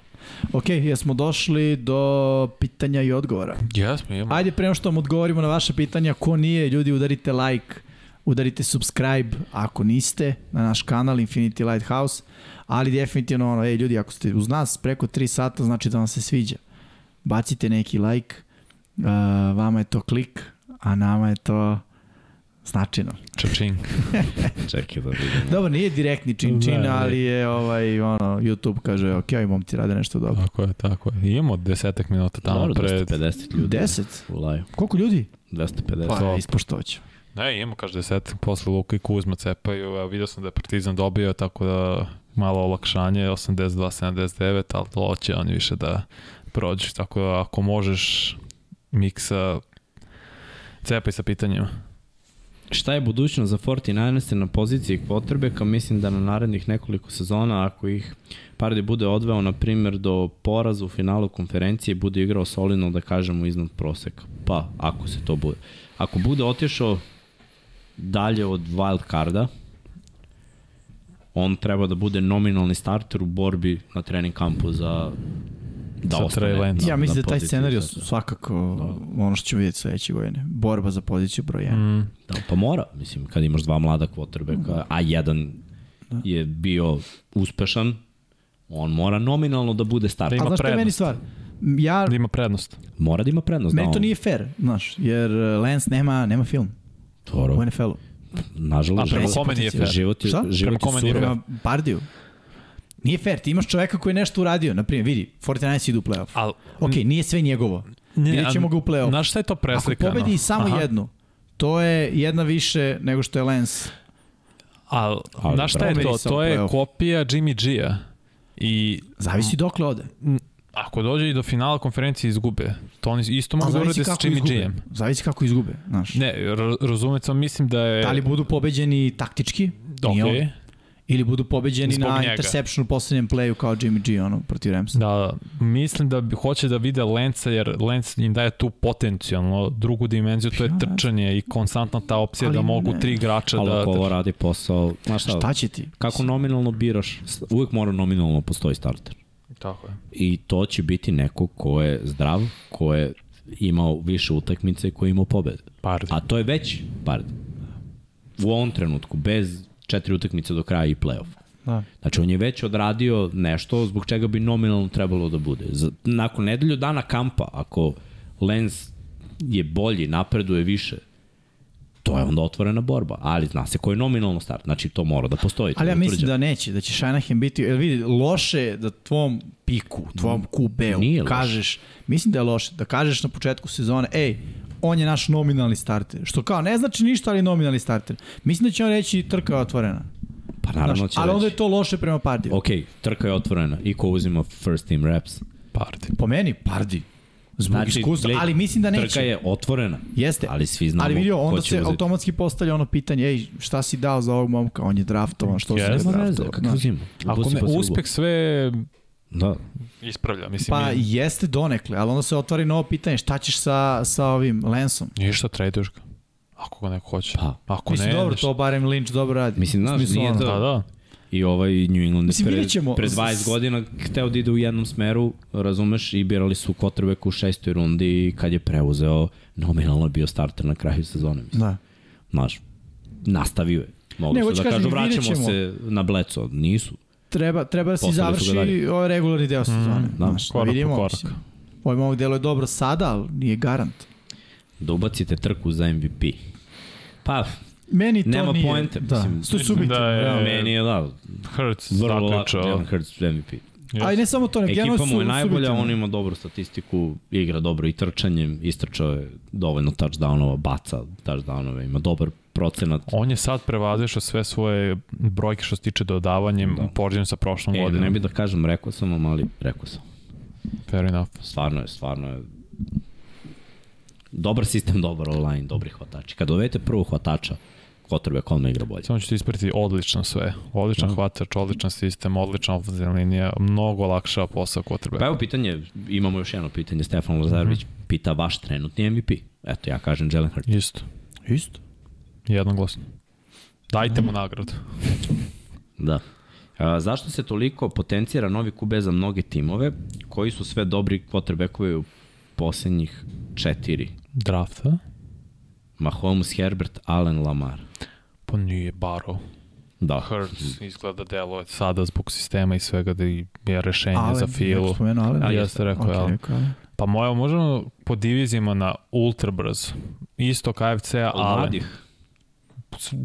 [SPEAKER 2] Ok, jesmo došli do pitanja i odgovora.
[SPEAKER 3] Jesmo, imamo.
[SPEAKER 2] Ajde, prema što vam odgovorimo na vaše pitanja, ko nije, ljudi udarite like, udarite subscribe, ako niste, na naš kanal Infinity Lighthouse, ali definitivno, ono, ej, ljudi, ako ste uz nas preko 3 sata, znači da vam se sviđa. Bacite neki like, uh, vama je to klik, a nama je to značajno.
[SPEAKER 3] Čačing.
[SPEAKER 1] Čekaj da vidim.
[SPEAKER 2] Dobro, nije direktni čin čin,
[SPEAKER 3] Da, da.
[SPEAKER 2] ali je ovaj, ono, YouTube kaže, ok, ovi momci rade nešto dobro.
[SPEAKER 3] Tako je, tako je. Imamo desetak minuta tamo
[SPEAKER 1] Dobro,
[SPEAKER 3] pred...
[SPEAKER 1] 250 ljudi.
[SPEAKER 2] 10?
[SPEAKER 1] U laju.
[SPEAKER 2] Koliko ljudi?
[SPEAKER 1] 250.
[SPEAKER 2] Pa, ispoštovaću.
[SPEAKER 3] Ne, imamo kaže desetak, posle Luka i Kuzma cepaju, a vidio sam da je Partizan dobio, tako da malo olakšanje, 82-79, ali to će oni više da prođu, tako da ako možeš miksa, cepaj sa pitanjima.
[SPEAKER 1] Šta je budućnost za 49ers na poziciji kvotrbeka? Mislim da na narednih nekoliko sezona, ako ih Pardi bude odveo, na primjer, do poraza u finalu konferencije, bude igrao solidno, da kažemo, iznad proseka. Pa, ako se to bude. Ako bude otišao dalje od wild carda. On treba da bude nominalni starter u borbi na trening kampu za da
[SPEAKER 3] Sa
[SPEAKER 1] ostane.
[SPEAKER 3] Trey Lance.
[SPEAKER 1] na-
[SPEAKER 2] Ja mislim
[SPEAKER 1] na
[SPEAKER 2] da taj
[SPEAKER 1] poziciji
[SPEAKER 2] scenariju
[SPEAKER 1] startera.
[SPEAKER 2] svakako ono što ćemo vidjeti sledeće godine. Borba za poziciju broj 1.
[SPEAKER 3] Mm.
[SPEAKER 1] Da, pa mora, mislim, kad imaš dva mlada quarterbacka, a jedan je bio uspešan, on mora nominalno da bude starter.
[SPEAKER 3] Da
[SPEAKER 2] A
[SPEAKER 3] ima
[SPEAKER 2] znaš što je meni
[SPEAKER 3] prednost.
[SPEAKER 2] stvar? Ja,
[SPEAKER 3] Da ima prednost.
[SPEAKER 1] Mora da ima prednost.
[SPEAKER 2] meni
[SPEAKER 1] da,
[SPEAKER 2] to
[SPEAKER 1] on-
[SPEAKER 2] nije fair, znaš, jer e, Lance nema, nema film
[SPEAKER 1] Toro,
[SPEAKER 2] u NFL-u.
[SPEAKER 1] nažalost,
[SPEAKER 3] A prema
[SPEAKER 1] život-
[SPEAKER 3] kome nije fair?
[SPEAKER 1] Život je,
[SPEAKER 2] Šta?
[SPEAKER 1] život
[SPEAKER 3] Prema
[SPEAKER 1] je
[SPEAKER 3] kome nije
[SPEAKER 1] surov.
[SPEAKER 2] Prema Bardiju. Nije fair, ti imaš čoveka koji je nešto uradio, na primjer, vidi, 49 idu u playoff.
[SPEAKER 3] Al,
[SPEAKER 2] Ok, nije sve njegovo.
[SPEAKER 3] Ne,
[SPEAKER 2] Vidjet ćemo
[SPEAKER 3] a-
[SPEAKER 2] ga u play-off.
[SPEAKER 3] Znaš šta je to
[SPEAKER 2] Ako
[SPEAKER 3] preslikano?
[SPEAKER 2] pobedi samo
[SPEAKER 3] Aha.
[SPEAKER 2] jednu, to je jedna više nego što je Lance.
[SPEAKER 3] Al,
[SPEAKER 1] Ali
[SPEAKER 3] znaš šta je
[SPEAKER 2] bravo.
[SPEAKER 3] to? To je
[SPEAKER 2] Playoff.
[SPEAKER 3] kopija Jimmy G-a. I
[SPEAKER 2] Zavisi dokle ode.
[SPEAKER 3] ako dođe i do finala konferencije izgube, to oni isto
[SPEAKER 2] A
[SPEAKER 3] mogu da
[SPEAKER 2] zavisi
[SPEAKER 3] urade s
[SPEAKER 2] kako
[SPEAKER 3] Jimmy
[SPEAKER 2] izgube.
[SPEAKER 3] G-em.
[SPEAKER 2] Zavisi kako izgube, znaš.
[SPEAKER 3] Ne, ra- razumem sam, mislim da
[SPEAKER 1] E,
[SPEAKER 3] je...
[SPEAKER 2] Da li budu pobeđeni taktički?
[SPEAKER 1] Da,
[SPEAKER 2] Nije on.
[SPEAKER 3] okay.
[SPEAKER 2] Ili budu pobeđeni
[SPEAKER 3] Zbog
[SPEAKER 2] na
[SPEAKER 3] njega.
[SPEAKER 2] interception u poslednjem playu kao Jimmy G ono, protiv Ramsa.
[SPEAKER 3] Da, da. mislim da bi, hoće da vide Lenca jer Lenc im daje tu potencijalno drugu dimenziju, to je
[SPEAKER 2] Ja, da.
[SPEAKER 3] trčanje i konstantna ta opcija
[SPEAKER 2] Ali
[SPEAKER 3] da mogu
[SPEAKER 2] ne.
[SPEAKER 3] tri igrača
[SPEAKER 1] Ali
[SPEAKER 3] da...
[SPEAKER 1] ako ovo radi posao, znaš šta,
[SPEAKER 2] Šta će ti?
[SPEAKER 1] kako nominalno biraš, uvek mora nominalno da postoji starter.
[SPEAKER 3] Tako je.
[SPEAKER 1] I to će biti neko ko je zdrav, ko je imao više utakmice i ko je imao pobede.
[SPEAKER 3] Par.
[SPEAKER 1] A to je već pard. U ovom trenutku, bez četiri utakmice do kraja i play-off.
[SPEAKER 2] Da.
[SPEAKER 1] Znači, on je već odradio nešto zbog čega bi nominalno trebalo da bude. Za- Nakon nedelju dana kampa, ako Lens je bolji, napreduje više, to je onda otvorena borba. Ali zna se ko je nominalno start. Znači, to mora da postoji. to
[SPEAKER 2] Ali ja
[SPEAKER 1] je
[SPEAKER 2] mislim
[SPEAKER 1] utvrđeno.
[SPEAKER 2] da neće, da će Shanahan biti, jer vidi, loše je da tvom piku, tvom
[SPEAKER 1] Nije
[SPEAKER 2] QB-u
[SPEAKER 1] loše.
[SPEAKER 2] kažeš, mislim da je loše, da kažeš na početku sezone, ej, on je naš nominalni starter. Što kao, ne znači ništa, ali je nominalni starter. Mislim da će on reći trka je otvorena.
[SPEAKER 1] Pa naravno
[SPEAKER 2] Znaš,
[SPEAKER 1] će
[SPEAKER 2] ali onda
[SPEAKER 1] reći.
[SPEAKER 2] je to loše prema Pardiju.
[SPEAKER 1] Ok, trka je otvorena. I ko uzima first team reps?
[SPEAKER 3] Parti.
[SPEAKER 2] Po meni, Pardi. Zbog
[SPEAKER 1] Znači,
[SPEAKER 2] iskustva,
[SPEAKER 1] gled-
[SPEAKER 2] ali mislim da neće.
[SPEAKER 1] Trka je otvorena.
[SPEAKER 2] Jeste.
[SPEAKER 1] Ali svi znamo
[SPEAKER 2] ali vidio,
[SPEAKER 1] ko
[SPEAKER 2] onda
[SPEAKER 1] će
[SPEAKER 2] se
[SPEAKER 1] uzeti.
[SPEAKER 2] automatski postavlja ono pitanje, ej, šta si dao za ovog momka, on je draftovan, što yes,
[SPEAKER 3] Jeste.
[SPEAKER 2] si ga Da.
[SPEAKER 1] Nema veze,
[SPEAKER 2] draftovan.
[SPEAKER 1] kako
[SPEAKER 2] Znaš.
[SPEAKER 1] uzima.
[SPEAKER 3] Ako
[SPEAKER 1] Ubaci
[SPEAKER 3] ne,
[SPEAKER 1] pa se
[SPEAKER 3] uspeh
[SPEAKER 1] ubaci.
[SPEAKER 3] sve
[SPEAKER 1] Da.
[SPEAKER 3] ispravlja, mislim.
[SPEAKER 2] Pa
[SPEAKER 3] Pa,
[SPEAKER 2] jeste donekle, ali onda se otvori novo pitanje, šta ćeš sa, sa ovim Lensom?
[SPEAKER 3] ništa, traduješ ga. Ako ga neko hoće.
[SPEAKER 1] Pa.
[SPEAKER 3] Ako
[SPEAKER 2] Mislim,
[SPEAKER 3] ne,
[SPEAKER 2] dobro,
[SPEAKER 3] ideš.
[SPEAKER 2] to barem Lynch dobro radi.
[SPEAKER 1] Mislim,
[SPEAKER 2] U
[SPEAKER 1] znaš,
[SPEAKER 2] smislu
[SPEAKER 1] nije
[SPEAKER 2] ono-
[SPEAKER 1] to-
[SPEAKER 3] Da, da.
[SPEAKER 1] I ovaj New England
[SPEAKER 2] Mislim,
[SPEAKER 1] Mislim, pre,
[SPEAKER 2] vidjet ćemo.
[SPEAKER 1] pre 20 godina hteo da ide u jednom smeru, razumeš, i birali su Kotrbek u šestoj rundi i kad je preuzeo, nominalno je bio starter na kraju sezone. Mislim.
[SPEAKER 2] Da.
[SPEAKER 1] Znaš, nastavio je. Mogli
[SPEAKER 2] Ne,
[SPEAKER 1] su
[SPEAKER 2] hoću
[SPEAKER 1] da
[SPEAKER 2] kažem,
[SPEAKER 1] kažu
[SPEAKER 2] vidjet
[SPEAKER 1] vraćamo
[SPEAKER 2] ćemo.
[SPEAKER 1] se na bleco. Nisu.
[SPEAKER 2] Treba, treba da se
[SPEAKER 1] Poslali su ga
[SPEAKER 2] završi
[SPEAKER 1] dalje.
[SPEAKER 2] ovaj regularni deo sezone.
[SPEAKER 1] da,
[SPEAKER 2] znaš, da
[SPEAKER 3] korak po
[SPEAKER 2] vidimo.
[SPEAKER 3] korak.
[SPEAKER 2] mislim. Ovaj momak delo je dobro sada, ali nije garant.
[SPEAKER 1] Da ubacite trku za MVP. Pa,
[SPEAKER 2] Meni to
[SPEAKER 1] Nema
[SPEAKER 2] nije.
[SPEAKER 1] poente,
[SPEAKER 2] Da.
[SPEAKER 1] mislim.
[SPEAKER 2] to je subjektivno,
[SPEAKER 3] Da je-
[SPEAKER 2] realno.
[SPEAKER 1] e, meni je da,
[SPEAKER 3] Hurts
[SPEAKER 1] vrlo lako,
[SPEAKER 3] zaključao.
[SPEAKER 1] Jalen
[SPEAKER 2] da.
[SPEAKER 1] Hurts MVP.
[SPEAKER 2] A i ne samo to, ne,
[SPEAKER 1] Ekipa
[SPEAKER 2] Pa generalno su da.
[SPEAKER 1] mu je najbolja,
[SPEAKER 2] subjektivno.
[SPEAKER 1] on ima dobru statistiku, igra dobro i trčanjem, istrčao je dovoljno touchdownova, baca touchdownove, ima dobar procenat.
[SPEAKER 3] On je sad prevazešao sve svoje brojke što se tiče dodavanjem da. u poređenju sa prošlom
[SPEAKER 1] E,
[SPEAKER 3] godinom.
[SPEAKER 1] ne bi da kažem, rekao sam vam, ali rekao sam.
[SPEAKER 3] Fair enough.
[SPEAKER 1] Stvarno je, stvarno je dobar sistem, dobar online, dobri hvatači. Kad dovedete prvog hvatača, kotrbe kolme igra bolje.
[SPEAKER 3] Samo ću ti isprati odlično sve. Odličan
[SPEAKER 1] Da.
[SPEAKER 3] hvatač, odličan sistem, odlična ofenzivna linija, mnogo lakša posao quarterbacka.
[SPEAKER 1] Pa evo pitanje, imamo još jedno pitanje, Stefan Lazarević
[SPEAKER 2] Mhm.
[SPEAKER 1] pita vaš trenutni MVP. Eto, ja kažem Jalen Hurts.
[SPEAKER 3] Isto.
[SPEAKER 2] Isto.
[SPEAKER 3] Jednoglasno. Dajte mu nagradu.
[SPEAKER 1] Da. A, zašto se toliko potencira novi QB za mnoge timove, koji su sve dobri quarterbackovi u poslednjih četiri?
[SPEAKER 3] Draft, a?
[SPEAKER 1] Mahomes, Herbert, Allen, Lamar.
[SPEAKER 3] Pa nije Baro.
[SPEAKER 1] Da.
[SPEAKER 3] Hurts izgleda delo je sada zbog sistema i svega da i- je rešenje
[SPEAKER 2] Alen,
[SPEAKER 3] za
[SPEAKER 2] neko
[SPEAKER 3] filu.
[SPEAKER 2] spomenuo Alena.
[SPEAKER 3] A jeste rekao,
[SPEAKER 2] Ok,
[SPEAKER 3] okay. jel?
[SPEAKER 2] rekao, Alena.
[SPEAKER 3] Pa moja, možemo po divizijama na ultra brzo. Isto KFC-a,
[SPEAKER 1] Od
[SPEAKER 3] ali
[SPEAKER 1] mladih.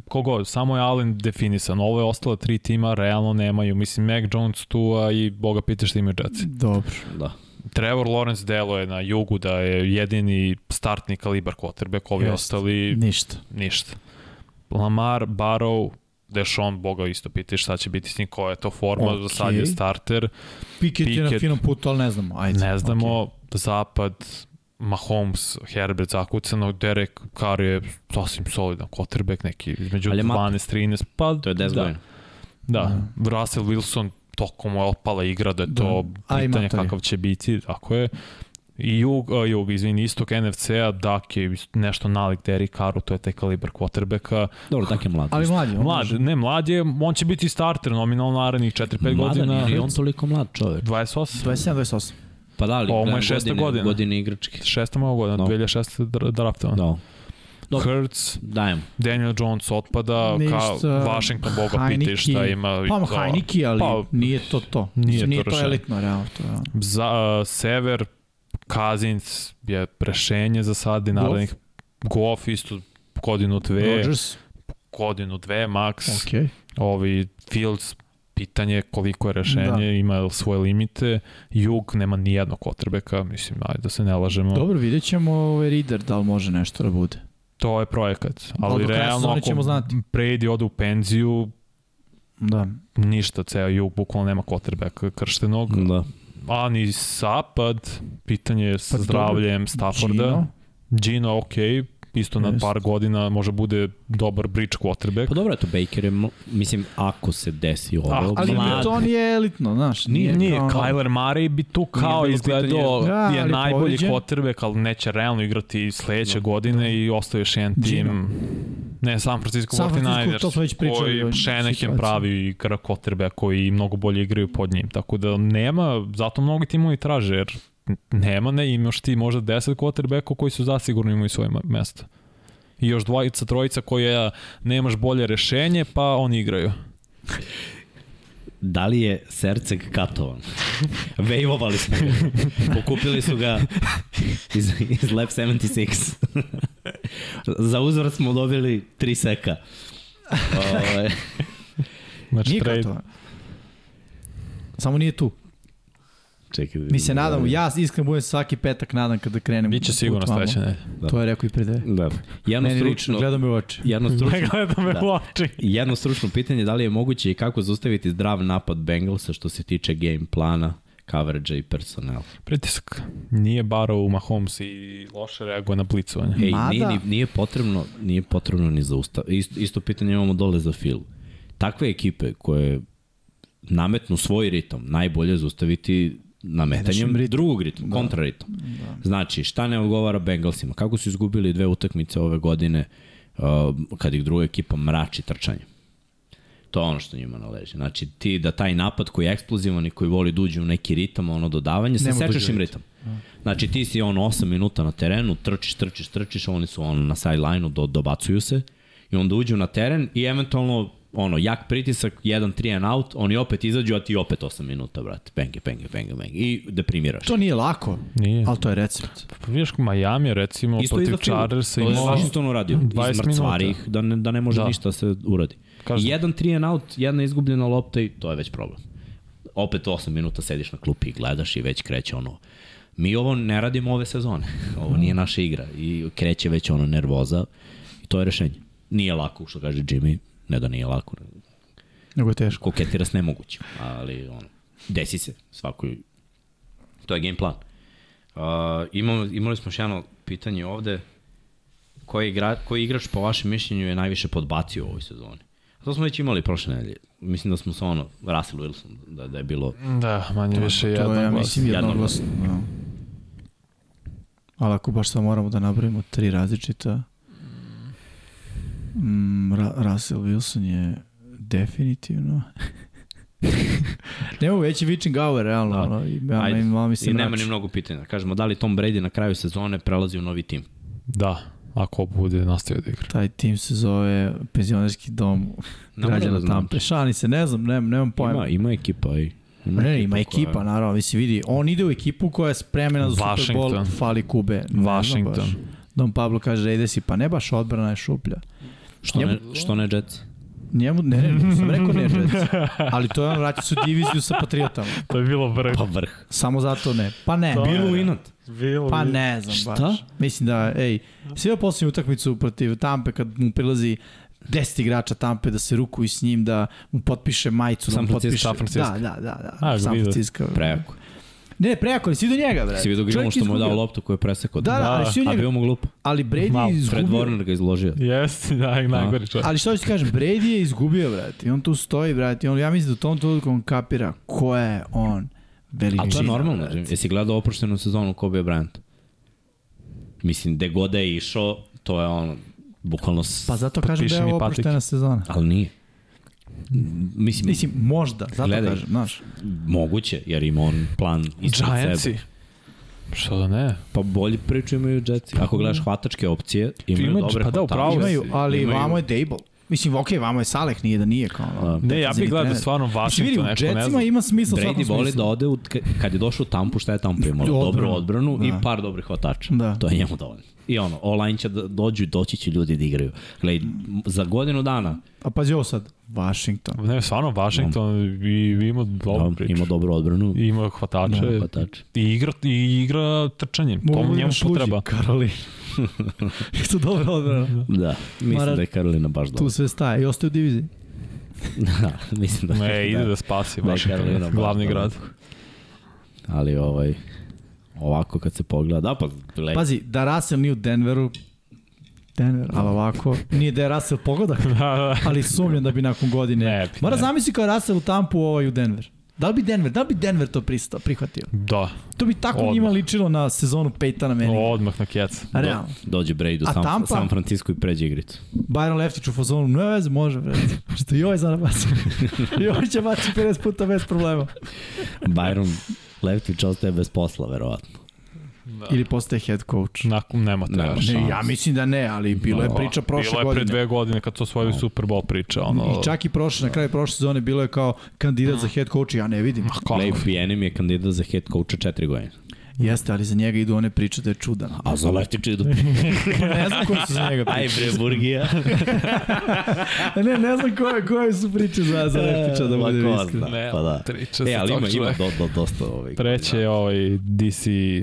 [SPEAKER 3] kogo, samo je Allen definisan. Ovo je ostalo tri tima, realno nemaju. Mislim, Mac Jones tu, a i Boga pita šta imaju Jetsi.
[SPEAKER 2] Dobro.
[SPEAKER 1] Da.
[SPEAKER 3] Trevor Lawrence delo je na jugu da je jedini startni kalibar quarterback, ovi
[SPEAKER 2] Jeste.
[SPEAKER 3] ostali
[SPEAKER 2] Ništa.
[SPEAKER 3] ništa. Lamar, Barrow, Dešon, Boga isto pita šta će biti s njim, koja je to forma, okay. za sad je
[SPEAKER 2] Okej.
[SPEAKER 3] starter,
[SPEAKER 2] Piket, je na
[SPEAKER 3] Pickett.
[SPEAKER 2] finom putu, ali ne znamo. Ajde.
[SPEAKER 3] ne znamo, zapad, Mahomes, Herbert zakucano, Derek Carr je sasvim solidan quarterback, neki između
[SPEAKER 1] Ali je mat.
[SPEAKER 3] 12-13, pa
[SPEAKER 1] To je 10
[SPEAKER 3] da,
[SPEAKER 1] godina.
[SPEAKER 3] Da, Russell Wilson, toliko mu je otpala igra da je to
[SPEAKER 2] Da. A i
[SPEAKER 3] pitanje
[SPEAKER 2] Matar je.
[SPEAKER 3] kakav će biti, ako je. I jug, uh, jug izvini, istok NFC-a, Dak je nešto nalik Derrick Carru, to je taj kalibar quarterbacka.
[SPEAKER 1] Dobro, tako je mlad.
[SPEAKER 2] Ali mlađi, on
[SPEAKER 3] Mlad, ne, mlad je, on će biti starter nominalno narednih 4-5 godina.
[SPEAKER 1] Mladan je on toliko mlad čovjek.
[SPEAKER 3] 28.
[SPEAKER 2] 27, 28.
[SPEAKER 1] Pa da li,
[SPEAKER 3] Ovo mu je
[SPEAKER 1] gledam
[SPEAKER 3] šesta
[SPEAKER 1] godine,
[SPEAKER 3] godina.
[SPEAKER 1] godine igračke.
[SPEAKER 3] Šesta malo godina,
[SPEAKER 1] No.
[SPEAKER 3] 2006. dra- draftovan.
[SPEAKER 1] Da. Dobro.
[SPEAKER 3] Hurts,
[SPEAKER 1] Dajem.
[SPEAKER 3] Daniel Jones otpada,
[SPEAKER 2] Ništa.
[SPEAKER 3] ka Washington Boga pitaj šta
[SPEAKER 2] Heineke.
[SPEAKER 3] ima. i
[SPEAKER 2] Pa
[SPEAKER 3] to.
[SPEAKER 2] Hajniki, ali
[SPEAKER 3] Pa,
[SPEAKER 2] nije to to.
[SPEAKER 3] nije
[SPEAKER 2] Mislim,
[SPEAKER 3] to
[SPEAKER 2] nije to,
[SPEAKER 3] rešenje.
[SPEAKER 2] elitno, realno. To, je ono.
[SPEAKER 3] Za, uh, Sever, Kazins je rešenje za sad i narednih Goff isto godinu dve,
[SPEAKER 2] Rodgers,
[SPEAKER 3] godinu dve max. Okay.
[SPEAKER 2] okej.
[SPEAKER 3] Ovi Fields pitanje je koliko je rešenje,
[SPEAKER 2] Da.
[SPEAKER 3] da. ima svoje limite. Jug nema ni jednog kotrbeka, mislim, ajde da se ne lažemo.
[SPEAKER 2] Dobro, vidjet ćemo ovaj Reader da li može nešto da bude.
[SPEAKER 3] To je projekat,
[SPEAKER 2] Ali
[SPEAKER 3] ali
[SPEAKER 2] do kraja
[SPEAKER 3] realno
[SPEAKER 2] sezone
[SPEAKER 3] ako
[SPEAKER 2] ćemo znati.
[SPEAKER 3] Brady ode u penziju,
[SPEAKER 2] Da.
[SPEAKER 3] ništa, ceo jug bukvalno nema kotrbeka krštenog.
[SPEAKER 2] Mm.
[SPEAKER 1] Da.
[SPEAKER 3] A ni zapad, pitanje je
[SPEAKER 2] Pa
[SPEAKER 3] sa
[SPEAKER 2] dobro,
[SPEAKER 3] zdravljem Stafforda.
[SPEAKER 2] Gino.
[SPEAKER 3] Gino, ok, isto na
[SPEAKER 2] Jest.
[SPEAKER 3] par godina može bude dobar bridge quarterback.
[SPEAKER 1] Pa dobro, eto, Baker je, ml- mislim, ako se desi ovo,
[SPEAKER 3] Ah,
[SPEAKER 2] Ali
[SPEAKER 1] mlad.
[SPEAKER 2] to nije elitno, znaš.
[SPEAKER 3] Nije, nije.
[SPEAKER 2] kao ono-
[SPEAKER 3] Kyler Murray bi tu kao
[SPEAKER 6] bilo
[SPEAKER 3] izgledao
[SPEAKER 2] pitanje. Da,
[SPEAKER 3] je
[SPEAKER 2] ali
[SPEAKER 3] najbolji
[SPEAKER 2] povrijeđen.
[SPEAKER 3] quarterback, ali neće realno igrati sledeće godine i ostaje još jedan
[SPEAKER 2] Gino.
[SPEAKER 3] tim. Ne, San Francisco
[SPEAKER 2] San
[SPEAKER 3] 49ers,
[SPEAKER 2] Francisco, to smo već pričali o
[SPEAKER 3] koji
[SPEAKER 2] ovoj
[SPEAKER 3] Shanahan
[SPEAKER 2] situaciji.
[SPEAKER 3] pravi igra quarterbacka koji mnogo bolje igraju pod njim. Tako da nema, zato mnogi timovi traže, jer nema, ne, imaš ti možda 10 quarterbacka koji su zasigurno imaju svoje ma- mesto. I još dvojica, trojica koja nemaš bolje rešenje, pa oni igraju.
[SPEAKER 1] Da li je Serceg katovan? Vejvovali smo ga. Pokupili su ga iz, iz Lab 76. Za uzvrat smo dobili tri seka. Ovaj,
[SPEAKER 3] Znači,
[SPEAKER 2] Nije
[SPEAKER 3] trade-
[SPEAKER 2] kao to. Samo nije tu.
[SPEAKER 1] Čekaj. da
[SPEAKER 2] Mi se
[SPEAKER 1] vidim.
[SPEAKER 2] nadamo, ja iskreno budem svaki petak nadam kada krenem.
[SPEAKER 3] Biće
[SPEAKER 2] put
[SPEAKER 3] sigurno
[SPEAKER 2] vamo.
[SPEAKER 3] sledeće nedelje.
[SPEAKER 2] To je rekao i pre dve.
[SPEAKER 1] Da. Jedno
[SPEAKER 2] Meni lično,
[SPEAKER 1] stručno,
[SPEAKER 2] gledao me u oči.
[SPEAKER 1] jedno stručno,
[SPEAKER 3] gleda me
[SPEAKER 1] Da. jedno stručno pitanje da li je moguće i kako zaustaviti zdrav napad Bengalsa što se tiče game plana, coverage i personela.
[SPEAKER 3] Pritisak. Nije barao u Mahomes i loše reaguje na blicovanje.
[SPEAKER 1] Ej,
[SPEAKER 2] Mada-
[SPEAKER 1] nije, ni- nije, potrebno, nije potrebno ni za ustav. Isto, isto pitanje imamo dole za Phil. Takve ekipe koje nametnu svoj ritam, najbolje je zaustaviti nametanjem
[SPEAKER 2] Našim ritmom.
[SPEAKER 1] drugog ritma, da. kontraritam. Da. Znači, šta ne odgovara Bengalsima? Kako su izgubili dve utakmice ove godine uh, kad ih druga ekipa mrači trčanjem? To je ono što njima naleže. Znači, ti da taj napad koji je eksplozivan i koji voli da uđe u neki ritam, ono dodavanje, se
[SPEAKER 2] Nema
[SPEAKER 1] sečeš
[SPEAKER 2] dođe
[SPEAKER 1] im ritam. Znači, ti si on 8 minuta na terenu, trčiš, trčiš, trčiš, oni su on na sideline-u, do, dobacuju se i onda uđu na teren i eventualno ono, jak pritisak, 1, 3 and out, oni opet izađu, a ti opet 8 minuta, brate. Penge, penge, penge, penge. I deprimiraš.
[SPEAKER 2] To nije lako,
[SPEAKER 3] Nije.
[SPEAKER 2] ali to je recept.
[SPEAKER 3] Pa Vidiš, Miami je recimo
[SPEAKER 1] Isto i za
[SPEAKER 3] protiv
[SPEAKER 1] Filu.
[SPEAKER 3] Chargersa
[SPEAKER 1] To je
[SPEAKER 3] imao...
[SPEAKER 1] Washington uradio.
[SPEAKER 3] 20
[SPEAKER 1] Iz mrcvarih, da ne, da ne može
[SPEAKER 3] Da.
[SPEAKER 1] da. ništa se uradi.
[SPEAKER 3] Kažem.
[SPEAKER 1] Jedan three and out, jedna izgubljena lopta i to je već problem. Opet 8 minuta sediš na klupi i gledaš i već kreće ono Mi ovo ne radimo ove sezone. Ovo nije naša igra. I kreće već ono nervoza. I to je rešenje. Nije lako, što kaže Jimmy. Ne da nije lako. nego
[SPEAKER 2] Nego je teško.
[SPEAKER 1] Koketira s nemogućim. Ali ono, desi se svakoj. To je game plan. Uh, imamo, imali smo još jedno pitanje ovde. Koji, igra, koji igrač po vašem mišljenju je najviše podbacio u ovoj sezoni? To smo već imali prošle nedelje. Mislim da smo sa ono, Russell Wilson, da, da je bilo...
[SPEAKER 3] Da, manje više
[SPEAKER 2] To je, ja
[SPEAKER 3] jedan glas.
[SPEAKER 2] mislim,
[SPEAKER 1] glas.
[SPEAKER 2] jednoglasno. da. Ali ako baš sad moramo da nabrojimo tri različita, mm, Ra Russell Wilson je definitivno... Nemo veći Vičin Gauer, realno.
[SPEAKER 1] Da.
[SPEAKER 2] Ono, i, ja,
[SPEAKER 1] Ajde.
[SPEAKER 2] meni, malo mi se
[SPEAKER 1] I nema
[SPEAKER 2] mrači.
[SPEAKER 1] ni mnogo pitanja. Kažemo, da li Tom Brady na kraju sezone prelazi u novi tim?
[SPEAKER 3] Da, ako bude nastavio da igra.
[SPEAKER 2] Taj tim se zove penzionerski dom
[SPEAKER 1] Ne moram
[SPEAKER 2] građana
[SPEAKER 1] da znam.
[SPEAKER 2] Tampe. Šalim se, ne znam, nemam, nemam
[SPEAKER 1] Ima,
[SPEAKER 2] pojma.
[SPEAKER 1] ima ekipa i...
[SPEAKER 2] Ma Ne, ne, ima ekipa, koja... naravno, mislim, vidi, on ide u ekipu koja je spremena za Super Bowl,
[SPEAKER 3] Washington.
[SPEAKER 2] fali Kube. Ne znam
[SPEAKER 3] Washington.
[SPEAKER 2] baš. Don Pablo kaže, ide si, pa ne baš odbrana je šuplja.
[SPEAKER 1] Što ne, što ne Jets?
[SPEAKER 2] Njemu, ne, ne, nisam rekao ne, Jets. ali to je on, vraća su diviziju sa Patriotama.
[SPEAKER 3] To je bilo vrh.
[SPEAKER 1] Pa vrh.
[SPEAKER 2] Samo zato ne. Pa ne.
[SPEAKER 1] Bilo inat.
[SPEAKER 3] Bilo.
[SPEAKER 2] Pa ne znam
[SPEAKER 1] Šta?
[SPEAKER 2] baš. Mislim da, ej, sve posljednju utakmicu protiv Tampe kad mu prilazi 10 igrača Tampe da se rukuju s njim, da mu potpiše majicu, da
[SPEAKER 1] San
[SPEAKER 2] mu
[SPEAKER 1] Francisco,
[SPEAKER 2] potpiše...
[SPEAKER 3] San Francisco.
[SPEAKER 2] Da, da, da, da.
[SPEAKER 3] A,
[SPEAKER 2] San
[SPEAKER 3] vidio.
[SPEAKER 2] Francisco.
[SPEAKER 1] Prejako.
[SPEAKER 2] Ne, prejako, ali si vidio njega, bre.
[SPEAKER 1] Si vidio Grimo
[SPEAKER 2] Čovjek
[SPEAKER 1] što mu je dao
[SPEAKER 2] izgubio.
[SPEAKER 1] loptu koju je presekao.
[SPEAKER 2] Da, da, ali svi u
[SPEAKER 1] A
[SPEAKER 2] njega-
[SPEAKER 1] bio mu glup.
[SPEAKER 2] Ali Brady
[SPEAKER 3] Malo,
[SPEAKER 2] je
[SPEAKER 1] Fred
[SPEAKER 2] izgubio.
[SPEAKER 1] Warner ga izložio.
[SPEAKER 3] Jeste, da, i najgori čovjek.
[SPEAKER 2] Ali što ću ti kažem, Brady je izgubio, brate. I on tu stoji, brate. I on, ja mislim da u tom trenutku on kapira ko je on. veliki
[SPEAKER 1] A to je
[SPEAKER 2] čin.
[SPEAKER 1] normalno. Jesi gledao oproštenu sezonu Kobe Bryant? Mislim, gde god da je išao, to je ono, bukvalno... S...
[SPEAKER 2] Pa zato kažem da
[SPEAKER 3] Potpiši
[SPEAKER 2] je
[SPEAKER 3] mi
[SPEAKER 2] ovo
[SPEAKER 3] patike.
[SPEAKER 2] oproštena sezona.
[SPEAKER 1] Ali nije. Mislim,
[SPEAKER 2] Mislim, možda, zato
[SPEAKER 1] Gledaj.
[SPEAKER 2] kažem, znaš.
[SPEAKER 1] moguće, jer ima on plan ispred sebe.
[SPEAKER 7] Giantsi.
[SPEAKER 3] Što da ne?
[SPEAKER 1] Pa bolji priču imaju Jetsi. Ako gledaš hvatačke opcije, imaju
[SPEAKER 3] Ima-
[SPEAKER 1] dobre
[SPEAKER 3] pa
[SPEAKER 1] hvatače.
[SPEAKER 3] da, upravo si.
[SPEAKER 2] Imaju, ali
[SPEAKER 1] Imaju.
[SPEAKER 2] vamo je Dable. Mislim, okej, okay, vamo je Saleh, nije da nije kao
[SPEAKER 1] Da.
[SPEAKER 2] ono.
[SPEAKER 3] Ne, ja bih
[SPEAKER 2] Defenzivni
[SPEAKER 3] gledao
[SPEAKER 2] trener.
[SPEAKER 3] stvarno
[SPEAKER 2] Znači, vidi,
[SPEAKER 3] Washington,
[SPEAKER 2] u
[SPEAKER 3] neko ne
[SPEAKER 2] Jetsima
[SPEAKER 3] znam.
[SPEAKER 2] ima smisla u svakom
[SPEAKER 1] Brady voli da
[SPEAKER 2] smislu.
[SPEAKER 1] ode, u, kad je došao u Tampu, šta je Tampa imala?
[SPEAKER 2] Odbranu.
[SPEAKER 1] Dobru odbranu i
[SPEAKER 2] Da.
[SPEAKER 1] par dobrih hvatača.
[SPEAKER 2] Da.
[SPEAKER 1] To je njemu dovoljno. I ono, online će da dođu, doći će ljudi da igraju. Gledaj, za godinu dana
[SPEAKER 3] da-
[SPEAKER 2] A pazi ovo sad, Washington.
[SPEAKER 3] Ne, stvarno Washington i, ima dobru
[SPEAKER 1] da,
[SPEAKER 3] priču.
[SPEAKER 1] ima dobru odbranu,
[SPEAKER 3] Pa, I Ima hvatače.
[SPEAKER 1] Da, hvatače.
[SPEAKER 3] I igra, i igra trčanjem.
[SPEAKER 2] Mogu
[SPEAKER 3] to
[SPEAKER 2] da
[SPEAKER 3] njemu
[SPEAKER 2] igraš luđi,
[SPEAKER 3] potreba.
[SPEAKER 2] Karolina. Isto dobro odbrana.
[SPEAKER 1] da, mislim
[SPEAKER 2] Mara-
[SPEAKER 1] da je Karolina baš
[SPEAKER 2] Tu
[SPEAKER 1] dobra.
[SPEAKER 2] sve staje i ostaje u diviziji.
[SPEAKER 1] da, mislim da,
[SPEAKER 3] Ne, ide da spasi
[SPEAKER 1] Da je
[SPEAKER 3] Washington,
[SPEAKER 1] Karolina baš
[SPEAKER 3] glavni
[SPEAKER 1] dobra.
[SPEAKER 3] grad.
[SPEAKER 1] ali ovaj, ovako kad se pogleda, da pa, gledaj,
[SPEAKER 2] Pazi, da Russell nije u Denveru, Denver, ali ovako, nije da je Russell pogodak, ali sumnjam da bi nakon godine.
[SPEAKER 3] Ne bi,
[SPEAKER 2] Mora
[SPEAKER 3] ne.
[SPEAKER 2] zamisli kao Russell u Tampu ovaj u Denver. Da li bi Denver, da li bi Denver to pristao, prihvatio?
[SPEAKER 3] Da,
[SPEAKER 2] To bi tako
[SPEAKER 3] Odmah.
[SPEAKER 2] njima ličilo na sezonu Peytona Manninga.
[SPEAKER 3] odmah na kjec.
[SPEAKER 2] A realno.
[SPEAKER 1] dođe Brady u
[SPEAKER 2] A
[SPEAKER 1] San,
[SPEAKER 2] Tampa?
[SPEAKER 1] San Francisco i pređe igricu.
[SPEAKER 2] Byron Leftić u fazonu, ne veze, može, bre. Što i ovaj zna da baci. I ovaj će baci 50 puta bez problema.
[SPEAKER 1] Byron Leftić ostaje bez posla, verovatno.
[SPEAKER 2] Ili postaje head coach.
[SPEAKER 3] Nakon nema te
[SPEAKER 1] Nema
[SPEAKER 3] još.
[SPEAKER 1] šanse.
[SPEAKER 2] Da. Ne, ja mislim da ne, ali bilo je priča prošle
[SPEAKER 3] Bilo je pre
[SPEAKER 2] godine.
[SPEAKER 3] dve godine kad su osvojili Super Bowl priča. Ono,
[SPEAKER 2] I čak i prošle, na kraju prošle sezone bilo je kao
[SPEAKER 3] Da.
[SPEAKER 2] kandidat za head coach, ja ne vidim.
[SPEAKER 3] kako?
[SPEAKER 1] Clay Pienem je kandidat za head coacha četiri godine.
[SPEAKER 2] Jeste, ali za njega idu one priče da je čudan.
[SPEAKER 1] A za da Leftića idu
[SPEAKER 2] Pa ne znam koje su za njega
[SPEAKER 1] Aj
[SPEAKER 2] priče.
[SPEAKER 1] bre, Burgija.
[SPEAKER 2] Ne, ne znam koje, koje su priče za, za Leftića da bude
[SPEAKER 1] Lako,
[SPEAKER 2] iskren.
[SPEAKER 1] da, Pa da.
[SPEAKER 3] Priča
[SPEAKER 1] E, ali ima, ima do, do, dosta ovih.
[SPEAKER 3] Treće je ovaj DC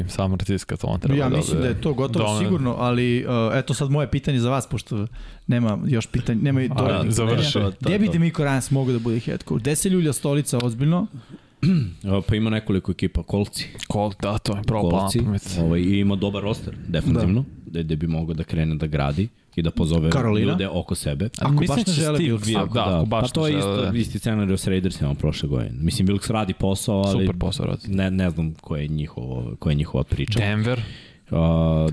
[SPEAKER 3] San Francisco, to on treba
[SPEAKER 2] da. Ja
[SPEAKER 3] da
[SPEAKER 2] mislim da
[SPEAKER 3] bude.
[SPEAKER 2] je to gotovo
[SPEAKER 3] Domen-
[SPEAKER 2] sigurno, ali uh, eto sad moje pitanje za vas, pošto nema još pitanja, nema
[SPEAKER 1] pa,
[SPEAKER 2] i dovoljnih pitanja.
[SPEAKER 3] završi.
[SPEAKER 1] da, To, to,
[SPEAKER 2] Gde bi
[SPEAKER 1] to.
[SPEAKER 2] Demiko Rans mogao da bude head coach? Gde se ljulja stolica ozbiljno?
[SPEAKER 1] O, Pa ima nekoliko ekipa, Kolci.
[SPEAKER 3] Kol, da, to je propala na
[SPEAKER 1] Kolci.
[SPEAKER 3] pamet.
[SPEAKER 1] Ovaj, I ima dobar roster, definitivno. Da. Gde bi mogao da krene da gradi i da pozove
[SPEAKER 2] Karolina?
[SPEAKER 1] ljude oko sebe.
[SPEAKER 2] Ako
[SPEAKER 3] Mislim
[SPEAKER 2] baš
[SPEAKER 3] da
[SPEAKER 2] ne
[SPEAKER 3] će
[SPEAKER 2] žele
[SPEAKER 3] Steve
[SPEAKER 2] Wilksa.
[SPEAKER 3] Wilksa,
[SPEAKER 1] Ako
[SPEAKER 3] Da, ako baš
[SPEAKER 1] pa to je
[SPEAKER 3] ne
[SPEAKER 1] isto,
[SPEAKER 3] žele, da.
[SPEAKER 1] isti scenario s Raidersima prošle godine. Mislim, Wilks radi posao, ali
[SPEAKER 3] Super posao radi.
[SPEAKER 1] ne, ne znam koja je, njihovo, koja je njihova priča.
[SPEAKER 3] Denver?
[SPEAKER 1] Uh,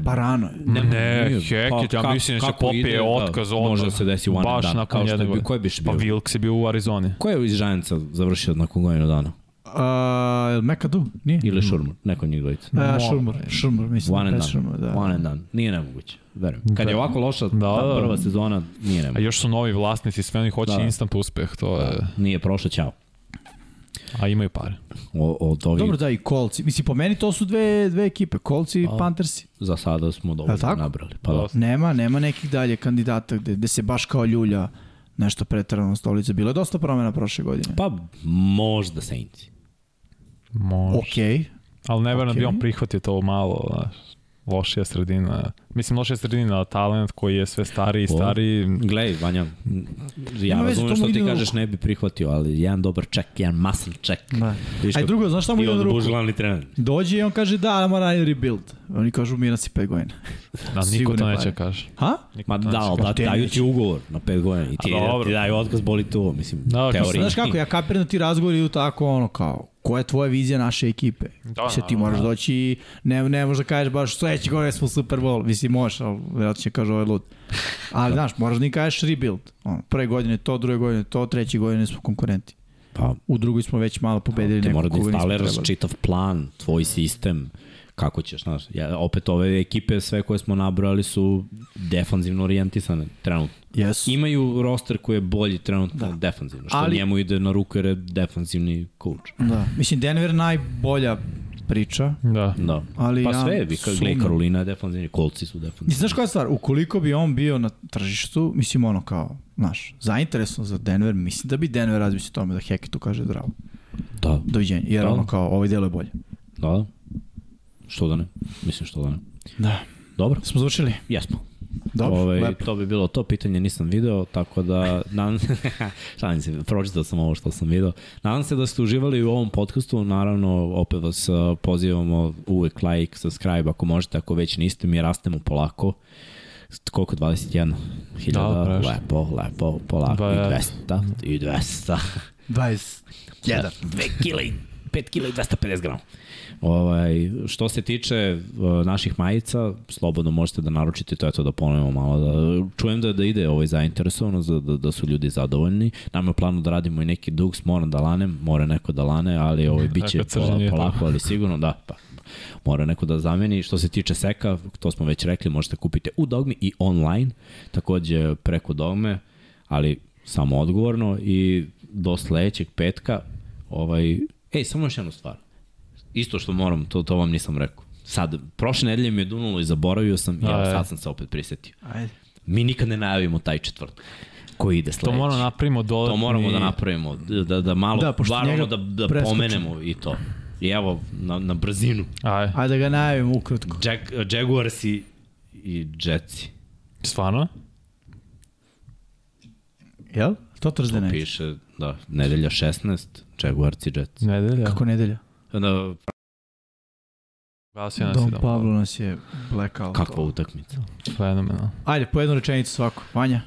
[SPEAKER 2] Pa rano je.
[SPEAKER 3] Ne, ne
[SPEAKER 1] nije.
[SPEAKER 3] Hackett,
[SPEAKER 1] Pa
[SPEAKER 3] ja
[SPEAKER 1] kako-
[SPEAKER 3] mislim da će
[SPEAKER 1] kako ide,
[SPEAKER 3] popije
[SPEAKER 1] da,
[SPEAKER 3] otkaz odmah.
[SPEAKER 1] može da se desi u one
[SPEAKER 3] Baš
[SPEAKER 1] dan,
[SPEAKER 3] nakon
[SPEAKER 1] kao što
[SPEAKER 3] jedne
[SPEAKER 1] bi-
[SPEAKER 3] godine.
[SPEAKER 1] ko je više
[SPEAKER 3] Pa
[SPEAKER 1] Znači bio?
[SPEAKER 3] Wilkes je bio u Arizoni.
[SPEAKER 1] Ko je iz Giantsa završio nakon godinu dana?
[SPEAKER 2] A, Mekadu? Nije?
[SPEAKER 3] Mm.
[SPEAKER 1] Ili Šurmur, neko od njih dvojica.
[SPEAKER 2] A, Šurmur, Šurmur, mislim.
[SPEAKER 1] One and
[SPEAKER 2] Pet
[SPEAKER 1] done.
[SPEAKER 2] Šurmur, da.
[SPEAKER 1] One and done. Nije nemoguće, verujem. Kad je ovako loša ta
[SPEAKER 3] da.
[SPEAKER 1] prva sezona, nije
[SPEAKER 3] A
[SPEAKER 1] nemoguće.
[SPEAKER 3] još su novi vlasnici, sve oni hoće
[SPEAKER 1] Da.
[SPEAKER 3] instant uspeh, to je...
[SPEAKER 1] Nije prošlo, ćao. Da.
[SPEAKER 3] A imaju pare.
[SPEAKER 1] O, od ovih,
[SPEAKER 2] Dobro da i Kolci. Mislim, po meni to su dve, dve ekipe, Kolci i Panthersi.
[SPEAKER 1] za sada smo
[SPEAKER 2] Jel
[SPEAKER 1] dovoljno
[SPEAKER 2] tako?
[SPEAKER 1] nabrali. Pa da.
[SPEAKER 3] Dosta.
[SPEAKER 2] Nema, nema nekih dalje kandidata gde, gde se baš kao ljulja nešto pretarano stolica. Bilo je dosta promjena prošle godine.
[SPEAKER 1] Pa možda Saints.
[SPEAKER 3] Može.
[SPEAKER 2] Okej.
[SPEAKER 3] Ali ne verujem da bi
[SPEAKER 2] Okej.
[SPEAKER 3] on prihvatio to malo, znaš, lošija sredina. Mislim, lošija sredina, ali talent koji je sve stariji i
[SPEAKER 1] O.
[SPEAKER 3] stariji.
[SPEAKER 1] Glej, Vanja, ja
[SPEAKER 2] Ima veze,
[SPEAKER 1] razumijem
[SPEAKER 2] to mu
[SPEAKER 1] što
[SPEAKER 2] ide
[SPEAKER 1] ti
[SPEAKER 2] na
[SPEAKER 1] kažeš
[SPEAKER 2] ruku.
[SPEAKER 1] ne bi prihvatio, ali jedan dobar ček, jedan masan ček.
[SPEAKER 2] Da.
[SPEAKER 1] Viš
[SPEAKER 2] A i
[SPEAKER 1] kako-
[SPEAKER 2] drugo, znaš šta mu
[SPEAKER 1] I
[SPEAKER 2] ide na
[SPEAKER 1] onda
[SPEAKER 2] ruku?
[SPEAKER 1] buš glavni trener.
[SPEAKER 2] Dođe i on kaže da, ali mora raditi rebuild. Oni kažu mira si pet godina.
[SPEAKER 3] Da, niko
[SPEAKER 2] Sigurne
[SPEAKER 3] to
[SPEAKER 2] pare.
[SPEAKER 3] neće kaže.
[SPEAKER 2] Ha?
[SPEAKER 1] Ma da, ali da,
[SPEAKER 2] te
[SPEAKER 1] daju
[SPEAKER 2] neće.
[SPEAKER 1] ti ugovor na pet godina i ti,
[SPEAKER 3] A dobro.
[SPEAKER 1] ti daju otkaz, boli tu, mislim,
[SPEAKER 3] Da,
[SPEAKER 1] da,
[SPEAKER 3] ako
[SPEAKER 1] teorija.
[SPEAKER 2] Znaš kako, ja kapiram da ti razgovori idu tako ono kao, koja je tvoja vizija naše ekipe? Da, Mislim, ti moraš doći i ne, ne možeš da kažeš baš sledeće godine smo u Super Bowl. Mislim, možeš, ali vjerojatno će kaže ovaj lud. Ali, znaš, moraš da im kažeš rebuild. Ono, prve godine to, druge godine to, treće godine smo konkurenti.
[SPEAKER 1] Pa,
[SPEAKER 2] U drugoj smo već malo pobedili
[SPEAKER 1] ti
[SPEAKER 2] neko
[SPEAKER 1] mora
[SPEAKER 2] koga
[SPEAKER 1] da
[SPEAKER 2] nismo
[SPEAKER 1] instaliraš
[SPEAKER 2] trebali.
[SPEAKER 1] čitav plan, tvoj sistem, kako ćeš, znaš, ja, opet ove ekipe, sve koje smo nabrojali su defanzivno orijentisane trenutno.
[SPEAKER 2] Jesu.
[SPEAKER 1] Imaju roster koji je bolji trenutno da. defanzivno, što
[SPEAKER 2] Ali-
[SPEAKER 1] Ali... njemu ide na ruku jer je defanzivni coach.
[SPEAKER 2] Da. Mislim, Denver je najbolja priča,
[SPEAKER 3] Da.
[SPEAKER 1] Da.
[SPEAKER 2] ali
[SPEAKER 1] Pa
[SPEAKER 2] ja
[SPEAKER 1] sve, vi kao
[SPEAKER 2] sumnjam.
[SPEAKER 1] Glej Karolina je defanzivni, kolci su defanzivni.
[SPEAKER 2] Mislim, znaš koja je stvar, ukoliko bi on bio na tržištu, mislim ono kao, znaš, zainteresovan za Denver, mislim da bi Denver razmislio o tome da Hackettu kaže zdravo,
[SPEAKER 1] Da,
[SPEAKER 2] doviđenja, jer
[SPEAKER 1] Da.
[SPEAKER 2] ono kao, ovaj delo je bolje.
[SPEAKER 1] da, da. Što da ne? Mislim što da ne.
[SPEAKER 2] Da.
[SPEAKER 1] Dobro,
[SPEAKER 2] Smo završili?
[SPEAKER 1] jesmo.
[SPEAKER 2] Dobro,
[SPEAKER 1] Ovaj,
[SPEAKER 2] lepo.
[SPEAKER 1] To bi bilo to, pitanje nisam video, tako da nadam se, šalim se, pročitao sam ovo što sam video. Nadam se da ste uživali u ovom podcastu, naravno opet vas uh, pozivamo uvek like, subscribe ako možete, ako već niste, mi rastemo polako. Koliko? 21
[SPEAKER 3] Da,
[SPEAKER 1] hiljada?
[SPEAKER 3] prešli.
[SPEAKER 1] lepo, lepo, polako. I
[SPEAKER 3] Dvadeset.
[SPEAKER 1] 200, i 200.
[SPEAKER 2] 21.
[SPEAKER 1] Dve kile i 5 kg i 250 grama. Ovaj, što se tiče uh, naših majica, slobodno možete da naručite, to je to da ponovimo malo. Da, čujem da, da ide ovaj zainteresovano, da, da, da su ljudi zadovoljni. Nam je u planu da radimo i neki duks, moram da lanem, mora neko da lane, ali ovaj, bit će
[SPEAKER 3] Neka crženje,
[SPEAKER 1] pola, polako, ali sigurno, da, pa mora neko da zameni. Što se tiče seka, to smo već rekli, možete kupiti u Dogmi i online, takođe preko Dogme, ali samo odgovorno i do sledećeg petka ovaj, ej, samo još jednu stvar. Isto što moram, to, to vam nisam rekao. Sad, prošle nedelje mi je dunulo i zaboravio sam, i evo
[SPEAKER 3] Ajde.
[SPEAKER 1] sad sam se opet prisetio.
[SPEAKER 2] Ajde.
[SPEAKER 1] Mi nikad ne najavimo taj četvrtak koji ide sledeći.
[SPEAKER 3] To moramo napravimo dodatni...
[SPEAKER 1] To moramo da napravimo, da, da malo, da,
[SPEAKER 2] Da, pošto
[SPEAKER 1] bar ono
[SPEAKER 2] njega
[SPEAKER 1] da, da
[SPEAKER 2] preskočimo.
[SPEAKER 1] pomenemo i to. I evo, na, na brzinu,
[SPEAKER 3] Aj,
[SPEAKER 2] Ajde da ga najavim ukratko.
[SPEAKER 1] Jag, Jaguars i, i Jetsi.
[SPEAKER 3] stvarno?
[SPEAKER 2] Jel? To
[SPEAKER 1] To
[SPEAKER 2] trzde neće.
[SPEAKER 1] piše, da, nedelja 16, Jaguars i Jetsi.
[SPEAKER 3] Nedelja. Kako?
[SPEAKER 2] Kako nedelja?
[SPEAKER 1] Da,
[SPEAKER 3] Gasio nas
[SPEAKER 2] Dom
[SPEAKER 3] je da dom.
[SPEAKER 2] Pablo nas je blackout.
[SPEAKER 1] kakva utakmica.
[SPEAKER 3] Fenomenal.
[SPEAKER 2] Ajde, po jednu rečenicu svako. Vanja,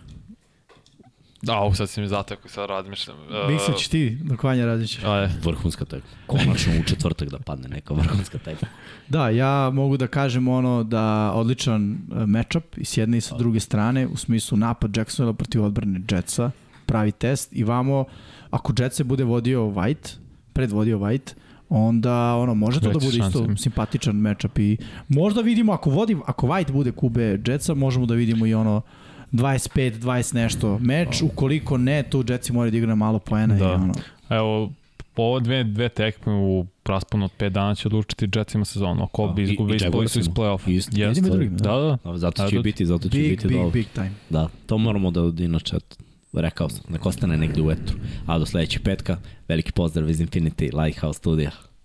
[SPEAKER 3] Da, ovo sad si mi zatekao, sad razmišljam. E,
[SPEAKER 2] uh, Miksa ćeš ti dok Vanja različeš.
[SPEAKER 3] Aj,
[SPEAKER 1] Vrhunska tekma. Konačno u četvrtak da padne neka vrhunska tekma.
[SPEAKER 2] Da, ja mogu da kažem ono da odličan e, matchup i s jedne i sa druge strane, u smislu napad Jacksonville protiv odbrane Jetsa, pravi test i vamo, ako Jets se bude vodio White, predvodio White, onda ono može to da
[SPEAKER 3] Veće
[SPEAKER 2] bude isto
[SPEAKER 3] šanse.
[SPEAKER 2] simpatičan matchup i možda vidimo ako vodi ako White bude kube Jetsa možemo da vidimo i ono 25 20 nešto meč ukoliko ne tu Jetsi moraju da igraju malo poena da. i
[SPEAKER 3] Da.
[SPEAKER 2] ono
[SPEAKER 3] evo, po ove dve, dve tekme u rasponu od 5 dana će odlučiti Jetsima sezonu. Ako
[SPEAKER 1] Da,
[SPEAKER 3] bi
[SPEAKER 1] i- i
[SPEAKER 3] izgubili, ispali su iz
[SPEAKER 1] Jaguarsima.
[SPEAKER 3] play-offa.
[SPEAKER 1] Isto.
[SPEAKER 3] Jeste.
[SPEAKER 2] Jednim i drugim, da.
[SPEAKER 3] Da, da.
[SPEAKER 1] A Zato
[SPEAKER 3] A,
[SPEAKER 1] će i
[SPEAKER 3] to-
[SPEAKER 1] biti, zato će i
[SPEAKER 2] big
[SPEAKER 1] biti
[SPEAKER 2] big
[SPEAKER 1] dobro.
[SPEAKER 2] big time
[SPEAKER 1] Da, to moramo da inače rekao sam, nek ostane negde u etru. A do sledećeg petka, veliki pozdrav iz Infinity Lighthouse studija.